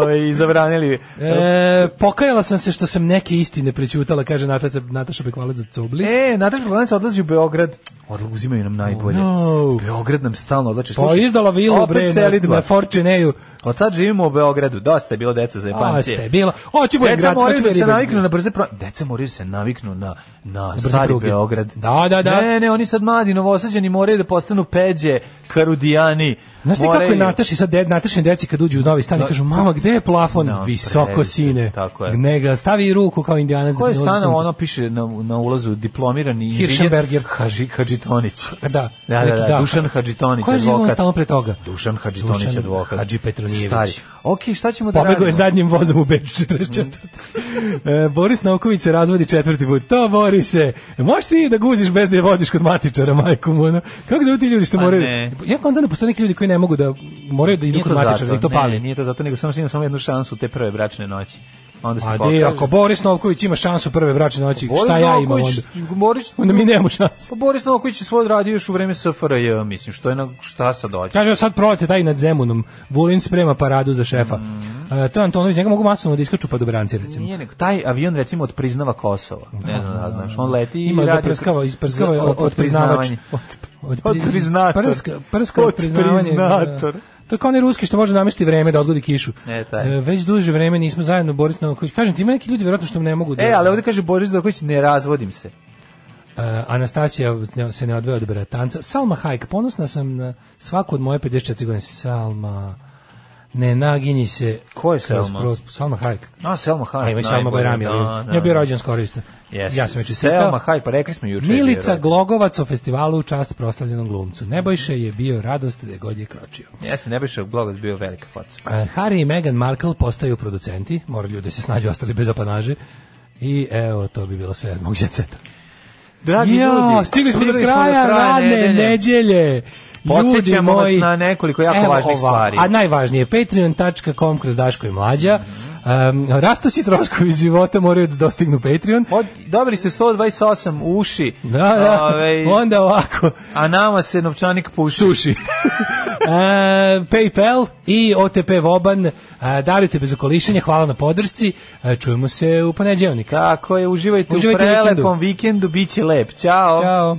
[SPEAKER 7] ove, i zabranili.
[SPEAKER 6] E, pokajala sam se što sam neke istine prećutala, kaže Nataša, Nataša Bekvalac za Cobli.
[SPEAKER 7] E, Nataš Pogledanec odlazi u Beograd. Odla, uzimaju nam najbolje.
[SPEAKER 6] Oh, No.
[SPEAKER 7] Beograd nam stalno odlače.
[SPEAKER 6] pa izdala vilu, bre,
[SPEAKER 7] opet
[SPEAKER 6] na,
[SPEAKER 7] selidba.
[SPEAKER 6] na Fortuneju.
[SPEAKER 7] Od sad živimo u Beogradu. Dosta je bilo deca za
[SPEAKER 6] A,
[SPEAKER 7] jebancije.
[SPEAKER 6] Pa ste, bilo. Oći bude
[SPEAKER 7] Deca
[SPEAKER 6] grad,
[SPEAKER 7] moraju
[SPEAKER 6] hoću
[SPEAKER 7] da
[SPEAKER 6] bude
[SPEAKER 7] se
[SPEAKER 6] ribe.
[SPEAKER 7] naviknu na brze pro... Deca moraju da se naviknu na, na
[SPEAKER 6] brze
[SPEAKER 7] stari
[SPEAKER 6] pruge.
[SPEAKER 7] Beograd.
[SPEAKER 6] Da, da, da.
[SPEAKER 7] Ne, ne, oni sad mladi, novosađeni moraju da postanu peđe, karudijani.
[SPEAKER 6] Znaš ti kako je Nataši sad, de, Natašine deci kad uđu u novi stan i
[SPEAKER 7] Da.
[SPEAKER 6] kažu, mama, gde je plafon?
[SPEAKER 7] Da,
[SPEAKER 6] Visoko,
[SPEAKER 7] previše,
[SPEAKER 6] sine.
[SPEAKER 7] tako je.
[SPEAKER 6] Gnega, stavi ruku kao indijanac.
[SPEAKER 7] Ko je
[SPEAKER 6] da ne ulazi
[SPEAKER 7] stano,
[SPEAKER 6] sunce.
[SPEAKER 7] ono piše na, na ulazu diplomirani inženjer
[SPEAKER 6] Hirschenberger.
[SPEAKER 7] Haži, Hadžitonić.
[SPEAKER 6] Da, da,
[SPEAKER 7] Da, da,
[SPEAKER 6] neki
[SPEAKER 7] da,
[SPEAKER 6] dan.
[SPEAKER 7] Dušan Hadžitonić,
[SPEAKER 6] Ko je živio on
[SPEAKER 7] advokat.
[SPEAKER 6] stalno pre toga?
[SPEAKER 7] Dušan Hadžitonić,
[SPEAKER 6] Dušan
[SPEAKER 7] advokat.
[SPEAKER 6] Hadži Petronijević.
[SPEAKER 7] Stari. Ok, šta ćemo da
[SPEAKER 6] Pa Pobegao je
[SPEAKER 7] radimo?
[SPEAKER 6] zadnjim vozom u B44.
[SPEAKER 7] Mm.
[SPEAKER 6] e, Boris Nauković se razvodi četvrti put. To, Borise, možeš ti da guziš bez da je vodiš kod matičara, majku mu, ono? Kako zove ti ljudi što
[SPEAKER 7] Pa
[SPEAKER 6] moraju...
[SPEAKER 7] ne.
[SPEAKER 6] Ja onda ne postoje neki ljudi koji ne mogu da moraju da idu kod matičara, da ih to
[SPEAKER 7] ne,
[SPEAKER 6] pali.
[SPEAKER 7] nije to zato, nego samo što imam samo jednu šansu te prve bračne noći. Onda se
[SPEAKER 6] A di,
[SPEAKER 7] pokaže.
[SPEAKER 6] Pa ako Boris Novković ima šansu prve bračne noći,
[SPEAKER 7] Boris
[SPEAKER 6] šta ja imam
[SPEAKER 7] Novković,
[SPEAKER 6] onda?
[SPEAKER 7] Boris,
[SPEAKER 6] Onda mi nemamo šansu.
[SPEAKER 7] pa Boris Novković je svoj radio još u vreme SFRJ, mislim, što je na, šta sad dođe?
[SPEAKER 6] Kaže, sad prolete taj nad Zemunom. Vulin sprema paradu za šefa.
[SPEAKER 7] Mhm.
[SPEAKER 6] E, to je Antonović, njega mogu masovno da iskaču pa do branci, recimo.
[SPEAKER 7] Nije nego, taj avion recimo odpriznava Kosovo. Ne znam da znaš, on leti i
[SPEAKER 6] Ima
[SPEAKER 7] radi-
[SPEAKER 6] zaprskava, isprskava je
[SPEAKER 7] Za-
[SPEAKER 6] otpriznavač.
[SPEAKER 7] otpriznavanje.
[SPEAKER 6] Od,
[SPEAKER 7] Otpriznator.
[SPEAKER 6] Prska, prska otpriznavanje.
[SPEAKER 7] Otpriznator.
[SPEAKER 6] da. To je kao onaj ruski što može namesti vreme da odgodi kišu.
[SPEAKER 7] E, taj.
[SPEAKER 6] E, već duže vreme nismo zajedno Boris Novaković. Kažem ti, ima neki ljudi vjerojatno što ne mogu da...
[SPEAKER 7] E, ali ovdje kaže Boris Doković, ne razvodim se.
[SPEAKER 6] E, Anastasija ne- se ne odvaja od bratanca. Salma Hajk, ponosna sam na svaku od moje 54 godine. Salma, ne naginji se.
[SPEAKER 7] Ko je
[SPEAKER 6] kroz
[SPEAKER 7] Salma?
[SPEAKER 6] prospu. Salma Hajk.
[SPEAKER 7] A, Selma Hayek.
[SPEAKER 6] A ima i Salma
[SPEAKER 7] najbolje,
[SPEAKER 6] Bajrami. ali-
[SPEAKER 7] da, da.
[SPEAKER 6] Ja bio rođen skoro isto.
[SPEAKER 7] Jeste.
[SPEAKER 6] Ja sam je
[SPEAKER 7] Selma
[SPEAKER 6] čestitao.
[SPEAKER 7] Hayek, pa rekli smo juče. je bio
[SPEAKER 6] Milica
[SPEAKER 7] rođen.
[SPEAKER 6] Glogovac o festivalu u čast proslavljenom glumcu. Nebojše je bio radost gde god je kročio.
[SPEAKER 7] Jeste, ne biše Glogoc bio velika faca.
[SPEAKER 6] E, Harry i Meghan Markle postaju producenti, moraju da se snađu, ostali bez apanaže. I evo, to bi bilo sve od mog djeceta.
[SPEAKER 7] Dragi ljudi,
[SPEAKER 6] stigli smo do
[SPEAKER 7] stigli smo
[SPEAKER 6] kraja
[SPEAKER 7] do kraja
[SPEAKER 6] radne
[SPEAKER 7] nedelje.
[SPEAKER 6] nedelje.
[SPEAKER 7] Podsjećamo
[SPEAKER 6] Ljudi moji,
[SPEAKER 7] vas na nekoliko jako
[SPEAKER 6] evo
[SPEAKER 7] važnih
[SPEAKER 6] ovako,
[SPEAKER 7] stvari.
[SPEAKER 6] A najvažnije, patreon.com kroz Daško i Mlađa. Um, rastu si troškovi života moraju da dostignu Patreon.
[SPEAKER 7] Od, dobili ste 128 u uši.
[SPEAKER 6] Da, da,
[SPEAKER 7] Ovaj,
[SPEAKER 6] onda ovako.
[SPEAKER 7] A nama se novčanik puši.
[SPEAKER 6] Suši. E, PayPal i OTP Voban. E, darujte bez okolišenja, hvala na podršci. E, čujemo se u poneđevnik.
[SPEAKER 7] Kako je, uživajte,
[SPEAKER 6] Uživajte
[SPEAKER 7] u
[SPEAKER 6] u vikendu.
[SPEAKER 7] prelepom vikendu, bit će lep. Ćao.
[SPEAKER 6] Ćao.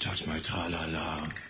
[SPEAKER 1] touch my tra-la-la.